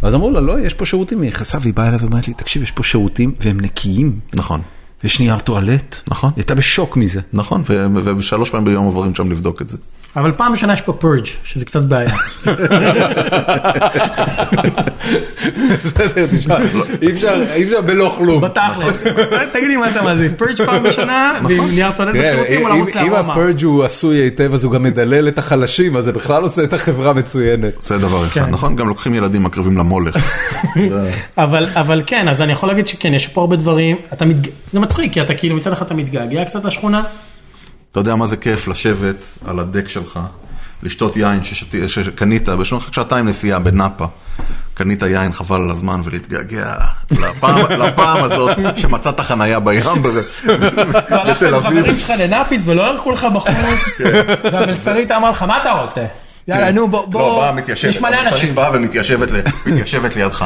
[SPEAKER 1] ואז אמרו לה, לא, יש פה שירותים, היא נכנסה והיא באה אליי ואומרת לי, תקשיב, יש פה שירותים והם נקיים,
[SPEAKER 2] נכון.
[SPEAKER 1] ויש נייר טואלט.
[SPEAKER 2] נכון.
[SPEAKER 1] היא הייתה בשוק מזה.
[SPEAKER 2] נכון, ו- ו- ושלוש פעמים ביום עוברים שם לבדוק את זה.
[SPEAKER 4] אבל פעם ראשונה יש פה פורג', שזה קצת בעיה.
[SPEAKER 1] בסדר, תשמע, אי אפשר, אי אפשר בלא כלום.
[SPEAKER 4] בתכלס, תגיד לי מה אתה מעדיף, פרץ' פעם בשנה,
[SPEAKER 2] נכון.
[SPEAKER 4] ועם נייר
[SPEAKER 2] כן,
[SPEAKER 4] טולט
[SPEAKER 1] תראה,
[SPEAKER 4] בשירותים או
[SPEAKER 1] כן, אם-
[SPEAKER 4] לרוץ
[SPEAKER 1] אם
[SPEAKER 4] לארומה.
[SPEAKER 1] הפרג' הוא עשוי היטב אז הוא גם מדלל את החלשים אז זה בכלל עושה את החברה מצוינת.
[SPEAKER 2] זה דבר אחד, נכון? גם לוקחים ילדים מקריבים למולך. זה-
[SPEAKER 4] אבל אבל כן, אז אני יכול להגיד שכן, יש פה הרבה דברים, אתה מתג- זה מצחיק, כי אתה כאילו מצד אחד אתה מתגעגע קצת לשכונה,
[SPEAKER 2] אתה יודע מה זה כיף לשבת על הדק שלך, לשתות יין ששתי- שקנית, יש לך שעתיים נסיעה בנאפה. קנית יין חבל על הזמן ולהתגעגע לפעם, לפעם הזאת שמצאת חנייה בים ב-
[SPEAKER 4] והלכת
[SPEAKER 2] בתל
[SPEAKER 4] עם
[SPEAKER 2] אביב. כן.
[SPEAKER 4] חברים שלך לנאפיס ולא ערכו לך בחוץ, והמלצרית אמרה לך, מה אתה רוצה? יאללה, אה, נו, בוא,
[SPEAKER 2] לא,
[SPEAKER 4] בוא,
[SPEAKER 2] באה מתיישבת.
[SPEAKER 4] יש מלא
[SPEAKER 2] המלצרית
[SPEAKER 4] אנשים.
[SPEAKER 2] באה ומתיישבת ל- מתיישבת לידך.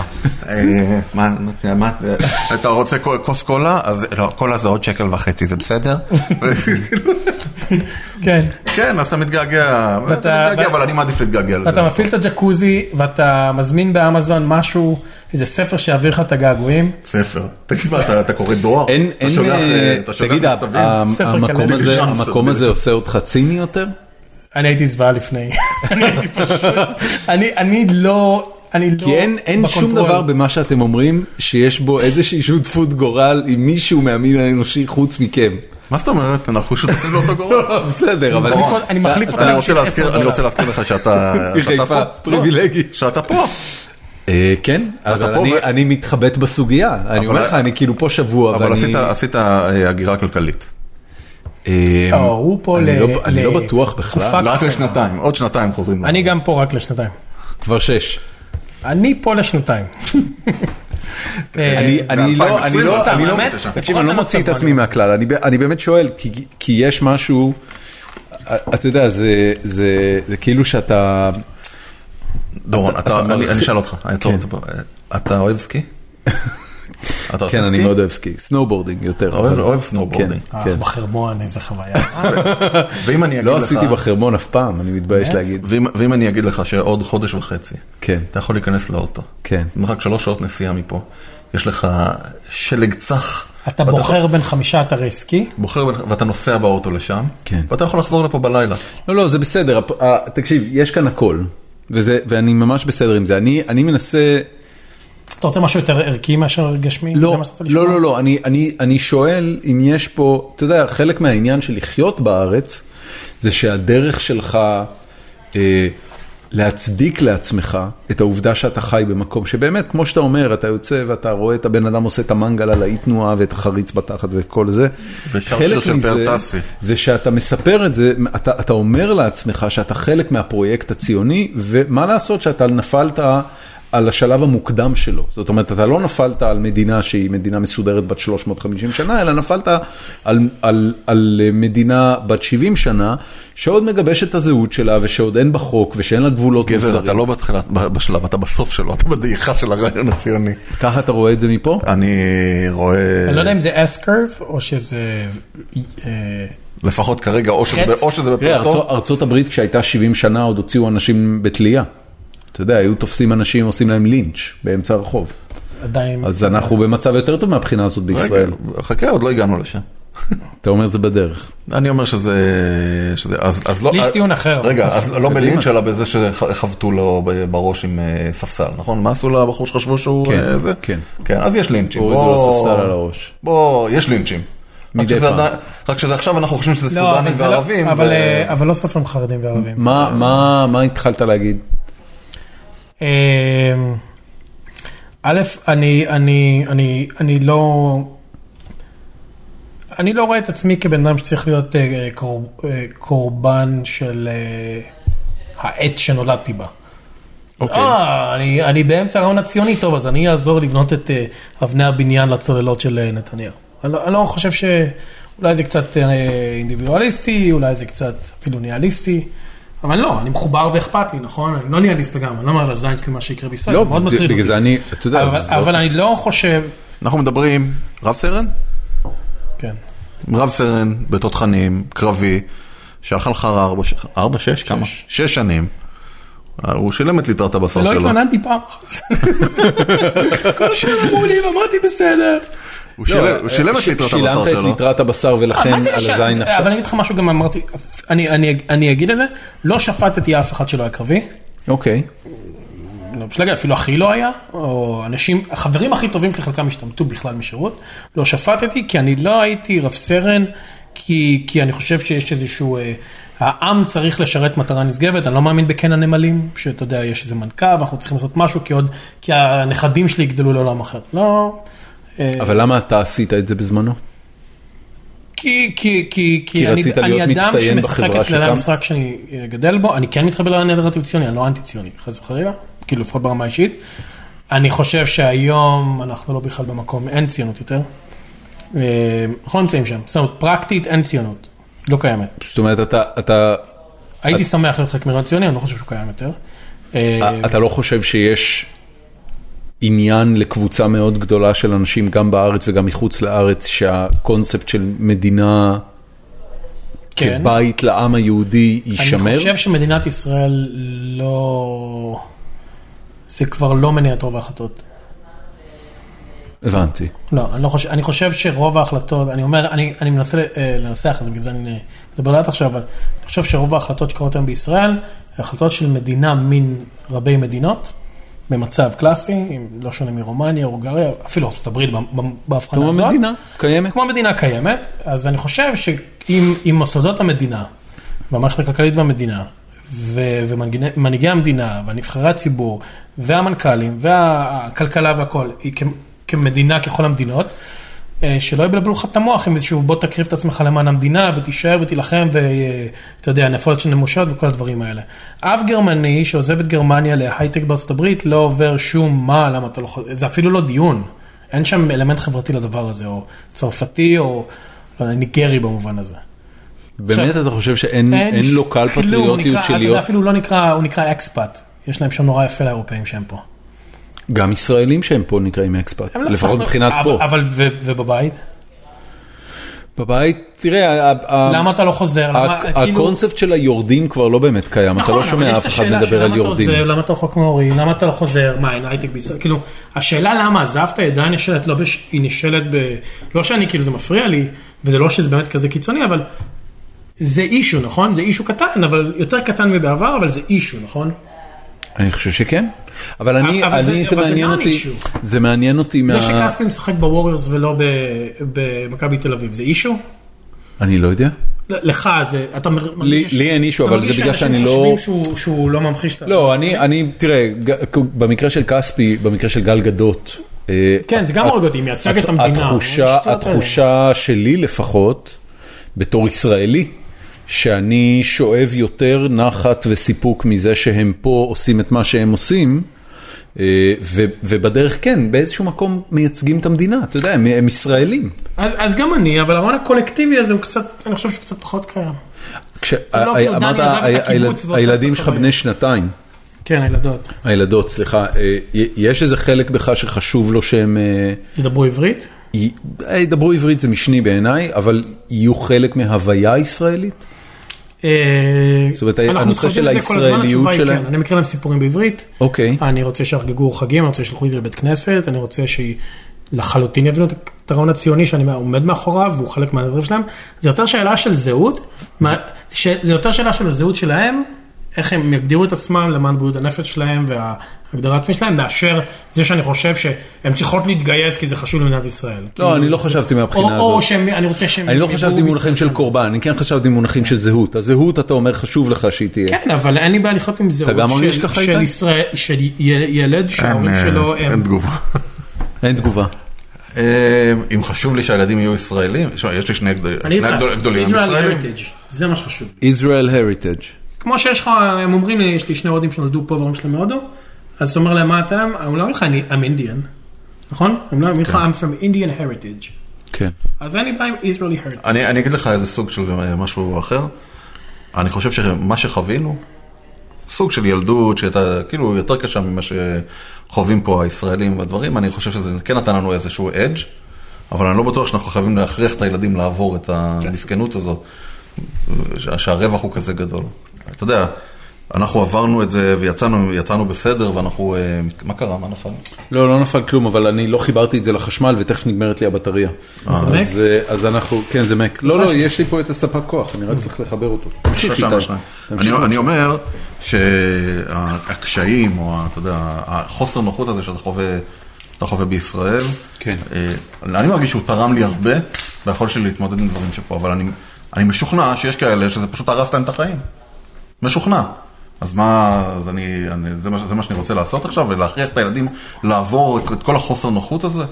[SPEAKER 2] אה, מה, מה, אה, אתה רוצה כו- כוס קולה? אז לא, קולה זה עוד שקל וחצי, זה בסדר?
[SPEAKER 4] כן,
[SPEAKER 2] כן, אז אתה מתגעגע, אתה מתגעגע, אבל אני מעדיף להתגעגע לזה.
[SPEAKER 4] ואתה מפעיל את הג'קוזי, ואתה מזמין באמזון משהו, איזה ספר שיעביר לך את הגעגועים.
[SPEAKER 2] ספר. תגיד מה, אתה- אתה קורא דואר?
[SPEAKER 1] אין,
[SPEAKER 2] אתה
[SPEAKER 1] אין,
[SPEAKER 2] שולח,
[SPEAKER 1] אה,
[SPEAKER 2] אה, אתה שולח
[SPEAKER 1] תגיד, ה-
[SPEAKER 2] מכתבים?
[SPEAKER 1] ה-
[SPEAKER 4] ספר לא,
[SPEAKER 1] המקום
[SPEAKER 4] קלנדר.
[SPEAKER 1] הזה-
[SPEAKER 2] בלשון,
[SPEAKER 1] המקום הזה
[SPEAKER 2] בלשון.
[SPEAKER 1] עושה אותך ציני יותר?
[SPEAKER 4] אני הייתי זוועה לפני. אני הייתי פשוט- אני אני לא, אני לא...
[SPEAKER 1] כי אין, אין שום
[SPEAKER 4] בקונטרול.
[SPEAKER 1] דבר במה שאתם אומרים שיש בו איזושהי שותפות גורל עם מישהו מהמין האנושי חוץ מכם.
[SPEAKER 2] מה זאת אומרת? אנחנו שותפים לאותו גורם.
[SPEAKER 1] לא, בסדר, אבל...
[SPEAKER 4] אני כל- אני מחליף אותם
[SPEAKER 2] אני רוצה
[SPEAKER 4] של
[SPEAKER 2] להזכיר-
[SPEAKER 4] עשר
[SPEAKER 2] אני רוצה
[SPEAKER 4] דולר.
[SPEAKER 2] להזכיר לך שאתה שאתה
[SPEAKER 1] מחיפה,
[SPEAKER 2] פה.
[SPEAKER 1] פריבילגי.
[SPEAKER 2] לא, שאתה פה.
[SPEAKER 1] אה, כן, אבל
[SPEAKER 2] פה
[SPEAKER 1] אני-
[SPEAKER 2] ו-
[SPEAKER 1] אני מתחבט בסוגיה. אני אומר לך, אני כאילו פה שבוע,
[SPEAKER 2] אבל
[SPEAKER 1] ואני-
[SPEAKER 2] עשית- עשית אה, הגירה כלכלית.
[SPEAKER 1] אה,
[SPEAKER 4] לא, הוא פה
[SPEAKER 1] אני
[SPEAKER 4] ל-
[SPEAKER 1] לא- אני לא
[SPEAKER 4] ל-
[SPEAKER 1] בטוח בכלל.
[SPEAKER 4] תקופה
[SPEAKER 2] רק
[SPEAKER 4] קצרה.
[SPEAKER 2] לשנתיים, עוד שנתיים חוזרים.
[SPEAKER 4] אני
[SPEAKER 2] לארץ.
[SPEAKER 4] גם פה רק לשנתיים.
[SPEAKER 1] כבר שש.
[SPEAKER 4] אני פה לשנתיים.
[SPEAKER 1] אני,
[SPEAKER 4] אה,
[SPEAKER 1] אני
[SPEAKER 2] ב-
[SPEAKER 1] לא, אני לא,
[SPEAKER 2] סתם,
[SPEAKER 1] אני לא,
[SPEAKER 4] באמת?
[SPEAKER 1] תקשיב, אני
[SPEAKER 4] לפחות
[SPEAKER 1] לא
[SPEAKER 2] נכון,
[SPEAKER 1] מוציא את
[SPEAKER 4] למצב
[SPEAKER 1] עצמי
[SPEAKER 4] מעניין.
[SPEAKER 1] מהכלל, אני, ב- אני באמת שואל, כי, כי יש משהו, אה, אתה יודע, זה, זה, זה כאילו שאתה,
[SPEAKER 2] דורון, אתה-
[SPEAKER 1] אתה
[SPEAKER 2] אני
[SPEAKER 1] מרחיק-
[SPEAKER 2] אני אשאל אותך, אני אעצור
[SPEAKER 1] כן.
[SPEAKER 2] אותך פה. אה, אתה אוהב סקי? אתה עושה
[SPEAKER 1] כן, אני
[SPEAKER 2] סקי?
[SPEAKER 1] מאוד אוהב סקי, סנובורדינג יותר.
[SPEAKER 2] אוהב-
[SPEAKER 1] אבל-
[SPEAKER 2] אוהב סנובורדינג.
[SPEAKER 1] כן,
[SPEAKER 4] אה,
[SPEAKER 1] כן.
[SPEAKER 4] בחרמון, איזה חוויה.
[SPEAKER 2] ואם אני אגיד
[SPEAKER 1] לא
[SPEAKER 2] לך-
[SPEAKER 1] עשיתי בחרמון אף פעם, אני מתבייש להגיד.
[SPEAKER 2] ואם ואם אני אגיד לך שעוד חודש וחצי,
[SPEAKER 1] כן,
[SPEAKER 2] אתה יכול להיכנס לאוטו.
[SPEAKER 1] כן.
[SPEAKER 2] מרחק שלוש שעות נסיעה מפה. יש לך שלג צח.
[SPEAKER 4] אתה
[SPEAKER 2] ואתה-
[SPEAKER 4] בוחר בין חמישה אתרי סקי,
[SPEAKER 2] בוחר בין- ואתה נוסע באוטו לשם,
[SPEAKER 1] כן.
[SPEAKER 2] ואתה יכול לחזור לפה בלילה.
[SPEAKER 1] לא, לא, זה בסדר. הפ- ה- תקשיב, יש כאן הכל, וזה- ואני ממש בסדר עם זה. אני אני מנסה...
[SPEAKER 4] אתה רוצה משהו יותר ערכי מאשר גשמי? זה
[SPEAKER 1] לא,
[SPEAKER 4] מה שאתה רוצה לשמוע?
[SPEAKER 1] לא, לא, לא, אני, אני, אני שואל אם יש פה, אתה יודע, חלק מהעניין של לחיות בארץ, זה שהדרך שלך אה, להצדיק לעצמך את העובדה שאתה חי במקום שבאמת, כמו שאתה אומר, אתה יוצא ואתה רואה את הבן אדם עושה את המנגל על האי תנועה ואת החריץ בתחת ואת כל זה.
[SPEAKER 2] ושר
[SPEAKER 1] חלק
[SPEAKER 2] שיר של
[SPEAKER 1] מזה
[SPEAKER 2] פאר-טסי.
[SPEAKER 1] זה שאתה מספר את זה, אתה, אתה אומר לעצמך שאתה חלק מהפרויקט הציוני, ומה לעשות שאתה נפלת על השלב המוקדם שלו. זאת אומרת, אתה לא נפלת על מדינה שהיא מדינה מסודרת בת 350 שנה, אלא נפלת על, על, על, על אה, מדינה בת 70 שנה, שעוד מגבשת את הזהות שלה, ושעוד אין בה חוק, ושאין לה גבולות
[SPEAKER 2] גבר, אתה
[SPEAKER 1] מוסדרים.
[SPEAKER 2] לא בתחילת, ב- בשלב, אתה בסוף שלו, אתה בדעיכה של הרעיון הציוני.
[SPEAKER 1] ככה אתה רואה את זה מפה?
[SPEAKER 2] אני רואה,
[SPEAKER 4] אני לא יודע אם זה S curve או שזה... אה,
[SPEAKER 2] לפחות כרגע, או שזה
[SPEAKER 4] חץ.
[SPEAKER 2] או שזה
[SPEAKER 1] תראה, ארצות,
[SPEAKER 2] בפלטו,
[SPEAKER 1] ארצות הברית כשהייתה 70 שנה עוד הוציאו אנשים בתלייה. אתה יודע, היו תופסים אנשים, עושים להם לינץ' באמצע הרחוב.
[SPEAKER 4] עדיין...
[SPEAKER 1] אז אנחנו במצב יותר טוב מהבחינה הזאת בישראל.
[SPEAKER 2] רגע, חכה, עוד לא הגענו לשם.
[SPEAKER 1] אתה אומר זה בדרך.
[SPEAKER 2] אני אומר שזה, שזה אז, אז לא,
[SPEAKER 4] לי יש טיעון אחר.
[SPEAKER 2] רגע, אז לא
[SPEAKER 1] קדימה.
[SPEAKER 2] בלינץ' אלא בזה שחבטו לו ב- בראש עם אה, ספסל, נכון? מה עשו לבחור שחשבו שהוא
[SPEAKER 1] כן,
[SPEAKER 2] אה, זה?
[SPEAKER 1] כן.
[SPEAKER 2] כן, אז יש לינצ'ים.
[SPEAKER 1] הורידו
[SPEAKER 2] בוא-
[SPEAKER 1] לו ספסל על הראש.
[SPEAKER 2] בוא, יש לינצ'ים. רק
[SPEAKER 1] מדי
[SPEAKER 2] שזה
[SPEAKER 1] פעם.
[SPEAKER 2] עדיין- רק שזה עכשיו אנחנו חושבים שזה
[SPEAKER 4] לא, אבל
[SPEAKER 2] סודנים
[SPEAKER 4] זה לא-
[SPEAKER 2] וערבים.
[SPEAKER 4] אבל,
[SPEAKER 2] ו-
[SPEAKER 4] אה, אבל לא סופרים חרדים וערבים.
[SPEAKER 1] מה, מה, מה התחלת להגיד?
[SPEAKER 4] אמ, א', אני, אני, אני, אני לא... אני לא רואה את עצמי כבן אדם שצריך להיות אה, אה, קור, אה, קורבן של אה, העט שנולדתי בה.
[SPEAKER 1] אוקיי.
[SPEAKER 4] אה, אני, אני באמצע הרעיון הציוני, טוב, אז אני אעזור לבנות את אה, אבני הבניין לצוללות של אה, נתניהו. אני, לא- אני לא חושב ש... אולי זה קצת אה, אינדיבידואליסטי, אולי זה קצת אפילו ניהליסטי, אבל לא, אני מחובר ואכפת לי, נכון? אני לא ניהליסט לגמרי, אני לא אומר על הזין שלי מה שיקרה בישראל,
[SPEAKER 1] לא,
[SPEAKER 4] זה מאוד מטריד
[SPEAKER 1] בגלל
[SPEAKER 4] אותי.
[SPEAKER 1] זה אני, אתה יודע,
[SPEAKER 4] אבל,
[SPEAKER 1] זאת-
[SPEAKER 4] אבל אני לא חושב...
[SPEAKER 2] אנחנו מדברים, רב סרן?
[SPEAKER 4] כן.
[SPEAKER 2] רב סרן בתותחנים, קרבי, שאכל חרא ארבע, ש- ארבע, שש, כמה? שש שנים. אה, הוא שילם את ליטרת הבשר
[SPEAKER 4] ולא
[SPEAKER 2] שלו.
[SPEAKER 4] לא התלוננתי פעם אחת. כל שהם אמרו לי, ואמרתי בסדר.
[SPEAKER 2] הוא
[SPEAKER 1] לא,
[SPEAKER 2] שילם- הוא שילם את
[SPEAKER 1] ש-
[SPEAKER 2] ליטרת
[SPEAKER 1] שילמת
[SPEAKER 2] הבשר
[SPEAKER 1] את
[SPEAKER 2] שלו.
[SPEAKER 1] ליטרת הבשר ולכן
[SPEAKER 4] מה זה
[SPEAKER 1] על
[SPEAKER 4] לש-
[SPEAKER 1] הזין
[SPEAKER 4] זה- אבל
[SPEAKER 1] עכשיו.
[SPEAKER 4] אני אגיד לך משהו, גם אמרתי, אני- אני- אני אגיד את זה, לא שפטתי אף אחד שלא היה קרבי,
[SPEAKER 1] אוקיי,
[SPEAKER 4] לא בשביל להגיד, אפילו אחי לא היה, או אנשים, החברים הכי טובים שלי חלקם השתמטו בכלל משירות, לא שפטתי כי אני לא הייתי רב סרן, כי, כי אני חושב שיש איזשהו, אה, העם צריך לשרת מטרה נשגבת, אני לא מאמין בקן הנמלים, שאתה יודע, יש איזה מנכ"ל, ואנחנו צריכים לעשות משהו, כי עוד, כי הנכדים שלי יגדלו לעולם אחר. לא, אה,
[SPEAKER 1] אבל למה אתה עשית את זה בזמנו?
[SPEAKER 4] כי, כי, כי,
[SPEAKER 1] כי
[SPEAKER 4] כי אני,
[SPEAKER 1] רצית
[SPEAKER 4] אני
[SPEAKER 1] להיות
[SPEAKER 4] אדם
[SPEAKER 1] מצטיין
[SPEAKER 4] שמשחק
[SPEAKER 1] בחברה
[SPEAKER 4] את כללי
[SPEAKER 1] שלך?
[SPEAKER 4] המשחק שאני אה, גדל בו, אני כן מתחבר לנרטיב ציוני, אני לא אנטי ציוני, חס וחלילה, כאילו לפחות ברמה האישית. אני חושב שהיום אנחנו לא בכלל במקום, אין ציונות יותר. אה, אנחנו לא נמצאים שם, זאת אומרת, פרקטית אין ציונות, לא קיימת.
[SPEAKER 1] זאת אומרת, אתה- אתה
[SPEAKER 4] הייתי שמח להיות חלק מרעיון ציוני, אני לא חושב שהוא קיים יותר. אה,
[SPEAKER 1] אתה לא חושב שיש עניין לקבוצה מאוד גדולה של אנשים, גם בארץ וגם מחוץ לארץ, שהקונספט של מדינה
[SPEAKER 4] כן.
[SPEAKER 1] כבית לעם היהודי יישמר?
[SPEAKER 4] אני חושב שמדינת ישראל לא... זה כבר לא מניע את רוב ההחלטות.
[SPEAKER 1] הבנתי.
[SPEAKER 4] לא, אני, לא חושב, אני חושב שרוב ההחלטות, אני אומר, אני, אני מנסה אה, לנסח את זה, בגלל זה אני אה, מדבר לאט עכשיו, אבל אני חושב שרוב ההחלטות שקורות היום בישראל, הן החלטות של מדינה מן רבי מדינות, במצב קלאסי, אם לא שונה מרומניה, הונגריה, אפילו ארצות הברית במ- במ- בהבחנה
[SPEAKER 1] כמו
[SPEAKER 4] הזאת.
[SPEAKER 1] מדינה קיימת.
[SPEAKER 4] כמו מדינה קיימת, אז אני חושב שאם אם מוסדות המדינה, והמערכת הכלכלית במדינה, ו- ומנהיגי המדינה, והנבחרי הציבור, והמנכ"לים, והכלכלה והכל, היא כ- כמדינה ככל המדינות, אה, שלא יבלבלו לך את המוח עם איזשהו בוא תקריב את עצמך למען המדינה ותישאר ותילחם ואתה יודע, נפולת של נמושות וכל הדברים האלה. אף גרמני שעוזב את גרמניה להייטק בארצות הברית לא עובר שום מה, למה אתה לא חוזר, זה אפילו לא דיון. אין שם אלמנט חברתי לדבר הזה, או צרפתי, או לא יודע, ניגרי במובן הזה.
[SPEAKER 1] באמת
[SPEAKER 4] עכשיו-
[SPEAKER 1] אתה חושב שאין אין
[SPEAKER 4] ש-
[SPEAKER 1] לו קל
[SPEAKER 4] כלום, הוא
[SPEAKER 1] פטריוטיות
[SPEAKER 4] נקרא-
[SPEAKER 1] של
[SPEAKER 4] אתה יודע,
[SPEAKER 1] להיות...
[SPEAKER 4] אפילו לא נקרא, הוא נקרא אקספאט. יש להם שם נורא יפה לאירופאים שהם פה.
[SPEAKER 1] גם ישראלים שהם פה נקראים אקספאט,
[SPEAKER 4] הם לא-
[SPEAKER 1] לפחות
[SPEAKER 4] אנחנו-
[SPEAKER 1] מבחינת
[SPEAKER 4] אבל-
[SPEAKER 1] פה.
[SPEAKER 4] אבל ו- ובבית?
[SPEAKER 1] בבית, תראה, ה- ה-
[SPEAKER 4] למה אתה לא חוזר? למה-
[SPEAKER 1] אה, הק-
[SPEAKER 4] כאילו-
[SPEAKER 1] הקונספט של היורדים כבר לא באמת קיים, אתה לא
[SPEAKER 4] נכון, אבל
[SPEAKER 1] שומע
[SPEAKER 4] יש את
[SPEAKER 1] אף אחד
[SPEAKER 4] השאלה של
[SPEAKER 1] מדבר על
[SPEAKER 4] למה אתה
[SPEAKER 1] יורדים.
[SPEAKER 4] עוזב, למה אתה רחוק מההורים, למה אתה לא חוזר, מה, אין הייטק בישראל, כאילו, השאלה למה עזבת, היא עדיין נשאלת, לא בש... היא נשאלת ב... לא שאני, כאילו, זה מפריע לי, וזה לא שזה באמת כזה קיצוני, אבל זה אישו, נכון? זה אישו קטן, אבל יותר קטן מבעבר, אבל זה אישו, נכון?
[SPEAKER 1] אני חושב שכן, אבל אני,
[SPEAKER 4] אבל זה-
[SPEAKER 1] אני, זה
[SPEAKER 4] אבל זה
[SPEAKER 1] מעניין
[SPEAKER 4] not
[SPEAKER 1] אותי,
[SPEAKER 4] issue.
[SPEAKER 1] זה מעניין אותי
[SPEAKER 4] זה
[SPEAKER 1] מה...
[SPEAKER 4] שכספי משחק בווריורס ולא ב- במכבי תל אביב, זה אישו?
[SPEAKER 1] אני לא יודע.
[SPEAKER 4] ל- לך זה, אתה מר- מרגיש...
[SPEAKER 1] לי אין אישו,
[SPEAKER 4] אתה
[SPEAKER 1] אבל
[SPEAKER 4] מרגיש
[SPEAKER 1] זה בגלל
[SPEAKER 4] שאנשים
[SPEAKER 1] שאני לא-
[SPEAKER 4] חושבים שהוא- שהוא לא ממחיש את ה...
[SPEAKER 1] לא, אני, אני, תראה, ג- במקרה של כספי, במקרה של גל גדות, אה,
[SPEAKER 4] כן, זה גם
[SPEAKER 1] הת-
[SPEAKER 4] הורג אותי, מייצג
[SPEAKER 1] הת-
[SPEAKER 4] את המדינה.
[SPEAKER 1] התחושה,
[SPEAKER 4] השטויות האלה.
[SPEAKER 1] התחושה שלי לפחות, בתור ישראלי, שאני שואב יותר נחת וסיפוק מזה שהם פה עושים את מה שהם עושים. אה, ו- ובדרך כן, באיזשהו מקום מייצגים את המדינה, אתה יודע, הם, הם ישראלים.
[SPEAKER 4] אז, אז גם אני, אבל הרעיון הקולקטיבי הזה הוא קצת, אני חושב שהוא קצת פחות קיים. לא כאילו
[SPEAKER 1] כשאמרת,
[SPEAKER 4] דני עזב את הקיבוץ ועושה את
[SPEAKER 1] הילדים שלך
[SPEAKER 4] החברים.
[SPEAKER 1] בני שנתיים,
[SPEAKER 4] כן, הילדות.
[SPEAKER 1] הילדות, סליחה, אה, י- יש איזה חלק בך שחשוב לו שהם אה,
[SPEAKER 4] ידברו עברית?
[SPEAKER 1] י- אה, ידברו עברית, זה משני בעיניי, אבל יהיו חלק מההוויה הישראלית?
[SPEAKER 4] אה,
[SPEAKER 1] זאת אומרת,
[SPEAKER 4] אנחנו
[SPEAKER 1] הנושא
[SPEAKER 4] מתחשבים
[SPEAKER 1] של
[SPEAKER 4] בזה כל הזמן,
[SPEAKER 1] הישראליות
[SPEAKER 4] התשובה היא
[SPEAKER 1] שלהם.
[SPEAKER 4] כן. אני מכיר להם סיפורים בעברית,
[SPEAKER 1] אוקיי.
[SPEAKER 4] אני רוצה שיחגגו חגים, אני רוצה שילכו איתי לבית כנסת, אני רוצה שהיא לחלוטין יבינו את את הרעיון הציוני שאני עומד מאחוריו, והוא חלק מהדברים שלהם. זה יותר שאלה של זהות, מה- ש- זה יותר שאלה של הזהות שלהם, איך הם יגדירו את עצמם למען בריאות הנפש שלהם וההגדרה העצמית שלהם, מאשר זה שאני חושב שהן צריכות להתגייס כי זה חשוב למדינת ישראל.
[SPEAKER 1] לא,
[SPEAKER 4] כאילו,
[SPEAKER 1] אני לא
[SPEAKER 4] זה-
[SPEAKER 1] חשבתי
[SPEAKER 4] או,
[SPEAKER 1] מהבחינה
[SPEAKER 4] או
[SPEAKER 1] הזאת.
[SPEAKER 4] שהם, אני רוצה שהם...
[SPEAKER 1] אני לא
[SPEAKER 4] יגבו
[SPEAKER 1] חשבתי במונחים
[SPEAKER 4] מסביב
[SPEAKER 1] של
[SPEAKER 4] שלנו.
[SPEAKER 1] קורבן, אני כן חשבתי במונחים של זהות. הזהות, אתה אומר, חשוב לך שהיא תהיה.
[SPEAKER 4] כן, אבל אין לי בעיה לחיות עם זהות
[SPEAKER 1] אתה גם מרגיש
[SPEAKER 4] של-
[SPEAKER 1] ככה,
[SPEAKER 4] של
[SPEAKER 1] איתי?
[SPEAKER 4] ישראל, של י- ילד שההורים
[SPEAKER 2] אין,
[SPEAKER 4] שלו
[SPEAKER 2] כן, אה,
[SPEAKER 4] הם...
[SPEAKER 2] אין תגובה.
[SPEAKER 1] אין תגובה.
[SPEAKER 2] אה, אם חשוב לי שהילדים יהיו ישראלים, תשמע, יש לי שני גדולים,
[SPEAKER 4] אני
[SPEAKER 2] שני
[SPEAKER 4] איתך,
[SPEAKER 2] גדול- גדולים הם
[SPEAKER 4] Israel
[SPEAKER 2] ישראלים.
[SPEAKER 4] Heritage, זה מה שחשוב.
[SPEAKER 1] Israel Heritage.
[SPEAKER 4] כמו שיש לך, הם אומרים לי, יש לי שני הודים שנולדו פה וההורים שלהם מהודו, אז אתה אומר להם, מה אתה? הם לא אומרים לך, אני I'm Indian, נכון? הם לא אומרים
[SPEAKER 2] כן.
[SPEAKER 4] לך, I'm from Indian Heritage.
[SPEAKER 1] כן.
[SPEAKER 4] אז אין לי בעיה עם Israeli Heritage.
[SPEAKER 2] אני אני אגיד לך איזה סוג של אה, משהו אחר. אני חושב שמה שחווינו, סוג של ילדות שהייתה כאילו יותר קשה ממה שחווים פה הישראלים והדברים, אני חושב שזה כן נתן לנו איזשהו אדג', אבל אני לא בטוח שאנחנו חייבים להכריח את הילדים לעבור את המסכנות הזו, ש- שהרווח הוא כזה גדול. אתה יודע, אנחנו עברנו את זה ויצאנו יצאנו בסדר ואנחנו, אה, מה קרה? מה נפל?
[SPEAKER 1] לא, לא נפל כלום, אבל אני לא חיברתי את זה לחשמל ותכף נגמרת לי הבטריה.
[SPEAKER 4] מק?
[SPEAKER 1] אז, אה, אז אנחנו, כן, זה מק. לא, לא, יש לי פה את הספק כוח, אני רק צריך לחבר אותו. תמשיך
[SPEAKER 2] שלושה
[SPEAKER 1] איתה.
[SPEAKER 2] מהשניים. אני- אני אומר שהקשיים, או ה- אתה יודע, החוסר נוחות הזה שאתה חווה, אתה חווה בישראל,
[SPEAKER 1] כן.
[SPEAKER 2] אה, אני מרגיש שהוא תרם לי הרבה ביכולת שלי להתמודד עם דברים שפה, אבל אני- אני משוכנע שיש כאלה שזה פשוט הרס להם את החיים. משוכנע. אז מה, אז אני, אני זה, מה, זה מה שאני רוצה לעשות עכשיו, ולהכריח את הילדים לעבור את, את כל החוסר נוחות הזה?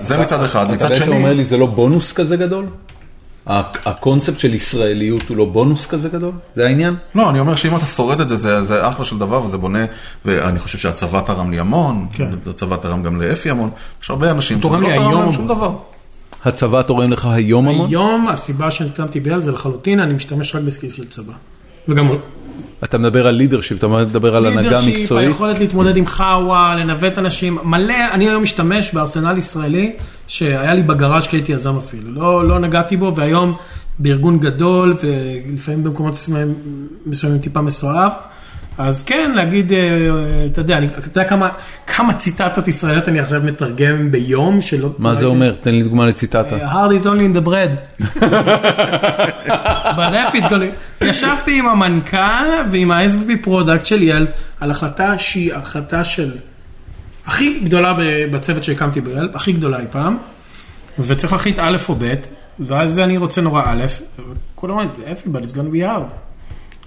[SPEAKER 2] זה מצד אחד.
[SPEAKER 1] אה, אתה
[SPEAKER 2] מצד
[SPEAKER 1] בעצם
[SPEAKER 2] שני,
[SPEAKER 1] אומר לי, זה לא בונוס כזה גדול? ה- הקונספט של ישראליות הוא לא בונוס כזה גדול? זה העניין?
[SPEAKER 2] לא, אני אומר שאם אתה שורד את זה, זה, זה אחלה של דבר וזה בונה, ואני חושב שהצבא תרם לי המון,
[SPEAKER 4] כן.
[SPEAKER 2] הצבא תרם גם לאפי המון, יש הרבה אנשים
[SPEAKER 4] תורם
[SPEAKER 2] שזה
[SPEAKER 4] לי
[SPEAKER 2] לא תרם
[SPEAKER 4] היום.
[SPEAKER 2] להם שום דבר.
[SPEAKER 1] הצבא תורם לך היום המון?
[SPEAKER 4] היום הסיבה שנתקמתי בי על זה לחלוטין, אני משתמש רק בסקיל של צבא. וגם
[SPEAKER 1] אתה מדבר על לידרשיפ, אתה מדבר על הנהגה
[SPEAKER 4] leadership,
[SPEAKER 1] מקצועית.
[SPEAKER 4] היכולת להתמודד עם חאווה, לנווט אנשים, מלא, אני היום משתמש בארסנל ישראלי, שהיה לי בגראז' כשהייתי יזם אפילו, לא, לא נגעתי בו, והיום בארגון גדול, ולפעמים במקומות מסוימים- מסוימים טיפה מסואב, אז כן, להגיד, אה, אתה יודע, אני, אתה יודע כמה, כמה ציטטות ישראליות אני עכשיו מתרגם ביום, שלא...
[SPEAKER 1] מה זה אומר? תן לי דוגמה לציטטה.
[SPEAKER 4] hard is only in the bread. ברפיץ, ישבתי עם המנכ"ל ועם ה-SVP פרודקט של יל על החלטה שהיא החלטה של הכי גדולה ב- בצוות שהקמתי ביל, הכי גדולה אי פעם, וצריך להחליט א' או ב', ואז אני רוצה נורא א', וכולם אומרים, everybody's gonna be hard.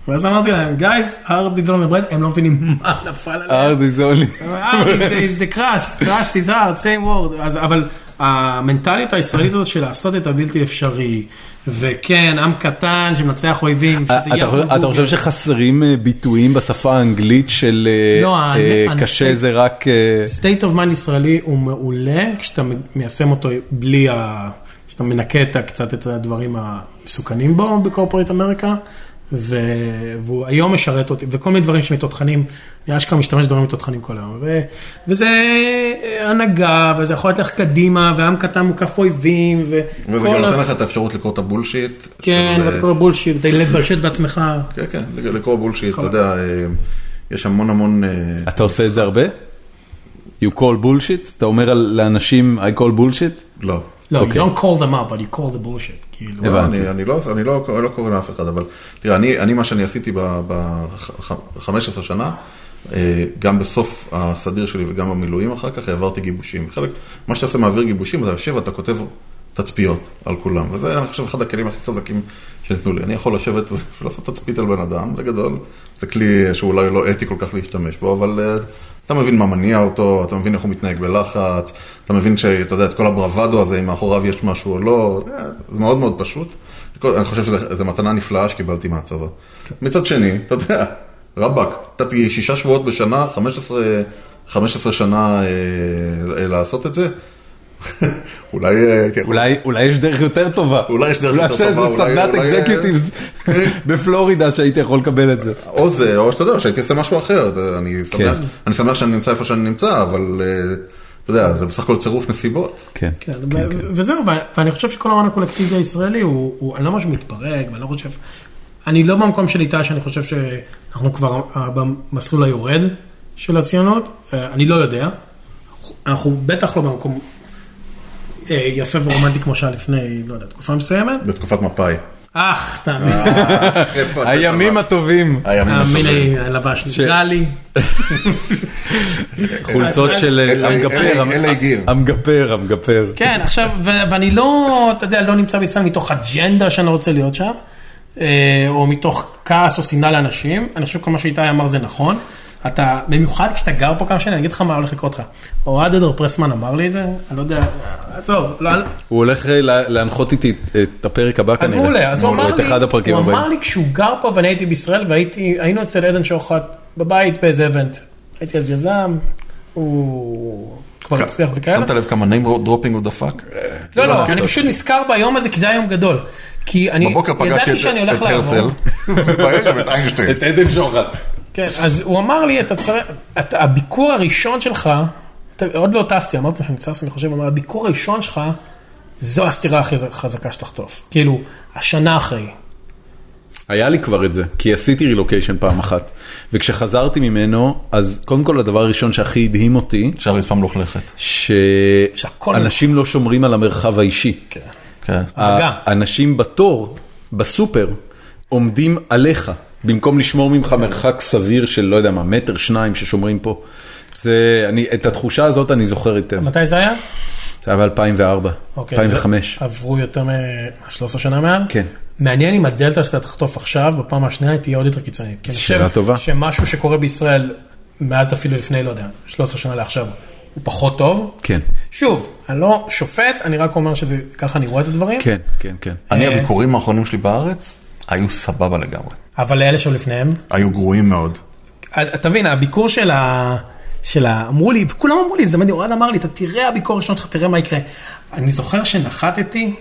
[SPEAKER 4] ואז אמרתי להם, guys, hard is only bread, הם לא מבינים מה נפל עליהם.
[SPEAKER 1] ארדי זולי.
[SPEAKER 4] hard אה, is the- is the crust, crust is hard, same word, אז, אבל המנטליות הישראלית הזאת של לעשות את הבלתי אפשרי, וכן, עם קטן שמנצח אויבים, שזה
[SPEAKER 1] אה, אתה
[SPEAKER 4] יהיה
[SPEAKER 1] חושב- אתה חושב שחסרים אה, ביטויים בשפה האנגלית של אה,
[SPEAKER 4] לא, ה-
[SPEAKER 1] אה,
[SPEAKER 4] ה-
[SPEAKER 1] קשה
[SPEAKER 4] ה-
[SPEAKER 1] זה רק... אה,
[SPEAKER 4] state of mind ישראלי הוא מעולה כשאתה מיישם אותו בלי ה... כשאתה מנקה את ה- קצת את הדברים המסוכנים בו בקורפורט אמריקה, ו... והוא היום משרת אותי, וכל מיני דברים שמתותחנים, אני אשכרה משתמש בדברים מתותחנים כל היום. ו... וזה אה, הנהגה, וזה יכול ללכת קדימה, ועם קטן מוקף אויבים, וכל...
[SPEAKER 2] וזה גם
[SPEAKER 4] ה-
[SPEAKER 2] נותן לך את האפשרות לקרוא את הבולשיט.
[SPEAKER 4] כן,
[SPEAKER 2] של, אה,
[SPEAKER 4] ואתה קורא בולשיט, אתה מתבלשט בעצמך.
[SPEAKER 2] כן, כן, לקרוא בולשיט, אתה יודע, אה, יש המון המון... אה,
[SPEAKER 1] אתה עושה את זה הרבה? You call bullshit? אתה אומר על- לאנשים I call bullshit?
[SPEAKER 2] לא.
[SPEAKER 4] לא, you
[SPEAKER 1] אוקיי.
[SPEAKER 4] don't call them up, but you call the bullshit. כאילו,
[SPEAKER 1] הבנתי.
[SPEAKER 2] לא, אני, אני, לא, אני לא, לא קורא לאף אחד, אבל תראה, אני, אני מה שאני עשיתי ב-15 שנה, אה, גם בסוף הסדיר שלי וגם במילואים אחר כך, העברתי גיבושים. חלק, מה שאתה עושה מעביר גיבושים, אתה יושב ואתה כותב תצפיות על כולם, וזה אני חושב אחד הכלים הכי חזקים שניתנו לי. אני יכול לשבת ולעשות תצפית על בן אדם, זה גדול, זה כלי שאולי לא אתי כל כך להשתמש בו, אבל... אה, אתה מבין מה מניע אותו, אתה מבין איך הוא מתנהג בלחץ, אתה מבין שאתה יודע, את כל הברוואדו הזה, אם מאחוריו יש משהו או לא, זה מאוד מאוד פשוט. אני חושב שזו מתנה נפלאה שקיבלתי מהצבא. מצד שני, אתה יודע, רבאק, נתתי שישה שבועות בשנה, 15, 15 שנה אה, אה, לעשות את זה, אולי אה, הייתי יכול...
[SPEAKER 1] אולי, אולי יש דרך יותר טובה.
[SPEAKER 2] אולי יש דרך יותר טובה,
[SPEAKER 1] אולי
[SPEAKER 2] אולי-
[SPEAKER 1] יש איזה סדנת
[SPEAKER 2] אולי-
[SPEAKER 1] אקזקיוטיבס בפלורידה שהיית יכול לקבל את זה.
[SPEAKER 2] או זה, או שאתה יודע, שהייתי עושה משהו אחר, אתה- אני
[SPEAKER 4] כן.
[SPEAKER 2] שמח, אני שמח שאני נמצא איפה שאני נמצא, אבל אה, אתה יודע, זה בסך הכל צירוף נסיבות.
[SPEAKER 1] כן.
[SPEAKER 4] כן, ו- וזהו, ו- ואני חושב שכל הרעיון הקולקטיבי הישראלי הוא, הוא- אני לא ממש מתפרק, ואני לא חושב, אני לא במקום של איתה שאני חושב שאנחנו כבר אה, במסלול היורד של הציונות, אה, אני לא יודע, אנחנו בטח לא במקום אה, יפה ורומנטי כמו שהיה לפני, לא יודע, תקופה מסוימת,
[SPEAKER 2] בתקופת מפא"י.
[SPEAKER 4] אך, תאמין,
[SPEAKER 1] הימים הטובים.
[SPEAKER 2] הימים
[SPEAKER 4] תאמין
[SPEAKER 2] הטובים.
[SPEAKER 4] לי, לבש גלי,
[SPEAKER 1] חולצות של אה,
[SPEAKER 2] אלה-
[SPEAKER 1] המגפר,
[SPEAKER 2] אלה-
[SPEAKER 1] המ-
[SPEAKER 2] אלה הגיב.
[SPEAKER 1] המגפר, המגפר.
[SPEAKER 4] כן, עכשיו, ו- ואני לא, אתה יודע, לא נמצא בישראל מתוך אג'נדה שאני לא רוצה להיות שם, אה, או מתוך כעס או שנאה לאנשים. אני חושב שכל מה שאיתי אמר זה נכון. אתה, במיוחד כשאתה גר פה כמה שנים, אני אגיד לך מה הולך לקרות לך. אוהד אדר פרסמן אמר לי את זה, אני לא יודע, עזוב, לא,
[SPEAKER 1] הוא הולך אה, לה- להנחות איתי את הפרק הבא כנראה.
[SPEAKER 4] אז מעולה, אז הוא
[SPEAKER 1] או
[SPEAKER 4] אמר
[SPEAKER 1] את אחד
[SPEAKER 4] לי,
[SPEAKER 1] הפרקים
[SPEAKER 4] הוא אמר
[SPEAKER 1] הבאים.
[SPEAKER 4] לי כשהוא גר פה ואני הייתי בישראל והייתי, היינו אצל עדן שוחט בבית באיזה אבנט. הייתי אז יזם, הוא כבר הצליח וכאלה.
[SPEAKER 2] שמת לב כמה name dropping הוא דפק?
[SPEAKER 4] לא, לא,
[SPEAKER 2] לעשות.
[SPEAKER 4] אני פשוט נזכר ביום הזה, כי זה היה יום גדול. כי אני
[SPEAKER 2] בבוקר פגשתי
[SPEAKER 4] ידעתי
[SPEAKER 2] את
[SPEAKER 4] שאני הולך
[SPEAKER 2] את
[SPEAKER 4] לעבור.
[SPEAKER 2] הרצל, ובערב את איינשטיין.
[SPEAKER 1] את עדן שוחט.
[SPEAKER 4] כן, אז הוא אמר לי, אתה צריך, אתה- הביקור הראשון שלך, אתה- עוד לא טסתי, אמרתי לו שאני טס, אני חושב, הוא אמר, הביקור הראשון שלך, זו הסתירה הכי חזקה שתחטוף. כאילו, השנה אחרי.
[SPEAKER 1] היה לי כבר את זה, כי עשיתי רילוקיישן פעם אחת. וכשחזרתי ממנו, אז קודם כל הדבר הראשון שהכי הדהים אותי,
[SPEAKER 2] שהרצפה מלוכלכת.
[SPEAKER 4] שהכל-
[SPEAKER 1] שאנשים לא שומרים על המרחב האישי.
[SPEAKER 2] כן.
[SPEAKER 4] מגע.
[SPEAKER 1] האנשים בתור, בסופר, עומדים עליך, במקום לשמור ממך מרחק סביר של לא יודע מה, מטר, שניים ששומרים פה. זה, אני, את התחושה הזאת אני זוכר היטב.
[SPEAKER 4] מתי זה היה?
[SPEAKER 1] זה היה ב-2004,
[SPEAKER 4] אוקיי, אז
[SPEAKER 1] 2005.
[SPEAKER 4] עברו יותר מ-13 שנה מאז?
[SPEAKER 1] כן.
[SPEAKER 4] מעניין אם הדלתא שאתה תחטוף עכשיו, בפעם השנייה, תהיה עוד יותר קיצונית. כי אני
[SPEAKER 1] שאלה
[SPEAKER 4] חושב
[SPEAKER 1] טובה.
[SPEAKER 4] שמשהו שקורה בישראל, מאז אפילו לפני, לא יודע, 13 שנה לעכשיו, הוא פחות טוב.
[SPEAKER 1] כן,
[SPEAKER 4] שוב, אני לא שופט, אני רק אומר שזה, ככה אני רואה את הדברים.
[SPEAKER 1] כן, כן, כן.
[SPEAKER 2] אני, הביקורים האחרונים שלי בארץ היו סבבה לגמרי.
[SPEAKER 4] אבל לאלה שלפניהם,
[SPEAKER 2] היו גרועים מאוד.
[SPEAKER 4] אז תבין, אה, הביקור של ה... של ה... אמרו לי, וכולם אמרו לי, זה מדהים, אוהד אמר לי, אתה תראה הביקור הראשון שלך, תראה מה יקרה. אני זוכר שנחתתי,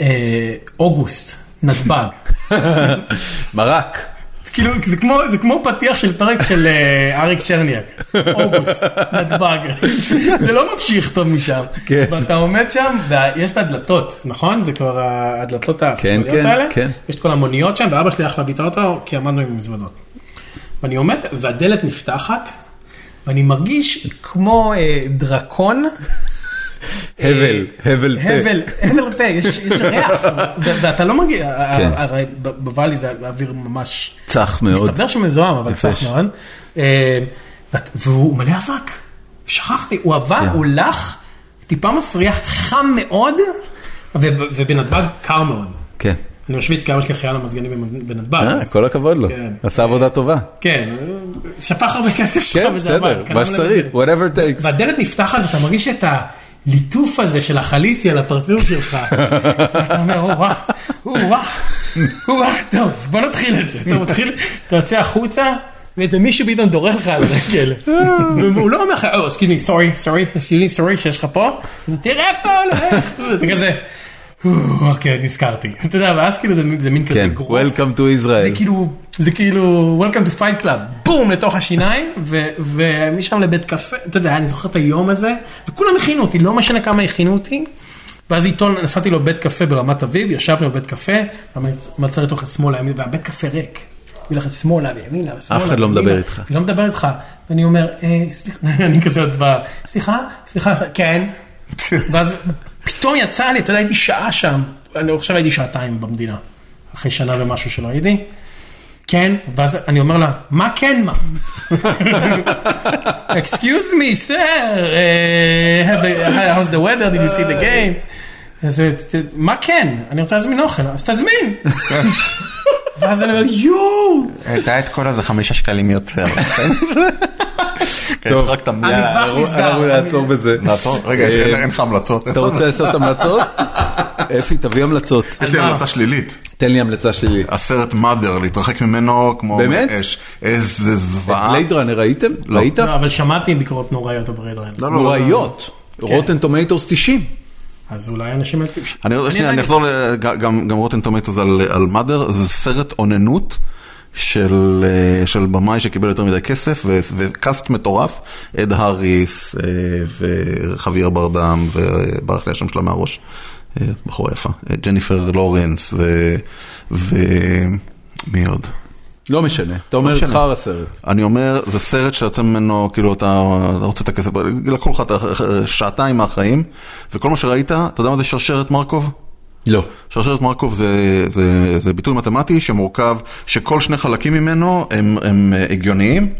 [SPEAKER 4] אה, אוגוסט, נתב"ג.
[SPEAKER 1] מרק.
[SPEAKER 4] כאילו, זה כמו, זה כמו פתיח של פרק של אה, אריק צ'רניאק, אוגוסט, נתב"ג, זה לא ממשיך טוב משם.
[SPEAKER 1] כן.
[SPEAKER 4] ואתה עומד שם, ויש את הדלתות, נכון? זה כבר הדלתות החשמליות
[SPEAKER 1] כן,
[SPEAKER 4] האלה?
[SPEAKER 1] כן.
[SPEAKER 4] יש את כל המוניות שם, ואבא שלי הלך להביא את האוטו, כי עמדנו עם מזוודות. ואני עומד, והדלת נפתחת, ואני מרגיש כמו אה, דרקון.
[SPEAKER 1] הבל, הבל תה.
[SPEAKER 4] הבל, הבל פה, יש יש ריח, ו- ואתה לא מגיע,
[SPEAKER 1] כן.
[SPEAKER 4] הרי ב- בוואלי זה אוויר ממש
[SPEAKER 1] צח מאוד.
[SPEAKER 4] מסתבר שמזוהם, אבל צריך מאוד. אה, ואת- והוא מלא אבק, שכחתי, הוא
[SPEAKER 1] כן.
[SPEAKER 4] אבק, הוא לח, טיפה מסריח, חם מאוד, וב- ובנתב"ג קר מאוד.
[SPEAKER 1] כן.
[SPEAKER 4] אני משוויץ כי אבא שלי חייל המזגנים בנתב"ג.
[SPEAKER 1] אה,
[SPEAKER 4] אז-
[SPEAKER 1] כל הכבוד לו.
[SPEAKER 4] כן.
[SPEAKER 1] עשה עבודה טובה.
[SPEAKER 4] כן, שפך הרבה כסף שלך
[SPEAKER 1] כן,
[SPEAKER 4] וזה
[SPEAKER 1] בסדר,
[SPEAKER 4] אבק.
[SPEAKER 1] מה
[SPEAKER 4] קנה מלא
[SPEAKER 1] שצריך,
[SPEAKER 4] מזגנים.
[SPEAKER 1] whatever takes.
[SPEAKER 4] והדלת נפתחת ואתה מרגיש את הליטוף הזה של החליסי על הפרסום שלך. אתה אומר, "או, וואה, או, וואה, או, וואה, טוב, בוא נתחיל את זה. אתה מתחיל, אתה יוצא החוצה, ואיזה מישהו פתאום דורך לך על הרגל. והוא לא אומר לך, או, סקיד סורי, סורי, סורי, סורי, שיש לך פה. אז תראה איפה אתה הולך. אתה כזה. אוקיי, נזכרתי. אתה יודע, ואז כאילו זה מין- זה מין כזה
[SPEAKER 1] כן,
[SPEAKER 4] גרוף.
[SPEAKER 1] Welcome to
[SPEAKER 4] זה
[SPEAKER 1] Israel.
[SPEAKER 4] כאילו, זה כאילו, Welcome to Fight Club, בום, לתוך השיניים, ו- ומשם לבית קפה, אתה יודע, אני זוכר את היום הזה, וכולם הכינו אותי, לא משנה כמה הכינו אותי. ואז עיתון, נסעתי לו בית קפה ברמת אביב, ישבנו בבית קפה, והמצרת הולכת שמאלה, ימינה, והבית קפה ריק. היא הולכת שמאלה וימינה ושמאלה.
[SPEAKER 1] אף אחד לא
[SPEAKER 4] וימינה.
[SPEAKER 1] מדבר איתך.
[SPEAKER 4] היא לא מדבר איתך. ואני אומר, "אה, סליחה, אני כזה עוד ב... סליחה, סליחה, ס- כן. ואז פתאום יצא לי, אתה יודע, הייתי שעה שם. אני עכשיו הייתי שעתיים במדינה. אחרי שנה ומשהו שלא הייתי. כן, ואז אני אומר לה, מה כן מה? Excuse me, sir, uh, have a, how's the weather, did you see the game? אז אה, ת- מה כן? אני רוצה להזמין אוכל, אז תזמין. ואז אני אומר, יואו,
[SPEAKER 2] הייתה את כל הזה חמישה שקלים יותר.
[SPEAKER 1] טוב.
[SPEAKER 2] טוב, רק תמליץ.
[SPEAKER 4] המזבח
[SPEAKER 1] אה, אנחנו-
[SPEAKER 4] נסגר.
[SPEAKER 1] אנחנו נעצור בזה.
[SPEAKER 2] לעצור? רגע, יש- אין
[SPEAKER 1] אה,
[SPEAKER 2] אין לך המלצות.
[SPEAKER 1] אתה רוצה לעשות המלצות? אפי, תביא המלצות.
[SPEAKER 2] יש לי המלצה שלילית.
[SPEAKER 1] תן לי המלצה
[SPEAKER 2] אה?
[SPEAKER 1] שלילית.
[SPEAKER 2] הסרט מאדר, להתרחק ממנו כמו
[SPEAKER 1] באמת?
[SPEAKER 2] מאש. איזה זוועה.
[SPEAKER 1] בלייד ראנר ראיתם?
[SPEAKER 2] לא.
[SPEAKER 1] ראית?
[SPEAKER 4] לא, אבל שמעתי ביקורות נוראיות על ברד ריין,
[SPEAKER 2] לא, לא, לא, לא.
[SPEAKER 1] נוראיות. רוטן טומטוס 90.
[SPEAKER 4] אז אולי אנשים אל טיפשים.
[SPEAKER 2] אני עוד שנייה, אני אחזור ל- ג- גם- גם רוטן טומטוס על מאדר, זה סרט אוננות של אה, של במאי שקיבל יותר מדי כסף ו- וקאסט מטורף, אד האריס אה, וחביר ברדם וברח לי השם שלה מהראש, אה, בחורה יפה, אה, ג'ניפר לורנס ו- ומי עוד?
[SPEAKER 1] לא משנה. אתה אומר
[SPEAKER 2] משנה.
[SPEAKER 1] חרא סרט.
[SPEAKER 2] אני אומר, זה סרט שיוצא ממנו, כאילו אתה אתה רוצה את הכסף, לקחו לך את ה- אה, שעתיים מהחיים, וכל מה שראית, אתה יודע מה זה שרשרת מרקוב?
[SPEAKER 1] לא.
[SPEAKER 2] שרשרת מרקוב זה, זה, זה ביטוי מתמטי שמורכב, שכל שני חלקים ממנו הם, הם אה, הגיוניים.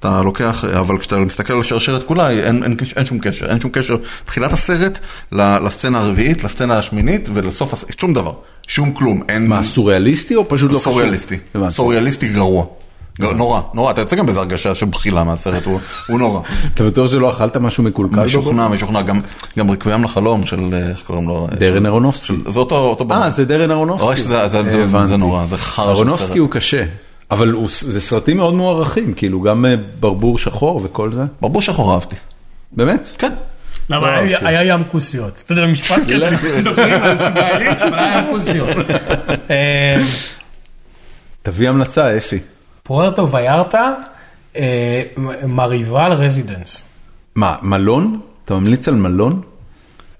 [SPEAKER 2] אתה לוקח, אבל כשאתה מסתכל על השרשרת כולה, אין, אין, אין שום קשר, אין שום קשר. תחילת הסרט ל- לסצנה הרביעית, לסצנה השמינית ולסוף הסרט, שום דבר, שום כלום. אין,
[SPEAKER 1] מה, סוריאליסטי או פשוט לא קשור?
[SPEAKER 2] סוריאליסטי,
[SPEAKER 1] הבנתי.
[SPEAKER 2] סוריאליסטי גרוע. גר- נורא, נורא, אתה יוצא גם באיזו הרגשה של בחילה מהסרט, הוא, הוא נורא.
[SPEAKER 1] אתה בטוח שלא אכלת משהו מקולקל?
[SPEAKER 2] משוכנע, משוכנע, גם, גם רקביים לחלום של, אה, איך קוראים לו? אה,
[SPEAKER 1] דרן אהרונופסקי.
[SPEAKER 2] זה אותו, אותו במה.
[SPEAKER 1] אה, זה דרן אהרונופסקי.
[SPEAKER 2] רק שזה- זה- זה-
[SPEAKER 1] הבנתי.
[SPEAKER 2] זה נורא, זה חרא של
[SPEAKER 1] אהרונופסקי
[SPEAKER 2] סרט.
[SPEAKER 1] הוא קשה. אבל הוא- זה סרטים מאוד מוערכים, כאילו גם אה, ברבור שחור וכל זה.
[SPEAKER 2] ברבור שחור אהבתי.
[SPEAKER 1] באמת?
[SPEAKER 2] כן.
[SPEAKER 4] למה
[SPEAKER 1] לא
[SPEAKER 4] היה-
[SPEAKER 1] אהבתי.
[SPEAKER 4] היה ים כוסיות, אתה יודע, משפט כזה, מדברים על סגלית, אבל היה ים כוסיות. אה,
[SPEAKER 1] תביא המלצה, אפי.
[SPEAKER 4] פוארטו ויארטה אה, מ- מרהיבה על רזידנס.
[SPEAKER 1] מה, מלון? אתה ממליץ על מלון?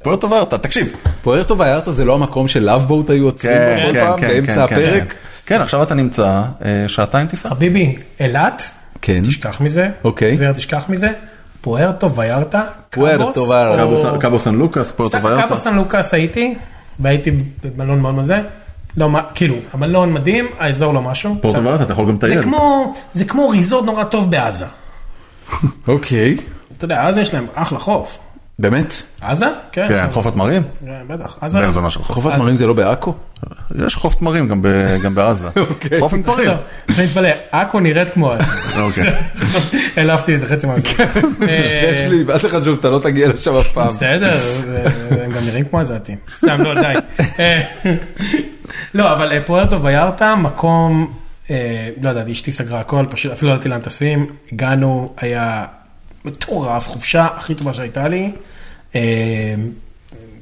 [SPEAKER 2] פוארטו ורטה, תקשיב.
[SPEAKER 1] פוארטו ויארטה זה לא המקום שלאבבוט היו עוצרים
[SPEAKER 2] כן,
[SPEAKER 1] כל
[SPEAKER 2] כן,
[SPEAKER 1] פעם
[SPEAKER 2] כן,
[SPEAKER 1] באמצע
[SPEAKER 2] כן, כן,
[SPEAKER 1] הפרק?
[SPEAKER 2] כן. כן, עכשיו אתה נמצא אה, שעתיים טיסה.
[SPEAKER 4] חביבי, אילת,
[SPEAKER 1] כן.
[SPEAKER 4] תשכח מזה,
[SPEAKER 1] אוקיי.
[SPEAKER 4] טבריה תשכח מזה, פוארטו ויארטה,
[SPEAKER 1] פוארטו
[SPEAKER 4] קאבוס,
[SPEAKER 1] ויארטה.
[SPEAKER 4] או-
[SPEAKER 2] קאבו- קאבו סן לוקאס, פוארטו
[SPEAKER 4] סן-
[SPEAKER 2] ורטה.
[SPEAKER 4] קאבוס סן לוקאס הייתי, והייתי במלון מאוד מזה, לא, מה- כאילו, המלון מדהים, האזור לא משהו.
[SPEAKER 2] פוארטו
[SPEAKER 4] קצת-
[SPEAKER 2] ורטה, אתה יכול גם
[SPEAKER 4] זה
[SPEAKER 2] לטייל.
[SPEAKER 4] כמו, זה כמו ריזורט נורא טוב בעזה.
[SPEAKER 1] אוקיי.
[SPEAKER 4] אתה יודע, עזה יש להם אחלה חוף.
[SPEAKER 1] באמת?
[SPEAKER 4] עזה? כן.
[SPEAKER 2] כן, חופת מרים?
[SPEAKER 4] כן, בטח. עזה.
[SPEAKER 2] בן זונה של חוף.
[SPEAKER 1] חובת מרים זה לא בעכו?
[SPEAKER 2] יש חוף תמרים גם ב- גם בעזה.
[SPEAKER 1] אוקיי.
[SPEAKER 2] חוף עם תמרים.
[SPEAKER 4] לא, אני מתפלא, עכו נראית כמו עזה.
[SPEAKER 2] אוקיי.
[SPEAKER 4] העלבתי איזה חצי מהזה.
[SPEAKER 1] יש לי, ואל תחשוב, אתה לא תגיע לשם אף פעם.
[SPEAKER 4] אה, בסדר, הם גם נראים כמו עזתים. סתם, לא, די. אה, לא, אבל אה, פוארטו ויארטה, מקום, אה, לא יודעת, אשתי סגרה הכל, פשוט אפילו לא ידעתי לאן טסים. הגענו, היה מטורף, חופשה הכי טובה שהייתה לי. אה,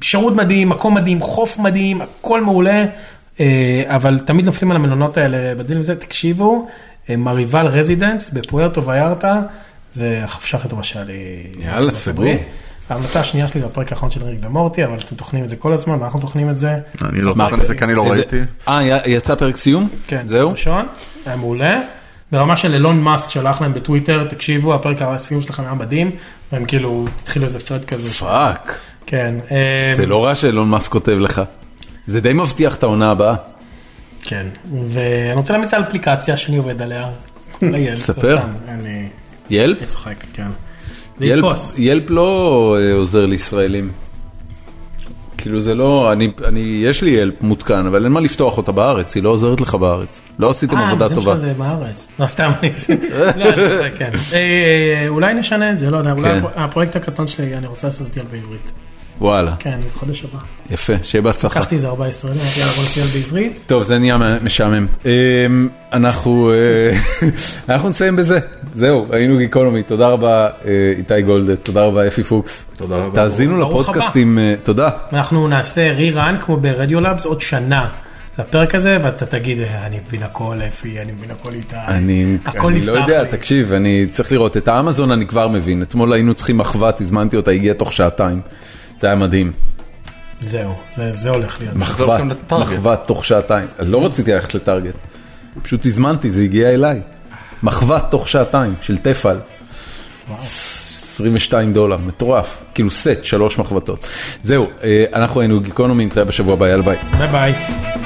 [SPEAKER 4] שירות מדהים, מקום מדהים, חוף מדהים, הכל מעולה, אה, אבל תמיד נופלים על המלונות האלה בדיל וזה, תקשיבו, אה, מריבל רזידנס בפוארטו ויארטה, זה החופשה הכי טובה שהיה לי.
[SPEAKER 1] יאללה,
[SPEAKER 4] בארצות
[SPEAKER 1] סגור.
[SPEAKER 4] הברית. ההמלצה השנייה שלי זה הפרק האחרון של ריק ומורטי, אבל אתם תוכנים את זה כל הזמן, ואנחנו תוכנים את זה.
[SPEAKER 2] אני לא
[SPEAKER 1] מה,
[SPEAKER 2] תוכן את זה כי אני לא
[SPEAKER 1] איזה-
[SPEAKER 2] ראיתי.
[SPEAKER 1] אה, י- יצא פרק סיום?
[SPEAKER 4] כן,
[SPEAKER 1] זהו?
[SPEAKER 4] ראשון, היה מעולה. ברמה של אילון מאסק שלח להם בטוויטר, תקשיבו, הפרק הסיום שלכם היה מדהים, והם כאילו התחילו איזה פרד כזה.
[SPEAKER 1] פאק.
[SPEAKER 4] כן. אה,
[SPEAKER 1] זה לא רע שאילון מאסק כותב לך. זה די מבטיח את העונה הבאה.
[SPEAKER 4] כן, ואני רוצה להמליץ על אפליקציה שאני עובד עליה. כל הילד, לא
[SPEAKER 1] ספר.
[SPEAKER 4] סתם, אני
[SPEAKER 1] ילפ?
[SPEAKER 4] אני צוחק, כן. זה
[SPEAKER 1] ילפ-
[SPEAKER 4] יתפוס.
[SPEAKER 1] ילפ לא אה, עוזר לישראלים. כאילו זה לא, אני, אני, יש לי ילפ מותקן, אבל אין מה לפתוח אותה בארץ, היא לא עוזרת לך בארץ. לא עשיתם
[SPEAKER 4] אה,
[SPEAKER 1] עבודה
[SPEAKER 4] המזים
[SPEAKER 1] טובה.
[SPEAKER 4] שלך זה בארץ. לא, סתם, אני... לא, אני צוחק, כן. אה, אה, אולי נשנה את זה, לא יודע,
[SPEAKER 1] כן.
[SPEAKER 4] אולי הפרויקט הקטן שלי, אני רוצה לעשות את ילפ בעברית.
[SPEAKER 1] וואלה,
[SPEAKER 4] כן, זה חודש
[SPEAKER 1] נכון.
[SPEAKER 4] הבא.
[SPEAKER 1] יפה, שיהיה בהצלחה.
[SPEAKER 4] לקחתי איזה 14 אלף, יאללה בוא נציין בעברית.
[SPEAKER 1] טוב, זה נהיה משעמם. אמ, אנחנו אה, אנחנו נסיים בזה. זהו, היינו גיקונומי. תודה רבה, אה, איתי גולדט, תודה רבה, אפי פוקס.
[SPEAKER 2] תודה רבה.
[SPEAKER 1] תאזינו
[SPEAKER 4] ברוך הבא.
[SPEAKER 1] לפודקאסטים, אה, תודה.
[SPEAKER 4] אנחנו נעשה רירן כמו ברדיולאבס עוד שנה לפרק הזה, ואתה תגיד, "אה, אני מבין הכל אפי, אני מבין הכל איתי.
[SPEAKER 1] אני
[SPEAKER 4] הכל
[SPEAKER 1] אני
[SPEAKER 4] נפתח
[SPEAKER 1] לא יודע,
[SPEAKER 4] לי.
[SPEAKER 1] תקשיב, אני צריך לראות. את האמזון אני כבר מבין. אתמול היינו צריכים מחבת, הזמנתי אותה, הגיעה תוך שעתיים. זה היה מדהים.
[SPEAKER 4] זהו, זה- זה הולך להיות.
[SPEAKER 2] נחזור
[SPEAKER 1] מחבת,
[SPEAKER 2] גם לטארגט.
[SPEAKER 1] מחבת תוך שעתיים. לא רציתי ללכת לטארגט. פשוט הזמנתי, זה הגיע אליי. מחבת תוך שעתיים של תפעל. 22 דולר, מטורף. כאילו סט, שלוש מחבתות. זהו, אה, אנחנו היינו גיקונומי, נתראה בשבוע הבא, יאללה ביי.
[SPEAKER 4] ביי ביי.